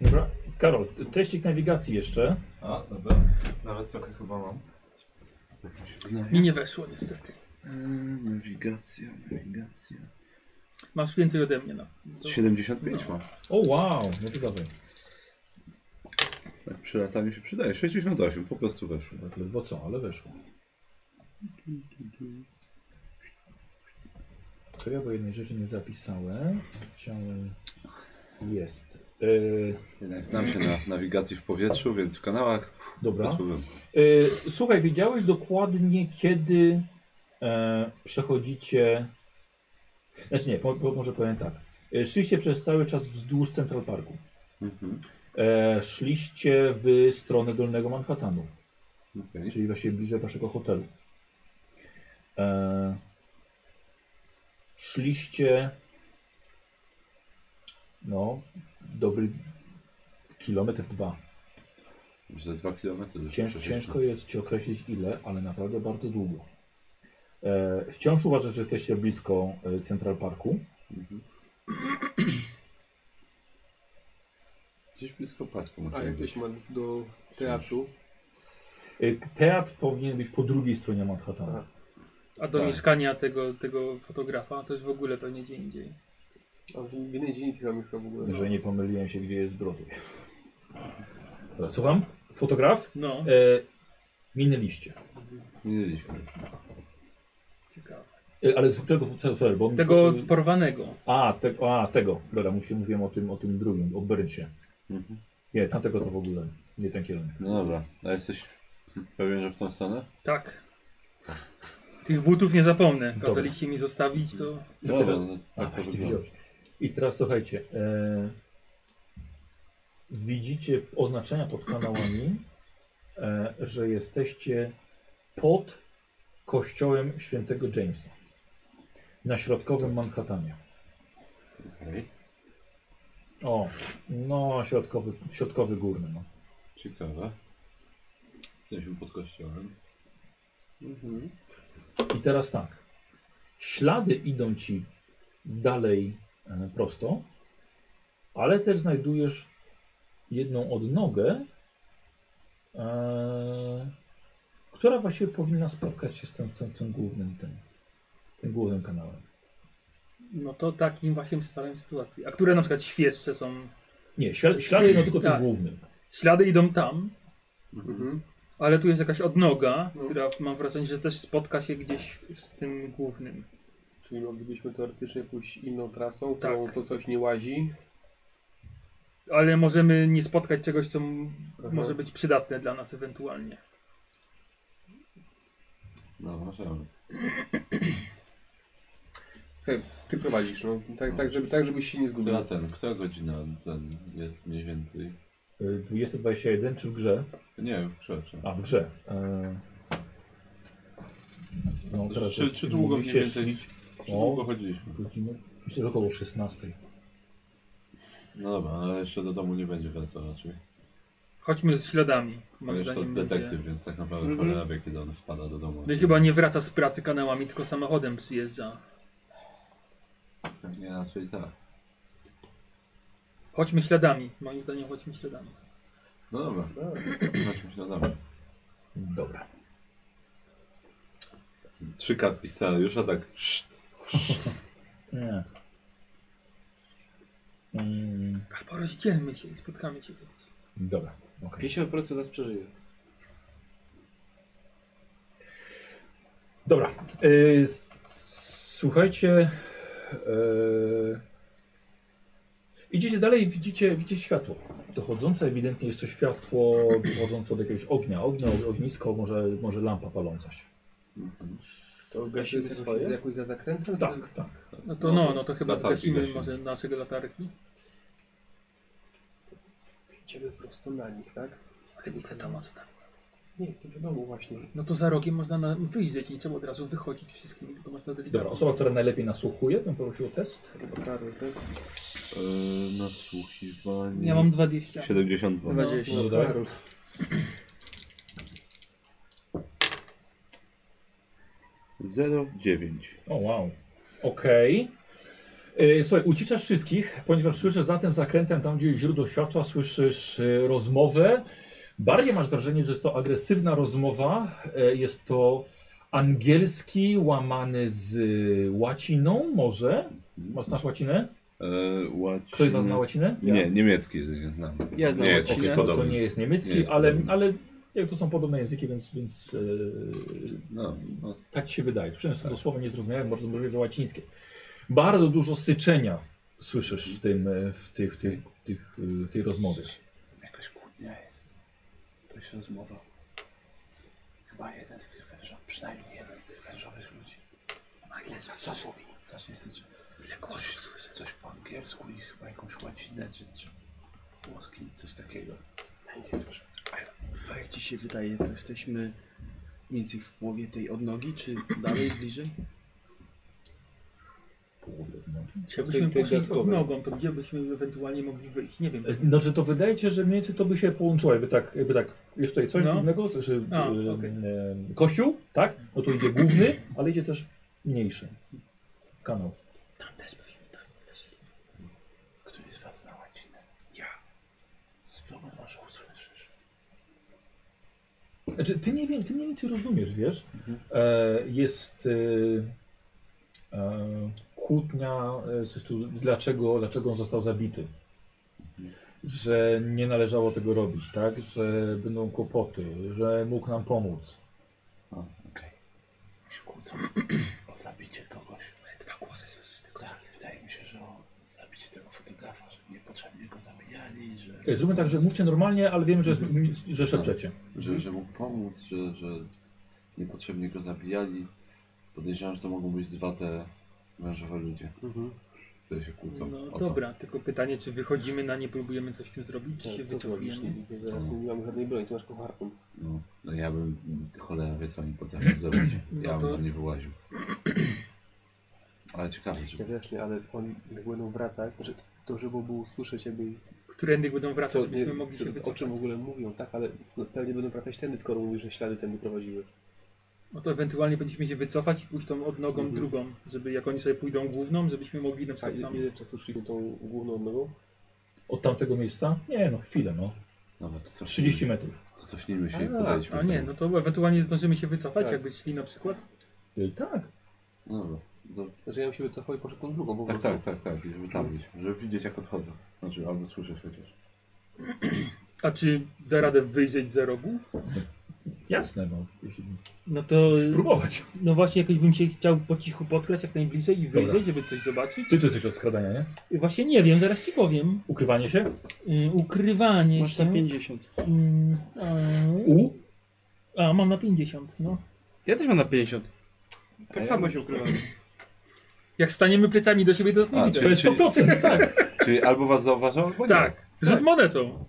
S1: Dobra. Karol, teścik nawigacji jeszcze.
S11: A, dobra. Nawet trochę chyba mam. No
S3: Mi nie weszło niestety.
S6: Eee, nawigacja, nawigacja.
S3: Masz więcej ode mnie, no. To-
S4: 75 ma.
S1: O wow, no to dawaj.
S4: Tak przy lataniu się przydaje. 68, po prostu weszło.
S1: Tak ledwo co, ale weszło. To ja bo jednej rzeczy nie zapisałem. Chciałem... Jest. Yy,
S4: Jednak znam się na nawigacji w powietrzu, więc w kanałach bez
S1: dobra.
S4: problemu.
S1: Yy, słuchaj, wiedziałeś dokładnie kiedy e, przechodzicie... Znaczy nie, po, po, może powiem tak. Yy, szliście przez cały czas wzdłuż Central Parku.
S4: Mhm.
S1: E, szliście w stronę Dolnego Manhattanu.
S4: okej.
S1: czyli właśnie bliżej waszego hotelu. E, szliście no dobry kilometr dwa.
S4: Za 2 km.
S1: Cięż, ciężko jest ci określić ile, ale naprawdę bardzo długo. E, wciąż uważasz, że jesteście blisko e, Central Parku.
S4: Mhm. Gdzieś blisko parku.
S2: A jak ktoś ma do teatru?
S1: Y, Teatr powinien być po drugiej stronie Manhattana.
S3: A do
S1: Tak.
S3: mieszkania tego, tego fotografa to już w ogóle pewnie gdzie indziej.
S2: A w w innej dzielnicy chyba mieszka w ogóle.
S1: Że nie pomyliłem się, gdzie jest Broadway. Dobra, Słucham? Fotograf?
S3: No.
S1: E, minęliście.
S4: Minęliśmy.
S3: Ciekawe.
S1: E, ale z którego, co, sorry, bo...
S3: Tego porwanego.
S1: A, te, a tego. Dobra, mówię- mówiłem o tym, o tym drugim, o Byrcie.
S4: Mhm.
S1: Nie, tamtego to w ogóle. Nie ten kierunek.
S4: No dobra, a jesteś pewien, że w tą stronę?
S3: Tak. Tych butów nie zapomnę. Kazaliście mi zostawić, to
S1: No,
S4: Dobra,
S1: no,
S4: no, tak to
S1: Ach, ty
S4: wygląda.
S1: wziąłeś. I teraz słuchajcie. E, widzicie oznaczenia pod kanałami, e, że jesteście pod kościołem świętego Jamesa. Na środkowym Manhattanie.
S4: Okej.
S1: O, no środkowy, środkowy górny. No.
S4: Ciekawe. Jesteśmy pod kościołem.
S1: I teraz tak. Ślady idą ci dalej e, prosto, ale też znajdujesz jedną odnogę, e, która właściwie powinna spotkać się z tym, tym, tym głównym tym, tym głównym kanałem.
S3: no to takim właśnie przedstawiam sytuację. A które na przykład świeższe są.
S1: Nie, śla- ślady idą tylko tym
S3: Tak.
S1: głównym.
S3: Ślady idą tam,
S2: Mhm.
S3: ale tu jest jakaś odnoga,
S4: No.
S3: która mam wrażenie, że też spotka się gdzieś z tym głównym.
S2: Czyli moglibyśmy teoretycznie pójść inną trasą, którą to coś nie łazi.
S3: Ale możemy nie spotkać czegoś, co m-
S2: Aha.
S3: może być przydatne dla nas ewentualnie.
S4: No, możemy.
S2: Słuchaj, ty prowadzisz, no. Tak, tak, żeby, tak żebyś się nie zgubił.
S4: Która ten, która godzina ten jest mniej więcej?
S1: Y, 20-21 czy w grze?
S4: Nie, w grze. czy-
S1: A w grze. E, no, teraz
S4: Czy, czy długo mniej więcej? Czy długo chodziliśmy?
S1: Godziny, myślę, że około 16.
S4: No dobra, ale jeszcze do domu nie będzie wracał raczej.
S3: Chodźmy z śladami.
S4: Bo
S3: Moim
S4: jest No to
S3: zdaniem
S4: detektyw,
S3: będzie...
S4: więc tak naprawdę
S3: Mhm.
S4: cholera wie, kiedy on wpada do domu.
S3: No i chyba nie wraca z pracy kanałami, tylko samochodem przyjeżdża.
S4: Pewnie raczej tak.
S3: Chodźmy śladami. Moim zdaniem chodźmy śladami.
S4: No dobra, chodźmy się na damy.
S1: Dobra.
S4: Trzy kartki scenariusza, tak. Szt.
S1: Nie. Mm,
S3: Albo rozdzielmy się i spotkamy się kiedyś.
S1: dobra, okej.
S7: 50% nas przeżyje.
S1: Dobra. y, s- słuchajcie. y, idziecie dalej, widzicie, widzicie światło. Dochodzące ewidentnie jest to światło dochodzące od jakiegoś ognia. Ognia, ognisko, może, może lampa paląca się.
S2: To
S5: gasimy
S2: jest jakoś-
S5: swoje?
S2: z Jakoś za zakrętem?
S1: Tak, tak.
S3: No to no, no to chyba
S4: latarki
S3: zgasimy
S4: gasimy.
S3: może naszego latarki.
S2: Idziemy prosto na nich, tak?
S3: Z tego wiadomo co tam.
S2: Nie, to wiadomo właśnie.
S3: No to za rogiem można na, wyjrzeć, nie trzeba od razu wychodzić wszystkimi, tylko można delikatnie.
S1: Dobra, osoba, która najlepiej nasłuchuje, bym prosił o test.
S4: Yy, nasłuchiwanie.
S3: Ja mam 20.
S4: 72.
S3: No.
S1: No,
S4: No,
S1: dodaj.
S4: Zero dziewięć.
S1: O, wow. Okej. Okay. Słuchaj, uciszasz wszystkich, ponieważ słyszysz za tym zakrętem, tam gdzie jest źródło światła, słyszysz y, rozmowę. Bardziej masz wrażenie, że jest to agresywna rozmowa. E, Jest to angielski łamany z y, łaciną, może? Masz, znasz łacinę?
S4: Yy, łaci...
S1: Ktoś z was zna łacinę?
S4: Nie, niemiecki nie znam.
S7: Ja znam
S4: nie jest
S7: łacinę.
S4: jakiś
S1: To, to
S4: podobny.
S1: nie jest niemiecki,
S4: Nie jest
S1: ale,
S4: podobny.
S1: ale jak to są podobne języki, więc, więc e,
S4: No, no.
S1: tak ci się wydaje. Przynajmniej są dosłownie niezrozumiałe, może możliwe, że łacińskie. Bardzo dużo syczenia słyszysz w, tym, e, w, tej, w, tej, w, tych, e, w tej rozmowie.
S12: Jakaś kłótnia jest. Jakaś rozmowa. Chyba jeden z tych wężów, przynajmniej jeden z tych wężowych ludzi. Co, co mówi? Strasznie syczy. Coś, coś po angielsku i chyba jakąś łacinę, czy, czy włoski, coś takiego. Ja nic nie słyszę.
S7: A jak ci się wydaje, to jesteśmy mniej więcej w połowie tej odnogi, czy dalej, bliżej?
S3: Jakbyśmy
S7: Tej- tej
S3: poszli od
S7: dodatkowej.
S3: nogą, to gdzie byśmy ewentualnie mogli wyjść? Nie wiem.
S1: <laughs> E, Znaczy to wydaje ci się, że mniej więcej to by się połączyło, jakby tak, jakby tak jest tutaj coś
S3: No.
S1: głównego, to, że
S3: A,
S1: e,
S3: okej.
S1: e, kościół, tak? No to idzie główny, ale idzie też mniejszy kanał.
S12: Tam też byśmy tam weszli. Któryś z was na łacinę? Ja.
S1: Znaczy, ty nie wiem, ty mnie nic nie rozumiesz, wiesz? E, jest e, e, kłótnia, e, z- z- dlaczego, dlaczego on został zabity. Że nie należało tego robić, tak? Że będą kłopoty, że mógł nam pomóc.
S12: się kłócą o zabicie kogoś. Dwa głosy słyszysz tylko. Tak, wydaje mi się, że o zabicie tego fotografa, że niepotrzebnie go zabijali, że...
S1: E, Zróbmy tak, że mówcie normalnie, ale wiem, że, że szepczecie.
S3: Mhm.
S13: Że, że mógł pomóc, że, że niepotrzebnie go zabijali. Podejrzewam, że to mogą być dwa te mężowe ludzie,
S3: Mhm.
S13: które się kłócą.
S3: No
S13: o to.
S3: dobra, tylko pytanie, czy wychodzimy na nie, próbujemy coś z tym zrobić, czy się
S12: Tak,
S3: wycofujemy?
S2: Teraz nie mamy żadnej broni, to masz kucharką.
S13: No, no ja bym, cholera wie co oni potrafią
S3: <clears throat>
S13: zrobić. Ja
S2: No
S13: bym
S2: to-
S13: tam nie wyłaził. Ale ciekawe, że...
S2: Ja wiesz, nie, ale oni jak będą wracać, znaczy to, żeby było usłyszeć jakby...
S3: Którędy będą
S2: nie-
S3: wracać, żebyśmy mogli się
S2: O
S3: wycofać.
S2: czym w ogóle mówią, tak, ale no, pewnie będą wracać tędy, skoro mówisz, że ślady tędy prowadziły.
S3: No to ewentualnie będziemy się wycofać i pójść tą odnogą
S2: Mhm.
S3: drugą, żeby jak oni sobie pójdą główną, żebyśmy mogli na
S2: A
S3: przykład
S2: ile,
S3: tam...
S2: ile czasu szli tą główną odnogą?
S1: Od tamtego miejsca? Nie, no chwilę, no.
S13: Dobra, to coś
S1: 30 metrów.
S13: To cofnijmy się i
S3: A,
S13: podejdźmy.
S3: A nie, no to ewentualnie zdążymy się wycofać,
S2: Tak.
S3: jakby szli na przykład.
S1: Tak.
S13: No dobra. do-
S2: Znaczy ja bym się wycofał i poszedł tą drugą po
S13: Tak,
S2: prostu.
S13: tak, tak, tak, i żeby tam gdzieś, żeby widzieć jak odchodzą. Znaczy, albo słyszeć chociaż.
S3: A czy da radę wyjrzeć za rogu?
S1: Jasne, no. Jeśli...
S3: No to...
S1: Spróbować.
S3: No właśnie, jakoś bym się chciał po cichu podgrać jak najbliżej i wyjrzeć,
S1: Dobra.
S3: żeby coś zobaczyć.
S1: Ty tu jesteś od skradania, nie?
S3: I Właśnie nie wiem, zaraz ci powiem.
S1: Ukrywanie się?
S3: Y, ukrywanie
S14: Masz
S3: się...
S14: na 50.
S3: Mm, a-
S1: U?
S3: A, mam na 50, no.
S5: Ja też mam na 50.
S3: A ja
S5: Tak samo
S3: mam
S5: się ukrywam.
S3: Jak staniemy plecami do siebie, to nas nie
S5: A,
S3: widzą.
S5: czyli- czyli-
S13: tak. Czyli albo was zauważą, albo nie.
S3: Tak, rzut monetą.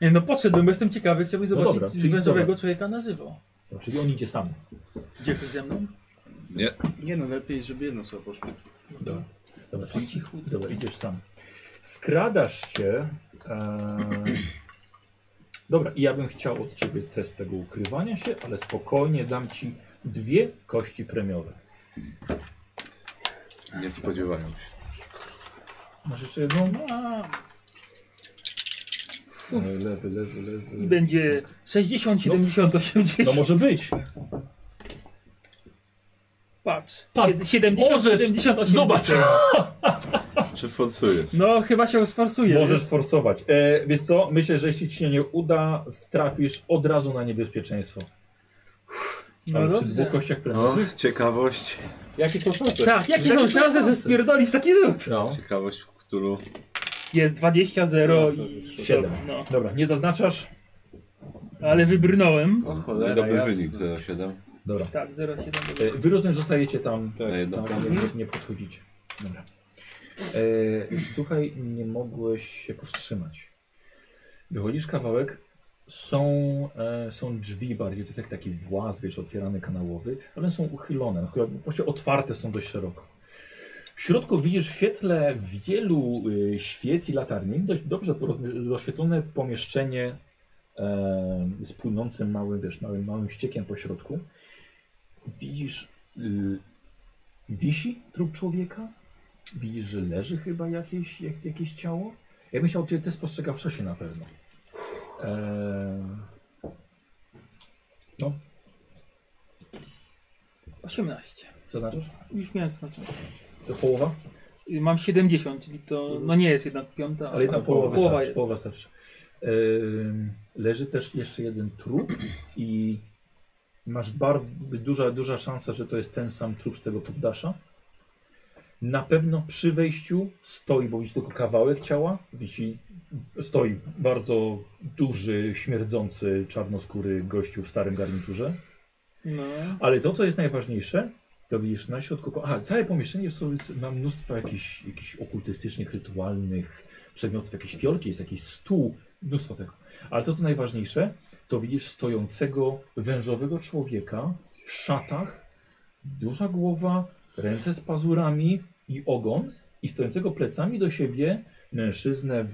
S3: Nie, No podszedłem, bo jestem ciekawy, chciałbym
S1: No
S3: zobaczyć
S1: dobra,
S3: no
S1: czyli-
S3: wężowego
S1: dobra.
S3: człowieka na żywo.
S1: No, <laughs> czyli on idzie sam.
S3: Idzie ktoś ze mną?
S13: Nie.
S5: Nie no, lepiej, żeby jedno sobie poszło.
S1: Dobra. Dobra, czyli cichu. Dobra, idziesz sam. Skradasz się. E... <clears throat> Dobra, i ja bym chciał od ciebie test tego ukrywania się, ale spokojnie dam ci dwie kości premiowe.
S13: Nie spodziewają się.
S1: Masz jeszcze jedną? A. E, Lewy, lewy, lewy.
S3: I będzie 60, 70, 80.
S1: No może być.
S3: Patrz,
S1: Pa-
S3: sied- 70,
S1: możesz-
S3: 70, 80.
S1: Zobacz!
S13: Czy forsujesz?
S3: No chyba się sforsuje.
S1: Możesz
S3: wiesz?
S1: sforsować. E, wiesz co, myślę, że jeśli ci się nie uda, wtrafisz od razu na niebezpieczeństwo.
S3: No
S1: Ale przy
S3: dobrze.
S1: dwóch kościach
S13: No,
S1: premiowych.
S13: ciekawość.
S2: Jakie są szanse?
S3: Tak, jakie są szanse, że spierdolisz taki rzut?
S1: No.
S13: Ciekawość, w którą...
S3: Jest 20, 0 i
S1: 7.
S3: No.
S1: Dobra, nie zaznaczasz?
S3: Ale wybrnąłem.
S13: O, cholera, Dobry jasne. wynik, 0,7.
S1: Dobra.
S3: Tak, 0,7.
S1: E, Wy rozumiem, zostajecie tam,
S13: Na jedno
S1: tam
S13: prawo.
S1: nie, nie podchodzicie. Dobra. E, słuchaj, nie mogłeś się powstrzymać. Wychodzisz kawałek, są, e, są drzwi bardziej, to jest jak taki właz, wiesz, otwierany kanałowy, ale są uchylone, no, chyba- właściwie otwarte są dość szeroko. W środku widzisz w świetle wielu y, świec i latarni, dość dobrze poro- rozświetlone pomieszczenie e, z płynącym małym, wiesz, małym, małym ściekiem po środku. Widzisz, y, wisi trup człowieka, widzisz, że leży chyba jakieś, jak, jakieś ciało. Ja bym chciał Cię też spostrzegawszy się na pewno. Eee, no,
S3: 18.
S1: co znaczysz?
S3: Już miałem znaczenie.
S1: To połowa?
S3: Y, Mam 70, czyli to no nie jest jednak piąta,
S1: Ale jedna połowa,
S3: połowa
S1: starczy,
S3: jest.
S1: połowa starczy. Ym, leży też jeszcze jeden trup i masz bardzo duża, duża szansa, że to jest ten sam trup z tego poddasza. Na pewno przy wejściu stoi, bo widzisz tylko kawałek ciała, wisi, stoi bardzo duży, śmierdzący, czarnoskóry gościu w starym garniturze.
S3: No.
S1: Ale to, co jest najważniejsze, to widzisz na środku. po- Aha, całe pomieszczenie jest, jest- ma mnóstwo jakichś, jakichś okultystycznych, rytualnych przedmiotów, jakieś fiolki, jest jakiś stół, mnóstwo tego. Ale to, co najważniejsze, to widzisz stojącego wężowego człowieka w szatach, duża głowa, ręce z pazurami i ogon, i stojącego plecami do siebie mężczyznę w,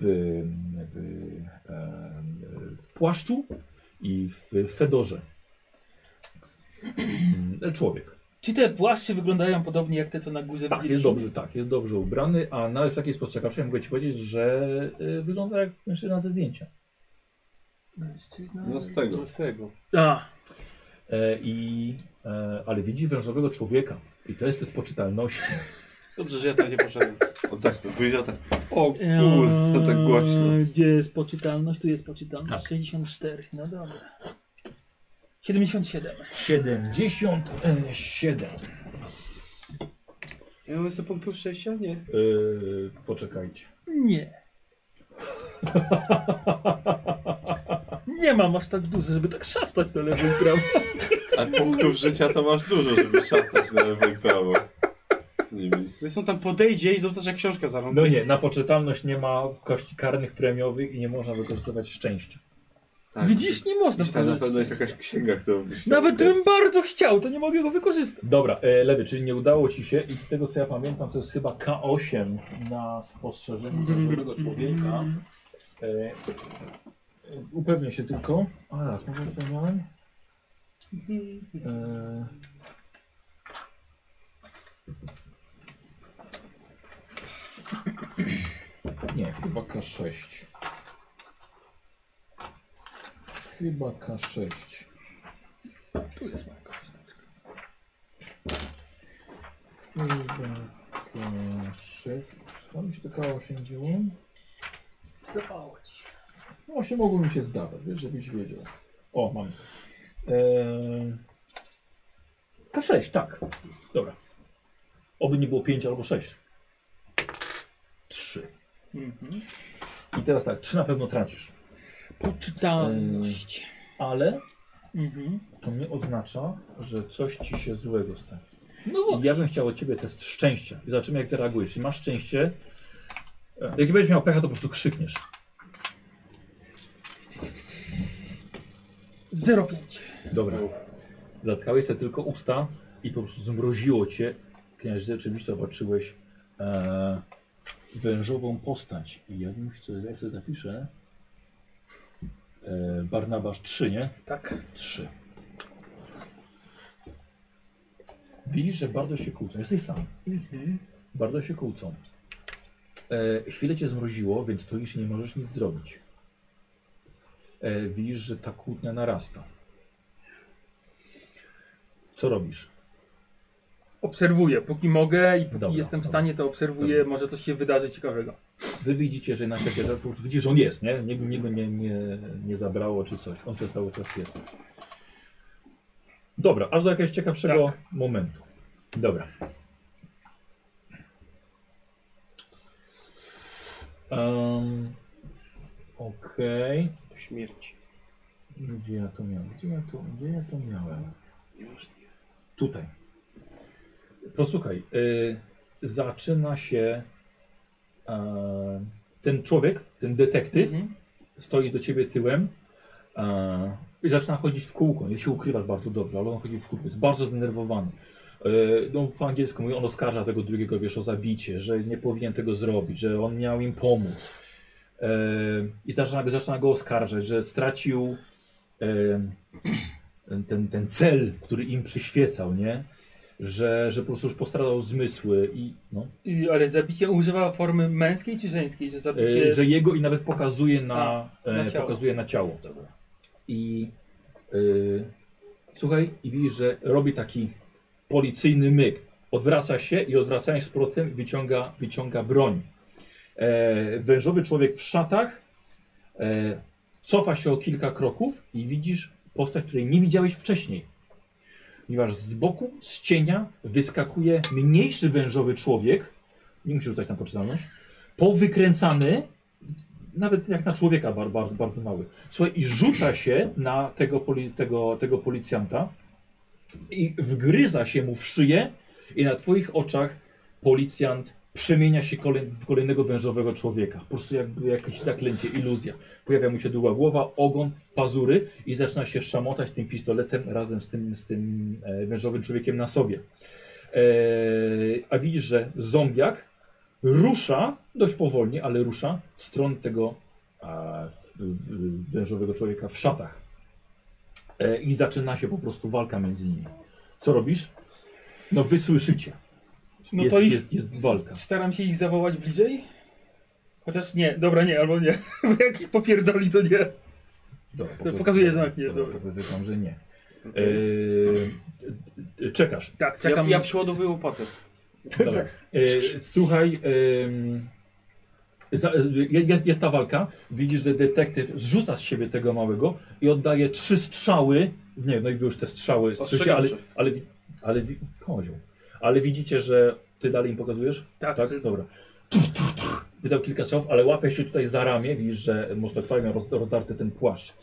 S1: w, em, w płaszczu i w fedorze. Mm, Człowiek.
S3: Czy te płaszcze wyglądają podobnie jak te, co na górze
S1: Tak, jest
S3: widzieliśmy?
S1: dobrze, tak, jest dobrze ubrany, a e, nawet w takiej spostrzegawczej mogę ci powiedzieć, że y, wygląda jak mężczyzna ze zdjęcia.
S3: Mężczyzna.
S4: No z tego.
S2: No z tego.
S3: A.
S1: E, i, e, ale widzi wężowego człowieka. I to jest test poczytalności.
S7: Dobrze, że ja tam nie poszedłem.
S4: O tak, wyjrzał tak. O kurde, tak głośno.
S3: Eee, Gdzie jest poczytalność? Tu jest poczytalność.
S1: Tak.
S3: 64, no dobra. 77.
S1: 77.
S7: Ja mam sobie punktów szczęścia? Nie.
S1: Yy, poczekajcie.
S3: Nie. <laughs> Nie mam aż tak dużo, żeby tak szastać na lewo i prawo.
S4: A punktów życia to masz dużo, żeby szastać na lewo i prawo. Nimi.
S7: Więc on tam podejdzie i zobaczysz jak książka zarąbie.
S1: No nie, na poczytalność nie ma kości karnych premiowych i nie można wykorzystywać szczęścia.
S3: Widzisz, nie można
S4: Tak, Gdzieś tam na pewno jest
S3: wykorzystać.
S4: jakaś księga, którą byś chciał
S3: Nawet
S4: wziąć.
S3: bym bardzo chciał, to nie mogę go wykorzystać.
S1: Dobra, e, lewy, czyli nie udało ci się i z tego co ja pamiętam to jest chyba K8 na spostrzeżenie wężowego człowieka. E, e, upewnię się tylko. A raz, może to miałem? E, nie, chyba K6. Chyba K6. Tu jest moja korzysteczka. Chyba K6. Co mi się to K8 dzieło?
S3: Zdawało ci.
S1: No się mogło mi się zdawać, wiesz, żebyś wiedział. O, mam. Eee... K6, tak. Dobra. Oby nie było 5 albo 6. 3.
S3: Mhm.
S1: I teraz tak, 3 na pewno tracisz.
S3: Poczytalność.
S1: Ale
S3: Mhm.
S1: to nie oznacza, że coś ci się złego stanie.
S3: No
S1: I ja bym chciał od ciebie test szczęścia. I zobaczymy, jak zareagujesz. Jeśli masz szczęście, e, jak będziesz miał pecha, to po prostu krzykniesz.
S3: 0,5.
S1: Dobra. Zatkałeś sobie tylko usta i po prostu zmroziło cię, ponieważ rzeczywiście zobaczyłeś e, wężową postać. I ja bym chciał, ja sobie zapiszę. E, Barnabasz 3, nie?
S3: Tak.
S1: 3. Widzisz, że bardzo się kłócą. Jesteś sam.
S3: Mhm.
S1: Bardzo się kłócą. E, chwilę cię zmroziło, więc stoisz i nie możesz nic zrobić. E, widzisz, że ta kłótnia narasta. Co robisz?
S3: Obserwuję, póki mogę i póki
S1: Dobra,
S3: jestem w
S1: dobra.
S3: stanie, to obserwuję,
S1: Dobra.
S3: może coś się wydarzy ciekawego.
S1: Wy widzicie, że na świecie, że po prostu widzisz, że on jest, nie? Niego nie, nie, nie, nie zabrało czy coś. On przez cały czas jest. Dobra, aż do jakiegoś ciekawszego momentu. Dobra. Um, Okej.
S7: Śmierć.
S1: Gdzie ja to miałem? Gdzie ja to, gdzie ja to miałem? Tutaj. Posłuchaj, y, zaczyna się e, ten człowiek, ten detektyw, stoi do ciebie tyłem e, i zaczyna chodzić w kółko. Nie się ukrywasz bardzo dobrze, ale on chodzi w kółko, jest bardzo zdenerwowany. E, no, po angielsku mówi, on oskarża tego drugiego, wiesz, o zabicie, że nie powinien tego zrobić, że on miał im pomóc. E, I zaczyna, go- zaczyna go oskarżać, że stracił e, ten, ten cel, który im przyświecał, nie? Że, że po prostu już postradał zmysły i no.
S3: I, ale zabicie używa formy męskiej czy żeńskiej, że zabicie...
S1: E, że jego i nawet pokazuje na,
S3: A, na
S1: e,
S3: ciało.
S1: pokazuje na ciało. I e, słuchaj, i widzisz, że robi taki policyjny myk. Odwraca się i odwracając z powrotem wyciąga, wyciąga broń. E, wężowy człowiek w szatach e, cofa się o kilka kroków i widzisz postać, której nie widziałeś wcześniej. Ponieważ z boku, z cienia wyskakuje mniejszy wężowy człowiek, nie musisz rzucać na poczytalność, powykręcany, nawet jak na człowieka bardzo, bardzo, bardzo mały. Słuchaj, i rzuca się na tego, poli, tego, tego policjanta i wgryza się mu w szyję i na twoich oczach policjant przemienia się kolej, w kolejnego wężowego człowieka. Po prostu jakby jakieś zaklęcie, iluzja. Pojawia mu się długa głowa, ogon, pazury i zaczyna się szamotać tym pistoletem razem z tym, z tym e, wężowym człowiekiem na sobie. Eee, a widzisz, że zombiak rusza, dość powolnie, ale rusza w stronę tego a, w, w, wężowego człowieka w szatach. E, I zaczyna się po prostu walka między nimi. Co robisz? No wysłyszycie.
S3: No
S1: jest,
S3: to ich-
S1: jest, jest walka.
S3: Staram się ich zawołać <laughs> bliżej? Chociaż nie, dobra nie, albo nie. Bo jak ich popierdoli, to nie.
S1: Dobra,
S3: To pokazuje znak, nie,
S1: Dobra,
S3: dobra.
S1: pokazuję wam, że nie. Eee, czekasz.
S3: Tak,
S7: Ja, ja przyładowuję łopatę.
S1: Dobra. E, słuchaj, em, za, e, jest, jest ta walka. Widzisz, że detektyw zrzuca z siebie tego małego i oddaje trzy strzały. Nie, no i wy już te strzały słyszycie, ale,
S3: Ostrzegawcze.
S1: ale, wi- ale, wi- kozioł. ale widzicie, że ty dalej im pokazujesz?
S3: Tak.
S1: Dobra. Tuf, tuf, tuf. Wydał kilka strzałów, ale łapie się tutaj za ramię. Widzisz, że mostokwaj miał roz- rozdarty ten płaszcz.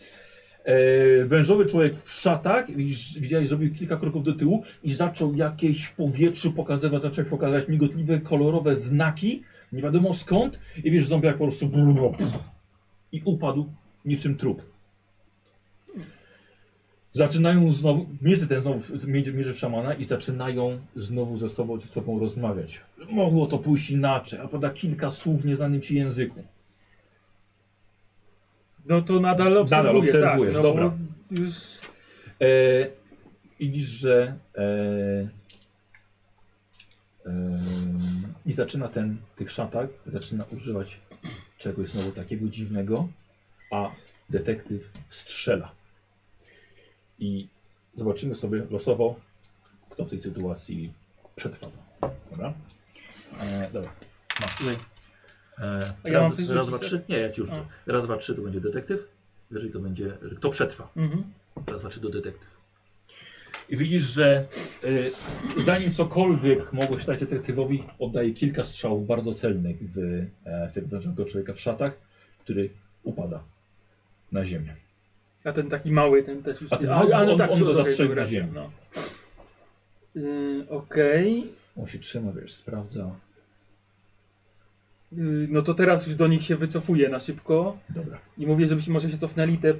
S1: E, wężowy człowiek w szatach, widzisz, widziałeś, zrobił kilka kroków do tyłu i zaczął jakieś w powietrzu pokazywać, zaczął pokazywać migotliwe, kolorowe znaki, nie wiadomo skąd, i wiesz, zombiak po prostu blu, blu, blu, i upadł niczym trup. Zaczynają znowu, niestety ten znowu mierzy, mierzy w szamana i zaczynają znowu ze sobą, ze sobą rozmawiać. Mogło to pójść inaczej, a pada kilka słów w nieznanym ci języku.
S3: No to nadal obserwuję.
S1: Nadal obserwujesz,
S3: tak, no
S1: dobra.
S3: bo Już...
S1: E, widzisz, że e, e, i zaczyna ten w tych szatach, zaczyna używać czegoś znowu takiego dziwnego, a detektyw strzela. I zobaczymy sobie losowo, kto w tej sytuacji przetrwa. Dobra? E, dobra. Masz tutaj. E,
S3: A ja mam
S1: raz,
S3: coś
S1: raz,
S3: rzucić,
S1: dwa,
S3: tak?
S1: trzy. Nie, ja ci już.
S3: A.
S1: Raz, dwa, trzy to będzie detektyw. Jeżeli to będzie. Kto przetrwa?
S3: Mhm.
S1: Raz, dwa, trzy do detektyw. I widzisz, że y, zanim cokolwiek mogło się dać detektywowi, oddaje kilka strzałów bardzo celnych w, e, w tego wężowego człowieka w szatach, który upada na ziemię.
S3: A ten taki mały, ten też już... no
S1: A ten mały, on- on go
S3: okej,
S1: zastrzelił
S3: dobra,
S1: na ziemię.
S3: No. Yy, Okej.
S1: On się trzyma, wiesz, sprawdza.
S3: Yy, No to teraz już do nich się wycofuję na szybko.
S1: Dobra.
S3: I mówię, żebyśmy może się cofnęli te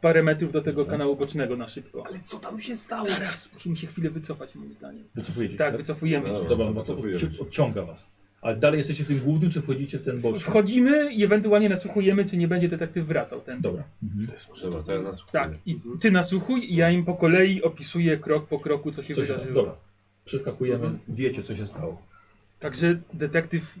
S3: parę metrów do tego kanału bocznego na szybko.
S12: Ale co tam się stało?
S3: Zaraz, musimy się chwilę wycofać moim zdaniem.
S1: Wycofujecie się,
S3: Tak, wycofujemy się.
S1: Dobra, was odci- odciąga was. Ale dalej jesteście w tym głównym, czy wchodzicie w ten boczny?
S3: Wchodzimy i ewentualnie nasłuchujemy, czy nie będzie detektyw wracał ten.
S1: Dobra. Mhm.
S4: Dobra, to ja nas
S3: Tak, i
S12: Mhm.
S3: ty nasłuchuj i ja im po kolei opisuję krok po kroku, co się
S1: Coś,
S3: wydarzyło. Mhm.
S1: dobra. Przeskakujemy, wiecie co się stało.
S3: Także detektyw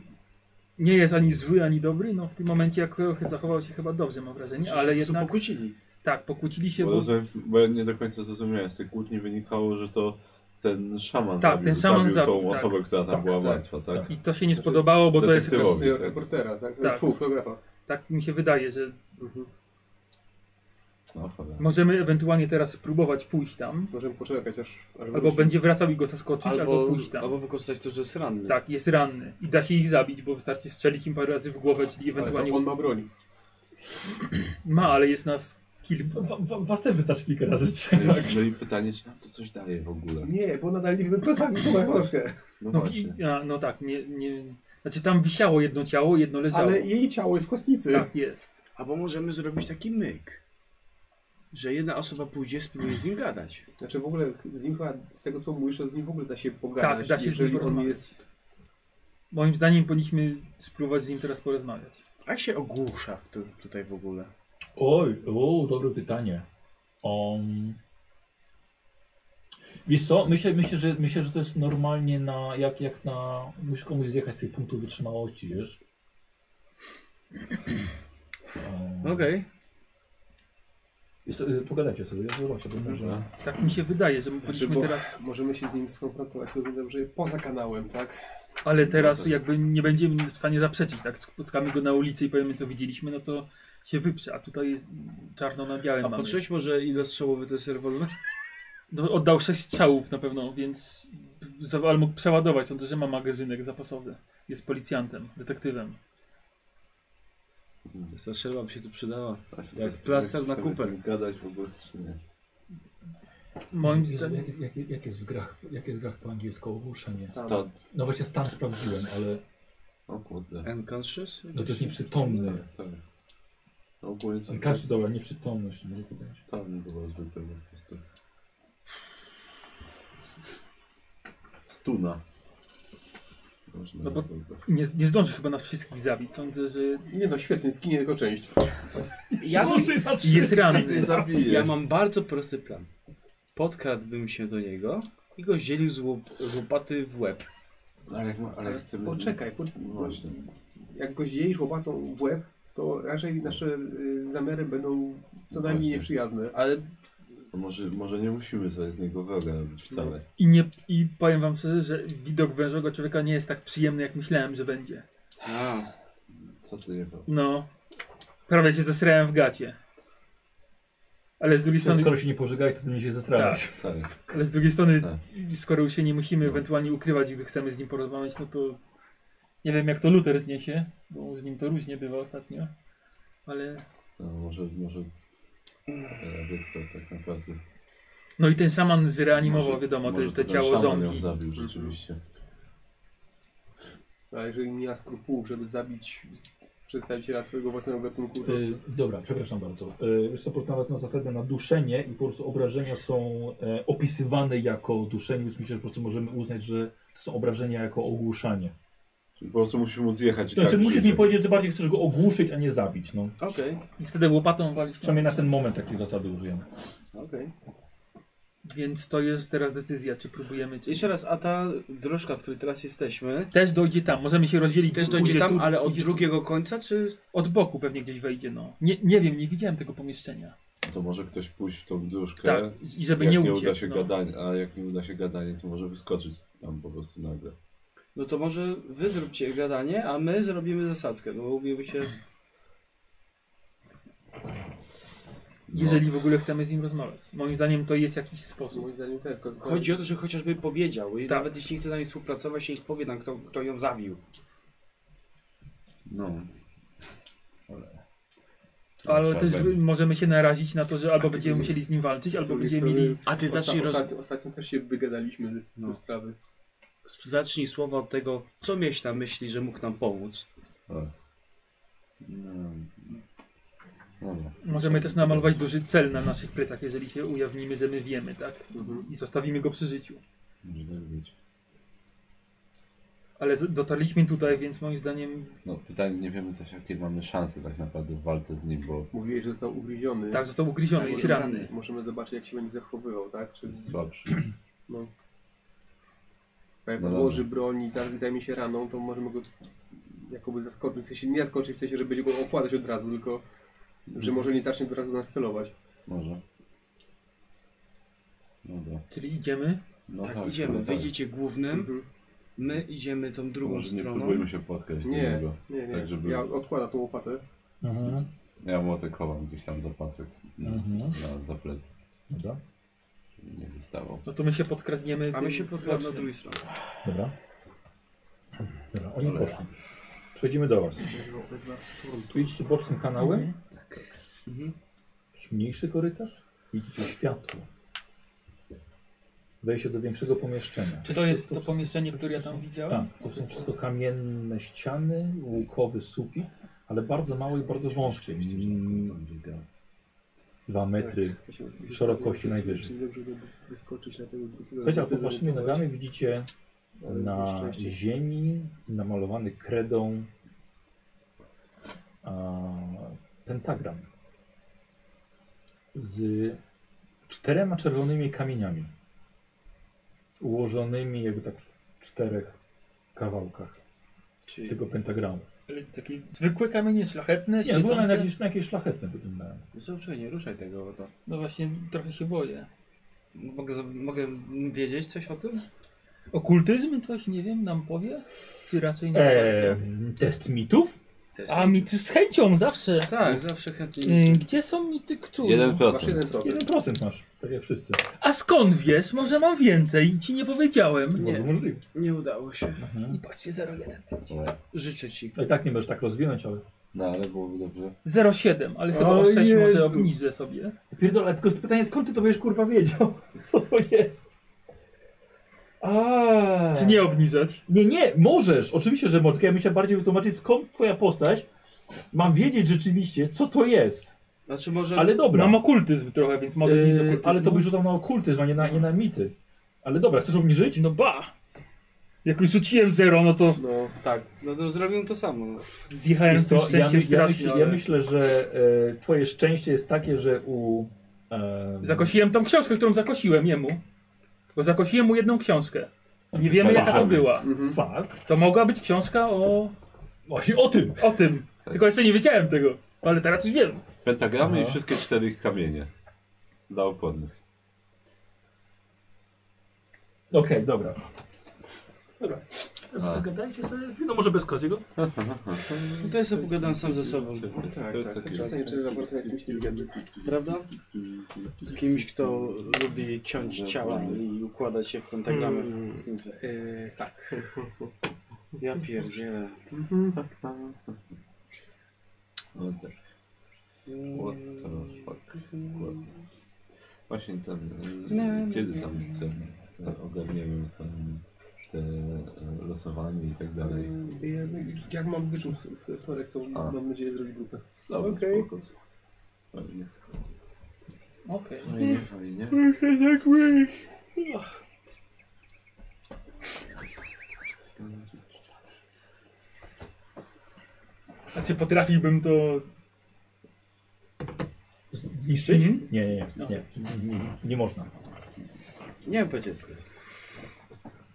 S3: nie jest ani zły, ani dobry. No w tym momencie jak zachował się chyba dobrze, mam wrażenie, ale jednak... pokłócili. Tak, pokłócili się,
S4: Bo,
S3: bo...
S4: rozumiem, bo ja nie do końca zrozumiałem. Z tych kłótni wynikało, że to ten szaman
S3: Tak,
S4: zabił,
S3: ten szaman
S4: zabił tą
S3: zabił, tak.
S4: osobę, która tam
S3: Tak,
S4: była
S3: tak,
S4: martwa, tak?
S3: I to się nie spodobało, bo to jest...
S4: Detektywowi,
S3: chyba-
S4: tak.
S6: Reportera, tak?
S3: Tak.
S6: Współfotografa.
S3: Tak mi się wydaje, że
S6: Mhm.
S4: No,
S3: <laughs>
S4: cholera.
S3: możemy ewentualnie teraz spróbować pójść tam.
S6: Możemy poczekać aż...
S3: Albo będzie wracał i go zaskoczyć, albo, pójść tam.
S7: Albo wykorzystać to, że jest ranny.
S3: Tak, jest ranny i da się ich zabić, bo wystarczy strzelić im parę razy w głowę, czyli ewentualnie...
S6: on ma broń.
S3: Ma, ale jest nas
S1: No
S3: kilku.
S1: was też wystarczy kilka razy
S4: No i- No i pytanie, czy nam to coś daje w ogóle?
S6: Nie, bo nadal nie wiemy, kto zabił tą Majorkę. <laughs>
S4: No
S3: No,
S4: właśnie.
S3: wi- a, no tak, nie, nie... Znaczy tam wisiało jedno ciało, jedno leżało.
S6: Ale jej ciało jest w kostnicy.
S3: Tak jest.
S7: Albo możemy zrobić taki myk, że jedna osoba pójdzie, spróbuje z nim gadać.
S6: Znaczy w ogóle z nim chyba, z tego co mówisz, że z nim w ogóle da się pogadać,
S3: Tak, da się z nim
S6: jeżeli on
S3: porozmawiać.
S6: jest...
S3: Moim zdaniem powinniśmy spróbować z nim teraz porozmawiać.
S7: A jak się ogłusza w tu, tutaj w ogóle?
S1: Oj, o, dobre pytanie. Um, wiesz co, myślę, myślę, że, myślę, że to jest normalnie na, jak, jak na, musisz komuś zjechać z tych punktów wytrzymałości, wiesz? Um,
S7: Okej.
S1: jest, y, pogadajcie sobie, ja zobaczę, bo może...
S3: Tak mi się wydaje, że my
S6: Znaczy,
S3: powinniśmy
S6: bo
S3: teraz...
S6: teraz... Możemy się z nim skonfrontować, rozumiem, że poza kanałem, tak?
S3: Ale teraz jakby nie będziemy w stanie zaprzeczyć, tak? Spotkamy go na ulicy i powiemy co widzieliśmy, no to się wyprze, a tutaj jest czarno na białym
S7: A
S3: mamy.
S7: patrzyłeś może ile strzałowy to jest rewolwer? <laughs>
S3: No, oddał 6 strzałów na pewno, więc za- ale mógł przeładować, sądzę, że ma magazynek zapasowy. Jest policjantem, detektywem.
S4: Hmm.
S7: Ta strzelba by się tu przydała.
S4: Właśnie,
S7: Jak
S4: tak,
S7: plaster
S4: czy
S7: na
S4: tam
S7: kupę.
S4: jest Gadać w ogóle, czy nie?
S3: Moim
S1: Jezu,
S3: zdaniem...
S1: Jak, jak, jak, jest w grach, jak jest w grach po angielsku ogłuszenie?
S7: Tak.
S4: Stan.
S1: No właśnie stan sprawdziłem, ale
S4: O kurde.
S7: Unconscious?
S1: no to jest nieprzytomny.
S4: Tak, tak. No ogólnie to
S1: Każdy,
S4: jest
S1: dobra, nieprzytomność. Może to być.
S4: Stan chyba zwykłego po prostu. Stuna. Można
S3: No bo
S4: nazwać.
S3: nie, nie zdąży chyba nas wszystkich zabić, sądzę, że...
S6: Nie no, świetnie, zginie tylko część.
S7: Ja,
S3: Jest ranny.
S7: ja mam bardzo prosty plan. Podkradłbym się do niego i go zielił z, łop, z łopaty w łeb.
S4: No Ale, jak ma, ale chcemy...
S6: Poczekaj, po...
S4: Właśnie.
S6: jak go zjedziesz łopatą w łeb,
S2: to raczej nasze y, zamiary będą co najmniej
S4: Właśnie.
S2: nieprzyjazne.
S7: Ale
S4: To może, może nie musimy sobie z niego wroga robić wcale.
S3: I, nie, I powiem wam szczerze, że widok wężowego człowieka nie jest tak przyjemny, jak myślałem, że będzie.
S4: A, co ty jebał?
S3: No. Prawie się zesrałem w gacie. Ale z drugiej strony...
S1: Skoro się nie pożegnaj, to będzie się zesrałeś.
S3: Tak. Ale z drugiej strony, skoro już się nie musimy ewentualnie ukrywać, gdy chcemy z nim porozmawiać, no to nie wiem jak to Luther zniesie, bo z nim to różnie bywa ostatnio. Ale
S4: No, może, może e, Wiktor tak naprawdę...
S3: No i ten szaman zreanimował,
S4: Może-
S3: wiadomo, te,
S4: może
S3: te
S4: to ten
S3: ciało Mhm.
S4: szaman ją
S3: ząbki.
S4: zabił rzeczywiście.
S2: A jeżeli nie ma skrupułów, żeby zabić przedstawiciela swojego własnego gatunku, to...
S1: Y, dobra, przepraszam bardzo. Yy, wiesz co, porównując na zasadę na duszenie i po prostu obrażenia są e, opisywane jako duszenie, więc myślę, że po prostu możemy uznać, że to są obrażenia jako ogłuszanie.
S4: Czyli Po prostu musimy mu zjechać. i
S1: To znaczy
S4: tak
S1: musisz
S4: życie.
S1: mi powiedzieć, że bardziej chcesz go ogłuszyć, a nie zabić. No.
S2: Okej.
S3: I wtedy łopatą walić.
S1: Przynajmniej na ten moment takiej zasady użyjemy.
S7: Okej.
S3: Więc to jest teraz decyzja, czy próbujemy, czy
S7: Jeszcze raz, a ta dróżka, w której teraz jesteśmy,
S3: Też dojdzie tam, możemy się rozdzielić.
S7: Też dojdzie
S3: Pójdzie
S7: tam, ale od
S3: idzie
S7: drugiego końca, czy...
S3: Od boku pewnie gdzieś wejdzie, no. Nie, nie wiem, nie widziałem tego pomieszczenia.
S4: To może ktoś pójść w tą dróżkę.
S3: Tak, i żeby
S4: jak
S3: nie
S4: nie uda
S3: uciec,
S4: się
S3: no.
S4: gadanie, A jak nie uda się gadanie, to może wyskoczyć tam po prostu nagle.
S7: no to może wy zróbcie gadanie, a my zrobimy zasadzkę, bo ubiłby się...
S4: no.
S3: Jeżeli w ogóle chcemy z nim rozmawiać. Moim zdaniem to jest jakiś sposób.
S7: No
S2: Moim zdaniem tak.
S7: Chodzi o to, że chociażby powiedział i nawet jeśli nie chce z nami współpracować, się ich powie nam, kto, kto ją zabił.
S4: No.
S3: Ale
S7: Tak,
S3: też
S7: będzie.
S3: możemy się narazić na to, że albo
S2: A ty-
S3: będziemy musieli z nim walczyć,
S2: Z
S3: albo
S2: drugiej
S3: będziemy
S2: strony
S3: mieli...
S2: osta- Ostatnio, ostatnio też się wygadaliśmy do sprawy.
S7: Sp- Zacznij słowa od tego, co mieć na myśli, że mógł nam pomóc.
S4: No. Dobra.
S3: Możemy też namalować duży cel na naszych plecach, jeżeli się ujawnimy, że my wiemy, tak? I zostawimy go przy życiu.
S4: Może tak być.
S3: Ale z- dotarliśmy tutaj, więc moim zdaniem
S4: No pytanie, nie wiemy też jakie mamy szanse tak naprawdę w walce z nim, bo
S2: Mówiłeś, że został ugryziony.
S3: Tak, został ugryziony,
S2: Może-
S3: jest ranny.
S2: Możemy zobaczyć, jak się będzie zachowywał, tak? Czy
S4: jest słabszy.
S2: No. A jak
S4: No
S2: odłoży broń i za- zajmie się raną, to możemy go jakoby zaskoczyć, w sensie, nie zaskoczyć w sensie, że będzie go okładać od razu, tylko że może nie zacznie od razu nas celować.
S4: może. Dobra.
S3: Czyli idziemy?
S4: No
S7: tak, Mhm.
S4: tak,
S7: idziemy.
S4: no tak.
S7: Wyjdziecie głównym, my idziemy tą drugą
S4: Może nie
S7: stroną.
S4: próbujmy się podkraść do
S2: Nie,
S4: niego.
S2: nie, nie.
S4: Tak, żeby...
S2: Ja odkładam tą łopatę.
S1: Mhm.
S4: Ja młotek chowam gdzieś tam za pasek, na,
S1: Mhm.
S4: na, za plecy.
S1: Dobra.
S4: Żeby nie wystawał.
S3: No to my się podkradniemy.
S7: A my
S3: tym
S7: się podkradamy
S3: bocznym.
S7: od drugiej strony.
S1: Dobra. Dobra, oni poszli. Przejdziemy do was. Tu idźcie bocznym kanałem.
S3: Mhm.
S7: Mhm.
S1: Jakiś mniejszy korytarz. Widzicie światło. Wejście do większego pomieszczenia.
S3: Czy to jest to pomieszczenie, które ja tam widziałem?
S1: Tak, to są wszystko kamienne ściany, łukowy sufit, ale bardzo małe i bardzo wąskie.
S4: tak.
S1: Mm, Dwa metry szerokości najwyżej.
S2: Dobrze, żeby wyskoczyć na tego drugiego.
S1: Słuchajcie, a pod waszymi nogami widzicie na ziemi namalowany kredą a, pentagram z czterema czerwonymi kamieniami ułożonymi jakby tak w czterech kawałkach
S3: Czyli-
S1: tego pentagramu.
S3: Ale takie zwykłe kamienie, szlachetne,
S1: Nie,
S3: świecące?
S1: wygląda na jakieś, na jakieś szlachetne wyglądają.
S7: Zobaczenie, nie ruszaj tego. To.
S3: No właśnie, trochę się boję.
S7: Mogę, za- mogę wiedzieć coś o tym?
S3: Okultyzm coś, nie wiem, nam powie? Czy raczej nie
S1: Eee,
S3: bardzo?
S1: test mitów?
S3: A mity z chęcią zawsze.
S7: Tak, zawsze chętnie.
S3: Y, Gdzie są mity, które?
S1: 1% masz, tak jak wszyscy.
S3: A skąd wiesz? Może mam więcej i ci nie powiedziałem.
S1: Może możliwe.
S7: Nie udało się.
S3: I patrzcie, 0,1.
S4: Ale,
S7: Życzę ci.
S1: ale tak nie możesz tak rozwinąć, ale...
S4: no ale byłoby dobrze.
S3: 0,7, ale chyba
S1: O
S3: o 6
S1: Jezu.
S3: może obniżę sobie.
S1: Pierdolę, tylko jest pytanie, skąd ty to będziesz kurwa wiedział? <laughs> Co to jest? A.
S3: Czy nie obniżać?
S1: Nie, nie, możesz. Oczywiście, że możesz. Tylko Ja myślę bardziej wytłumaczyć, skąd twoja postać ma wiedzieć rzeczywiście, co to jest.
S7: Znaczy może...
S1: Ale dobra.
S3: Mam okultyzm trochę, więc No, może gdzieś z
S1: Yy,
S3: okultyzmu.
S1: ale to byś rzucał na okultyzm, a nie na, nie na mity. Ale dobra, chcesz obniżyć?
S3: No ba! Jak już rzuciłem 0, no to
S2: No
S7: tak. No to zrobiłem to samo. no.
S3: zjechałem
S1: Wiesz
S3: z tym
S1: co, ja,
S3: szczęściem
S1: my- ja,
S3: strasznie.
S1: myślę, ja
S3: ale-
S1: myślę, że e, twoje szczęście jest takie, że u... E,
S3: Zakosiłem tą książkę, którą zakosiłem jemu. Bo zakosiłem mu jedną książkę. Nie wiemy jaka to
S1: fakt.
S3: była.
S1: Fakt.
S3: To mogła być książka o...
S1: Właśnie o tym!
S3: O tym. Tylko jeszcze nie wiedziałem tego, ale teraz już wiem.
S4: Pentagramy
S3: Aha.
S4: i wszystkie cztery kamienie. Dla opornych.
S1: Okej, dobra. Dobra.
S4: A.
S3: Pogadajcie sobie, no może bez koziego.
S7: Tutaj sobie pogadam sam ze sobą.
S2: Tak, tak, tak. Czasami trzeba porozmawiać z kimś inteligentnym.
S7: Prawda? Z kimś, kto lubi ciąć ciała i układać je w pentagramy.
S2: Mm,
S1: Hmm.
S7: tak. Ja pierdzielę.
S4: No tak. What the fuck. Dokładnie. Właśnie ten. y,
S7: Nie, nie,
S4: kiedy
S7: nie,
S4: tam
S7: nie.
S4: ten, y, ogarniemy tam te y, losowanie i tak dalej.
S15: Jak- Jak mam wyczuł w- w- we wtorek, to
S4: A.
S15: mam nadzieję zrobić grupę.
S4: Dobra,
S15: Okej.
S4: spoko. Fajnie.
S3: Okej.
S4: Fajnie, fajnie.
S16: tak byłeś.
S3: A czy potrafiłbym to...
S1: Zniszczyć?
S3: Mhm.
S1: Nie, nie,
S3: No.
S1: nie, nie, nie, nie można.
S7: Nie wiem powiedzieć tak. co to jest.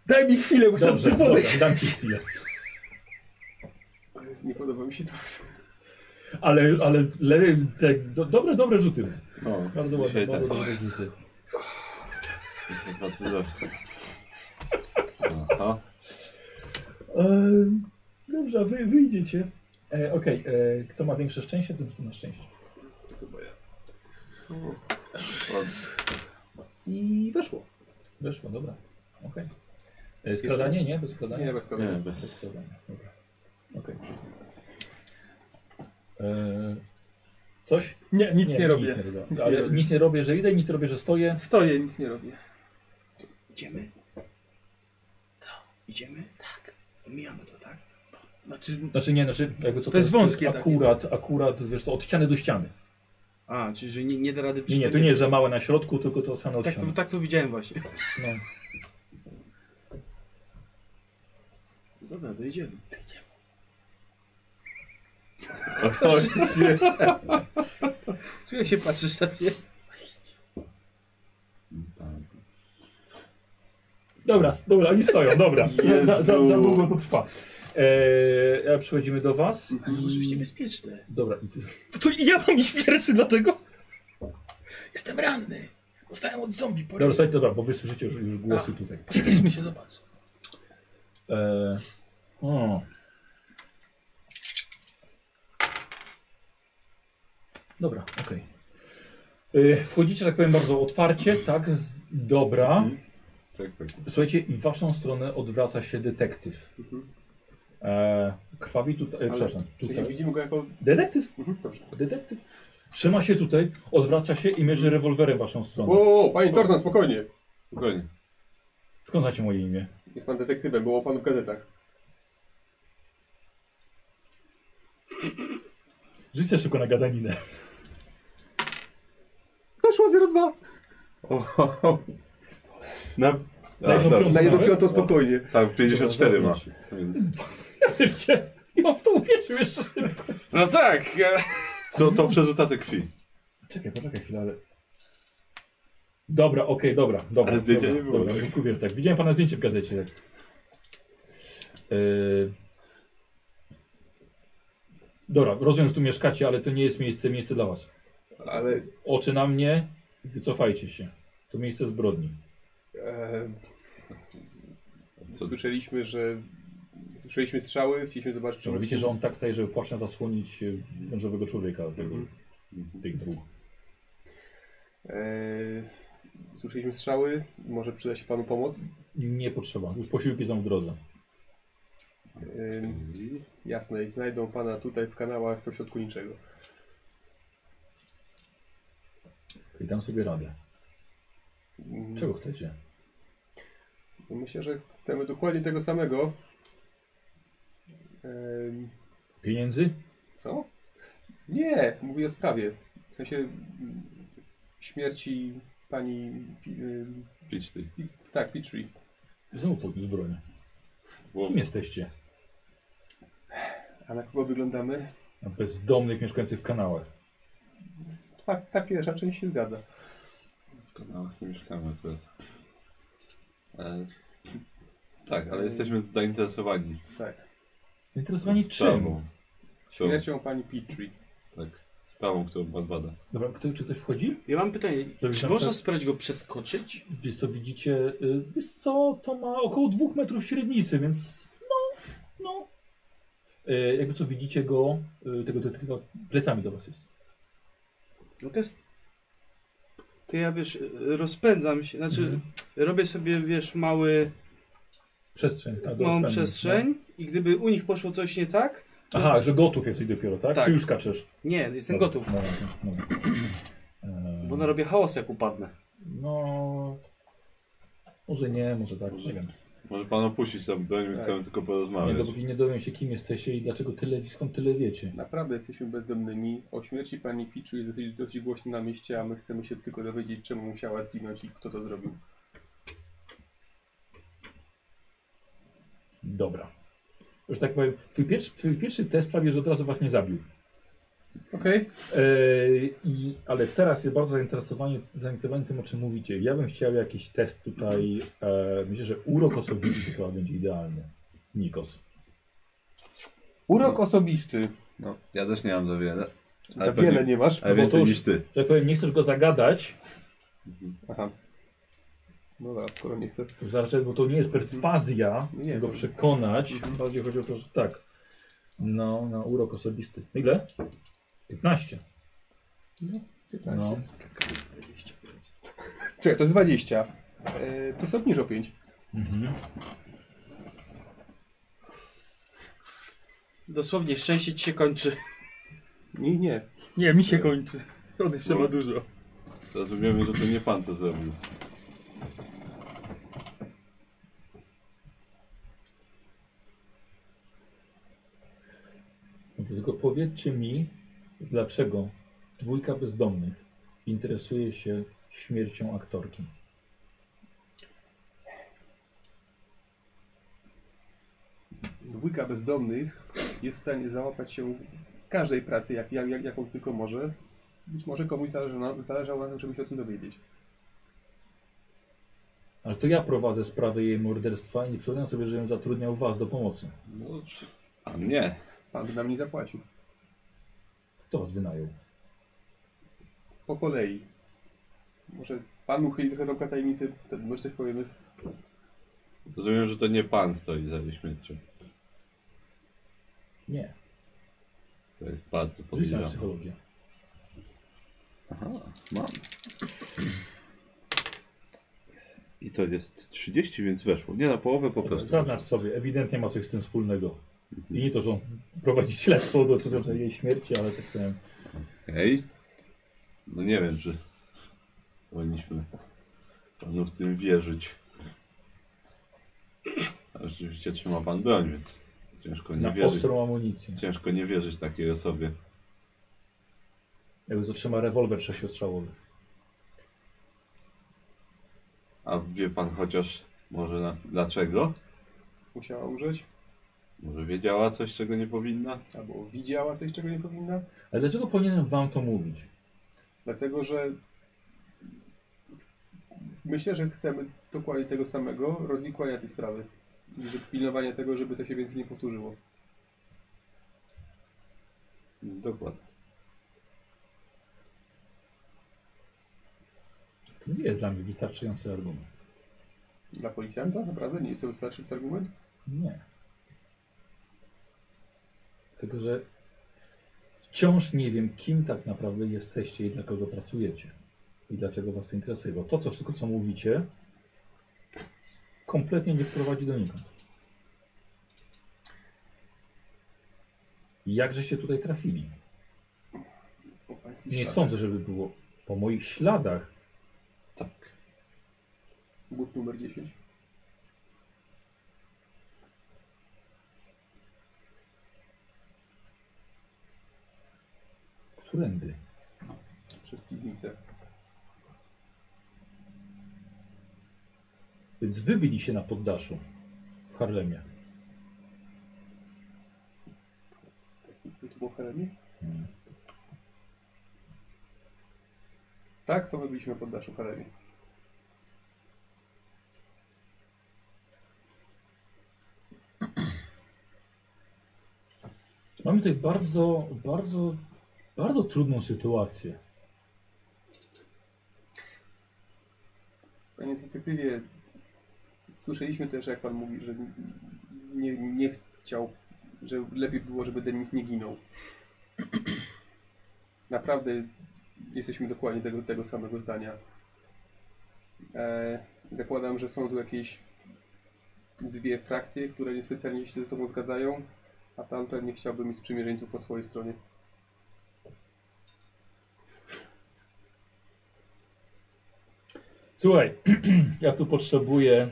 S3: Daj mi chwilę,
S1: muszę Dobrze,
S7: sobie podejść.
S1: dobrze, dam ci chwilę.
S2: Ale Nie podoba mi się to.
S1: Ale, ale le, te, do, dobre, dobre rzuty.
S4: No,
S1: bardzo ładne,
S4: dzisiaj
S1: bardzo
S4: tak.
S1: dobre
S4: O Jezu.
S1: rzuty.
S4: Dzisiaj Bardzo dobrze. Aha.
S1: Ehm, dobrze, a wy wyjdziecie. E, Okej, e, kto ma większe szczęście, ten rzuca na szczęście.
S2: I weszło.
S1: Weszło, dobra. Okej. E, Skradanie, nie? Bez skradania?
S2: Nie, bez skradania.
S4: Nie, bez.
S1: skradania. Dobra. Okej. E, Coś?
S3: Nie, nic nie robię.
S1: Nic nie robię.
S3: Nic nie
S1: Ale
S3: robię.
S1: nic nie robię, że idę, nic nie robię, że stoję.
S3: Stoję, nic nie robię.
S7: Idziemy? Co? Idziemy? Tak. Mijamy to, tak?
S3: Znaczy,
S1: Znaczy nie, znaczy jakby co
S3: To jest wąskie takie.
S1: Akurat, akurat, wiesz to od ściany do ściany.
S7: A, czyli że nie, nie da rady
S1: Nie, nie, to nie, że małe na środku, tylko to od ściany od
S7: tak,
S1: ściany.
S7: to, tak to widziałem właśnie. <laughs>
S1: No.
S7: Dobra, to idziemy.
S4: O, nie.
S7: Słuchaj, się patrzysz na mnie.
S4: Tak.
S1: Dobra, s- dobra, oni stoją, dobra.
S7: Jezu.
S1: Za, za, za długo to trwa. Eee, a przechodzimy do was.
S7: Ale to może być niebezpieczne.
S1: Dobra, i
S3: To i ja mam iść pierwszy, dlatego... Jestem ranny. Dostałem od zombie po
S1: dobra, słuchajcie, dobra, bo wy słyszycie już, już głosy
S3: A.
S1: tutaj.
S3: Pośpieszmy się, zobacz.
S1: Eee, o. Dobra, okej. Eee, wchodzicie, że tak powiem, bardzo otwarcie, tak? Z, dobra.
S4: Tak, tak.
S1: Słuchajcie, i w waszą stronę odwraca się detektyw. Eee, krwawi tutaj, e,
S2: Ale-
S1: przepraszam,
S2: Czyli
S1: tutaj.
S2: widzimy go jako...
S1: Detektyw?
S2: Mhm, dobrze.
S1: Detektyw. Trzyma się tutaj, odwraca się i mierzy rewolwerem w waszą stronę.
S2: O, o, o, panie Torton, spokojnie.
S4: Spokojnie.
S1: Skąd znacie moje imię?
S2: Jest pan detektywem, było o panu w gazetach.
S1: Rzucę szybko na gadaninę.
S2: Weszło 0,2.
S4: Oho. Na, a,
S3: Tak,
S1: Na jedną
S4: dobra.
S1: piątą Na jedną nawet? piątą
S2: spokojnie.
S4: Tak, 54 ma.
S1: Zaznacz.
S4: Więc...
S1: Pierdzie, ja w to uwierzył jeszcze.
S7: No tak.
S4: Co to przerzuta te krwi?
S1: Czekaj, poczekaj chwilę, ale... Dobra, okej, dobra, dobra.
S4: Ale zdjęcia
S1: dobra,
S4: nie było.
S1: Dobra, kupię, tak. Widziałem pana zdjęcie w gazecie. tak. Yy... Dobra, rozumiem, że tu mieszkacie, ale to nie jest miejsce, miejsce dla was.
S2: Ale...
S1: Oczy na mnie, wycofajcie się. To miejsce zbrodni.
S2: E, słyszeliśmy, że... Słyszeliśmy strzały, chcieliśmy zobaczyć... czy
S1: Czy widzicie,
S2: są-
S1: że on tak staje, żeby płaszczem zasłonić y, wężowego człowieka, tego,
S4: Mhm.
S1: tych dwóch.
S2: Eee, Słyszeliśmy strzały, może przyda się panu pomoc.
S1: Nie potrzeba, już posiłki są w drodze.
S2: Eee, Jasne, i znajdą pana tutaj w kanałach pośrodku niczego.
S1: I dam sobie radę.
S7: Mhm.
S2: Mm,
S1: Czego chcecie?
S2: Myślę, że chcemy dokładnie tego samego. Ehm,
S1: Pieniędzy?
S2: co? Nie, mówię o sprawie. W sensie mm, śmierci pani. Pi, ym,
S4: Piczty.
S2: pi, tak, Petrie.
S1: Znowu podniósł broń. Kim jesteście?
S2: A na kogo wyglądamy?
S1: Na Bezdomnych mieszkańców w kanałach.
S2: Tak, ta pierwsza część się zgadza.
S4: W kanałach no, nie mieszkamy akurat. E, tak, ale jesteśmy zainteresowani.
S2: Tak.
S1: Zainteresowani czym?
S4: sprawą.
S2: Śmiercią pani Petrie.
S4: Tak, sprawą, którą pan bada.
S1: Dobra, kto, czy ktoś wchodzi?
S7: Ja mam pytanie,
S1: Żeby
S7: czy
S1: tam
S7: można
S1: sobie-
S7: spróbować go przeskoczyć?
S1: Wiesz co, widzicie, y, wiesz co, to ma około dwóch metrów średnicy, więc no, no. Y, Jakby co, widzicie go, y, tego detektywa plecami do was jest.
S7: No to jest... To ja, wiesz, rozpędzam się, znaczy
S1: Mhm.
S7: robię sobie, wiesz, mały,
S1: Przestrzeń, tak, do
S7: małą
S1: rozpędu,
S7: przestrzeń i gdyby u nich poszło coś nie tak,
S1: no. Aha, że gotów jesteś dopiero, tak?
S7: Tak.
S1: Czy już skaczesz?
S7: nie, jestem
S1: Dobra, Mm.
S7: gotów,
S1: dobra, dobra.
S7: bo narobię chaos jak upadnę.
S1: No, może nie, może tak, nie wiem.
S4: Może pan opuścić tam broń, my
S2: Tak.
S4: chcemy tylko
S1: Nie,
S4: porozmawiać.
S1: dopóki nie dowiem się, kim jesteście i dlaczego tyle, skąd tyle wiecie.
S2: Naprawdę jesteśmy bezdomnymi. O śmierci pani Piczu jest dosyć, dosyć głośno na mieście, a my chcemy się tylko dowiedzieć, czemu musiała zginąć i kto to zrobił.
S1: Dobra. Że tak powiem, twój pierwszy, twój pierwszy test prawie, że od razu was nie zabił.
S2: Okej.
S1: Yy, i- ale teraz jest bardzo zainteresowany, zainteresowany tym, o czym mówicie. Ja bym chciał jakiś test tutaj. E, myślę, że urok osobisty chyba będzie idealny. Nikos.
S2: Urok osobisty.
S4: No, ja też nie mam za wiele.
S10: Za wiele nie masz?
S4: Ale
S1: No bo to
S4: więcej
S1: już-
S4: niż ty.
S1: Że tak powiem, nie chcesz go zagadać.
S2: Aha. No dobra, skoro nie chcę.
S1: Już zaraz, bo to nie jest perswazja,
S2: Mhm. Nie, Mhm.
S1: tego
S2: dobrze.
S1: przekonać. Bardziej chodzi o to, że tak. No, na urok osobisty. Ile? 15.
S2: No, 15.
S1: No.
S2: Czekaj, to jest 20. Yy, plus obniż o 5.
S1: Mhm.
S7: Dosłownie szczęście ci się kończy.
S2: Nie, nie.
S3: Nie, mi się kończy. On jeszcze ma
S4: No.
S3: dużo.
S4: Rozumiemy, że to nie pan to zrobił.
S1: Dobrze, No Tylko powiedzcie mi, dlaczego dwójka bezdomnych interesuje się śmiercią aktorki.
S2: Dwójka bezdomnych jest w stanie załapać się każdej pracy, jak, jak, jak, jaką tylko może. Być może komuś zależy na, zależało na tym, żeby się o tym dowiedzieć.
S1: Ale to ja prowadzę sprawę jej morderstwa i nie przypominam sobie, że ją zatrudniał was do pomocy.
S4: No, a nie.
S2: Pan by nam nie zapłacił.
S1: Kto was wynajął?
S2: Po kolei. Może pan uchyli trochę rąbka tajemnicy, wtedy może coś powiemy.
S4: Rozumiem, że to nie pan stoi za jej śmiercią.
S1: Nie.
S4: To jest bardzo
S1: Rzuć na
S4: podejrzane.
S1: psychologię.
S4: Aha, mam. I to jest 30, więc weszło. Nie na połowę po prostu.
S1: Zaznacz sobie, ewidentnie ma coś z tym wspólnego. I nie to, że on prowadzi śledztwo do do jej śmierci, ale tak powiem.
S4: Okej. No nie wiem, czy powinniśmy panu w tym wierzyć. A rzeczywiście trzyma pan broń, więc ciężko nie
S1: Na
S4: wierzyć.
S1: ostrą amunicję.
S4: Ciężko nie wierzyć takiej osobie.
S1: Jakby zatrzyma rewolwer sześciostrzałowy.
S4: A wie pan chociaż może na, dlaczego?
S2: Musiała umrzeć,
S4: Może wiedziała coś, czego nie powinna?
S2: albo widziała coś, czego nie powinna.
S1: Ale dlaczego powinienem wam to mówić?
S2: Dlatego, że myślę, że chcemy dokładnie tego samego rozwikłania tej sprawy. I że pilnowania tego, żeby to się więcej nie powtórzyło.
S4: Dokładnie.
S1: To nie jest dla mnie wystarczający argument.
S2: Dla policjanta naprawdę nie jest to wystarczający argument?
S1: Nie. Tylko, że wciąż nie wiem, kim tak naprawdę jesteście i dla kogo pracujecie. I dlaczego was to interesuje. Bo to, co wszystko, co mówicie, kompletnie nie prowadzi do nikąd. Jakże się tutaj trafili?
S2: Po pańskich
S1: Nie
S2: śladach.
S1: sądzę, żeby było po moich śladach.
S4: Tak.
S2: But numer 10.
S1: Którędy?
S2: No, Przez piwnicę.
S1: Więc wy byliście na poddaszu w Harlemie.
S2: To było w Haremie?
S1: Mm.
S2: Tak, to my byliśmy pod naszą Haremie.
S1: Mamy tutaj bardzo, bardzo, bardzo trudną sytuację.
S2: Panie detektywie, słyszeliśmy też, jak pan mówi, że nie, nie chciał, że lepiej było, żeby Denis nie ginął. <clears throat> Naprawdę jesteśmy dokładnie tego, tego samego zdania. E, zakładam, że są tu jakieś dwie frakcje, które niespecjalnie się ze sobą zgadzają, a tam pewnie chciałby mieć sprzymierzeńców po swojej stronie.
S1: Słuchaj, <clears throat> ja tu potrzebuję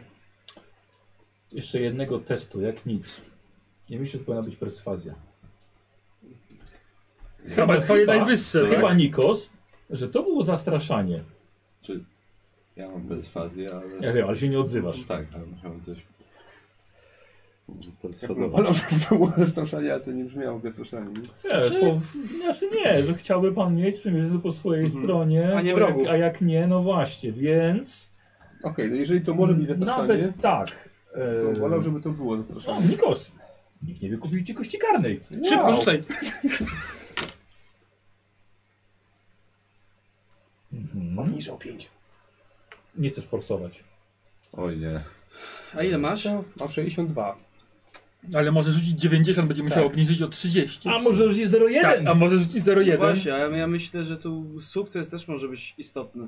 S1: jeszcze jednego testu, jak nic. Nie myślę, że to powinna być perswazja.
S3: Same twoje
S1: chyba-
S3: najwyższe,
S1: Chyba
S3: tak?
S1: Nikos, że to było zastraszanie.
S4: Czy ja mam bezfazję, ale...
S1: Ja wiem, ale się nie odzywasz.
S4: Tak, ale musiałem coś...
S2: Wolał,
S4: Perswadować.
S2: żeby to było zastraszanie, ale to nie brzmiało zastraszanie.
S1: Nie, po, znaczy nie, że chciałby pan mieć przymierzy po swojej
S2: Mhm.
S1: stronie.
S2: A nie
S1: bo
S2: wrogów.
S1: jak, A jak nie, no właśnie, więc.
S2: Okej, no jeżeli to może być zastraszanie,
S1: Nawet tak.
S2: to wolał, żeby to było zastraszanie.
S1: O, Nikos! Nikt nie wykupił ci kości karnej.
S2: Szybko, rzucaj.
S1: Mhm.
S2: Obniżał 5.
S1: Nie chcesz forsować.
S4: Oj nie.
S7: A ile masz?
S2: Mam 62.
S3: Ale może rzucić 90, będzie musiał
S7: Tak.
S3: obniżyć o 30.
S1: A może rzucić 0,1?
S3: Tak, a może rzucić 0,1?
S7: No właśnie, a ja, ja myślę, że tu sukces też może być istotny.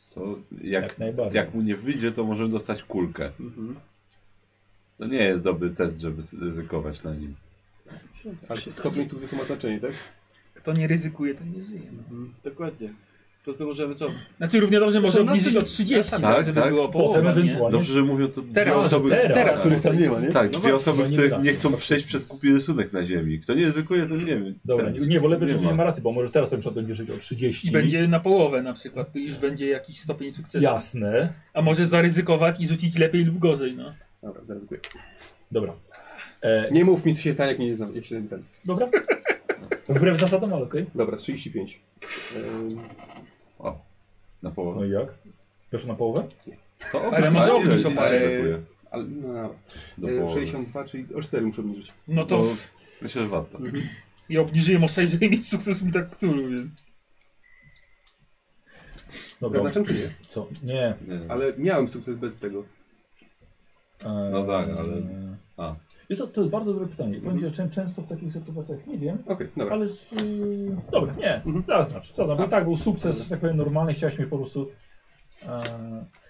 S4: Co? Jak,
S1: Jak najbardziej.
S4: jak mu nie wyjdzie, to możemy dostać kulkę.
S7: Mhm.
S4: To nie jest dobry test, żeby ryzykować na nim.
S2: Ale stopień sukcesu ma znaczenie, tak?
S3: Kto nie ryzykuje, ten nie żyje. No.
S7: Dokładnie. Poza tym możemy co?
S3: Znaczy równie dobrze może
S7: Zresztą
S3: obniżyć
S7: nas-
S3: o 30,
S7: nas-
S3: tak, żeby było
S1: Potem
S3: połowa, nie?
S1: ewentualnie.
S4: Dobrze, że mówią to dwie
S3: Teraz,
S4: osoby,
S3: teraz, teraz,
S4: których
S11: tam nie ma, nie?
S4: Tak,
S1: No
S4: dwie
S1: właśnie,
S4: osoby,
S1: no nie
S4: których
S1: da się,
S4: nie chcą
S1: faktycznie.
S4: przejść przez kupi rysunek na ziemi. Kto nie ryzykuje, ten nie wiem.
S1: Dobra,
S4: ten,
S1: nie, nie, bo lewy
S4: nie
S1: nie, nie
S4: ma.
S1: ma racji, bo może teraz ten przykład będzie żyć o 30.
S3: I będzie na połowę na przykład, to już będzie jakiś stopień sukcesu.
S1: Jasne.
S3: A może zaryzykować i rzucić lepiej lub gorzej, no.
S2: Dobra, zaraz dziękuję.
S1: Dobra. E,
S2: Nie mów mi, co się stanie, jak nie znam, jak się ten.
S1: Dobra. Wbrew zasadom, ale okej.
S2: Dobra, 35. Ym,
S4: O, na połowę.
S1: No i jak? Weszło na połowę?
S4: To
S3: Ale może
S4: ile-
S3: obniż
S4: ile
S3: o parę.
S4: ci brakuje?
S2: ale, no,
S4: Do
S2: y,
S4: połowy.
S2: 62, czyli o 4 muszę obniżyć.
S3: No to
S4: To Myślę, że warto.
S3: ja obniżyłem o 6, żeby mieć sukces w tak którym, więc...
S1: Dobra.
S2: Zaznaczam czy nie?
S1: Co? Nie.
S4: Nie.
S2: Ale miałem sukces bez tego.
S1: E,
S4: No tak, ale- A.
S1: Jest to, to jest bardzo dobre pytanie. Powiem ci, że czę- często w takich sytuacjach nie wiem,
S2: Okej, dobra.
S1: ale yy, dobra, nie,
S2: Mhm.
S1: zaznacz. Co tam, bo i tak był sukces, że tak powiem, normalny, chciałeś mnie po prostu. E,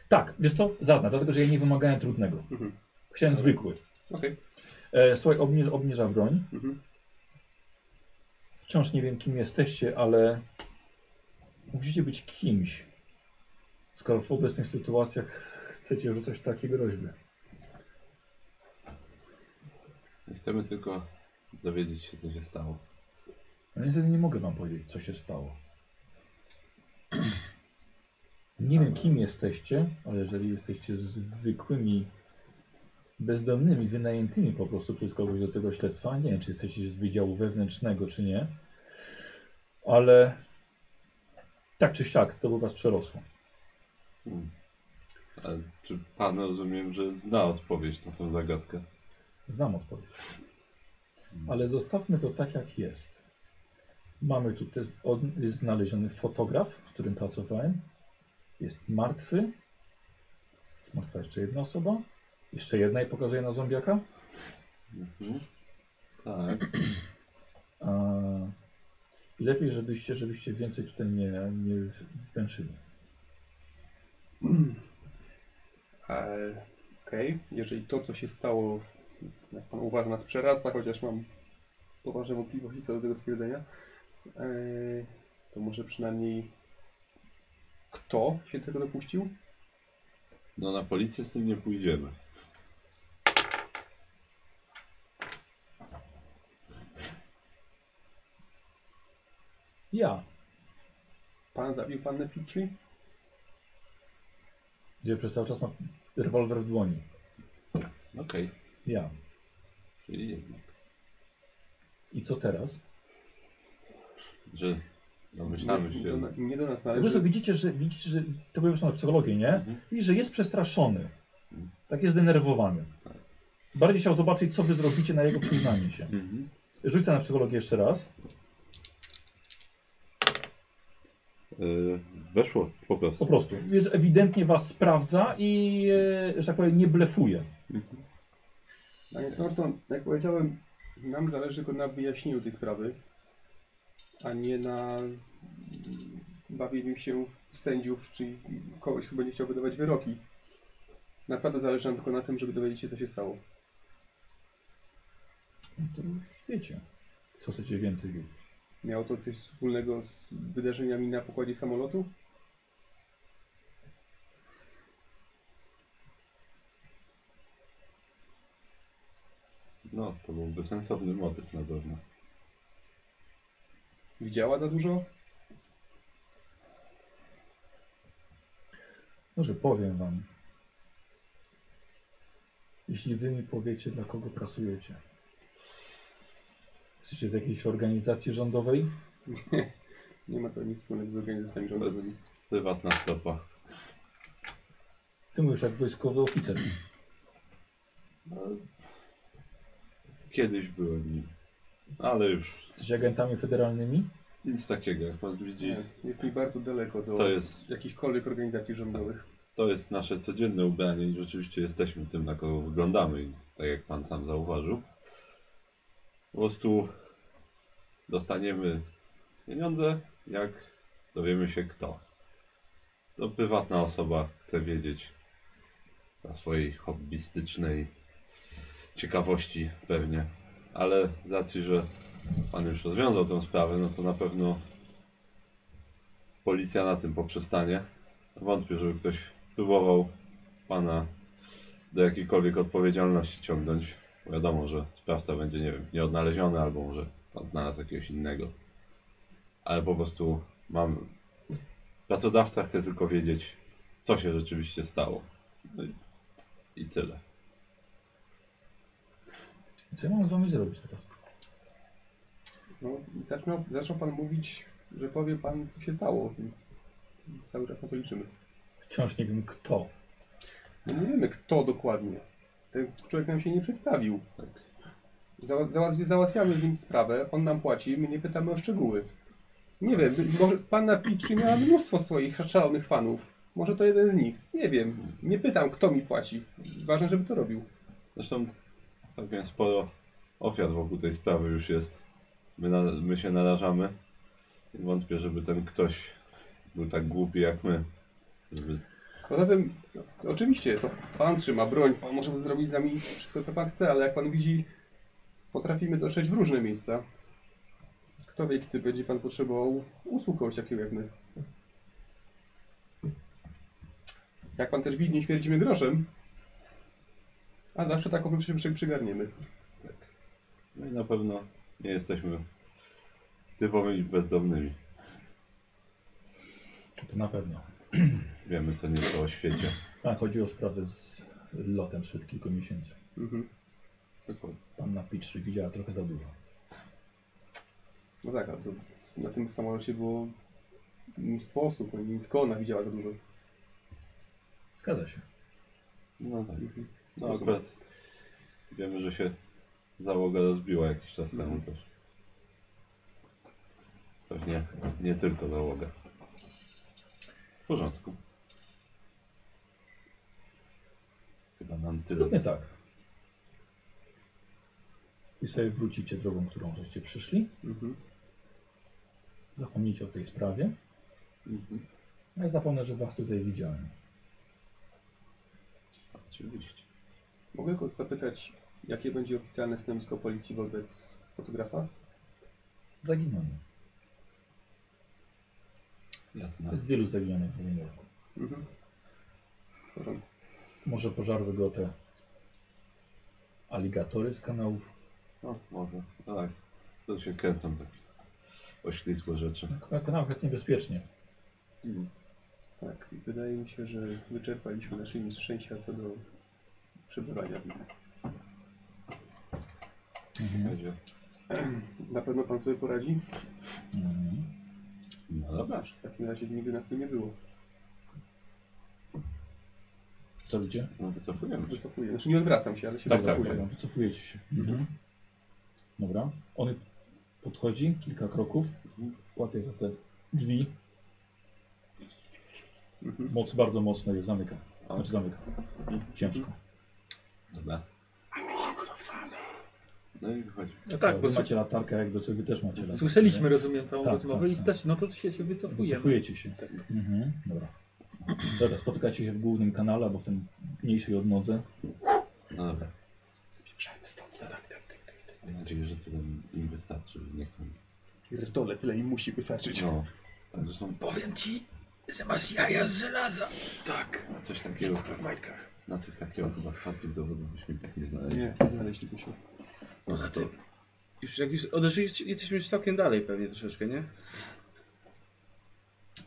S1: tak, wiesz to zaznacz, dlatego że ja nie wymagałem trudnego.
S2: Mhm.
S1: Chciałem zwykły.
S2: Okej.
S1: E, słuchaj, obniż, obniża broń.
S2: Mhm.
S1: Wciąż nie wiem, kim jesteście, ale musicie być kimś. Skoro w obecnych sytuacjach chcecie rzucać takie groźby.
S4: Chcemy tylko dowiedzieć się, co się stało.
S1: Ja No niestety nie mogę wam powiedzieć, co się stało. <clears throat> Nie wiem, kim jesteście, ale jeżeli jesteście zwykłymi bezdomnymi, wynajętymi po prostu przez kogoś do tego śledztwa, nie wiem, czy jesteście z wydziału wewnętrznego, czy nie, ale tak czy siak, to by was przerosło.
S4: Hmm. A czy pan rozumiem, że zna odpowiedź na tą zagadkę?
S1: Znam odpowiedź. Ale zostawmy to tak, jak jest. Mamy tu test, od, jest znaleziony fotograf, z którym pracowałem. Jest martwy. Jest martwa jeszcze jedna osoba. Jeszcze jedna i pokazuje na zombiaka.
S4: Mhm. Tak.
S1: A... I lepiej, żebyście, żebyście więcej tutaj nie, nie węszyli.
S2: E, Okej, jeżeli to, co się stało, jak pan uważa, nas przerasta, chociaż mam poważne wątpliwości co do tego stwierdzenia, e, to może przynajmniej kto się tego dopuścił?
S4: No na policję z tym nie pójdziemy.
S1: Ja.
S2: Pan zabił pannę Petrie?
S1: Gdzie przez cały czas mam rewolwer w dłoni.
S4: Okej,
S1: Ja.
S4: czyli jednak.
S1: I co teraz?
S4: Że domyślamy
S2: nie, do,
S4: się.
S2: na- nie do nas
S1: Po
S2: należy.
S1: prostu widzicie, że widzicie, że to były już na psychologię, nie? I że jest przestraszony. Tak jest zdenerwowany. Bardziej chciał zobaczyć, co wy zrobicie na jego przyznanie się. Rzucę na psychologię jeszcze raz.
S4: Yy, weszło po prostu.
S1: Po prostu. Wiesz, ewidentnie was sprawdza i, e, że tak powiem, nie blefuje.
S2: Panie E, Thornton, jak powiedziałem, nam zależy tylko na wyjaśnieniu tej sprawy, a nie na mm, bawieniu się w sędziów, czyli kogoś, kto będzie chciał wydawać wyroki. Naprawdę zależy nam tylko na tym, żeby dowiedzieć się, co się stało.
S1: No to już wiecie. Co chcecie więcej wiedzieć?
S2: Miało to coś wspólnego z wydarzeniami na pokładzie samolotu?
S4: No, to byłby sensowny motyw na pewno.
S2: Widziała za dużo?
S1: Może No, powiem wam. Jeśli wy mi powiecie, dla kogo pracujecie. Jesteście z jakiejś organizacji rządowej?
S2: Nie ma to nic wspólnego z organizacjami
S4: To
S2: rządowymi.
S4: jest prywatna stopa.
S1: Ty mówisz jak wojskowy oficer.
S4: Kiedyś byłem nim. Ale już
S1: Jesteście agentami federalnymi?
S4: nic takiego, jak pan widzi.
S2: Nie, E, jest mi bardzo daleko do
S4: To jest-
S2: jakichkolwiek organizacji rządowych.
S4: To jest nasze codzienne ubranie i rzeczywiście jesteśmy tym, na kogo wyglądamy, i tak jak pan sam zauważył. Po prostu dostaniemy pieniądze, jak dowiemy się kto. To prywatna osoba chce wiedzieć na swojej hobbystycznej ciekawości pewnie, ale z racji, że pan już rozwiązał tę sprawę, no to na pewno policja na tym poprzestanie. Wątpię, żeby ktoś próbował pana do jakiejkolwiek odpowiedzialności ciągnąć. Wiadomo, że sprawca będzie, nie wiem, nieodnaleziony, albo może pan znalazł jakiegoś innego. Ale po prostu mam. Pracodawca chce tylko wiedzieć, co się rzeczywiście stało. No i, i tyle.
S1: Co ja mam z wami zrobić teraz?
S2: No, zaczął, zaczął pan mówić, że powie pan, co się stało, więc cały czas na to liczymy.
S1: Wciąż nie wiem kto.
S2: No nie wiemy, kto dokładnie. Ten człowiek nam się nie przedstawił. Zała zała- załatwiamy z nim sprawę, on nam płaci, my nie pytamy o szczegóły. Nie wiem, by- może panna Pitchy miała mnóstwo swoich szalonych fanów. Może to jeden z nich. Nie wiem. Nie pytam, kto mi płaci. Ważne, żeby to robił.
S4: Zresztą całkiem sporo ofiar wokół tej sprawy już jest. My, na, my się narażamy. I Wątpię, żeby ten ktoś był tak głupi jak my. Żeby...
S2: Poza tym, no, oczywiście, to pan trzyma broń, pan może zrobić z nami wszystko, co pan chce, ale jak pan widzi, potrafimy dotrzeć w różne miejsca. Kto wie, kiedy będzie pan potrzebował usług kogoś takiego jak my. Jak pan też widzi, nie śmierdzimy groszem, a zawsze taką przy, przygarniemy.
S4: No i na pewno nie jesteśmy typowymi bezdomnymi.
S1: To na pewno.
S4: Wiemy co nieco o świecie.
S1: A, chodzi o sprawę z lotem sprzed kilku miesięcy.
S2: Mhm.
S1: Panna Pitchy widziała trochę za dużo.
S2: No tak, ale to na tym samolocie było mnóstwo osób, no i nie tylko ona widziała to dużo.
S1: Zgadza się.
S4: No tak.
S2: Mhm.
S4: No
S2: Rozumiem.
S4: akurat wiemy, że się załoga rozbiła jakiś czas temu
S2: Mhm.
S4: też. Pewnie nie tylko załoga. W porządku. Chyba nam tyle.
S1: Zróbmy tak. I sobie wrócicie drogą, którą żeście przyszli.
S2: Mhm.
S1: Zapomnijcie o tej sprawie.
S2: Mhm.
S1: Ja zapomnę, że was tutaj widziałem.
S4: Oczywiście.
S2: Mogę tylko zapytać, jakie będzie oficjalne stanowisko policji wobec fotografa?
S1: Zaginiony.
S4: Jasne.
S1: To jest wielu zaginionych w Nowym Jorku.
S2: Mhm. W porządku.
S1: Może pożarły go te aligatory z kanałów.
S4: No, może. No tak. To się kręcą takie oślizgłe rzeczy.
S1: Na kanałach jest niebezpiecznie.
S2: Tak, i wydaje mi się, że wyczerpaliśmy nasze nieszczęścia co do przebywania.
S1: Mhm.
S4: Będzie.
S2: Na pewno pan sobie poradzi?
S1: Mhm.
S4: No dobra.
S2: W takim razie nigdy nas tu nie było.
S1: To gdzie?
S4: No, wycofujemy. się.
S2: Wycofuję. Znaczy nie odwracam się, ale się
S4: Tak, tak,
S2: wycofuję.
S1: Dobra, wycofujecie się.
S2: Mhm.
S1: Dobra. On podchodzi kilka kroków, łapie za te drzwi.
S3: Mhm.
S1: Moc bardzo mocno je zamyka. Znaczy zamyka. Ciężko.
S3: Tak,
S4: Dobra. No i wychodzi.
S3: No tak,
S1: wy
S3: bo
S1: macie latarkę, jakby co wy też macie latarkę.
S3: Słyszeliśmy,
S1: nie?
S3: rozumiem, całą
S1: Tak,
S3: rozmowę
S1: tak,
S3: i
S1: tak.
S3: też, no to się, się wycofujemy.
S1: Wycofujecie się.
S3: Tak.
S1: Mhm, dobra. Dobra, spotykacie się w głównym kanale albo w tym mniejszej odnodze.
S4: No dobra.
S2: Spieprzajmy stąd. Tak, tak, tak. tak.
S4: Mam nadzieję, że tyle im wystarczy, że nie chcą.
S2: Pierdolę, tyle im musi wystarczyć.
S4: No. Tak, zresztą
S12: Powiem ci, że masz jaja z żelaza. Tak.
S4: na coś takiego.
S12: Kurwa w majtkach.
S4: Na coś takiego chyba twardych dowodów byśmy i tak nie znaleźli.
S2: Nie, nie znaleźlibyśmy.
S4: Poza tym.
S7: Już jak już odeszliście, jesteśmy już całkiem dalej pewnie troszeczkę, nie?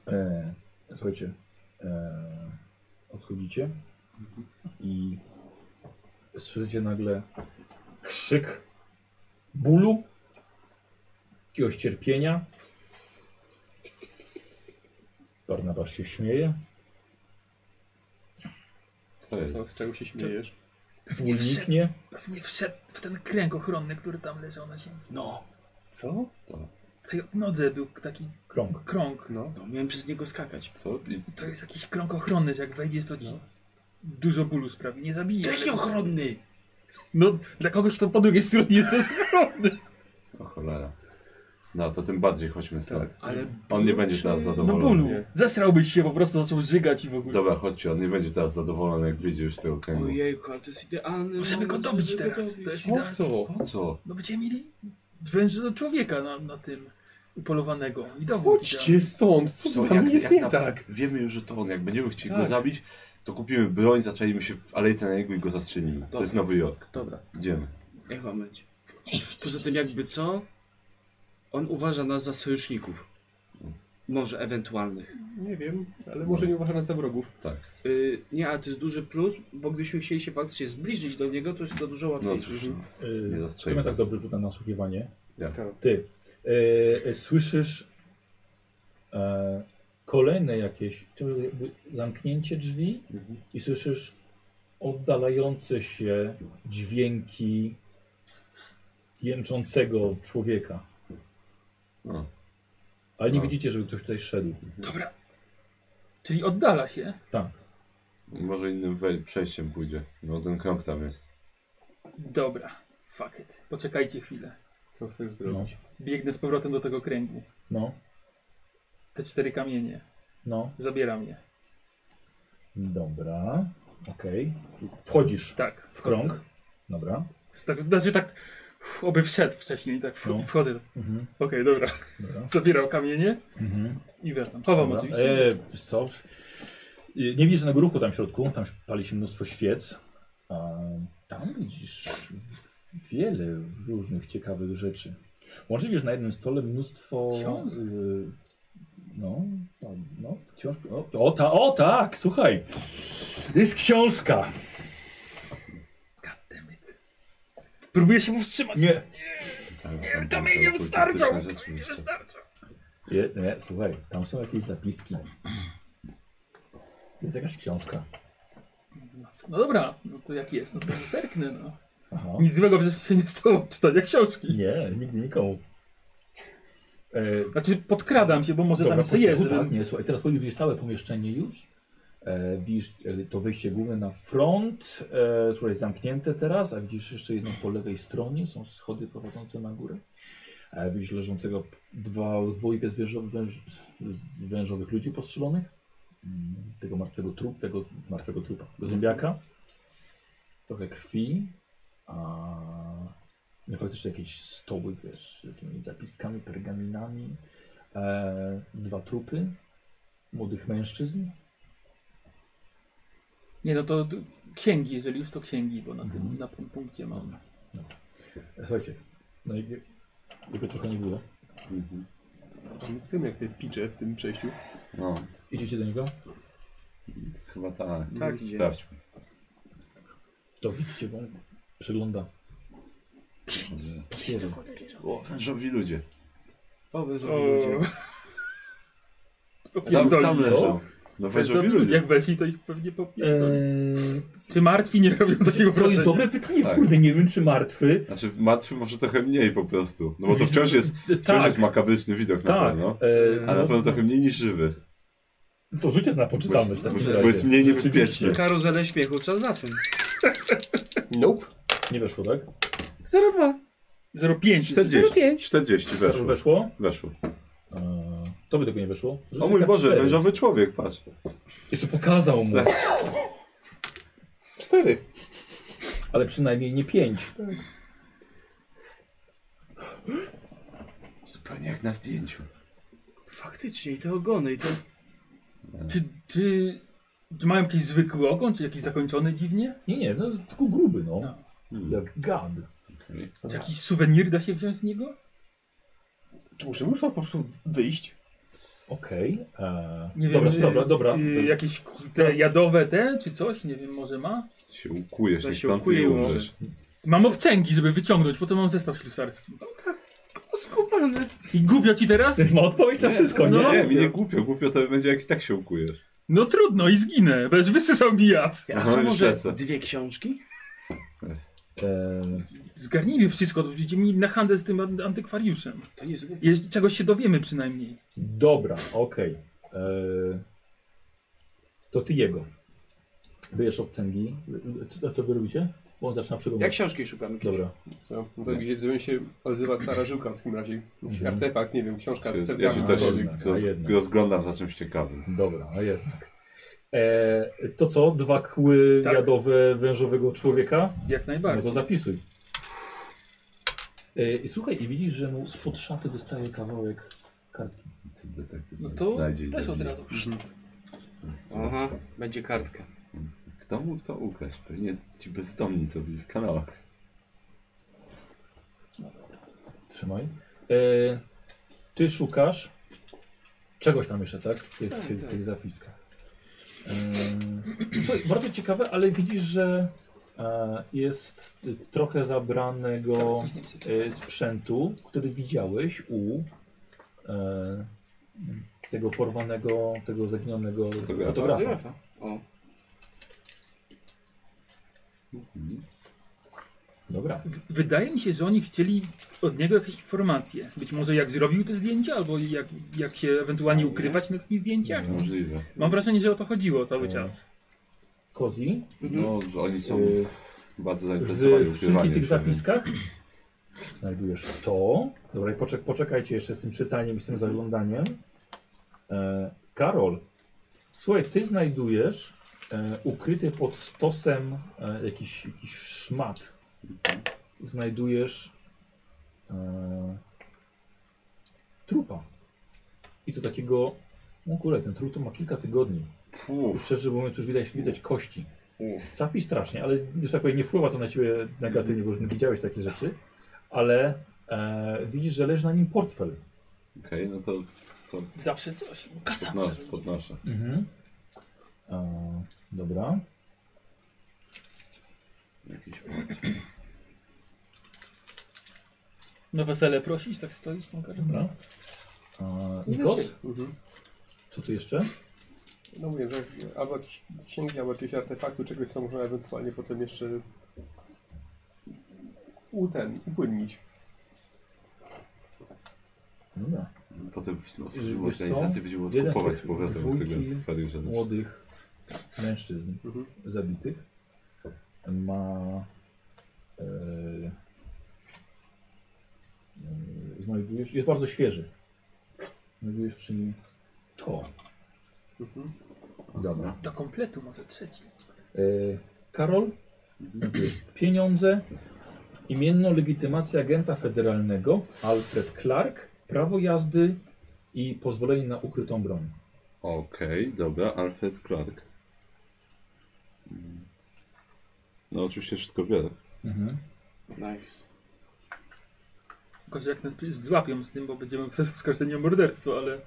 S1: E, słuchajcie, e, odchodzicie i słyszycie nagle krzyk bólu, jakiegoś cierpienia. Barnabasz się śmieje.
S4: Co jest?
S2: Co, z czego się śmiejesz?
S3: Pewnie wszedł,
S1: Uniknie.
S3: pewnie wszedł w ten kręg ochronny, który tam leżał na ziemi.
S7: No.
S2: Co?
S4: To.
S3: W tej nodze był taki
S1: Krąg.
S3: krąg.
S2: No.
S7: No miałem przez niego skakać.
S4: Co? I...
S3: To jest jakiś krąg ochronny, że jak wejdziesz to ci
S4: No.
S3: dużo bólu sprawi. Nie zabije.
S7: Jaki ochronny?
S3: No, dla kogoś, kto po drugiej stronie jest to jest ochronny.
S4: O cholera. No to tym bardziej chodźmy stąd.
S7: Ale
S4: On nie będzie teraz
S3: No
S4: zadowolony.
S3: bólu. Zesrałbyś się po prostu, zaczął żygać i w ogóle.
S4: Dobra, chodźcie, on nie będzie teraz zadowolony, jak wyjdzie już z tego kręgu.
S7: Ojejku, ale to jest idealny
S3: Możemy go
S7: moment,
S3: dobić
S7: żeby
S3: teraz.
S7: dobić.
S3: To jest
S4: Po
S3: idealne.
S4: co? Po co?
S3: No będziemy mieli węża do człowieka na, na tym upolowanego. I dowód. idealny.
S2: stąd, co
S4: Co, jak, jak na- Wiemy już, że to on. Jak będziemy chcieli go
S2: Tak.
S4: zabić, to kupimy broń, zaczęliśmy się w alejce na niego i go zastrzelimy. To
S7: Dobra.
S4: jest Nowy Jork.
S7: Dobra,
S4: Idziemy.
S7: niech wam będzie. Poza tym jakby co? On uważa nas za sojuszników. Może ewentualnych.
S2: Nie wiem, ale może nie uważa nas za wrogów.
S4: Tak.
S7: Yy, nie, ale to jest duży plus, bo gdybyśmy chcieli się faktycznie zbliżyć do niego, to jest to dużo
S4: No
S7: łatwiejsze.
S4: cóż, no.
S1: Y,
S4: Nie
S1: Kto
S4: zastrzeli
S1: miał tak
S4: nas.
S1: dobrze rzut na nasłuchiwanie?
S4: Ja.
S1: Ty. E, e, słyszysz e, kolejne jakieś to jakby zamknięcie drzwi i słyszysz oddalające się dźwięki jęczącego człowieka.
S4: No.
S1: Ale nie
S4: No.
S1: widzicie, żeby ktoś tutaj szedł. No.
S3: Dobra. Czyli oddala się.
S1: Tak.
S4: no. Może innym wej- przejściem pójdzie. No ten krąg tam jest.
S3: Dobra. Fuck it. Poczekajcie chwilę.
S2: Co chcesz
S1: No,
S2: zrobić?
S3: Biegnę z powrotem do tego kręgu.
S1: no,
S3: Te cztery kamienie.
S1: no.
S3: Zabieram je.
S1: Dobra. Okej. Wchodzisz
S3: Tak.
S1: w krąg. Dobra.
S3: Tak, znaczy tak, uff, oby wszedł wcześniej, tak w,
S1: No.
S3: wchodzę.
S1: Mhm.
S3: Okej, dobra. <laughs>
S1: Dobra.
S3: Zabieram kamienie
S1: Mhm.
S3: i wracam. Chowam
S1: Dobra.
S3: oczywiście.
S1: E, wiesz co? E, Nie widzisz żadnego ruchu tam w środku, tam pali się mnóstwo świec. A tam widzisz wiele różnych ciekawych rzeczy. Łącznie wiesz na jednym stole mnóstwo...
S3: Książek.
S1: y, no, tam, no, książki. O, o, ta, o tak, słuchaj. Jest książka.
S3: God damn it. Próbuję się powstrzymać.
S1: Nie.
S4: Tak, Tam,
S3: Nie,
S4: tam,
S3: to
S4: tam
S3: mi nie
S4: te
S3: wystarczą.
S4: okultystyczne
S3: To
S4: rzeczy
S3: mi nie
S4: jeszcze.
S3: wystarczą.
S1: Je, nie, słuchaj, tam są jakieś zapiski. Jest jakaś książka.
S3: No dobra, no to jak jest, no to zerknę, no.
S1: Aha.
S3: Nic złego przecież się nie stało <laughs> od czytania książki.
S1: Nie, nigdy nikomu. E,
S3: Znaczy podkradam się, bo może
S1: Dobra,
S3: tam
S1: po
S3: jeszcze jest.
S1: cichu,
S3: żebym-
S1: tak, nie, słuchaj, teraz wchodzisz w całe pomieszczenie już. E, widzisz e, to wyjście główne na front, e, które jest zamknięte teraz, a widzisz jeszcze jedno po lewej stronie, są schody prowadzące na górę. E, widzisz leżącego p- dwa, dwójkę zwierzę, węż, z- wężowych ludzi postrzelonych. Mm, Tego martwego trup, tego martwego trupa, tego zombiaka. Trochę krwi, a no, faktycznie jakieś stoły, wiesz, z jakimiś zapiskami, pergaminami. E, dwa trupy młodych mężczyzn.
S3: Nie, no to d- księgi, jeżeli już to księgi, bo na tym,
S1: Mhm.
S3: na tym punkcie mam.
S1: Słuchajcie, no i jakby trochę nie było.
S4: Mhm.
S2: Nie jestem jak te picze w tym przejściu.
S4: No,
S1: Idziecie do niego?
S4: chyba tak.
S7: Tak idzie.
S4: Sprawdźmy.
S1: To widzicie, bo on przygląda. Jeden.
S4: O, wężowi ludzie.
S7: O, wyżej
S3: O,
S7: ludzie.
S3: o
S4: Tam,
S3: pierdolic.
S4: tam leżą. No
S3: Wężowi
S4: wężowi ludzie.
S3: Jak weszli, to ich pewnie popnie.
S1: Eee,
S3: Czy martwi nie robią takiego
S1: to
S3: wrażenia?
S1: jest dobre pytanie,
S4: Tak.
S1: kurde, nie wiem czy martwy.
S4: Znaczy martwy może trochę mniej po prostu. No bo to wciąż jest, wciąż
S1: <laughs> Tak.
S4: jest makabryczny widok na
S1: Tak,
S4: pewno.
S1: e,
S4: Ale
S1: no-
S4: na pewno trochę mniej niż żywy.
S1: To rzuć jest na
S4: Bo
S1: poczytalność tak
S4: jest-
S1: w takim
S4: bo jest-
S1: razie.
S4: bo jest mniej niebezpieczny.
S1: Rzeczywiście.
S7: Karuzelę śmiechu trzeba zacząć.
S2: Nope.
S1: Nie weszło, tak?
S7: 02.
S3: 05.
S4: 40,
S1: 05.
S4: 40 weszło.
S1: Weszło?
S4: Weszło.
S1: Eee, to by tego nie weszło.
S4: O mój
S1: K4.
S4: Boże, wężowy człowiek, patrz.
S1: Jeszcze pokazał mu.
S4: Cztery.
S1: Ale przynajmniej nie pięć.
S4: Zupełnie jak na zdjęciu.
S7: Faktycznie, i te ogony, i to...
S3: Czy, czy, czy mają jakiś zwykły ogon, czy jakiś zakończony dziwnie?
S1: Nie, nie, no tylko gruby, no.
S4: Tak. Hmm.
S1: Jak gad.
S3: Czy jakiś suwenir da się wziąć z niego?
S6: Czy muszę, muszę po prostu wyjść?
S1: Okej. eee,
S3: Nie
S1: dobra,
S3: wiem,
S1: dobra,
S3: y,
S1: dobra.
S3: y, jakieś k- te jadowe te, czy coś? Nie wiem, może ma?
S4: Się ukujesz,
S7: To się
S4: niechcący
S7: ukuje
S4: i
S7: i umrze.
S4: umrzesz.
S3: Mam obcęgi, żeby wyciągnąć, potem mam zestaw ślusarski.
S7: Skupany.
S3: I głupio
S1: <laughs>
S3: ci teraz?
S1: Ma odpowiedź na wszystko, nie?
S4: No, nie, mi nie głupio. Głupio to będzie jak i tak się ukujesz.
S3: No trudno i zginę, bez wysysał mi jad.
S4: A są Aha, może lecę.
S7: dwie książki?
S1: Eee,
S3: Zgarnijmy wszystko, to będziemy mieli na handel z tym an- antykwariuszem.
S7: To nie jest głupie.
S3: Jeśli czegoś się dowiemy przynajmniej.
S1: Dobra, okej. Eee, To ty jego. Wyjesz obcęgi. Co, co wy robicie? Bo on zaczyna
S7: Jak
S1: przygotować.
S7: książki szukamy kiedyś.
S1: Dobra.
S2: Co? No to gdzie gdzie się odzywa stara żyłka w takim razie. Jakiś
S1: Mhm.
S2: artefakt, nie wiem, książka,
S4: Ja się
S2: telegrama,
S4: też
S2: cokolwiek.
S1: jednak,
S4: roz,
S1: a jednak.
S4: rozglądam za czymś ciekawym.
S1: Dobra, a jednak. Eee, to co? Dwa kły
S3: Tak.
S1: jadowe wężowego człowieka?
S3: Jak
S1: No to
S3: najbardziej.
S1: zapisuj. Eee, I słuchaj, i widzisz, że mu spod szaty wystaje kawałek kartki.
S4: Ty detektyw
S3: No
S4: nie
S3: to
S4: znajdzie i
S3: też od
S4: zabije.
S3: razu.
S4: To jest to.
S7: Aha, będzie kartka.
S4: Kto mógł to ukraść? Pewnie ci bezdomni co byli w kanałach.
S1: Trzymaj. E, ty szukasz czegoś tam jeszcze, tak? W tych, tych, tych zapiskach. E, słuchaj, bardzo ciekawe, ale widzisz, że e, jest y, trochę zabranego e, sprzętu, który widziałeś u e, tego porwanego, tego zaginionego
S4: Fotografa.
S1: fotografa.
S7: O,
S1: Dobra.
S3: W- Wydaje mi się, że oni chcieli od niego jakieś informacje. Być może jak zrobił te zdjęcia, albo jak, jak się ewentualnie ukrywać na takich zdjęciach.
S4: Możliwe.
S3: Mam wrażenie, że o to chodziło cały czas.
S1: Kozi,
S4: No, że oni są
S1: Y,
S4: bardzo
S1: w
S4: zainteresowani
S1: wszystkich
S4: ukrywaniem
S1: tych
S4: się, więc-
S1: zapiskach <clears throat> znajdujesz to. Dobra, i poczek poczekajcie jeszcze z tym czytaniem i z tym zaglądaniem. E, Karol, słuchaj, ty znajdujesz e, ukryty pod stosem e, jakiś, jakiś szmat. Znajdujesz e, trupa. I to takiego, no kurde, ten trup to ma kilka tygodni.
S4: Fu,
S1: Szczerze mówiąc, już widać, widać kości. Capi strasznie, ale już tak powiem, nie wpływa to na ciebie negatywnie, bo już widziałeś takie rzeczy, ale e, widzisz, że leży na nim portfel.
S4: Okej, no to, to
S3: Zawsze coś. Kasa.
S4: podnoszę. podnoszę.
S1: E, dobra.
S4: Jakiś
S3: Na wesele prosić, tak stoić tą kartą.
S1: dobra. E, Nikos,
S2: Mhm.
S1: co tu jeszcze?
S2: No mówię, że albo jakieś księgi, albo jakiegoś artefaktu, czegoś, co można ewentualnie potem jeszcze u ten, upłynnić.
S1: No Dobra.
S4: Potem no,
S1: Wiesz co?
S4: organizacji będziemy
S1: Jeden z
S4: odkupować z
S1: tych
S4: powrotem tego
S1: dwójki
S4: antykwariusza.
S1: Młodych mężczyzn
S2: Mhm.
S1: zabitych ma. E, e, znajdujesz, jest bardzo świeży. Znajdujesz przy nim to.
S2: Mhm.
S1: Dobra.
S3: Do kompletu może trzeci.
S1: E, Karol, pieniądze, imienną legitymację agenta federalnego Alfred Clark, prawo jazdy i pozwolenie na ukrytą broń.
S4: Okej, dobra, Alfred Clark. Mm. No oczywiście wszystko biorę.
S7: nice.
S3: Tylko, że jak nas przecież złapią z tym, bo będziemy <laughs> w oskarżeniu o morderstwo, ale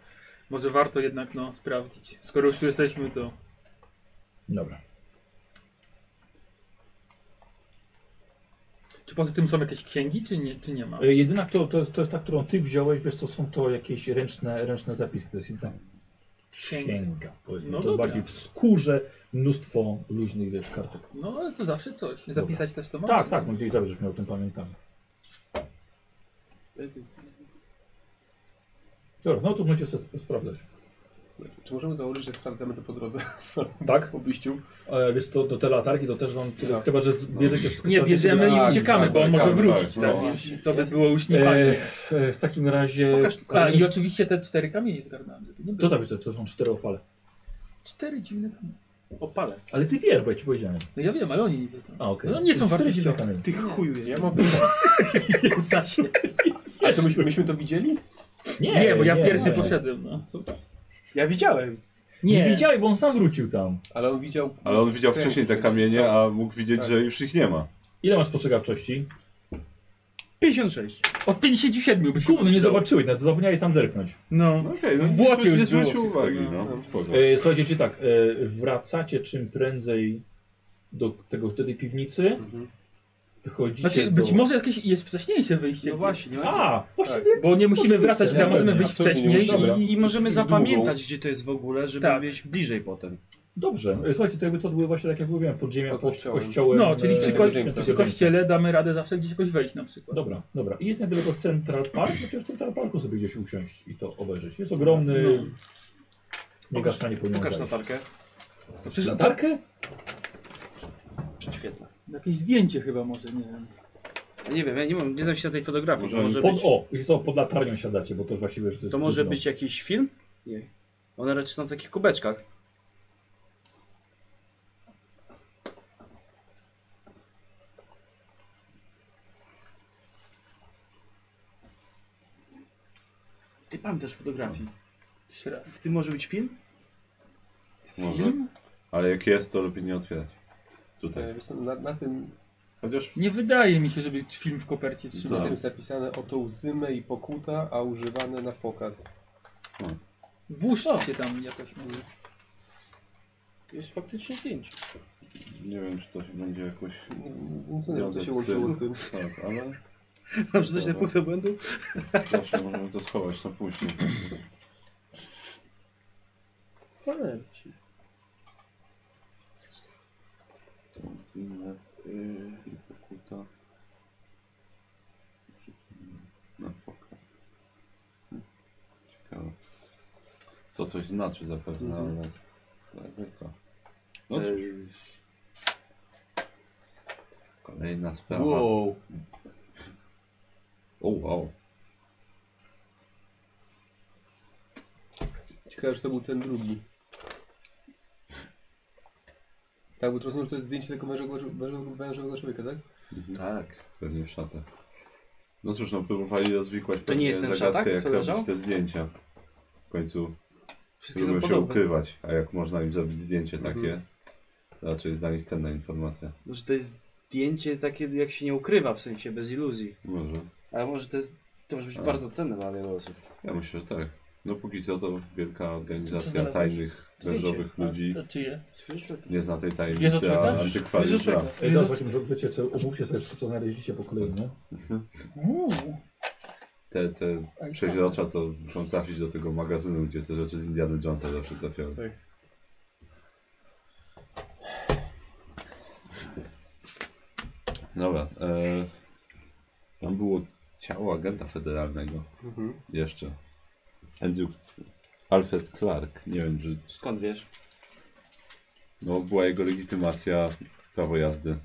S3: może warto jednak no, sprawdzić. Skoro już tu jesteśmy, to
S1: Dobra.
S3: czy poza tym są jakieś księgi, czy nie, czy nie ma?
S1: E, Jedyna, to, to, jest, to jest ta, którą ty wziąłeś, wiesz co, są to jakieś ręczne, ręczne zapiski. To jest jedyna Sięga. powiedzmy.
S3: No
S1: to
S3: dobra.
S1: bardziej w skórze mnóstwo luźnych, wiesz, kartek.
S3: No ale to zawsze coś. Zapisać też to można.
S1: Tak, tak, no gdzieś zawsze miał ten pamiętamy. Dobra, no to możecie sobie sprawdzać.
S2: Znaczy, Czy możemy założyć, że sprawdzamy to po drodze?
S1: Tak?
S2: Po wyjściu.
S1: E, wiesz co, do te latarki to też wam, tyle, chyba że z- bierzecie wszystko.
S3: Tak. No. Nie,
S1: z latarki,
S3: bierzemy
S1: to-
S3: i
S1: Tak,
S3: uciekamy,
S1: tak,
S3: bo on może
S1: uciekamy,
S3: wrócić,
S1: tak,
S3: tak,
S1: no.
S3: więc to by było już niefajne.
S1: E, w, w takim razie...
S3: A i oczywiście te cztery kamienie zgarnąłem. żeby nie było.
S1: To tam jest, to są cztery opale.
S3: Cztery dziwne kamienie.
S7: No
S3: Opale.
S1: Ale ty wiesz, bo ja ci powiedziałem.
S3: No ja wiem, ale oni nie wiedzą.
S1: A, okej.
S3: No nie są
S1: Cztery
S3: wartościowe.
S1: dziwne kamienie.
S3: Ty chuju,
S2: Ja mam pytanie. A co, myśmy, myśmy to widzieli?
S1: Nie,
S3: Nie, bo ja
S1: nie,
S3: pierwszy
S1: nie.
S3: poszedłem. No.
S2: Ja widziałem.
S1: Nie. widziałeś, bo on sam wrócił tam.
S2: Ale on widział...
S4: Ale on widział wcześniej te kamienie, a mógł widzieć,
S2: Tak.
S4: że już ich nie ma.
S1: Ile masz postrzegawczości?
S3: 56. Od 57 byś
S1: Gówno, nie zobaczyłeś, nawet zapomniałeś tam zerknąć.
S3: No,
S4: okej, no
S3: w
S4: nie
S3: błocie
S4: zwróci- nie
S3: już było
S4: zwrócił
S3: wszystko,
S4: uwagi, no. Spoko.
S1: E, słuchajcie, czy tak, e, wracacie czym prędzej do, tego, do tej piwnicy, wychodzicie
S3: Mhm. Znaczy,
S1: do...
S3: być może jakieś jest wcześniejsze wyjście. No właśnie,
S1: nie ma- A, właściwie-
S3: Bo nie musimy
S1: Oczywiście,
S3: wracać,
S1: nie,
S3: tam możemy
S1: pewnie,
S3: wyjść
S1: absolutnie nie
S3: wcześniej.
S1: musimy. Dobra.
S7: I, I możemy
S1: I w
S7: zapamiętać,
S1: długą.
S7: gdzie to jest w ogóle, żeby mieć bliżej potem.
S1: Dobrze, e, słuchajcie, to jakby to były właśnie, tak jak mówiłem, podziemia pod kościołem. kościołem
S3: No, czyli
S1: e,
S3: przy,
S1: Świętego
S3: ko- przy
S1: Jamesa.
S3: kościele damy radę zawsze gdzieś jakoś wejść na przykład.
S1: Dobra, dobra. I jest niedaleko Central Park, chociaż w Central Parku sobie gdzieś usiąść i to obejrzeć. Jest ogromny...
S3: No.
S1: Nie
S3: Pokaż-
S1: gaszka nie powinien
S3: pokaż
S1: zajść.
S3: latarkę. To
S1: Przecież latarkę?
S7: Prześwietla.
S3: Jakieś zdjęcie chyba może, nie wiem.
S7: Ja Nie wiem, ja nie, mam, nie znam się na tej fotografii. to może
S1: pod,
S7: być,
S1: O, i co, pod latarnią siadacie, bo to właściwie już jest
S7: to może
S1: późno.
S7: być jakiś film? Nie. One raczej są w takich kubeczkach. Ty pamiętasz fotografii?
S3: Jeszcze raz.
S7: W tym może być film?
S4: Może. Ale jak jest, to lepiej nie otwierać. Tutaj.
S2: E, wiesz co, Na, na tym
S4: Chociaż
S3: Nie wydaje mi się, żeby film w kopercie
S2: na
S3: trzymał.
S1: Tak.
S2: tym jest napisane oto łzymę i pokuta, a używane na pokaz.
S3: Włóżcie tam jakoś może.
S7: Jest faktycznie zdjęcie.
S4: nie wiem, czy to się będzie jakoś.
S2: no co nie, to się łączyło z tym.
S4: Tak, ale.
S7: Mam rzucać na
S4: Dobra.
S7: punkt błędu?
S4: Zawsze możemy to schować na później.
S7: Powiem ci.
S4: Inne, y, i pokuta. Na pokaz. Ciekawe. To coś znaczy zapewne,
S13: Mhm.
S4: ale. Ale co? No
S13: Eee.
S4: cóż. Kolejna sprawa.
S13: Wow.
S4: O, wow.
S2: Ciekawe, że to był ten drugi. Tak, bo to rozumiem, że to jest zdjęcie tego wężowego, wężowego, wężowego człowieka, tak?
S4: Tak. Pewnie w szatach. No cóż, no próbowali rozwikłać
S7: To nie jest ten
S4: zagadkę,
S7: szatak,
S4: jak
S7: co
S4: robić
S7: leżał?
S4: te zdjęcia. W końcu
S7: Wszystkie są
S4: próbują się
S7: podobne.
S4: ukrywać, a jak można im zrobić zdjęcie
S7: Mhm.
S4: takie, to raczej jest dla nich cenna informacja.
S7: Może to jest zdjęcie takie, jak się nie ukrywa, w sensie bez iluzji.
S4: Może.
S7: Ale może to jest, to może być
S4: A.
S7: bardzo cenne dla wielu osób.
S4: Ja myślę, że tak. No póki co to wielka
S7: Co
S4: organizacja
S7: znalazłeś?
S4: tajnych,
S7: Zdjęcie.
S4: wężowych ludzi.
S3: To czyje?
S4: Nie zna tej tajemnicy,
S3: Zwierzoczłeka?
S4: a antykwariusz zna.
S1: Ej, dobra, takim razie wiecie, co, omówcie sobie wszystko, co znaleźliście po kolei, nie?
S4: Te, te przeźrocza to muszą trafić do tego magazynu, gdzie te rzeczy z Indiana Jonesa zawsze trafiały. Dobra. E, tam było ciało agenta federalnego.
S2: Mhm.
S4: Jeszcze. Andrew Alfred Clark. Nie wiem, czy.
S7: Skąd wiesz?
S4: No, była jego legitymacja, prawo jazdy.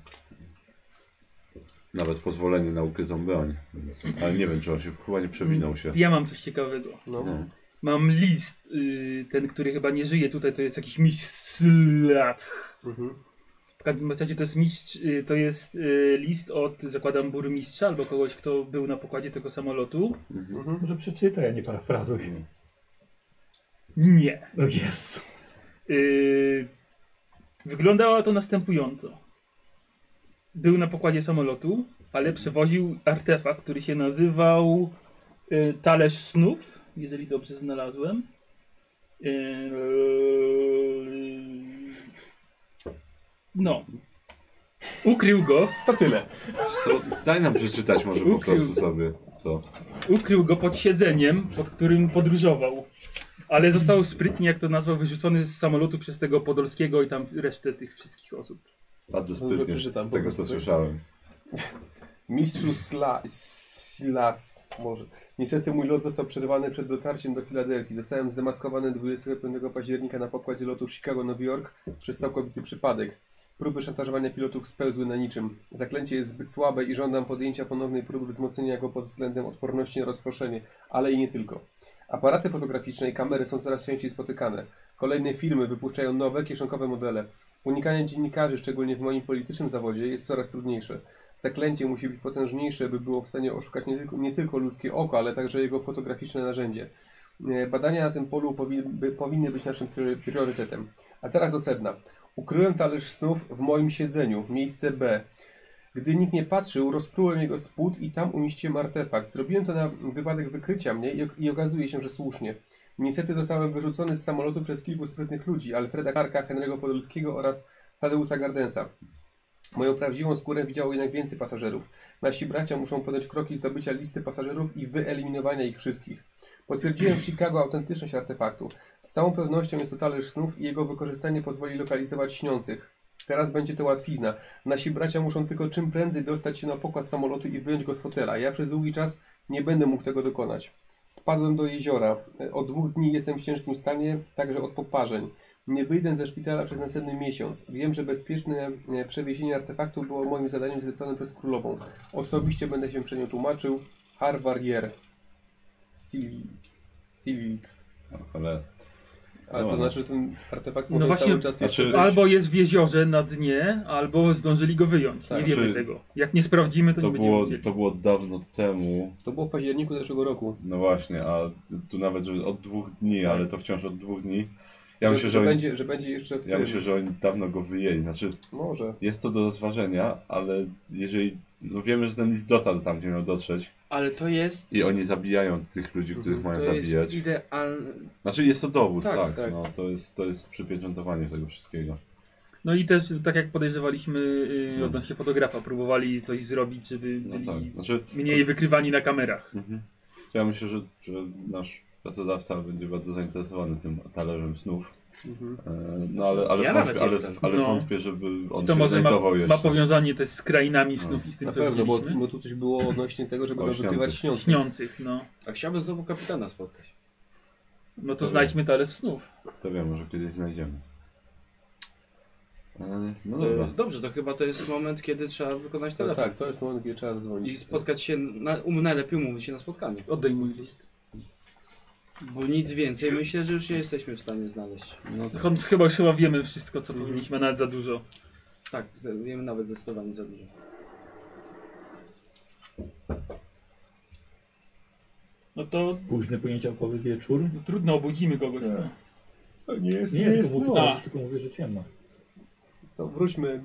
S4: Nawet pozwolenie na ukrytą broń. Więc, ale nie wiem, czy on się chyba nie przewinął się.
S3: Ja mam coś ciekawego.
S4: No.
S3: Mam list, y, ten, który chyba nie żyje tutaj, to jest jakiś mistrz Slatch.
S2: Mhm.
S3: W każdym razie to jest mistrz, y, to jest y, list od, zakładam, burmistrza albo kogoś, kto był na pokładzie tego samolotu.
S1: Może przeczytaj, a nie parafrazuj.
S3: Nie.
S1: No jest.
S3: Y, wyglądało to następująco. Był na pokładzie samolotu, ale przewoził artefakt, który się nazywał y, Talerz Snów, jeżeli dobrze znalazłem. Y, no. Ukrył go.
S2: To tyle.
S4: Co? Daj nam przeczytać może po
S3: Ukrył.
S4: prostu sobie to.
S3: Ukrył go pod siedzeniem, pod którym podróżował. Ale został sprytnie, jak to nazwał, wyrzucony z samolotu przez tego Podolskiego i tam resztę tych wszystkich osób.
S4: Bardzo sprytnie z
S2: przeczytam po
S4: tego co
S2: prostu.
S4: słyszałem.
S2: Mistrzu Sla... Slav, może. Niestety mój lot został przerwany przed dotarciem do Filadelfii. Zostałem zdemaskowany 25 października na pokładzie lotu Chicago-Nowy Jork przez całkowity przypadek. Próby szantażowania pilotów spełzły na niczym. Zaklęcie jest zbyt słabe i żądam podjęcia ponownej próby wzmocnienia go pod względem odporności na rozproszenie, ale i nie tylko. Aparaty fotograficzne i kamery są coraz częściej spotykane. Kolejne firmy wypuszczają nowe, kieszonkowe modele. Unikanie dziennikarzy, szczególnie w moim politycznym zawodzie, jest coraz trudniejsze. Zaklęcie musi być potężniejsze, by było w stanie oszukać nie tylko, nie tylko ludzkie oko, ale także jego fotograficzne narzędzie. E, Badania na tym polu powi by, powinny być naszym priory- priorytetem. A teraz do sedna. Ukryłem talerz snów w moim siedzeniu, miejsce B. Gdy nikt nie patrzył, rozprułem jego spód i tam umieściłem artefakt. Zrobiłem to na wypadek wykrycia mnie i, i okazuje się, że słusznie. Niestety zostałem wyrzucony z samolotu przez kilku sprytnych ludzi, Alfreda Karka, Henry'ego Podolskiego oraz Tadeusa Gardensa. Moją prawdziwą skórę widziało jednak więcej pasażerów. Nasi bracia muszą podjąć kroki zdobycia listy pasażerów i wyeliminowania ich wszystkich. Potwierdziłem w Chicago autentyczność artefaktu. Z całą pewnością jest to talerz snów i jego wykorzystanie pozwoli lokalizować śniących. Teraz będzie to łatwizna. Nasi bracia muszą tylko czym prędzej dostać się na pokład samolotu i wyjąć go z fotela. Ja przez długi czas nie będę mógł tego dokonać. Spadłem do jeziora. E, Od dwóch dni jestem w ciężkim stanie, także od poparzeń. Nie wyjdę ze szpitala przez następny miesiąc. Wiem, że bezpieczne e, przewiezienie artefaktu było moim zadaniem zleconym przez królową. Osobiście będę się przed nią tłumaczył. Harvarier. Silit.
S4: Ale
S2: Ale
S4: No
S2: to
S4: ładnie.
S2: znaczy, że ten artefakt
S3: No
S2: może
S3: właśnie,
S2: cały czas jeszcze
S4: Znaczy-
S2: być.
S3: albo jest w jeziorze na dnie, albo zdążyli go wyjąć.
S2: Tak.
S3: nie wiemy
S4: Znaczy,
S3: tego. Jak nie sprawdzimy, to,
S4: to
S3: nie będziemy
S4: było,
S3: wiedzieli.
S4: to było dawno temu.
S2: To było w październiku zeszłego roku.
S4: No właśnie, a tu nawet że od dwóch dni, ale to wciąż od dwóch dni. Ja
S2: że,
S4: myślę,
S2: że,
S4: że, oni,
S2: będzie, że będzie jeszcze w
S4: ja
S2: tym.
S4: myślę, że oni dawno go wyjęli. Znaczy,
S2: Może.
S4: jest to do rozważenia, ale jeżeli. No wiemy, że ten list dotarł tam, gdzie miał dotrzeć.
S7: Ale to jest...
S4: I oni zabijają tych ludzi, których
S2: Mhm.
S4: mają
S7: Mhm. To jest
S4: zabijać.
S7: idealne...
S4: Znaczy jest to dowód,
S7: Tak,
S4: tak.
S7: tak.
S4: No, to, jest, to jest przypieczętowanie tego wszystkiego.
S3: No i też, tak jak podejrzewaliśmy yy, odnośnie fotografa, próbowali coś zrobić, żeby
S4: No
S3: byli
S4: tak, znaczy-
S3: mniej wykrywani na kamerach.
S4: Mhm. To Ja myślę, że, że nasz pracodawca będzie bardzo zainteresowany tym talerzem snów.
S2: Mhm.
S4: E, No ale, ale,
S3: Ja nawet
S4: wątpię, ale,
S3: jestem.
S4: ale
S3: No.
S4: wątpię, żeby on się
S3: Czy to może ma,
S4: znajdował
S3: ma
S4: jeszcze. No.
S3: powiązanie też z krainami snów i z tym,
S2: Na
S3: co
S2: pewno, bo,
S3: widzieliśmy?
S2: bo tu coś było odnośnie tego, żeby
S4: O,
S2: nam wykrywać
S4: śniących.
S2: śniących.
S3: Śniących, no.
S7: A chciałbym znowu kapitana spotkać.
S3: No to
S4: Dobra.
S3: znajdźmy talerz snów.
S4: To wiem, może kiedyś znajdziemy. E, No
S7: E,
S4: dobra.
S7: Dobrze, to chyba to jest moment, kiedy trzeba wykonać
S2: No
S7: telefon.
S2: tak, to jest moment, gdzie trzeba
S7: I
S2: dzwonić.
S7: spotkać się, na, um, najlepiej umówić się na spotkanie.
S3: Oddaj mój list.
S7: Bo nic więcej myślę, że już nie jesteśmy w stanie znaleźć.
S4: No to...
S3: Ch- Chyba już chyba wiemy wszystko, co powinniśmy, a nawet za dużo.
S7: Tak, z- wiemy nawet zdecydowanie za dużo.
S3: No to
S1: Późny poniedziałkowy wieczór.
S3: no, trudno, obudzimy kogoś. No.
S1: Tak. Nie jest,
S2: nie
S1: nie,
S2: jest
S1: tylko,
S2: noc.
S1: mówię, tylko mówię, że ciemno.
S2: To wróćmy.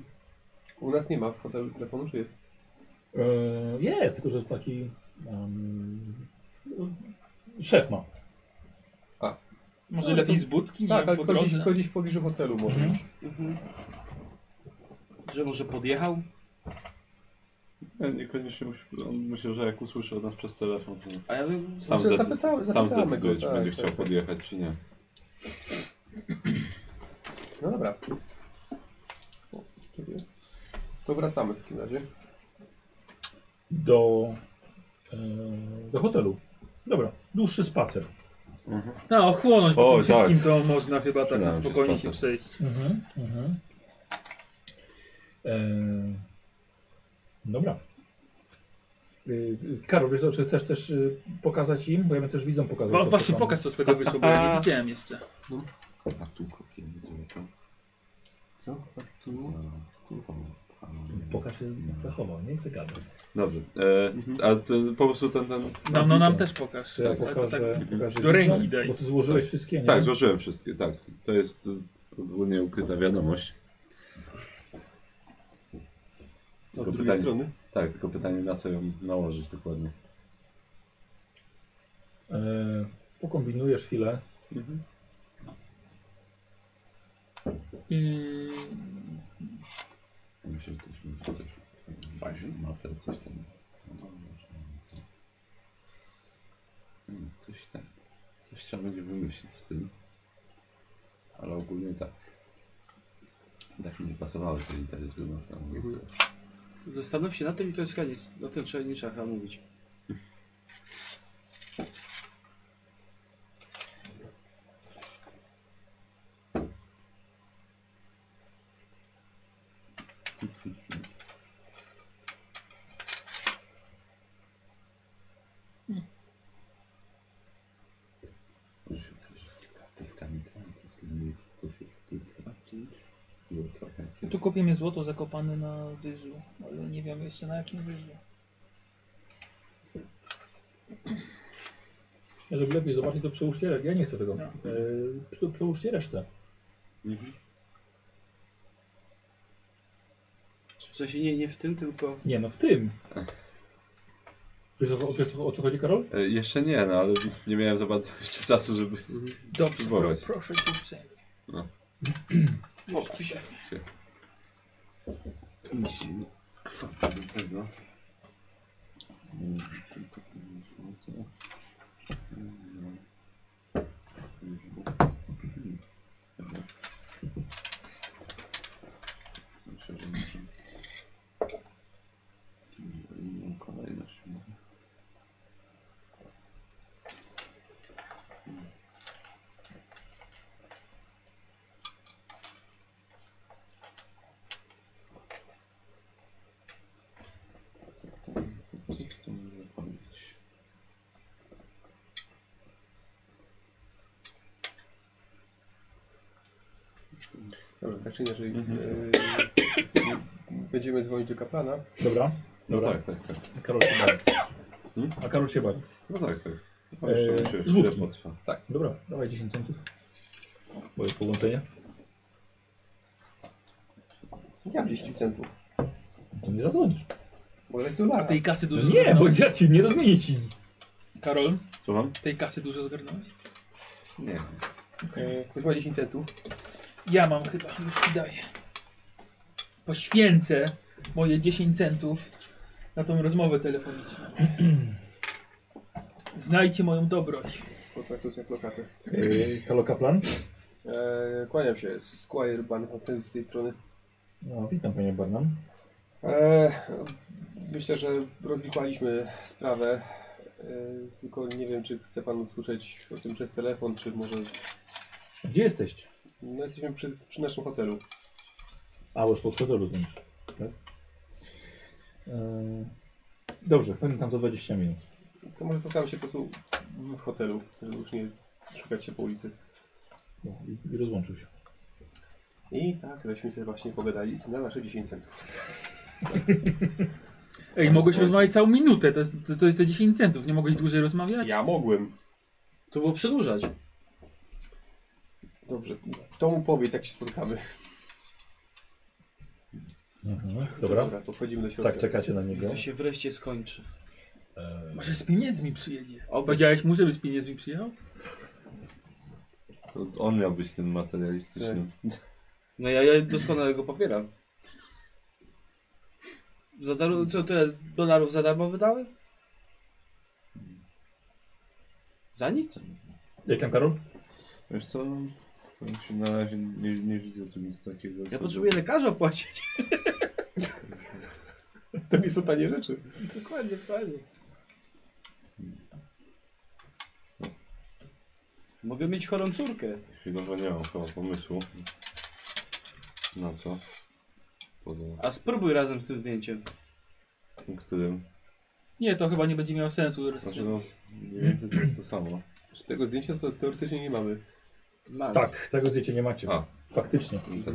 S2: U nas nie ma w hotelu telefonu, czy jest?
S1: E, jest, tylko że taki em, szef ma. No,
S3: Może
S2: Ale
S3: lepiej
S2: to-
S3: z
S2: Tak,
S3: budki, nie
S2: ale
S3: po
S2: tylko
S3: drodze.
S2: gdzieś, tylko gdzieś w pobliżu hotelu może.
S3: Mhm.
S7: Że może podjechał?
S4: E, Niekoniecznie musi... On myślę, że jak usłyszy od nas przez telefon, to
S7: A ja bym...
S4: sam,
S2: Znaczy,
S4: zdecyd...
S2: zapytamy-
S4: sam
S2: zapytamy
S4: zdecyduje,
S2: go,
S4: czy
S2: tak,
S4: będzie
S2: tak,
S4: chciał
S2: tak.
S4: podjechać, czy nie.
S2: No dobra. O, ciebie. To wracamy w takim razie.
S1: do, e, do hotelu. Dobra, dłuższy spacer.
S3: No, ochłonąć po
S4: O,
S3: tym wszystkim
S4: tak.
S3: to można chyba tak na
S4: Przydałem się
S3: spokojnie się
S4: spacer.
S3: przejść.
S1: Mhm, mhm. E, dobra. E, Karol, wiesz, co, czy chcesz też e, pokazać im? Bo ja bym też widzą pokazał.
S3: Wa-
S1: to, co
S3: No, Właśnie
S1: tam-
S3: pokaz co z tego wyszło, bo ja
S1: <laughs>
S3: nie widziałem jeszcze.
S4: A tu kopię nie złotą.
S2: Co? A tu?
S4: No,
S1: Mhm. Pokaż się zachował, nie chcę gadać.
S4: Dobrze. E, a ten, po prostu ten, ten...
S3: No, no nam też pokaż.
S1: To ja
S3: Ale to
S1: pokażę,
S3: tak-
S1: pokażę
S3: do ręki
S1: widzom,
S3: daj.
S1: Bo ty złożyłeś wszystkie, nie?
S4: Tak, złożyłem wszystkie, tak. To jest y, ogólnie ukryta wiadomość.
S2: Od drugiej strony.
S4: Tak, tylko pytanie na co ją nałożyć dokładnie.
S1: E, pokombinujesz chwilę.
S3: Yy,
S4: Myślę, że ktoś będzie coś. Fajnie. Mapę, coś tam. No, może, no, co? Hmm, Coś tam. Coś trzeba będzie wymyślić z tym. Ale ogólnie tak. Tak mi nie pasowały te litery, które nas tam
S7: Mhm. Zastanów się na tym i to jest koniec. O tym trzeba nie trzeba chyba mówić.
S4: Teskami tańca w tym miejscu coś jest płyta. Było trochę.
S3: Tu kupimy złoto zakopane na wyżu, ale nie wiem jeszcze na jakim wyżu.
S1: Ja, żeby lepiej zobaczyć, to przełóżcie resztę. Ja nie chcę tego.
S3: No.
S1: No. przełóżcie resztę.
S7: W sensie nie, nie w tym, tylko...
S1: Nie, no w tym. Wiesz o, co- wiesz, o, o co chodzi, Karol?
S4: E, jeszcze nie, no ale nie miałem za bardzo jeszcze czasu, żeby
S3: Dobrze, pro,
S4: próbować.
S3: proszę tu przejmij.
S4: No.
S3: Może się.
S4: Się.
S13: Kwapę do tego. Myślę, że może... Inną kolejność może. Coś tu może powiedzieć.
S2: Dobra, tak czy inaczej.
S3: Mhm.
S2: e, będziemy dzwonić do kaplana.
S1: Dobra.
S4: No
S1: Dobra.
S4: tak, tak, tak.
S1: Karol się bawi. Hmm? A Karol się bawi.
S4: No tak, tak. No
S1: Eee,
S4: jeszcze myślę,
S1: złotki.
S4: że chwilę potrwa.
S1: Tak. Dobra, dawaj 10 centów. Moje połączenie.
S2: Ja 10 centów.
S1: To tak. nie zadzwonisz.
S2: Bo jest
S3: A
S2: dolara.
S3: tej kasy dużo
S1: Nie, bo
S3: zgarnąłeś?
S1: ja ci nie rozmienię ci.
S3: Karol,
S4: Słucham?
S3: tej kasy dużo zgarnąłeś?
S4: Nie.
S2: E, ktoś ma 10 centów.
S3: Ja mam chyba, już ci daję. Poświęcę moje 10 centów na tą rozmowę telefoniczną. <clears throat> Znajdźcie moją dobroć.
S2: Potraktuj jak lokatę.
S1: Yy, Halo Kaplan.
S2: E, kłaniam się, Squire Ban, ten z tej strony.
S1: No, witam panie Barnum.
S2: E, myślę, że rozwikłaliśmy sprawę. E, tylko nie wiem, czy chce pan usłyszeć o tym przez telefon, czy może...
S1: Gdzie jesteś?
S2: No jesteśmy przy, przy naszym hotelu.
S1: A, bo spod hotelu znaczy. Tak? Yy, dobrze, pamiętam za 20 minut.
S2: To może spotkamy się po prostu w hotelu, żeby już nie szukać się po ulicy.
S1: No, i, I rozłączył się.
S2: I tak, żeśmy sobie właśnie pogadali na nasze 10 centów.
S3: Ej, mogłeś rozmawiać całą minutę, to jest, to, to jest te 10 centów, nie mogłeś dłużej
S1: Znaczy-
S3: rozmawiać?
S2: Ja mogłem.
S7: To było przedłużać.
S2: Dobrze, to mu powiedz, jak się spotkamy.
S1: Mhm. Dobra.
S2: Dobra, to wchodzimy do środka.
S1: Tak, czekacie na niego.
S7: To się wreszcie skończy.
S1: Eee.
S3: Może z pieniędzmi przyjedzie.
S7: Oby.
S3: Powiedziałeś mu, żeby z pieniędzmi przyjechał?
S4: To on miał być tym materialistycznym.
S7: No ja, ja doskonale go popieram. Za darmo, co tyle dolarów za darmo wydały? Za nic?
S1: Jak tam Karol?
S4: Wiesz co, powiem ci, na razie nie, nie widzę tu nic takiego.
S7: Ja potrzebuję lekarza płacić.
S2: To nie są tanie rzeczy.
S7: Dokładnie, dokładnie. Mogę mieć chorą córkę.
S4: Chwilowo nie mam chyba pomysłu na to. Poza
S7: A spróbuj razem z tym zdjęciem.
S4: tym, którym...
S3: Nie, to chyba nie będzie miało sensu. teraz
S4: Znaczy
S3: tym.
S4: no, mniej więcej to jest to samo.
S2: Z tego zdjęcia to teoretycznie nie mamy.
S7: Mam.
S1: Tak, tego zdjęcia nie macie.
S4: A.
S1: Faktycznie.
S4: Tak.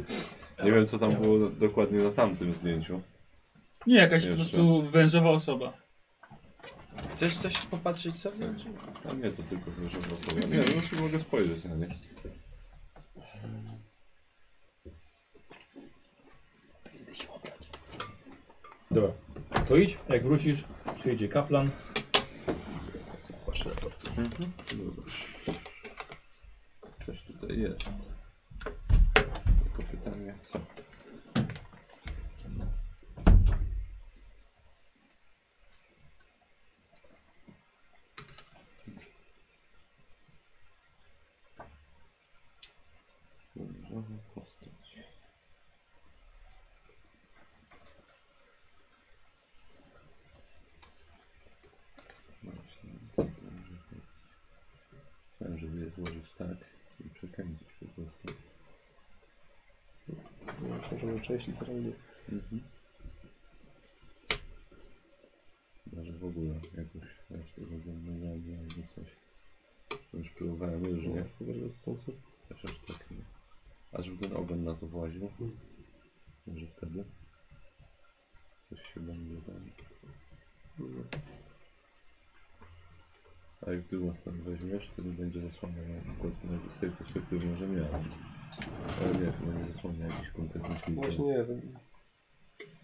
S4: Nie wiem co tam było na- dokładnie na tamtym zdjęciu.
S3: Nie, jakaś
S4: Jeszcze.
S3: po prostu wężowa osoba.
S7: Chcesz coś popatrzeć sobie?
S4: A nie, to tylko proszę osoba. Nie, no się mogę spojrzeć na nie.
S1: Dobra. To idź, jak wrócisz, przyjedzie kaplan.
S4: Coś tutaj jest. Tylko pytanie co? postać. Właśnie, co to może być? Chciałem, żeby je złożyć tak i przekręcić po prostu.
S2: Myślę, że części to robię.
S4: Mhm. Może w ogóle jakoś też tego wyglądało albo coś. To Już próbowałem różnie. Chociaż tak nie. A żeby ten ogon na to właził? Może wtedy? Coś się będzie tam. A jak w drugą stronę weźmiesz, to nie będzie zasłaniał akurat nawet z tej perspektywy może miałem. Ale nie, chyba nie zasłania jakiś konkretny film.
S2: Właśnie nie wiem.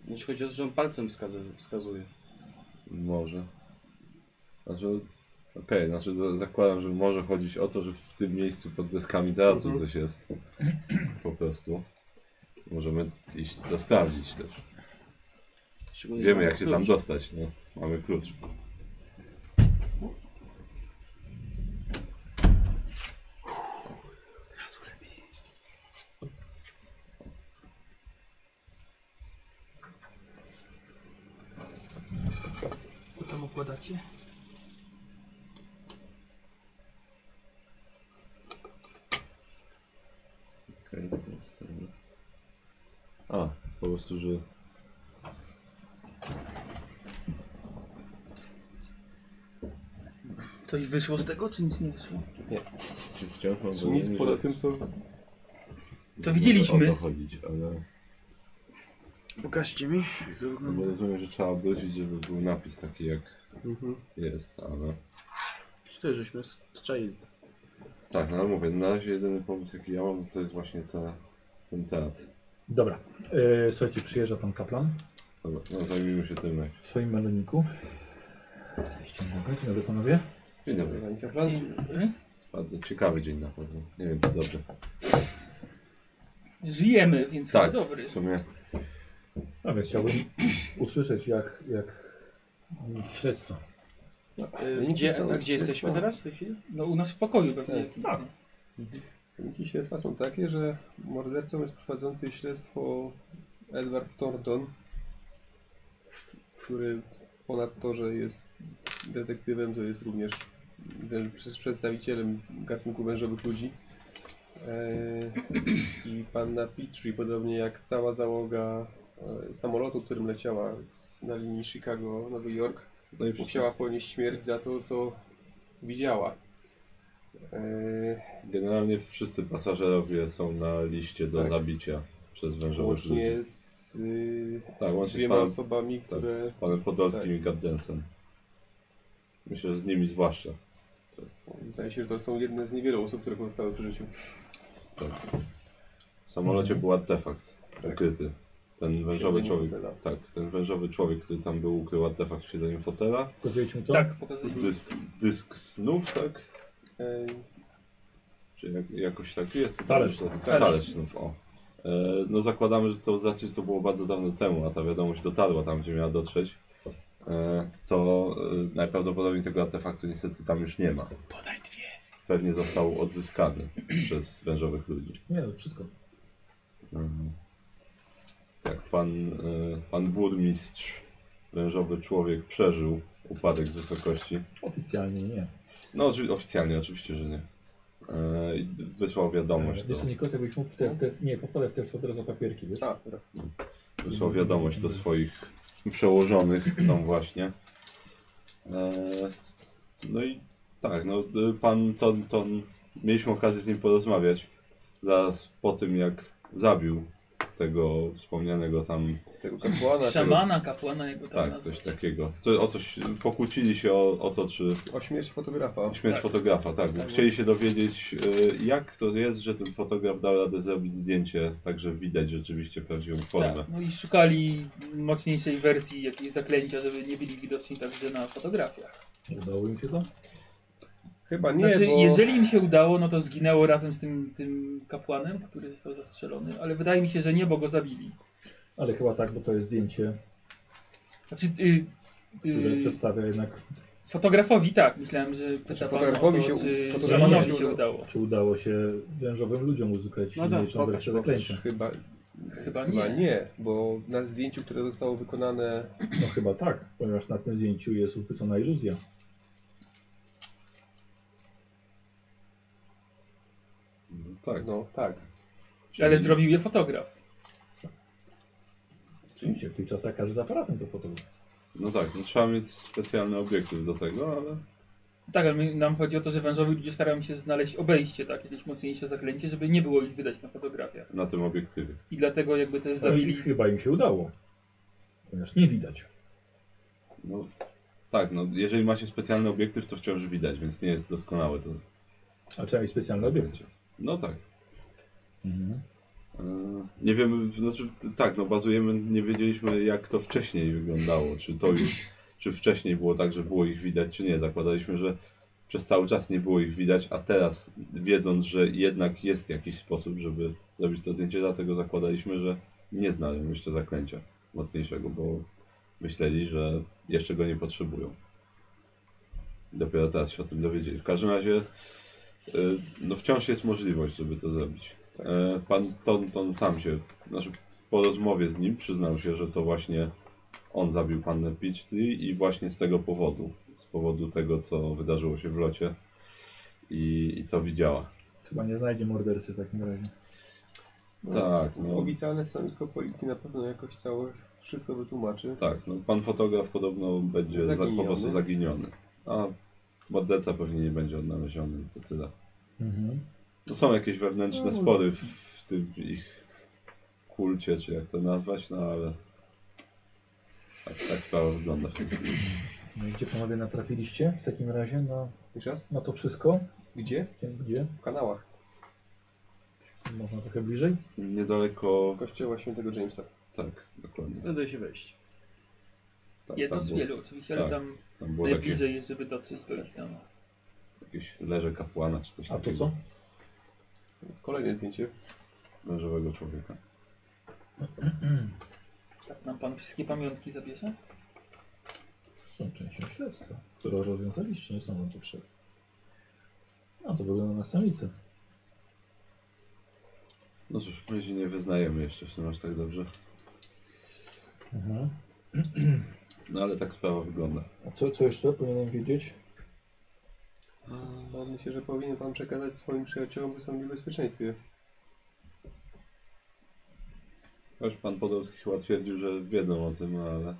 S7: Jeśli chodzi o to, że on palcem wskazy- wskazuje.
S4: Może. Znaczy, okej, znaczy za, zakładam, że może chodzić o to, że w tym miejscu pod deskami teatru
S2: Mhm.
S4: coś jest. Po prostu. Możemy iść to sprawdzić też.
S7: Szczególnie, że
S4: Wiemy
S7: mamy
S4: jak się tam
S7: klucz.
S4: dostać, no. Mamy klucz.
S3: Co tam układacie?
S4: Okej, okay, to jest ten... A, po prostu, że...
S3: Coś wyszło z tego, czy nic nie wyszło?
S4: Czy wciąż mam
S2: Czy nic
S4: wrażenie,
S2: poza
S4: że-
S2: tym, co...
S3: To widzieliśmy.
S4: O to chodzić, ale...
S7: Pokażcie mi.
S4: No bo rozumiem, że trzeba obrócić, żeby był napis taki jak
S7: Mhm.
S4: jest, ale...
S7: Czy to żeśmy strzelili?
S4: Tak, no ale mówię, na razie jedyny pomysł jaki ja mam to jest właśnie te, ten teatr.
S1: Dobra. E, słuchajcie, przyjeżdża pan kaplan
S4: Dobra, no zajmijmy się tym jak.
S1: w swoim malowniku. Ściągnę go. Dzień dobry panowie.
S4: Dzień dobry. Jest Bardzo ciekawy dzień na pewno. Nie wiem czy dobrze.
S3: Żyjemy, więc
S4: Tak,
S3: chyba dobry.
S4: w sumie.
S1: A więc chciałbym usłyszeć jak, jak wyniki śledztwa.
S7: Y,
S4: No
S7: Gdzie, a gdzie jesteśmy teraz w tej chwili?
S3: No u nas w pokoju pewnie.
S1: Tak.
S2: Wyniki śledztwa są takie, że mordercą jest prowadzący śledztwo Edward Thornton, który ponad to, że jest detektywem, to jest również wę- przez- przedstawicielem gatunku wężowych ludzi. Eee, I panna Petrie, podobnie jak cała załoga e, samolotu, którym leciała z, na linii Chicago-Nowy Jork,
S4: No i
S2: musiała ponieść śmierć za to, co widziała. Eee,
S4: Generalnie wszyscy pasażerowie są na liście do
S2: Tak.
S4: zabicia przez wężowych ludzi.
S2: Łącznie z y,
S4: Tak, łącznie z
S2: dwiema
S4: panem-
S2: osobami, które...
S4: Tak, z panem Podolskim i Gaddensem. Myślę, że z nimi zwłaszcza.
S2: Zdaje się, że to są jedne z niewielu osób, które pozostały przy życiu.
S4: Tak. W samolocie był artefakt ukryty. Ten wężowy
S2: Siedzeniu
S4: No, człowiek,
S2: fotela.
S4: tak, ten wężowy człowiek, który tam był, ukrył artefakt w siedzeniu fotela.
S1: Pokazujecie mu to?
S3: Tak, pokazuję.
S4: Dys, dysk snów, tak?
S2: E,
S4: Czy jak, jakoś tak jest? to
S1: Talerz
S4: tam-
S1: snów.
S4: Talerz snów, o. E, no zakładamy, że to z racji, że to było bardzo dawno temu, a ta wiadomość dotarła tam, gdzie miała dotrzeć, e, to e, najprawdopodobniej tego artefaktu niestety tam już nie ma.
S3: Podaj dwie.
S4: Pewnie został odzyskany <clears throat> przez wężowych ludzi.
S1: Nie, no, wszystko.
S4: Mhm. Tak, pan, e, pan burmistrz, wężowy człowiek, przeżył upadek z wysokości.
S1: Oficjalnie nie.
S4: No, oczy- oficjalnie oczywiście, że nie. E, i d- wysłał
S3: E,
S4: wiadomość do,
S1: Wiesz co, Nikos, jakbyś mógł w te, w te, nie, powtórę w te co teraz o papierki, wiesz?
S2: Tak, dobra.
S4: wysłał wiadomość do swoich przełożonych <clears throat> tam właśnie. E, no i tak, no y, pan Ton, ton mieliśmy okazję z nim porozmawiać zaraz po tym, jak zabił tego wspomnianego tam
S2: Tego kapłana,
S3: Szamana, kapłana, jego tam
S4: Tak,
S3: nazwa.
S4: coś takiego. Co, o coś pokłócili się o, o to, czy
S2: o śmierć fotografa.
S4: śmierć fotografa, tak. Bo chcieli się dowiedzieć, y, jak to jest, że ten fotograf dał radę zrobić zdjęcie, tak że widać rzeczywiście prawdziwą formę.
S3: Tak, no i szukali mocniejszej wersji jakiejś zaklęcia, żeby nie byli widoczni także na fotografiach.
S1: Udało im się to?
S2: Chyba nie,
S3: znaczy,
S2: bo...
S3: jeżeli im się udało, no to zginęło razem z tym, tym kapłanem, który został zastrzelony, ale wydaje mi się, że nie, bo go zabili.
S1: Ale chyba tak, bo to jest zdjęcie,
S3: Znaczy, y,
S1: które
S3: y,
S2: Mm.
S1: przedstawia jednak
S3: Fotografowi tak, myślałem, że pyta pan o
S2: Znaczy, fotografowi
S3: to,
S2: się-
S3: czy
S2: fotografowi
S3: Szymanowi
S2: się
S3: się
S2: udało.
S3: udało.
S1: Czy udało się wężowym ludziom uzyskać
S2: No tak,
S1: mniejszą
S2: pokaż,
S1: wersję
S2: pokaż.
S1: zaklęcia?
S2: Chyba,
S3: Chyba nie.
S2: bo na zdjęciu, które zostało wykonane...
S1: No chyba tak, ponieważ na tym zdjęciu jest uchwycona iluzja.
S2: Tak. No, tak.
S3: Ale zrobił je fotograf.
S1: Oczywiście, w tych czasach każdy z aparatem to fotograf.
S4: No tak, no trzeba mieć specjalny obiektyw do tego, ale...
S3: Tak, ale my- nam chodzi o to, że wężowi ludzie starają się znaleźć obejście, tak, jakieś mocniejsze zaklęcie, żeby nie było ich widać na fotografiach.
S4: Na tym obiektywie.
S3: I dlatego jakby też
S1: Ale
S3: zabili...
S1: Chyba im się udało, ponieważ nie widać.
S4: No, tak, no jeżeli macie specjalny obiektyw, to wciąż widać, więc nie jest doskonałe to.
S1: A trzeba mieć specjalny obiektyw.
S4: No tak.
S1: Mhm.
S4: E, Nie wiemy, znaczy t- tak, no bazujemy, nie wiedzieliśmy jak to wcześniej wyglądało, czy to już, czy wcześniej było tak, że było ich widać, czy nie. Zakładaliśmy, że przez cały czas nie było ich widać, a teraz wiedząc, że jednak jest jakiś sposób, żeby zrobić to zdjęcie, dlatego zakładaliśmy, że nie znają jeszcze zaklęcia mocniejszego, bo myśleli, że jeszcze go nie potrzebują. Dopiero teraz się o tym dowiedzieli. W każdym razie y, no wciąż jest możliwość, żeby to zrobić. E, Pan Tonton sam się, znaczy po rozmowie z nim przyznał się, że to właśnie on zabił pannę Peachtree i właśnie z tego powodu, z powodu tego, co wydarzyło się w locie i, i co widziała.
S1: Chyba nie znajdzie mordercy w takim razie.
S4: Tak, no.
S2: Oficjalne stanowisko policji na pewno jakoś całe wszystko wytłumaczy.
S4: Tak, no pan fotograf podobno będzie za, po
S2: Zaginiony.
S4: prostu zaginiony, a morderca pewnie nie będzie odnaleziony, to tyle.
S1: Mhm.
S4: To są jakieś wewnętrzne
S1: No,
S4: spory w, w tym ich kulcie, czy jak to nazwać, no ale tak, tak sprawa wygląda w tym chwili.
S1: No i gdzie panowie natrafiliście w takim razie na, na to wszystko?
S2: Gdzie?
S1: Gdzie? Gdzie?
S2: W kanałach.
S1: Można trochę bliżej?
S4: Niedaleko,
S2: Kościoła świętego Jamesa.
S4: tak, dokładnie.
S7: Znajduje się wejść.
S4: Tam,
S3: Jedno
S4: tam
S3: z
S4: było-
S3: wielu oczywiście, ale
S4: tak,
S3: tam,
S4: tam było
S3: najbliżej jest, żeby dotrzeć do ich tam.
S4: takie, jakieś leże kapłana, czy coś
S1: A to
S4: takiego.
S1: co?
S2: Kolejne zdjęcie.
S4: Mężowego człowieka.
S3: Tak nam pan wszystkie pamiątki zabierze?
S1: Są częścią śledztwa, które rozwiązaliście, nie są wam potrzebne. No to wygląda na samicę.
S4: No cóż, my się nie wyznajemy jeszcze w tym aż tak dobrze,
S1: Mhm.
S4: no ale tak sprawa wygląda.
S1: A co, co jeszcze powinienem wiedzieć?
S2: No, myślę, że powinien pan przekazać swoim przyjaciołom, że są w niebezpieczeństwie.
S4: Chociaż pan Podolski chyba twierdził, że wiedzą o tym, ale,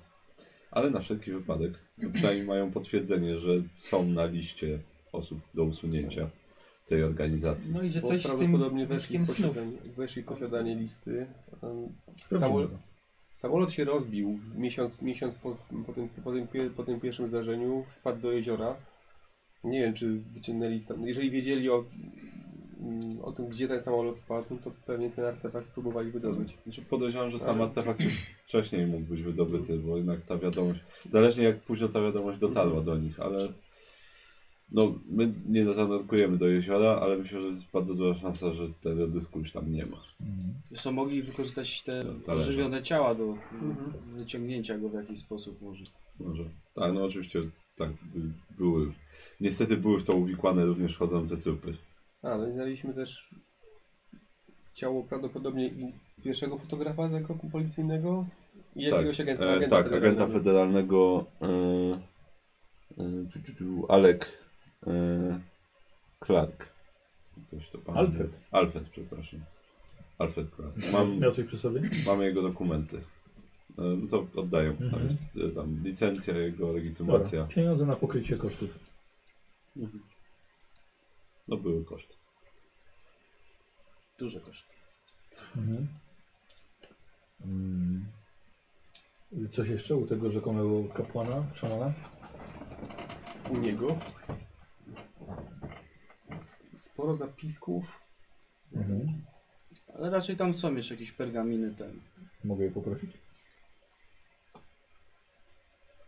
S4: ale na wszelki wypadek. No Przynajmniej mają potwierdzenie, że są na liście osób do usunięcia tej organizacji.
S3: No i że
S2: Bo
S3: coś z
S2: prawdopodobnie
S3: tym
S2: weszli
S3: dyskiem
S2: w
S3: snów.
S2: posiadanie, weszli w posiadanie listy. Um,
S1: Sprawdzimy
S2: samolot,
S1: to.
S2: samolot się rozbił miesiąc, miesiąc po, po, tym, po, tym, pie- po tym pierwszym zdarzeniu, wpadł do jeziora. Nie wiem, czy wyciągnęli stamtąd. Jeżeli wiedzieli o, mm, o tym, gdzie ten samolot wpadł, to pewnie ten artefakt próbowali wydobyć.
S4: Znaczy podejrzewam, że sam
S2: Ale-
S4: artefakt już wcześniej mógł być wydobyty, bo jednak ta wiadomość, zależnie jak późno ta wiadomość dotarła do nich, ale no my nie zanurkujemy do jeziora, ale myślę, że jest bardzo duża szansa, że tego dysku już tam nie ma.
S1: Mhm.
S7: Zresztą mogli wykorzystać te
S4: talerze.
S7: ożywione ciała do Mhm. wyciągnięcia go w jakiś sposób może.
S4: Może. Tak, no oczywiście tak by- były. Niestety były w to uwikłane również chodzące trupy.
S2: A, no i znaleźliśmy też ciało prawdopodobnie i pierwszego fotografa tego policyjnego i jakiegoś
S4: tak,
S2: agenta,
S4: e,
S2: agenta
S4: tak, agenta
S2: federalnego.
S4: federalnego e, e, tu, tu, tu, Alek e, Clark. Coś to pan.
S1: Alfred.
S4: Alfred, przepraszam. Alfred Clark.
S1: Miał coś przy sobie?
S4: Mamy jego dokumenty. E, No to oddaję. Tam
S1: Mhm.
S4: jest e, tam licencja, jego legitymacja.
S1: Dobra, pieniądze na pokrycie kosztów.
S4: No były koszty.
S7: Duże koszty.
S1: Mhm. Mm. Coś jeszcze u tego rzekomego kapłana, szamana?
S2: u niego. Sporo zapisków.
S1: Mhm.
S7: Ale raczej tam są jeszcze jakieś pergaminy ten.
S1: Mogę je poprosić?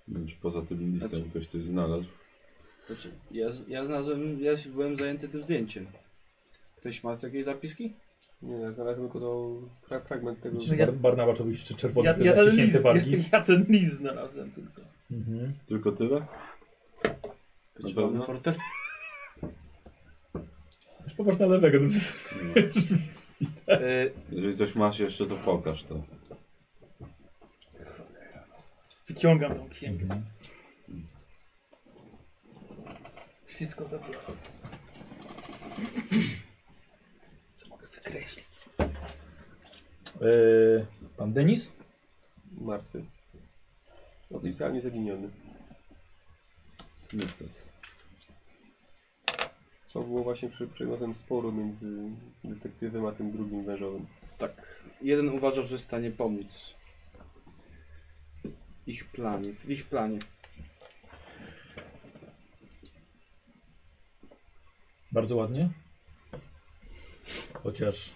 S4: Nie wiem, czy poza tym listem ktoś coś znalazł.
S7: Znaczy, ja, z- ja znalazłem, ja się- byłem zajęty tym zdjęciem. Ktoś ma jakieś zapiski?
S2: Nie, ja znalazłem tylko to fra- fragment tego.
S1: Czy Bar Barnabaczowi jeszcze czerwony,
S3: Ja, <laughs> ja, ten list,
S1: zaciśnięte barki?
S3: ja, ja ten list znalazłem tylko.
S1: Mhm.
S4: Tylko tyle?
S1: Wyciągnę
S4: <laughs>
S1: fortel. Już popatrz na lewego. No.
S7: E,
S4: Jeżeli coś masz jeszcze, to pokaż to.
S3: Wyciągam tą księgę. Wszystko zabieram. Co mogę wykreślić?
S1: Eee, pan Denis?
S2: Martwy. Oficjalnie zaginiony.
S4: Niestety.
S2: Co było właśnie przy przedmiotem sporu między detektywem a tym drugim wężowym.
S7: Tak. Jeden uważał, że jest w stanie pomóc. Ich planie, w ich planie.
S1: Bardzo ładnie. Chociaż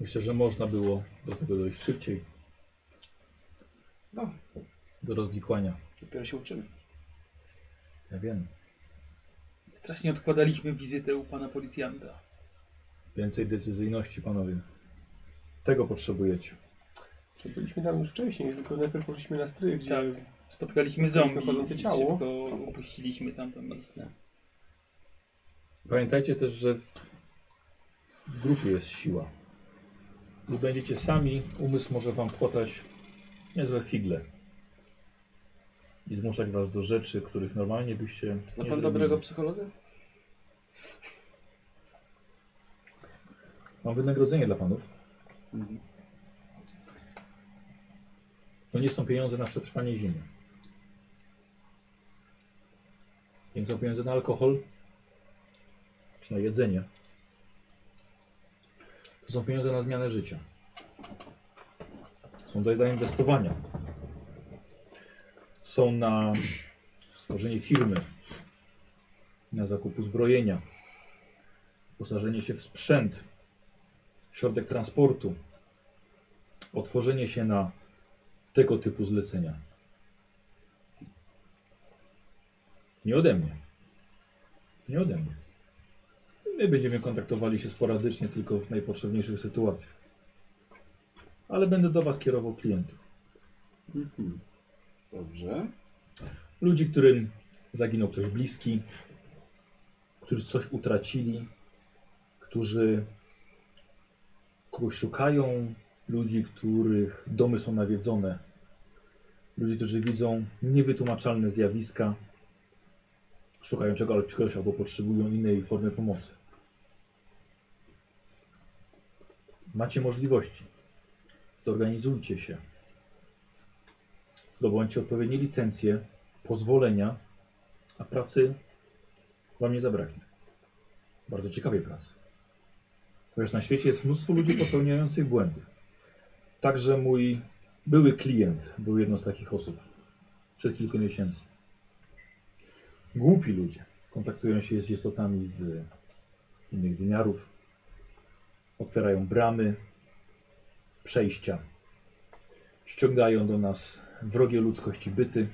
S1: myślę, że można było do tego dojść szybciej.
S7: No.
S1: Do rozwikłania.
S7: Dopiero się uczymy.
S1: Ja wiem.
S3: Strasznie odkładaliśmy wizytę u pana policjanta.
S1: Więcej decyzyjności, panowie. Tego potrzebujecie.
S2: To byliśmy tam już wcześniej, tylko najpierw poszliśmy na strych, gdzie
S3: Tak.
S2: spotkaliśmy
S3: Spotkaliśmy zombie
S2: chodzące
S3: i
S2: ciało.
S3: szybko opuściliśmy tamto miejsce.
S1: Pamiętajcie też, że w, w grupie jest siła. Gdy będziecie sami, umysł może wam płatać niezłe figle. I zmuszać was do rzeczy, których normalnie byście nie
S7: Zna pan
S1: zrobili.
S7: dobrego psychologa?
S1: Mam wynagrodzenie dla panów. To nie są pieniądze na przetrwanie zimy. To nie są pieniądze na alkohol czy na jedzenie. To są pieniądze na zmianę życia. Są do zainwestowania. Są na stworzenie firmy, na zakup uzbrojenia, wyposażenie się w sprzęt, środek transportu, otworzenie się na tego typu zlecenia. Nie ode mnie. Nie ode mnie. My będziemy kontaktowali się sporadycznie tylko w najpotrzebniejszych sytuacjach. Ale będę do Was kierował klientów.
S7: Dobrze.
S1: Ludzi, którym zaginął ktoś bliski, którzy coś utracili, którzy kogoś szukają, ludzi, których domy są nawiedzone, ludzi, którzy widzą niewytłumaczalne zjawiska, szukają czego- czegoś albo potrzebują innej formy pomocy. Macie możliwości. Zorganizujcie się. Zdobądźcie odpowiednie licencje, pozwolenia, a pracy wam nie zabraknie. Bardzo ciekawej pracy. Chociaż na świecie jest mnóstwo ludzi popełniających błędy. Także mój były klient był jedną z takich osób przed kilku miesięcy. Głupi ludzie kontaktują się z istotami z innych wymiarów, otwierają bramy, przejścia, ściągają do nas wrogie ludzkości byty,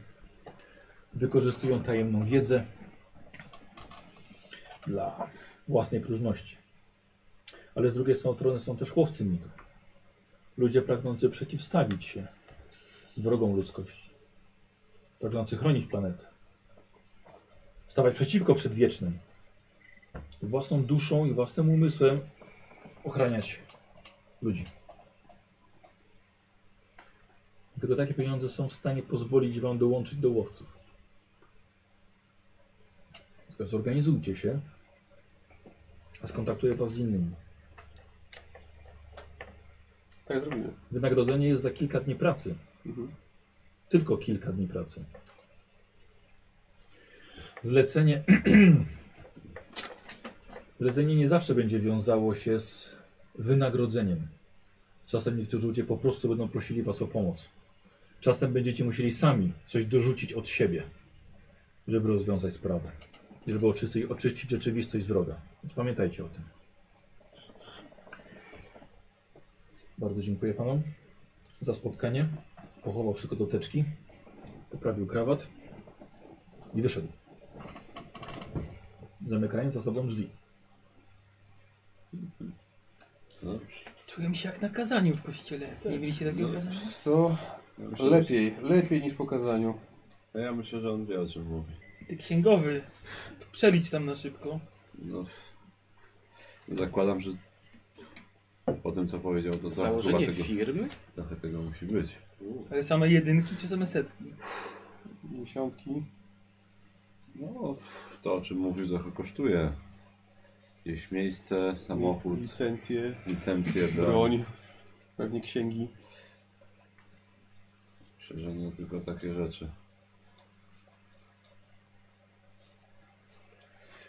S1: wykorzystują tajemną wiedzę dla własnej próżności. Ale z drugiej strony są też chłopcy mitów. Ludzie pragnący przeciwstawić się wrogom ludzkości, pragnący chronić planetę, stawać przeciwko przedwiecznym, własną duszą i własnym umysłem ochraniać ludzi. Tylko takie pieniądze są w stanie pozwolić Wam dołączyć do łowców. Tylko zorganizujcie się, a skontaktuję Was z innymi.
S2: Tak zrobimy.
S1: Wynagrodzenie jest za kilka dni pracy. Tylko kilka dni pracy. Zlecenie. <clears throat> Zlecenie nie zawsze będzie wiązało się z wynagrodzeniem. Czasem niektórzy ludzie po prostu będą prosili Was o pomoc. Czasem będziecie musieli sami coś dorzucić od siebie, żeby rozwiązać sprawę, żeby oczyścić, oczyścić rzeczywistość z wroga. Więc pamiętajcie o tym. Bardzo dziękuję panom za spotkanie. Pochował wszystko do teczki, poprawił krawat i wyszedł. Zamykając za sobą drzwi.
S4: No.
S3: Czułem się jak na kazaniu w kościele.
S2: Tak.
S3: Nie mieliście takiego wrażenia?
S6: Co?
S4: Ja myślę,
S6: Lepiej, lepiej niż po kazaniu.
S4: że- Ja myślę, że on wie o czym mówi.
S3: Ty księgowy, przelicz tam na szybko.
S4: No, zakładam, że po tym co powiedział, to trochę, No, chyba
S7: Założenie
S4: tego,
S7: firmy?
S4: trochę tego musi być.
S3: Ale same jedynki czy same setki?
S2: Dziesiątki.
S4: No, to o czym mówisz trochę kosztuje. Jakieś miejsce, samochód, Tak.
S2: Licencje.
S4: licencje, dla-
S2: Broń. Pewnie księgi.
S4: Myślę, że nie tylko takie rzeczy.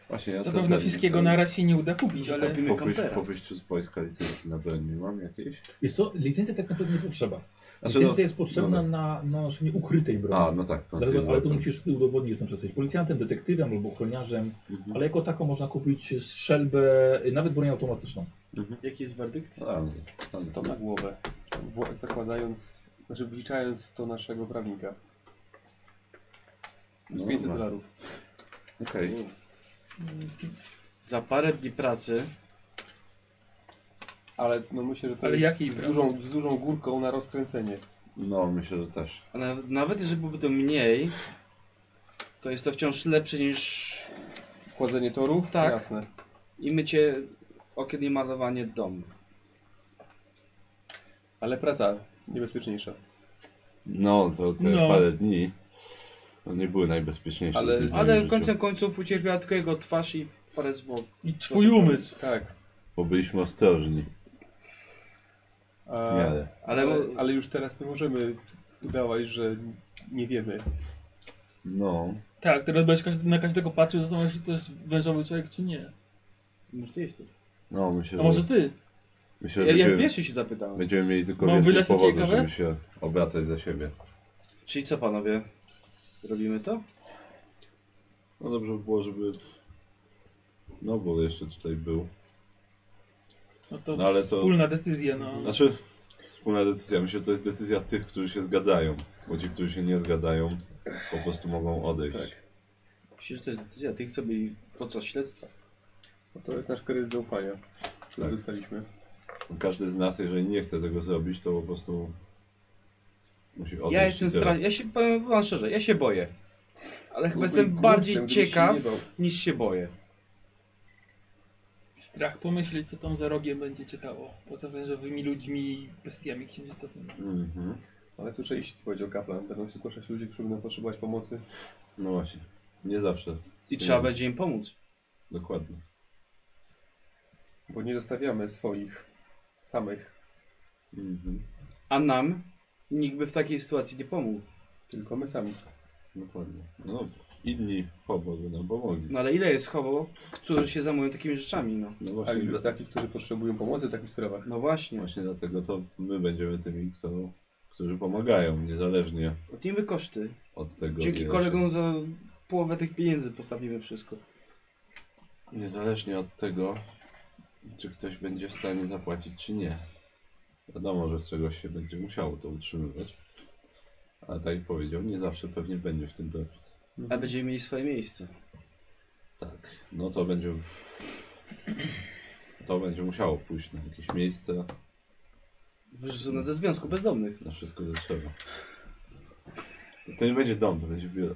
S4: Właśnie, ja
S3: Zapewne
S4: ten-
S3: wszystkiego
S4: ten-
S3: na raz się nie uda kupić, ale...
S4: Po, wyjś, po wyjściu z wojska licencji na broń nie mam jakiejś?
S1: Jest co, licencja tak naprawdę nie potrzeba.
S4: A czy
S1: Licencja
S4: no-
S1: jest potrzebna
S4: no
S1: na, na noszenie ukrytej broni.
S4: A, no tak, no to
S1: Dlatego, ale to
S4: tak.
S1: musisz wtedy udowodnić, że na przykład jesteś policjantem, detektywem albo ochroniarzem,
S4: Mhm.
S1: ale jako taką można kupić strzelbę, y, nawet broń automatyczną.
S7: Jaki jest werdykt?
S4: Tam.
S2: 100
S7: tak.
S2: na głowę. Wła- Zakładając, znaczy wliczając w to naszego prawnika. Z
S7: No,
S2: 500
S7: dobra.
S2: dolarów.
S4: Okej.
S7: Za parę dni pracy
S2: Ale no myślę, że to
S7: Ale
S2: jest
S7: jakiej
S2: z
S7: pracy?
S2: dużą, z dużą górką na rozkręcenie.
S4: No, myślę, że też.
S7: A nawet, nawet jeżeli byłoby to mniej, to jest to wciąż lepsze niż.
S2: Kładzenie torów?
S7: Tak.
S2: Jasne.
S7: I mycie okien i malowanie domu.
S2: Ale praca niebezpieczniejsza.
S4: No, to te
S7: No.
S4: parę dni no, nie były najbezpieczniejsze.
S2: Ale-
S4: dni w
S7: Ale
S4: moim życiu,
S7: końcem końców ucierpiała tylko jego twarz i parę zwłok.
S3: I
S7: twój
S3: umysł.
S2: Tak.
S4: Bo byliśmy ostrożni.
S2: A,
S4: W miarę.
S2: ale, ale już teraz nie możemy udawać, że nie wiemy.
S4: No.
S3: Tak, teraz będziesz każdy, na każdego patrzył, zastanawiał się, czy to jest wężowy człowiek, czy nie.
S7: Może ty jesteś.
S4: No, myślę,
S3: A może
S4: że-
S3: ty?
S4: Myślę, że
S7: Ja- ja
S4: będziemy-
S7: pierwszy się zapytałem.
S4: Będziemy mieli tylko
S7: Mam
S4: więcej
S7: wylać na
S4: powodów,
S7: ciebie kawę?
S4: żeby się obracać za siebie.
S7: Czyli co panowie? Robimy to?
S4: No dobrze by było, żeby... No, bo jeszcze tutaj był.
S3: No to
S4: No, ale to-
S3: wspólna decyzja, no.
S4: Znaczy, wspólna decyzja. Myślę, że to jest decyzja tych, którzy się zgadzają. Bo ci, którzy się nie zgadzają, po prostu mogą odejść.
S7: Myślę, że to jest decyzja tych, co byli podczas śledztwa.
S2: Bo to jest nasz kredyt zaufania, który
S7: Tak.
S2: dostaliśmy.
S4: Każdy z nas, jeżeli nie chce tego zrobić, to po prostu musi odejść.
S7: ja
S4: i
S7: jestem
S4: tyle.
S7: stra... Ja się powiem wam szczerze, ja się boję. Ale chyba
S4: Byłby
S7: jestem
S4: głupcem,
S7: bardziej
S4: gdybyś się
S7: ciekaw
S4: nie bał.
S7: niż się boję.
S3: Strach pomyśleć, co tam za rogiem będzie ciekało. Poza wężowymi ludźmi i bestiami księżycowymi.
S4: Mhm.
S2: Ale słyszeliście, co powiedział kaplan. Będą się zgłaszać ludzie, którzy będą potrzebować pomocy.
S4: No właśnie. Nie zawsze.
S7: I trzeba będzie im pomóc.
S4: Dokładnie.
S2: Bo nie zostawiamy swoich samych,
S4: Mhm.
S7: A nam nikt by w takiej sytuacji nie pomógł.
S2: tylko my sami.
S4: Dokładnie. No, inni hobo by nam pomogli.
S7: No ale ile jest chowo, którzy się zajmują takimi rzeczami, no.
S4: No właśnie,
S2: A ilu jest
S4: dla-
S2: takich, którzy potrzebują pomocy w takich sprawach?
S7: No właśnie.
S4: Właśnie dlatego to my będziemy tymi, kto, którzy pomagają, niezależnie
S7: Odnijmy koszty.
S4: od tego.
S7: Dzięki
S4: ile
S7: kolegom za połowę tych pieniędzy postawimy wszystko.
S4: Się, niezależnie od tego, czy ktoś będzie w stanie zapłacić, czy nie. Wiadomo, że z czegoś się będzie musiało to utrzymywać. Ale tak jak powiedział, nie zawsze pewnie będzie w tym profit.
S7: A będziemy mieli swoje miejsce.
S4: Tak, no to będzie. To będzie musiało pójść na jakieś miejsce,
S7: Wyrzucone
S3: Mm.
S7: ze związku bezdomnych.
S4: na wszystko co trzeba. To nie będzie dom, to będzie biuro.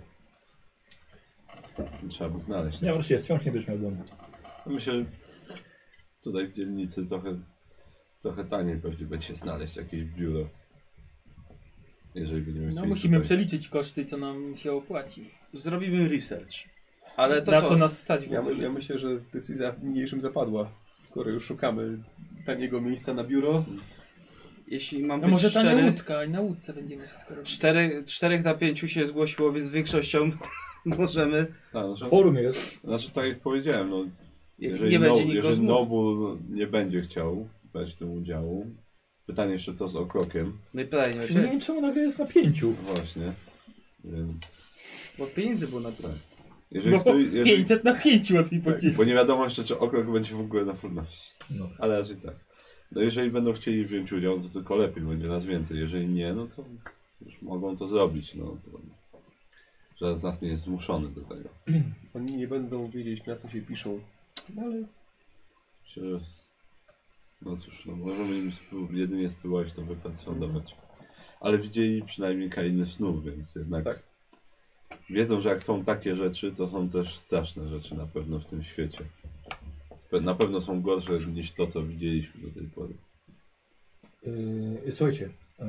S4: Trzeba by znaleźć.
S1: Nie, wreszcie, wciąż nie będziesz miał domu.
S4: Myślę, że tutaj w dzielnicy trochę, trochę taniej pewnie będzie znaleźć jakieś biuro. Jeżeli będziemy
S3: No
S4: chcieli
S3: musimy
S4: tutaj-
S3: przeliczyć koszty, co nam się opłaci.
S7: Zrobimy research. Ale to
S3: Na
S7: co?
S3: co nas stać w
S2: Ja, my-
S3: ogóle?
S2: ja myślę, że decyzja w niniejszym zapadła. Skoro już szukamy taniego miejsca na biuro.
S7: Jeśli mam
S3: A
S7: być
S3: może ta
S7: szczery,
S3: łódka i na łódce będziemy wszystko robić.
S7: czterech, czterech na pięciu się zgłosiło, więc z większością <laughs> możemy.
S4: Tak, znaczy-
S1: Forum jest.
S4: Znaczy tak jak powiedziałem, no,
S7: Nie-
S4: jeżeli,
S7: nie
S4: no,
S7: będzie nikogo
S4: jeżeli
S7: zmuszał.
S4: Nobu nie będzie chciał brać w tym udziału, pytanie jeszcze co z okrokiem. No
S7: Najprawdopodobniej.
S1: Nie wiem czemu nagle jest na pięciu.
S4: Właśnie, więc
S7: Bo pieniędzy było na No to.
S4: jeżeli
S3: Bo
S4: ktoś, jeżeli,
S3: 500 na 5 łatwiej
S4: tak,
S3: podzielić.
S4: bo nie wiadomo jeszcze czy okrok będzie w ogóle na wolności,
S1: No.
S4: ale raczej tak. No jeżeli będą chcieli wziąć udział, no to tylko lepiej, będzie nas więcej, jeżeli nie, no to już mogą to zrobić, no to żaden z nas nie jest zmuszony do tego.
S2: Oni nie będą wiedzieć, na co się piszą. No ale
S4: Myślę, że- No cóż, no możemy im spró- jedynie spróbować to wypracować. Ale widzieli przynajmniej krainy snów, więc jednak wiedzą, że jak są takie rzeczy, to są też straszne rzeczy na pewno w tym świecie. Pe- Na pewno są gorsze niż to, co widzieliśmy do tej pory.
S1: Yy, słuchajcie, yy,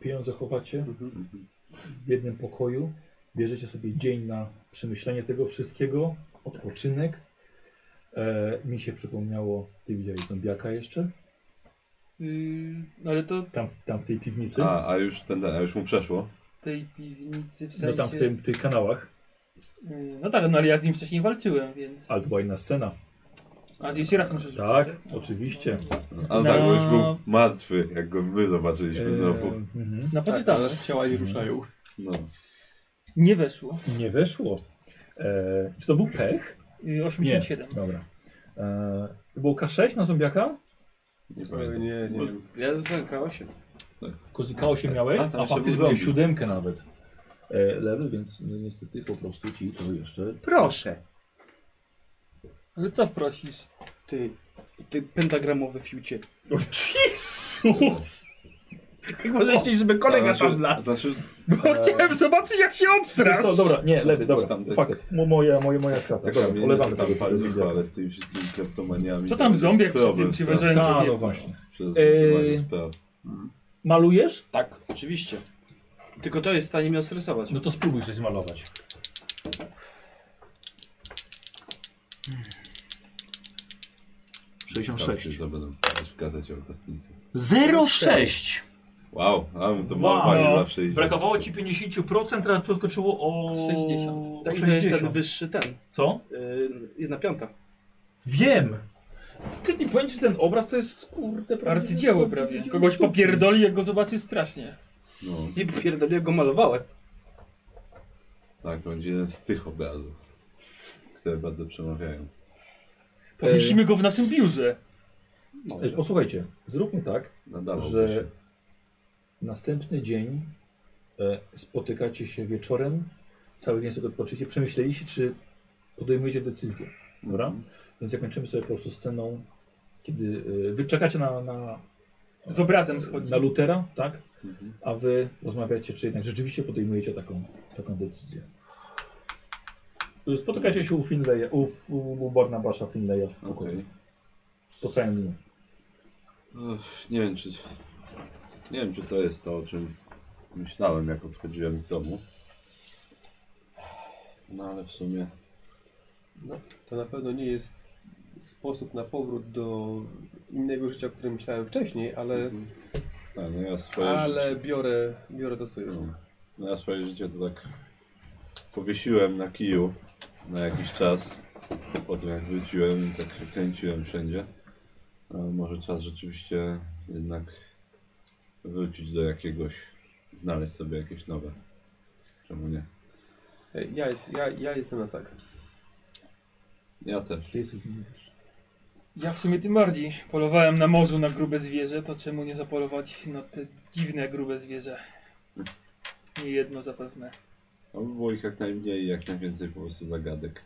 S1: pieniądze chowacie w jednym pokoju, bierzecie sobie dzień na przemyślenie tego wszystkiego, odpoczynek. E, mi się przypomniało, ty widziałeś zombiaka jeszcze?
S3: Mm, no ale to
S1: Tam, w- tam w tej piwnicy?
S4: A, a już ten, a już mu przeszło.
S3: tej piwnicy w sensie...
S1: no tam w, tym, w tych kanałach.
S3: Yy, No tak, no ale ja z nim wcześniej walczyłem, więc...
S1: Ale to była inna Y scena.
S3: A jeszcze raz muszę rzucić,
S1: Tak, oczywiście.
S4: A tak, bo już był martwy, jak go my zobaczyliśmy
S1: Eee. E,
S4: znowu.
S1: mhm.
S3: No
S1: Tak,
S3: poczytamy.
S2: teraz Tak, ciała nie ruszają.
S4: No.
S3: Nie weszło.
S1: Nie weszło. E, czy to był pech?
S3: Yy, 87.
S1: Nie. Dobra. E, to było K6 na zombiaka?
S4: Nie
S2: pamiętam. E, Nie, nie. wiem.
S7: Ja dostałem K8.
S1: Kozy K8 miałeś,
S4: Tak. A,
S1: a,
S4: tam
S1: a
S4: jeszcze
S1: faktycznie
S4: był
S1: miałeś
S4: zombie.
S1: siódemkę nawet. E, level, więc no, niestety po prostu ci to jeszcze...
S5: Proszę.
S3: Ale co prosisz?
S7: Ty, ty pentagramowe fiucie.
S1: Jezus!
S5: Jak może chcieć, żeby kolega
S4: Znaczy-
S5: tam wlazł?
S4: znaczy,
S3: Bo chciałem zobaczyć jak się obsrasz!
S1: Wiesz co, dobra, nie, lewy, dobra,
S4: Tamte-
S1: fuck it. Mo- Moja, moja, moja strata,
S4: Taka
S1: dobra,
S4: mnie
S1: olewamy
S4: Tak, tam
S1: tego.
S4: pali cicho, ale z tymi wszystkimi kleptomaniami.
S3: Co tam zombie przy tym ci wężonym
S1: Ta,
S3: człowieku?
S1: no właśnie.
S4: Przez
S1: Eee.
S4: używanie spraw.
S1: Malujesz?
S7: Tak, oczywiście. Tylko to jest w stanie mnie stresować.
S1: No to spróbuj coś zmalować.
S4: Ciekawe,
S12: 66.
S4: czy To będą w gazecie o kostnicy.
S12: 06.
S4: Wow, a mu to
S1: Wow.
S4: malowanie zawsze idzie.
S1: Brakowało ci 50%, teraz przeskoczyło o...
S3: 60.
S1: Tak,
S7: Tak, to jest ten wyższy ten.
S1: Co?
S7: Yy, jedna piąta.
S1: Wiem! Kiedy nie powiem, czy ten obraz to jest, kurde, prawdziwy-
S3: Arcydzieło
S1: prawdziwy
S3: prawie.
S1: dzieło
S3: Kogoś
S1: sztuki.
S3: popierdoli jak go zobaczy strasznie.
S4: No,
S7: Nie pierdolę, jak go malowałem.
S4: tak, to będzie jeden z tych obrazów, które bardzo przemawiają.
S3: Powiesimy go w naszym biurze.
S1: Ej, Posłuchajcie, zróbmy tak,
S4: Nadawałoby
S1: że
S4: się.
S1: następny dzień e, spotykacie się wieczorem, cały dzień sobie odpoczycie, przemyśleliście, czy podejmujecie decyzję. Dobra? Więc zakończymy sobie po prostu sceną, kiedy e, wy czekacie na, na,
S3: Z obrazem schodzi.
S1: na Lutera, tak?
S4: Mhm.
S1: A wy rozmawiacie, czy jednak rzeczywiście podejmujecie taką, taką decyzję. Spotykacie się u Finlaya, u, u Barnabasza Finlaya w pokoju.
S4: Okej.
S1: Po całym dniu.
S4: Uff, Nie wiem, czy... Nie wiem, czy to jest to, o czym myślałem, jak odchodziłem z domu. No, ale w sumie...
S2: To na pewno nie jest sposób na powrót do innego życia, o którym myślałem wcześniej, ale,
S4: Tak, no ja swoje
S2: ale
S4: życie...
S2: biorę, biorę to, co jest.
S4: No, no ja swoje życie to tak powiesiłem na kiju na jakiś czas. Po tym jak wróciłem, tak się kręciłem wszędzie. A może czas rzeczywiście jednak wrócić do jakiegoś, znaleźć sobie jakieś nowe. Czemu nie?
S2: Ej, Ja, jest, ja, ja jestem na tak.
S4: Ja też.
S1: Ty jesteś najlepszy.
S3: Ja w sumie tym bardziej. Polowałem na morzu na grube zwierzę, to czemu nie zapolować na te dziwne grube zwierzę? Nie jedno zapewne.
S4: Aby było ich jak najmniej i jak najwięcej po prostu zagadek.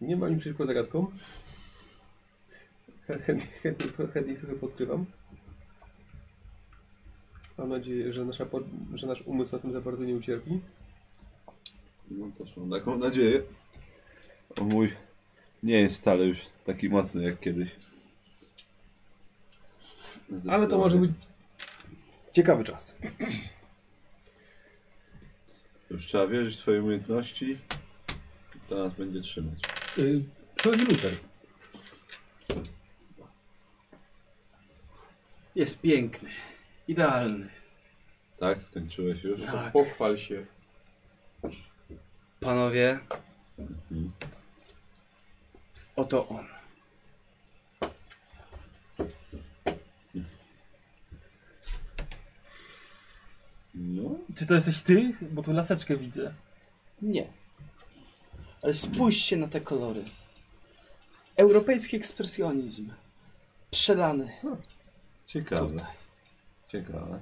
S2: Nie mam nic przeciwko zagadkom. Chę- Chętnie chętnie tro- chętnie trochę podkrywam. Mam nadzieję, że, nasza, pod- że nasz umysł na tym za bardzo nie ucierpi.
S4: No też mam taką nadzieję. O mój nie jest wcale już taki mocny jak kiedyś.
S2: Ale to może
S4: Zdecydowanie.
S2: być ciekawy czas.
S4: Już trzeba wierzyć w swoje umiejętności. To nas będzie trzymać.
S1: Y, Przychodzi Luter.
S7: Jest piękny. Idealny.
S4: Tak? Skończyłeś już?
S7: Tak.
S2: Pochwal się.
S7: Panowie,
S4: Mhm.
S7: oto on.
S4: No.
S3: Czy to jesteś ty? Bo tu laseczkę widzę.
S7: Nie. Ale spójrzcie na te kolory. Europejski ekspresjonizm. Przelany.
S4: Ciekawe.
S7: Tutaj.
S4: Ciekawe.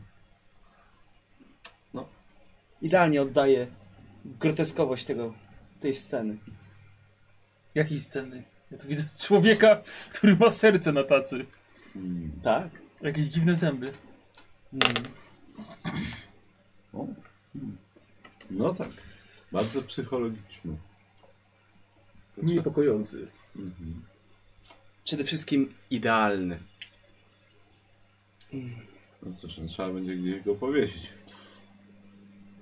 S7: Idealnie oddaje groteskowość tego, tej sceny.
S3: Jakiej sceny? Ja tu widzę człowieka, który ma serce na tacy.
S4: Mm.
S7: Tak?
S3: Jakieś dziwne zęby.
S7: Mm.
S4: O. Mm. hmm. No tak. Bardzo psychologiczny.
S6: Niepokojący.
S4: Mhm.
S7: Przede wszystkim idealny. Mhm.
S4: No cóż, no, trzeba będzie gdzieś go powiesić.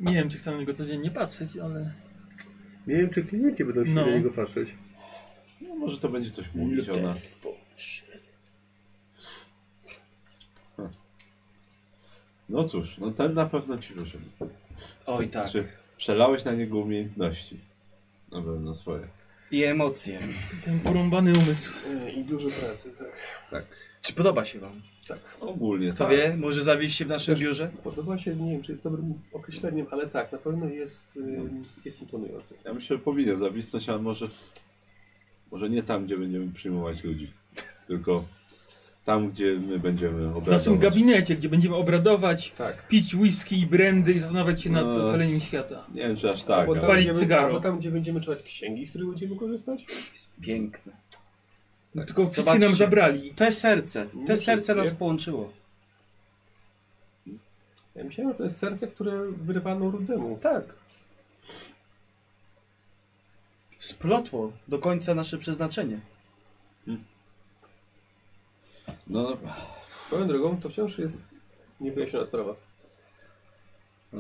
S3: Nie wiem, czy chcę na niego codziennie patrzeć, ale...
S6: Nie wiem, czy klienci będą się
S3: No.
S6: na niego patrzeć.
S4: No może to będzie coś mówić o nas. Ha. Hm. No cóż, no ten na pewno ci wyszedł.
S7: Oj tak.
S4: Czy przelałeś na niego umiejętności? Na pewno swoje.
S7: I emocje.
S3: Ten porąbany umysł.
S6: E,
S12: I dużo pracy, tak.
S4: Tak.
S7: Czy podoba się wam?
S4: Ogólnie
S7: Kto
S4: tak.
S7: wie, może zawieść się w naszym biurze?
S6: Podoba się, nie wiem, czy jest dobrym określeniem, ale tak, na pewno jest, ym, jest imponujący.
S4: Ja myślę, że powinien zawisnąć, ale może, może nie tam, gdzie będziemy przyjmować ludzi, tylko tam, gdzie my będziemy
S3: W naszym
S4: obrazować.
S3: gabinecie, gdzie będziemy obradować,
S6: Tak.
S3: pić whisky i brandy i zastanawiać się nad
S4: No.
S3: ocaleniem świata.
S4: Nie wiem, czy aż tak,
S6: Albo tam,
S4: ale
S3: Palić
S6: gdzie my-
S3: cygaro.
S6: Albo tam, gdzie będziemy czytać księgi, z których będziemy korzystać.
S7: Piękne.
S3: Tylko wszystkie nam
S7: Zobaczcie.
S3: zabrali.
S7: Te serce,
S6: Nie
S7: te serce
S6: wszystkie.
S7: nas połączyło.
S6: Ja myślałem, że to jest serce, które wyrwano rudemu. Tak.
S7: Splotło do końca nasze przeznaczenie.
S4: No,
S6: Swoją drogą, to wciąż jest niewyjaśniona sprawa.
S4: e,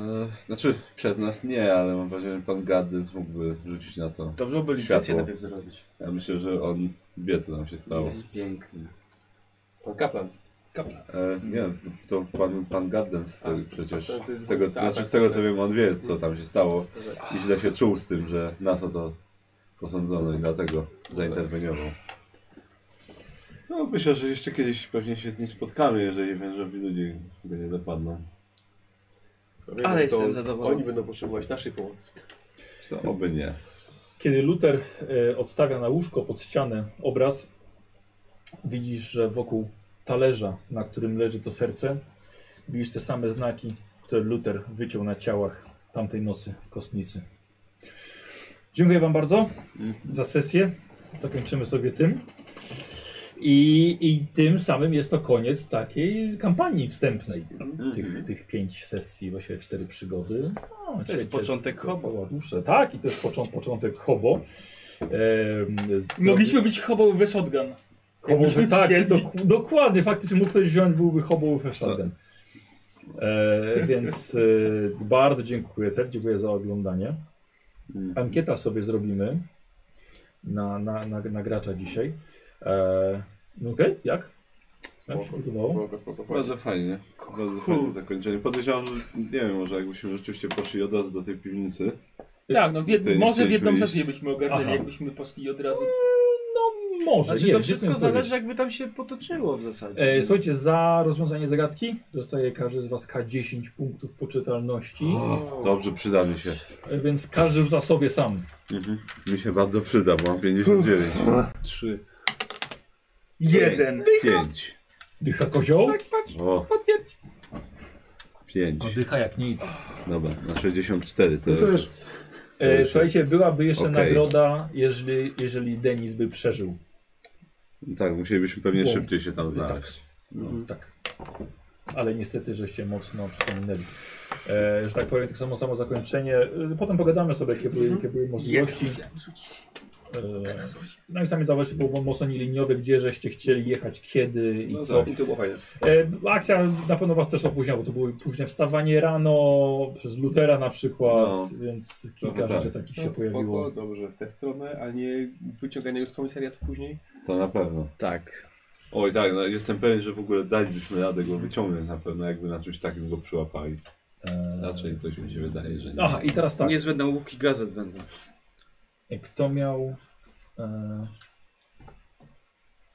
S4: znaczy przez nas nie, ale mam wrażenie, że pan Gaddys mógłby rzucić na to
S7: To byłoby licencję
S4: światło.
S7: najpierw zrobić.
S4: Ja myślę, że on wie, co nam się
S7: To
S4: stało.
S7: jest piękne.
S6: Pan kaplan.
S3: Kapla.
S4: E, nie, to pan, pan Gaddens z tego,
S6: A,
S4: przecież,
S6: Tak, to jest-
S4: z tego,
S6: tak,
S4: znaczy
S6: tak,
S4: z tego
S6: tak.
S4: co wiem, on wie, co tam się stało
S6: Dobra.
S4: i źle się czuł z tym, że nas o to posądzono i dlatego zainterweniował. No myślę, że jeszcze kiedyś pewnie się z nim spotkamy, jeżeli wężowi ludzie go nie dopadną.
S6: Wiemy,
S7: Ale
S6: to
S7: jestem zadowolony.
S6: Oni będą potrzebować naszej pomocy.
S4: Co? Oby nie.
S1: Kiedy Luther e, odstawia na łóżko pod ścianę obraz, widzisz, że wokół talerza, na którym leży to serce, widzisz te same znaki, które Luther wyciął na ciałach tamtej nocy w kostnicy. Dziękuję Wam bardzo
S7: Mhm.
S1: za sesję. Zakończymy sobie tym. I, I tym samym jest to koniec takiej kampanii wstępnej.
S7: Mhm.
S1: Tych, tych pięć sesji, właściwie cztery przygody. No,
S7: To jest
S1: trzecie-
S7: początek hobo.
S1: była dłuższa. Tak, i to jest początek, początek hobo. Ehm, co-
S3: Mogliśmy być hobo we shotgun.
S1: hobo
S3: byśmy
S1: tak,
S3: wzięli.
S1: dok, dokładnie, faktycznie mógł ktoś wziąć, byłby hobo we shotgun. E, więc e, bardzo dziękuję też, dziękuję za oglądanie.
S7: Mm.
S1: Ankieta sobie zrobimy na, na, na, na gracza dzisiaj. E, no Okej, jak? Jak się podobało?
S6: Spoko, spoko, spoko.
S4: Bardzo fajnie. Bardzo fajne zakończenie. Podejrzewam, że nie wiem, może jakbyśmy rzeczywiście poszli od razu do tej piwnicy.
S3: Tak, no w jed...
S4: Tutaj nie
S3: może w jedną
S4: chcieliśmy
S3: sesję
S4: iść.
S3: byśmy ogarnęli,
S1: Aha.
S3: jakbyśmy poszli od razu.
S1: E, no Może,
S7: Znaczy
S1: nie,
S7: to
S1: gdzie
S7: wszystko
S1: ten
S7: zależy jakby tam się potoczyło w zasadzie.
S1: E, słuchajcie, za rozwiązanie zagadki dostaje każdy z Was K10 punktów poczytalności,
S4: O, dobrze, przyda mi się.
S1: e, więc każdy rzuca sobie sam.
S4: Mhm. Mi się bardzo przyda, bo mam 59.
S6: Trzy.
S3: Jeden.
S4: 5.
S1: Dycha kozioł?
S4: Tak. O. Potwierdź. 5.
S1: Oddycha jak nic.
S4: Dobra, na 64 to
S6: No to
S4: już
S6: już-
S4: jest. to już
S1: E,
S4: jest-
S1: słuchajcie, byłaby jeszcze
S4: Okej.
S1: nagroda, jeżeli, jeżeli Denis by przeżył.
S4: Tak, musielibyśmy pewnie
S1: Bo-
S4: szybciej się tam znaleźć.
S1: Mhm, Tak. Ale niestety, żeście mocno przyciągnęli. E, że tak powiem, tak samo samo zakończenie. E, Potem pogadamy sobie, jakie były,
S4: Mhm.
S1: jakie były możliwości. E, No i sami zauważycie, bo był mocno nieliniowy, gdzie żeście chcieli jechać, kiedy i
S6: No
S1: co.
S6: tak, I to było fajne.
S1: E, akcja na pewno was też opóźnia, bo to było późne wstawanie rano, przez Lutera na przykład,
S4: No.
S1: więc
S4: No,
S1: kilka
S4: tak.
S1: rzeczy takich się
S6: Spoko,
S1: pojawiło.
S6: dobrze, w tę stronę, a nie wyciąganie go z komisariatu później.
S4: To na pewno.
S7: Tak.
S4: Oj tak, no, jestem pewien, że w ogóle dalibyśmy radę go wyciągnąć na pewno, jakby na czymś takim go przyłapali.
S1: E,
S4: Raczej coś mi się wydaje, że nie.
S1: Aha, i teraz tak.
S7: Niezłe nauki gazet będą.
S1: Kto miał. E...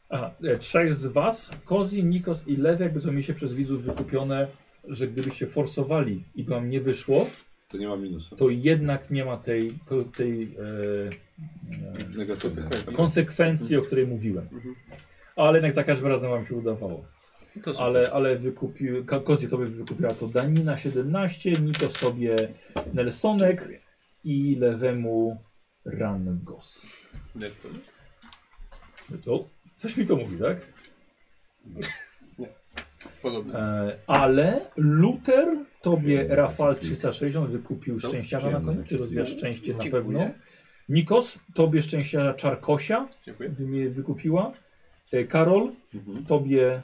S1: Aha, e, trzech z was, Kozi, Nikos i Lewy, jakby co mi się przez widzów wykupione, że gdybyście forsowali i by wam nie wyszło,
S4: To nie ma minusa.
S1: to jednak nie ma tej, ko- tej e,
S4: Negatywne.
S1: e, konsekwencji, o której mówiłem. Ale jednak za każdym razem wam się udawało.
S7: To super.
S1: Ale, ale wykupił, Ka- Kozi tobie wykupiła to Danina 17, Niko sobie Nelsonek i lewemu Rangos.
S6: Nelson.
S1: No To, coś mi to mówi, tak?
S2: Podobnie.
S1: E, ale Luther tobie Rafal 360 wykupił szczęściarza na koniec, czy rozwijasz szczęście na pewno. Nikos, tobie szczęściarza Czarkosia wy- wykupiła. E, Karol, tobie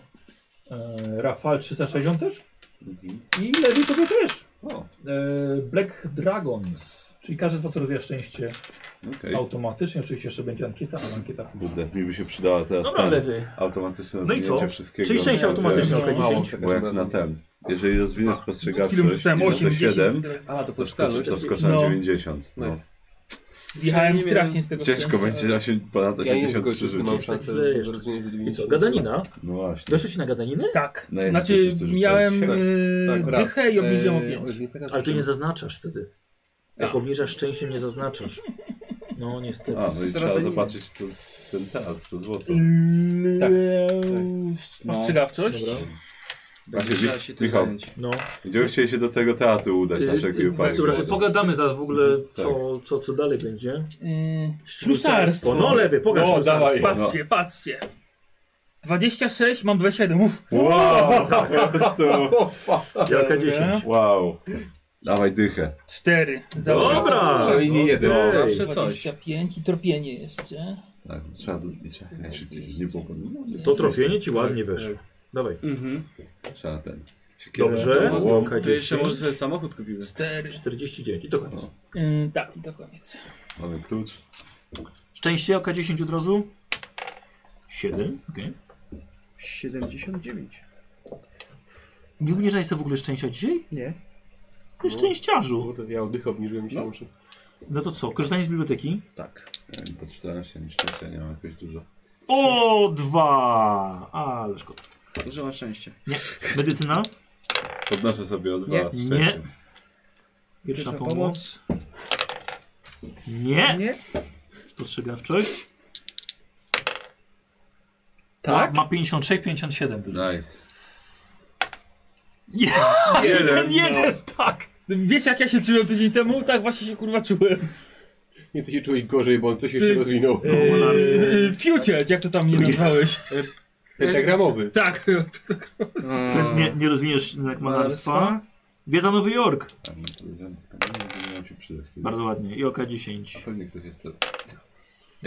S1: e, Rafal 360 też.
S4: Mhm.
S1: I Lewy tobie też. E, Black Dragons, czyli każdy z was rozwija szczęście
S4: Okej.
S1: automatycznie. Oczywiście jeszcze będzie ankieta, ale ankieta później.
S4: Kurde, mi by się przydała teraz
S1: Dobra,
S4: ten
S1: lewy.
S4: automatyczne
S1: No i
S4: rozwinięcie
S1: co?
S4: wszystkiego.
S1: Czyli szczęście
S4: Nie,
S1: automatyczne
S4: wiem,
S1: od K10.
S4: mało, Bo jak na ten. Jeżeli rozwinę
S3: Chwilę
S4: spostrzegawczość
S3: rzucałem 8,
S4: i
S3: 10,
S4: 7,
S3: teraz-
S4: to,
S3: A,
S4: to,
S3: to
S4: to,
S3: podstawy.
S4: skoczy- to skoczę na
S3: No.
S4: 90. No.
S3: Nice. Zjechałem
S2: Ja nie
S3: strasznie
S2: miałem-
S3: z tego
S4: Ciężko
S3: szczęścia.
S4: będzie osiem- ponad
S2: Ja nie
S4: 83
S2: zgodzę, z tym mam
S4: rzucić.
S2: szansę
S1: Jeszcze.
S2: rozwinięcia do
S1: I co, gadanina?
S4: No właśnie.
S1: Weszłeś na gadaninę?
S3: Tak.
S4: Na jednym
S3: Znaczy,
S4: czysto rzucałem.
S3: miałem
S4: Tak, E,
S3: tak,
S2: tak, raz.
S3: dychę i obniżyłem o
S2: Eee,
S3: 5.
S2: nie pamiętam,
S1: Ale
S2: czy-
S1: ty nie zaznaczasz wtedy. Jak obniżasz szczęście, nie zaznaczasz. No niestety.
S4: Tak. A, no i trzeba zobaczyć to, ten teraz, to złoto.
S3: Tak.
S4: No.
S3: Spostrzegawczość.
S4: Dobra.
S1: Będzie
S4: Właśnie,
S1: trzeba się tym
S4: Michał,
S1: zająć. No. Y,
S4: będziemy chcieli się do tego teatru udać
S3: Y,
S4: na wszelki wypadek.
S1: Dobra,
S4: może.
S1: pogadamy zaraz w ogóle,
S4: Mhm. Tak.
S1: co, co, co dalej będzie.
S3: Yy,
S1: Ślusarstwo.
S3: ślusarstwo.
S1: No lewy, pokaż
S3: O,
S1: ślusarstwo.
S3: dawaj.
S1: No.
S3: Patrzcie, patrzcie. 26, mam 27. Uff.
S4: Wow, <laughs> po
S3: <laughs>
S4: prostu.
S3: No.
S4: Tak.
S1: Wielka
S3: Dobra.
S1: 10.
S4: Wow. Dawaj dychę.
S3: 4.
S4: Dobra.
S1: No,
S4: Przynajmniej jeden.
S3: Zawsze
S4: Zawsze
S3: coś.
S4: coś.
S3: 25 i tropienie jeszcze.
S4: Tak, trzeba do trzeba najszybciej nie było.
S1: To tropienie ci ładnie weszło.
S4: Tak.
S1: Dawaj.
S4: Trzeba ten. siekierę,
S1: Dobrze.
S4: tą łomkę.
S1: Wielka
S7: To jeszcze
S1: 10.
S7: może sobie samochód kupimy.
S3: 4.
S1: 49 i to koniec.
S3: Yy, tak, i to koniec.
S4: Mamy klucz.
S1: Szczęście oka 10 od razu. 7. Okay.
S12: 79.
S1: Nie obniżaj sobie w ogóle szczęścia dzisiaj?
S12: Nie.
S1: Ty szczęściarzu.
S2: Kurde, No, Ja oddychę obniżyłem i się muszę.
S1: No to co, korzystanie z biblioteki?
S4: Tak. Ja nie poczytałem się, nie szczęścia, nie mam jakoś dużo.
S1: O, dwa! Ale szkoda.
S7: Dużo ma szczęście.
S1: Nie. Medycyna?
S4: Podnoszę sobie o dwa.
S1: Nie.
S4: szczęście.
S1: Nie.
S12: Pierwsza
S1: Pierwsza pomoc. Nie. Nie. Spostrzegawczość.
S3: Tak?
S1: Ma, ma 56, 57.
S4: Nice.
S1: Nie,
S4: <laughs> Jeden,
S3: Jeden, jeden,
S1: no. tak.
S3: Wiesz jak ja się czułem tydzień temu? Tak właśnie się kurwa czułem.
S2: Nie, ty się czułeś gorzej, bo on coś jeszcze rozwinął.
S4: Eee.
S3: Yy, future, jak to tam nie nazwałeś?
S2: Pentagramowy.
S3: Tak.
S1: Więc nie, nie rozwiniesz jak malarstwa. Wiedza Nowy Jork.
S4: Tak, no to wziąłem to tam, nie wiem, miał się przydać. kiedyś.
S1: Bardzo ładnie. I oka 10.
S4: Pewnie ktoś jest przed.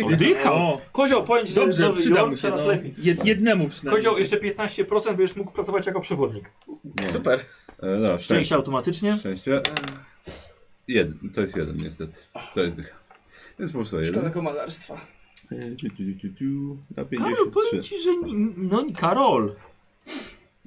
S1: Oddychał.
S3: O.
S1: Kozioł, powiem ci, że
S3: Dobrze,
S1: Nowy
S3: przyda
S1: Jork
S3: mu się,
S1: coraz
S3: no.
S1: lepiej.
S3: Jed- jednemu przynajmniej.
S1: Kozioł, jeszcze 15% będziesz mógł pracować jako przewodnik.
S4: Nie. E, no,
S1: Szczęście automatycznie.
S4: Szczęście. Jeden, to jest jeden niestety. To jest dycha. Więc po prostu jeden.
S7: malarstwa.
S4: E, tu, tu, tu, tu, Na
S1: Karol, powiem
S4: 53.
S1: ci, że... ni- No nie, Karol.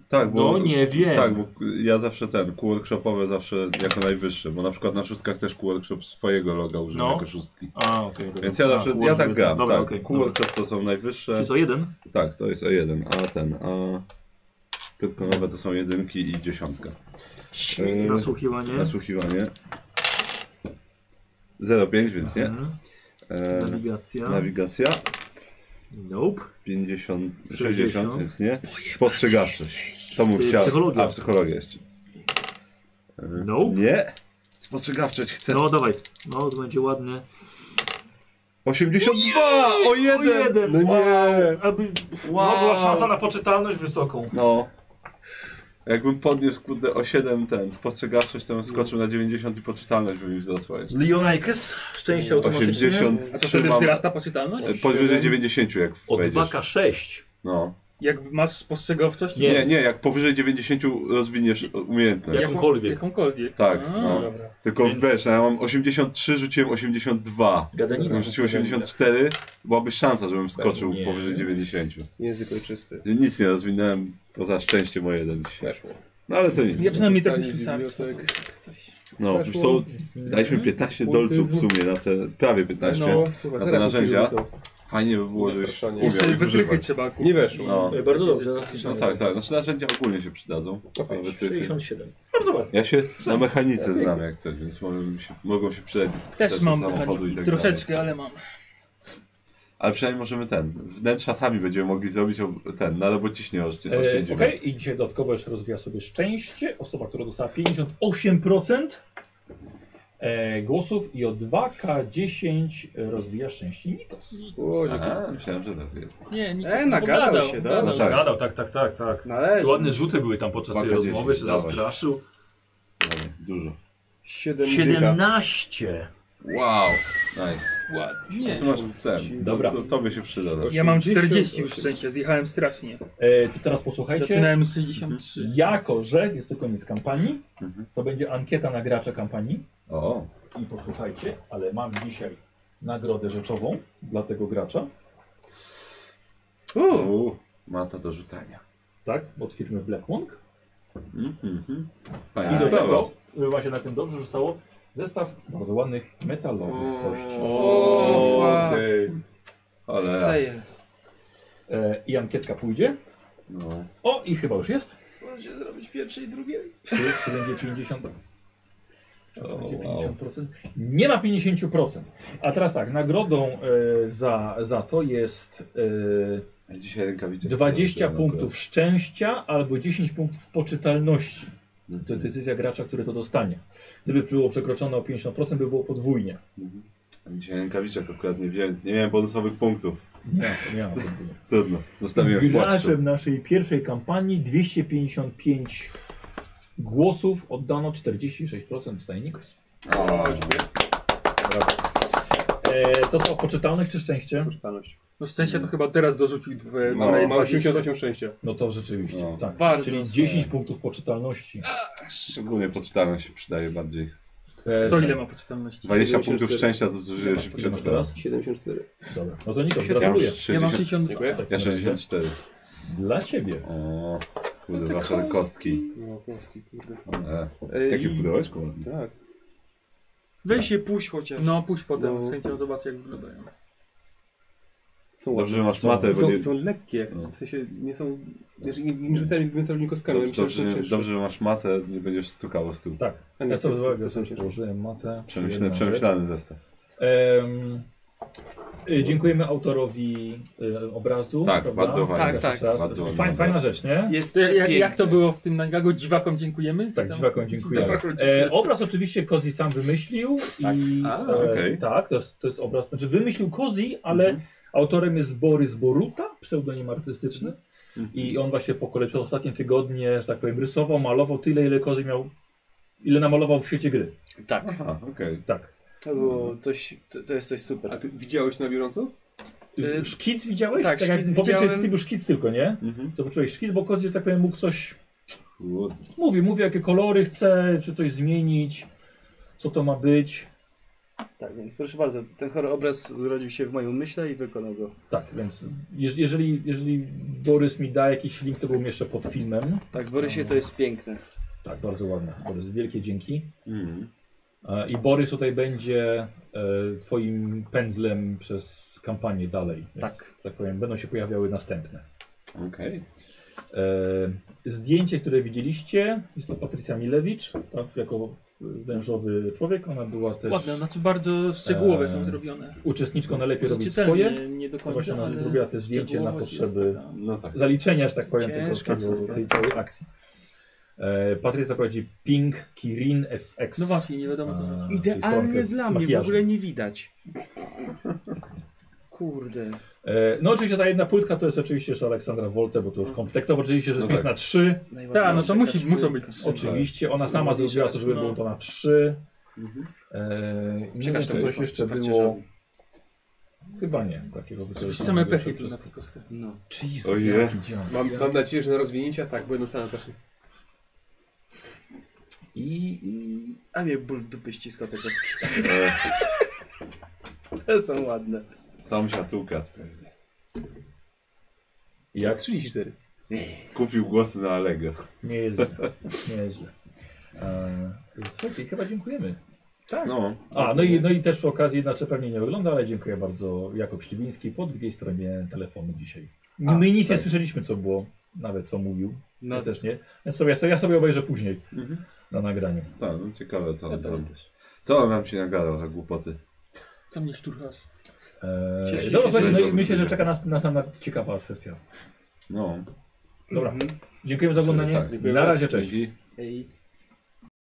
S4: Tak, bo,
S1: No nie wiem.
S4: Tak, bo ja zawsze ten, kół workshopowe zawsze jako najwyższe, bo na przykład na szóstkach też kół workshop swojego loga używam
S1: No.
S4: jako szóstki.
S1: A, okej, dobra.
S4: Więc ja
S1: A,
S4: zawsze,
S1: kół
S4: ja tak
S1: workshop,
S4: gram,
S1: dobra,
S4: tak.
S1: okej,
S4: kół
S1: dobra.
S4: workshop to są najwyższe.
S1: Czy co, jeden?
S4: Tak, to jest O1, a ten, a pyrkonowe to są jedynki i dziesiątka.
S1: Mhm.
S4: E,
S1: Nasłuchiwanie.
S4: Nasłuchiwanie. 0,5, więc nie. E,
S1: Mhm. Nawigacja.
S4: Nawigacja.
S1: Nope.
S4: 50, 60,
S1: 60,
S4: więc nie. Spostrzegawczość. To mu
S1: Yy,
S4: chciałem.
S1: psychologia.
S4: A, psychologia jeszcze. Yy,
S1: Nope.
S4: Nie. Spostrzegawczość chcę.
S1: No dawaj. No to będzie ładne.
S4: 82! O jeden!
S1: O jeden!
S4: No nie!
S1: Aby
S4: Wow.
S1: no, była szansa na poczytalność wysoką.
S4: No. Jakbym podniósł kurde o 7 ten spostrzegawczość, to bym skoczył na 90 i poczytalność by mi wzrosła jeszcze.
S1: Leonajkes, szczęście automatyczne.
S4: 80
S3: A to wtedy
S4: trzymam.
S3: wzrasta poczytalność?
S4: E, Poniżej 90 jak
S1: O
S4: wejdziesz.
S1: 2K6.
S4: No.
S3: Jak masz spostrzegawczość?
S4: Nie. nie, jak powyżej 90 rozwiniesz umiejętność.
S1: Jakąkolwiek.
S3: Jakąkolwiek.
S4: Tak,
S3: A,
S4: no.
S3: dobra.
S4: Tylko
S1: Więc-
S4: wiesz, ja mam 83, rzuciłem 82.
S1: Gadanina.
S4: Gdybym rzucił 84, byłaby szansa, żebym skoczył
S1: Nie.
S4: powyżej 90.
S2: Język ojczysty.
S4: Nic nie rozwinąłem poza szczęście moje jeden dzisiaj. No ale to nic.
S3: Ja przynajmniej tak trochę
S2: Dostanie
S3: ślusarstwo.
S2: biblioteki.
S3: Coś.
S4: No, już są,
S1: Mhm.
S4: daliśmy 15 dolców w sumie na te, prawie 15,
S2: No, chyba
S4: na te
S2: teraz
S4: narzędzia.
S2: użyłem
S4: Fajnie by było, żebyś
S2: Zastraszanie.
S4: umiał
S3: Jeszcze
S4: ich
S3: wytrychy
S4: używać.
S3: trzeba kupić.
S2: Nie weszło.
S4: No.
S1: E, Bardzo dobrze.
S4: No tak, tak. Znaczy narzędzia ogólnie się przydadzą.
S2: Okej,
S4: Nawet tych-
S1: 67. Bardzo ładnie.
S4: Ja się na mechanice znam jak coś, więc mogą mi się, mogą się przydać
S3: Też mam
S4: samochodu i
S3: mechaniki.
S4: tak dalej.
S3: Troszeczkę, ale mam.
S4: Ale przynajmniej możemy ten, wnętrza sami będziemy mogli zrobić o- ten, na robociśnie oszczę-
S1: E, Okej,
S4: oszczędzimy.
S1: i dzisiaj dodatkowo jeszcze rozwija sobie szczęście. Osoba, która dostała 58%. e, głosów i o 2K10 rozwija szczęście Nikos.
S4: O, Aha, myślałem, że lepiej.
S3: Nie, Nikos
S7: E, nagadał się, da?
S1: Gadał,
S7: No tak.
S1: gadał, tak, tak, tak. tak.
S7: Należy.
S1: Ładne rzuty były tam podczas tej
S4: 2K10,
S1: rozmowy, się
S4: dawaj.
S1: zastraszył.
S4: Dalej, dużo.
S10: 7
S1: 17!
S4: Wow, nice.
S3: Nie.
S4: A ty masz ten.
S1: Dobra.
S4: To, to tobie się przyda. no.
S3: Ja mam 40 już szczęścia, zjechałem strasznie.
S1: E, to teraz posłuchajcie.
S3: Zaczynałem z 63.
S1: Jako, że jest to koniec kampanii, to będzie ankieta na gracza kampanii.
S4: O,
S1: I posłuchajcie, ale mam dzisiaj nagrodę rzeczową dla tego gracza,
S4: u, ma to do rzucania.
S1: tak? Od firmy Blackwong.
S4: Mhm.
S1: I
S4: Fajnie.
S1: do tego, żeby wam się na tym dobrze rzucało, zestaw bardzo ładnych metalowych kości.
S4: O,
S7: fuck.
S4: dej. Ale.
S7: Chcę je.
S1: E, I ankietka pójdzie.
S4: No.
S1: O, i chyba już jest.
S7: Możesz się zrobić pierwsze i drugie?
S1: Czy, czy będzie 50? Czy
S4: O,
S1: będzie
S4: wow.
S1: 50%? Nie ma 50%. A teraz tak, nagrodą e, za, za to jest
S4: Ja Dzisiaj
S1: e,
S4: rękawiczek.
S1: 20
S4: włożyłem
S1: punktów szczęścia albo 10 punktów poczytalności.
S4: akurat.
S1: To jest decyzja gracza, który to dostanie. Gdyby było przekroczone o 50%, by było podwójnie.
S4: Mhm. A Dzisiaj rękawiczek akurat nie wziąłem. Nie miałem bonusowych punktów.
S1: Nie, nie ma podwójnie.
S4: <laughs> Trudno. Zostawiłem w płaszczu.
S1: Graczem naszej pierwszej kampanii 255 głosów oddano 46% stajników.
S4: O,
S1: E, to co, poczytalność czy szczęście?
S2: Poczytalność.
S3: No szczęście to chyba teraz dorzucił dwie,
S4: No,
S3: dwie-
S2: Ma 88 szczęścia.
S1: No to rzeczywiście,
S4: No.
S1: tak.
S7: Bardzo
S1: Czyli
S7: złe.
S1: 10 punktów poczytalności.
S4: Szczególnie poczytana się przydaje bardziej.
S1: E,
S3: Kto ile ma poczytalności?
S4: 20
S2: 74.
S4: punktów szczęścia to zużyłeś
S1: Ile masz
S4: przed
S1: teraz?
S2: 74.
S1: Dobra. No to Nikos,
S4: Ja mam
S1: gratuluję.
S4: 60,
S3: Ja mam 60.
S2: Dziękuję.
S1: Tak,
S4: ja
S1: na razie.
S4: 64.
S1: Dla ciebie.
S4: O, kurde, wasze kostki.
S2: No, kostki, kurde.
S4: E,
S2: Ej.
S4: jakie pudełeczko ładne.
S2: Tak.
S7: Weź je puść chociaż.
S3: No pójdź potem,
S2: No.
S3: z chęcią zobaczę jak wyglądają.
S2: Są
S4: Dobrze, że masz
S2: są,
S4: matę, bo
S2: są,
S4: nie-
S2: są lekkie.
S4: No.
S2: W sensie nie są. Znaczy, nie, nie rzucałem mentalnie kostkami, ale
S4: Dobrze,
S2: myślałem, że są
S4: dobrze,
S2: cięższe.
S4: dobrze, że masz matę, nie będziesz stukało stół.
S1: Tak.
S2: A nie,
S1: Ja sobie
S2: to-
S1: uwagę,
S2: to są
S1: sobie
S2: ciężkie.
S1: położyłem matę.
S4: Przemyślany,
S1: Jedna rzecz.
S4: przemyślany zestaw.
S1: Em, y, dziękujemy autorowi y, obrazu.
S4: Tak,
S1: prawda?
S4: bardzo fajnie.
S1: Pierwszy
S5: Tak, tak.
S1: raz.
S4: Bardzo
S1: Fajna,
S4: ładny
S1: fajna
S4: obraz.
S1: rzecz, nie?
S7: Jest
S3: Ja, jak,
S7: przepiękny.
S3: jak to było w tym nagrago? Dziwakom dziękujemy?
S1: Tak,
S3: Tam-
S1: dziwakom dziękujemy.
S3: <laughs> Dziwakom dziękujemy.
S1: E, obraz oczywiście Kozi sam wymyślił i
S4: A,
S1: e,
S4: okej.
S1: tak, to jest, to jest obraz, znaczy wymyślił Kozi, ale autorem jest Borys Boruta, pseudonim artystyczny i on właśnie po kolei przez ostatnie tygodnie, że tak powiem, rysował, malował tyle, ile Kozi miał, ile namalował w świecie gry.
S7: Tak.
S4: Aha, okej.
S1: Tak.
S7: To, było coś, to, to jest coś
S2: A
S7: super.
S2: ty widziałeś na biorąco?
S1: Y, Szkic widziałeś?
S7: Mhm. tak,
S1: tak jak po
S7: szkic
S1: pierwszej
S7: widziałem.
S1: sesji był szkic tylko, nie?
S4: Mhm.
S1: Zobaczyłeś szkic, bo Kozi, że tak powiem, mógł coś
S4: Kurde.
S1: Mówi, mówi jakie kolory chce, czy coś zmienić, co to ma być.
S7: Tak, więc proszę bardzo, ten chory obraz zrodził się w moim umyśle i wykonał go.
S1: Tak, więc jeż- jeżeli, jeżeli Borys mi da jakiś link, to go umieszczę pod filmem.
S7: Tak, Borysie, to jest piękne.
S1: Tak, bardzo ładne. Borys, wielkie dzięki.
S4: Mhm.
S1: E, I Borys tutaj będzie e, twoim pędzlem przez kampanię dalej. Więc,
S7: Tak.
S1: Tak powiem, będą się pojawiały następne.
S4: Okej.
S1: E, zdjęcie, które widzieliście, jest to Patrycja Milewicz, ta w- jako wężowy człowiek. Ona była też
S3: Ładne, znaczy bardzo szczegółowe są
S1: Eee,
S3: zrobione.
S1: uczestniczką najlepiej robić
S3: Czytelnie,
S1: swoje.
S3: Nie do
S1: To
S3: końca,
S1: właśnie ona
S3: ale
S1: zrobiła te zdjęcie na
S3: szczegółowość jest
S1: potrzeby
S3: taka.
S1: <laughs>
S4: No tak.
S1: zaliczenia, że tak powiem, tego,
S7: Ciężka
S1: tego,
S7: sprawa.
S1: tej całej akcji. E, Patrycja prowadzi Pink Kirin FX.
S3: No właśnie, nie wiadomo co
S1: A,
S3: rzucić.
S1: czyli
S7: Idealnie
S1: stronkę z
S7: dla mnie,
S1: makijażem.
S7: w ogóle nie widać. Kurde.
S1: E, no oczywiście ta jedna płytka to jest oczywiście jeszcze Aleksandra Wolte, bo to już kontekstowo oczywiście, że
S4: No
S1: jest pis
S4: tak.
S1: na 3.
S3: Tak, no
S7: najładniejsze
S3: to musi,
S7: kaczmy.
S3: muszą być trzy.
S1: Oczywiście, ona sama
S3: Mówisz,
S1: zrobiła to,
S3: ale
S1: żeby
S3: no. Mhm.
S1: było to na 3. E, nie wiem,
S7: Przekaż
S1: czy
S7: to
S1: coś
S7: mi,
S1: jeszcze
S7: farciarzowi.
S1: było. Chyba nie, takiego
S3: Żebyś
S1: wykorzystania
S3: same
S1: jeszcze
S3: pechy były
S1: przez-
S3: na tych kostkach.
S7: No.
S1: Jezus,
S4: Ojej.
S1: jaki dziad.
S2: Mam, mam nadzieję, że na rozwinięcia tak, będą same takie.
S7: I, i... A mnie ból dupy ściska te kostki. <laughs>
S4: E,
S7: Te są ładne.
S4: Sam siatuka. pewnie.
S1: Jak
S2: 34.
S4: Kupił głosy na Allegro.
S1: Nie jest
S7: <laughs>
S1: źle. Nie jest źle. E, słuchajcie, chyba dziękujemy.
S4: Tak. No.
S1: A, no i, no i też przy okazji, znaczy pewnie nie ogląda, ale dziękuję bardzo Jakub Śliwiński po drugiej stronie telefonu dzisiaj.
S4: A,
S1: My nic nie
S4: tak.
S1: słyszeliśmy, co było, nawet co mówił.
S7: No.
S1: Ja też nie. Ja sobie, ja sobie, ja sobie obejrzę później
S4: Mhm.
S1: na nagraniu.
S4: Tak, no ciekawe co on tam. Co on nam się nagadał za głupoty?
S3: Co mnie szturchasz?
S1: Eee,
S7: Cieszę się,
S1: no,
S7: że
S1: słuchajcie, no i
S4: będzie
S1: myślę, że
S4: dobrze.
S1: czeka nas, nas sama ciekawa sesja.
S4: No.
S1: Dobra,
S7: Mhm.
S1: dziękujemy za oglądanie.
S4: Tak,
S1: Na razie, cześć.
S4: Dzięki.
S7: Ej.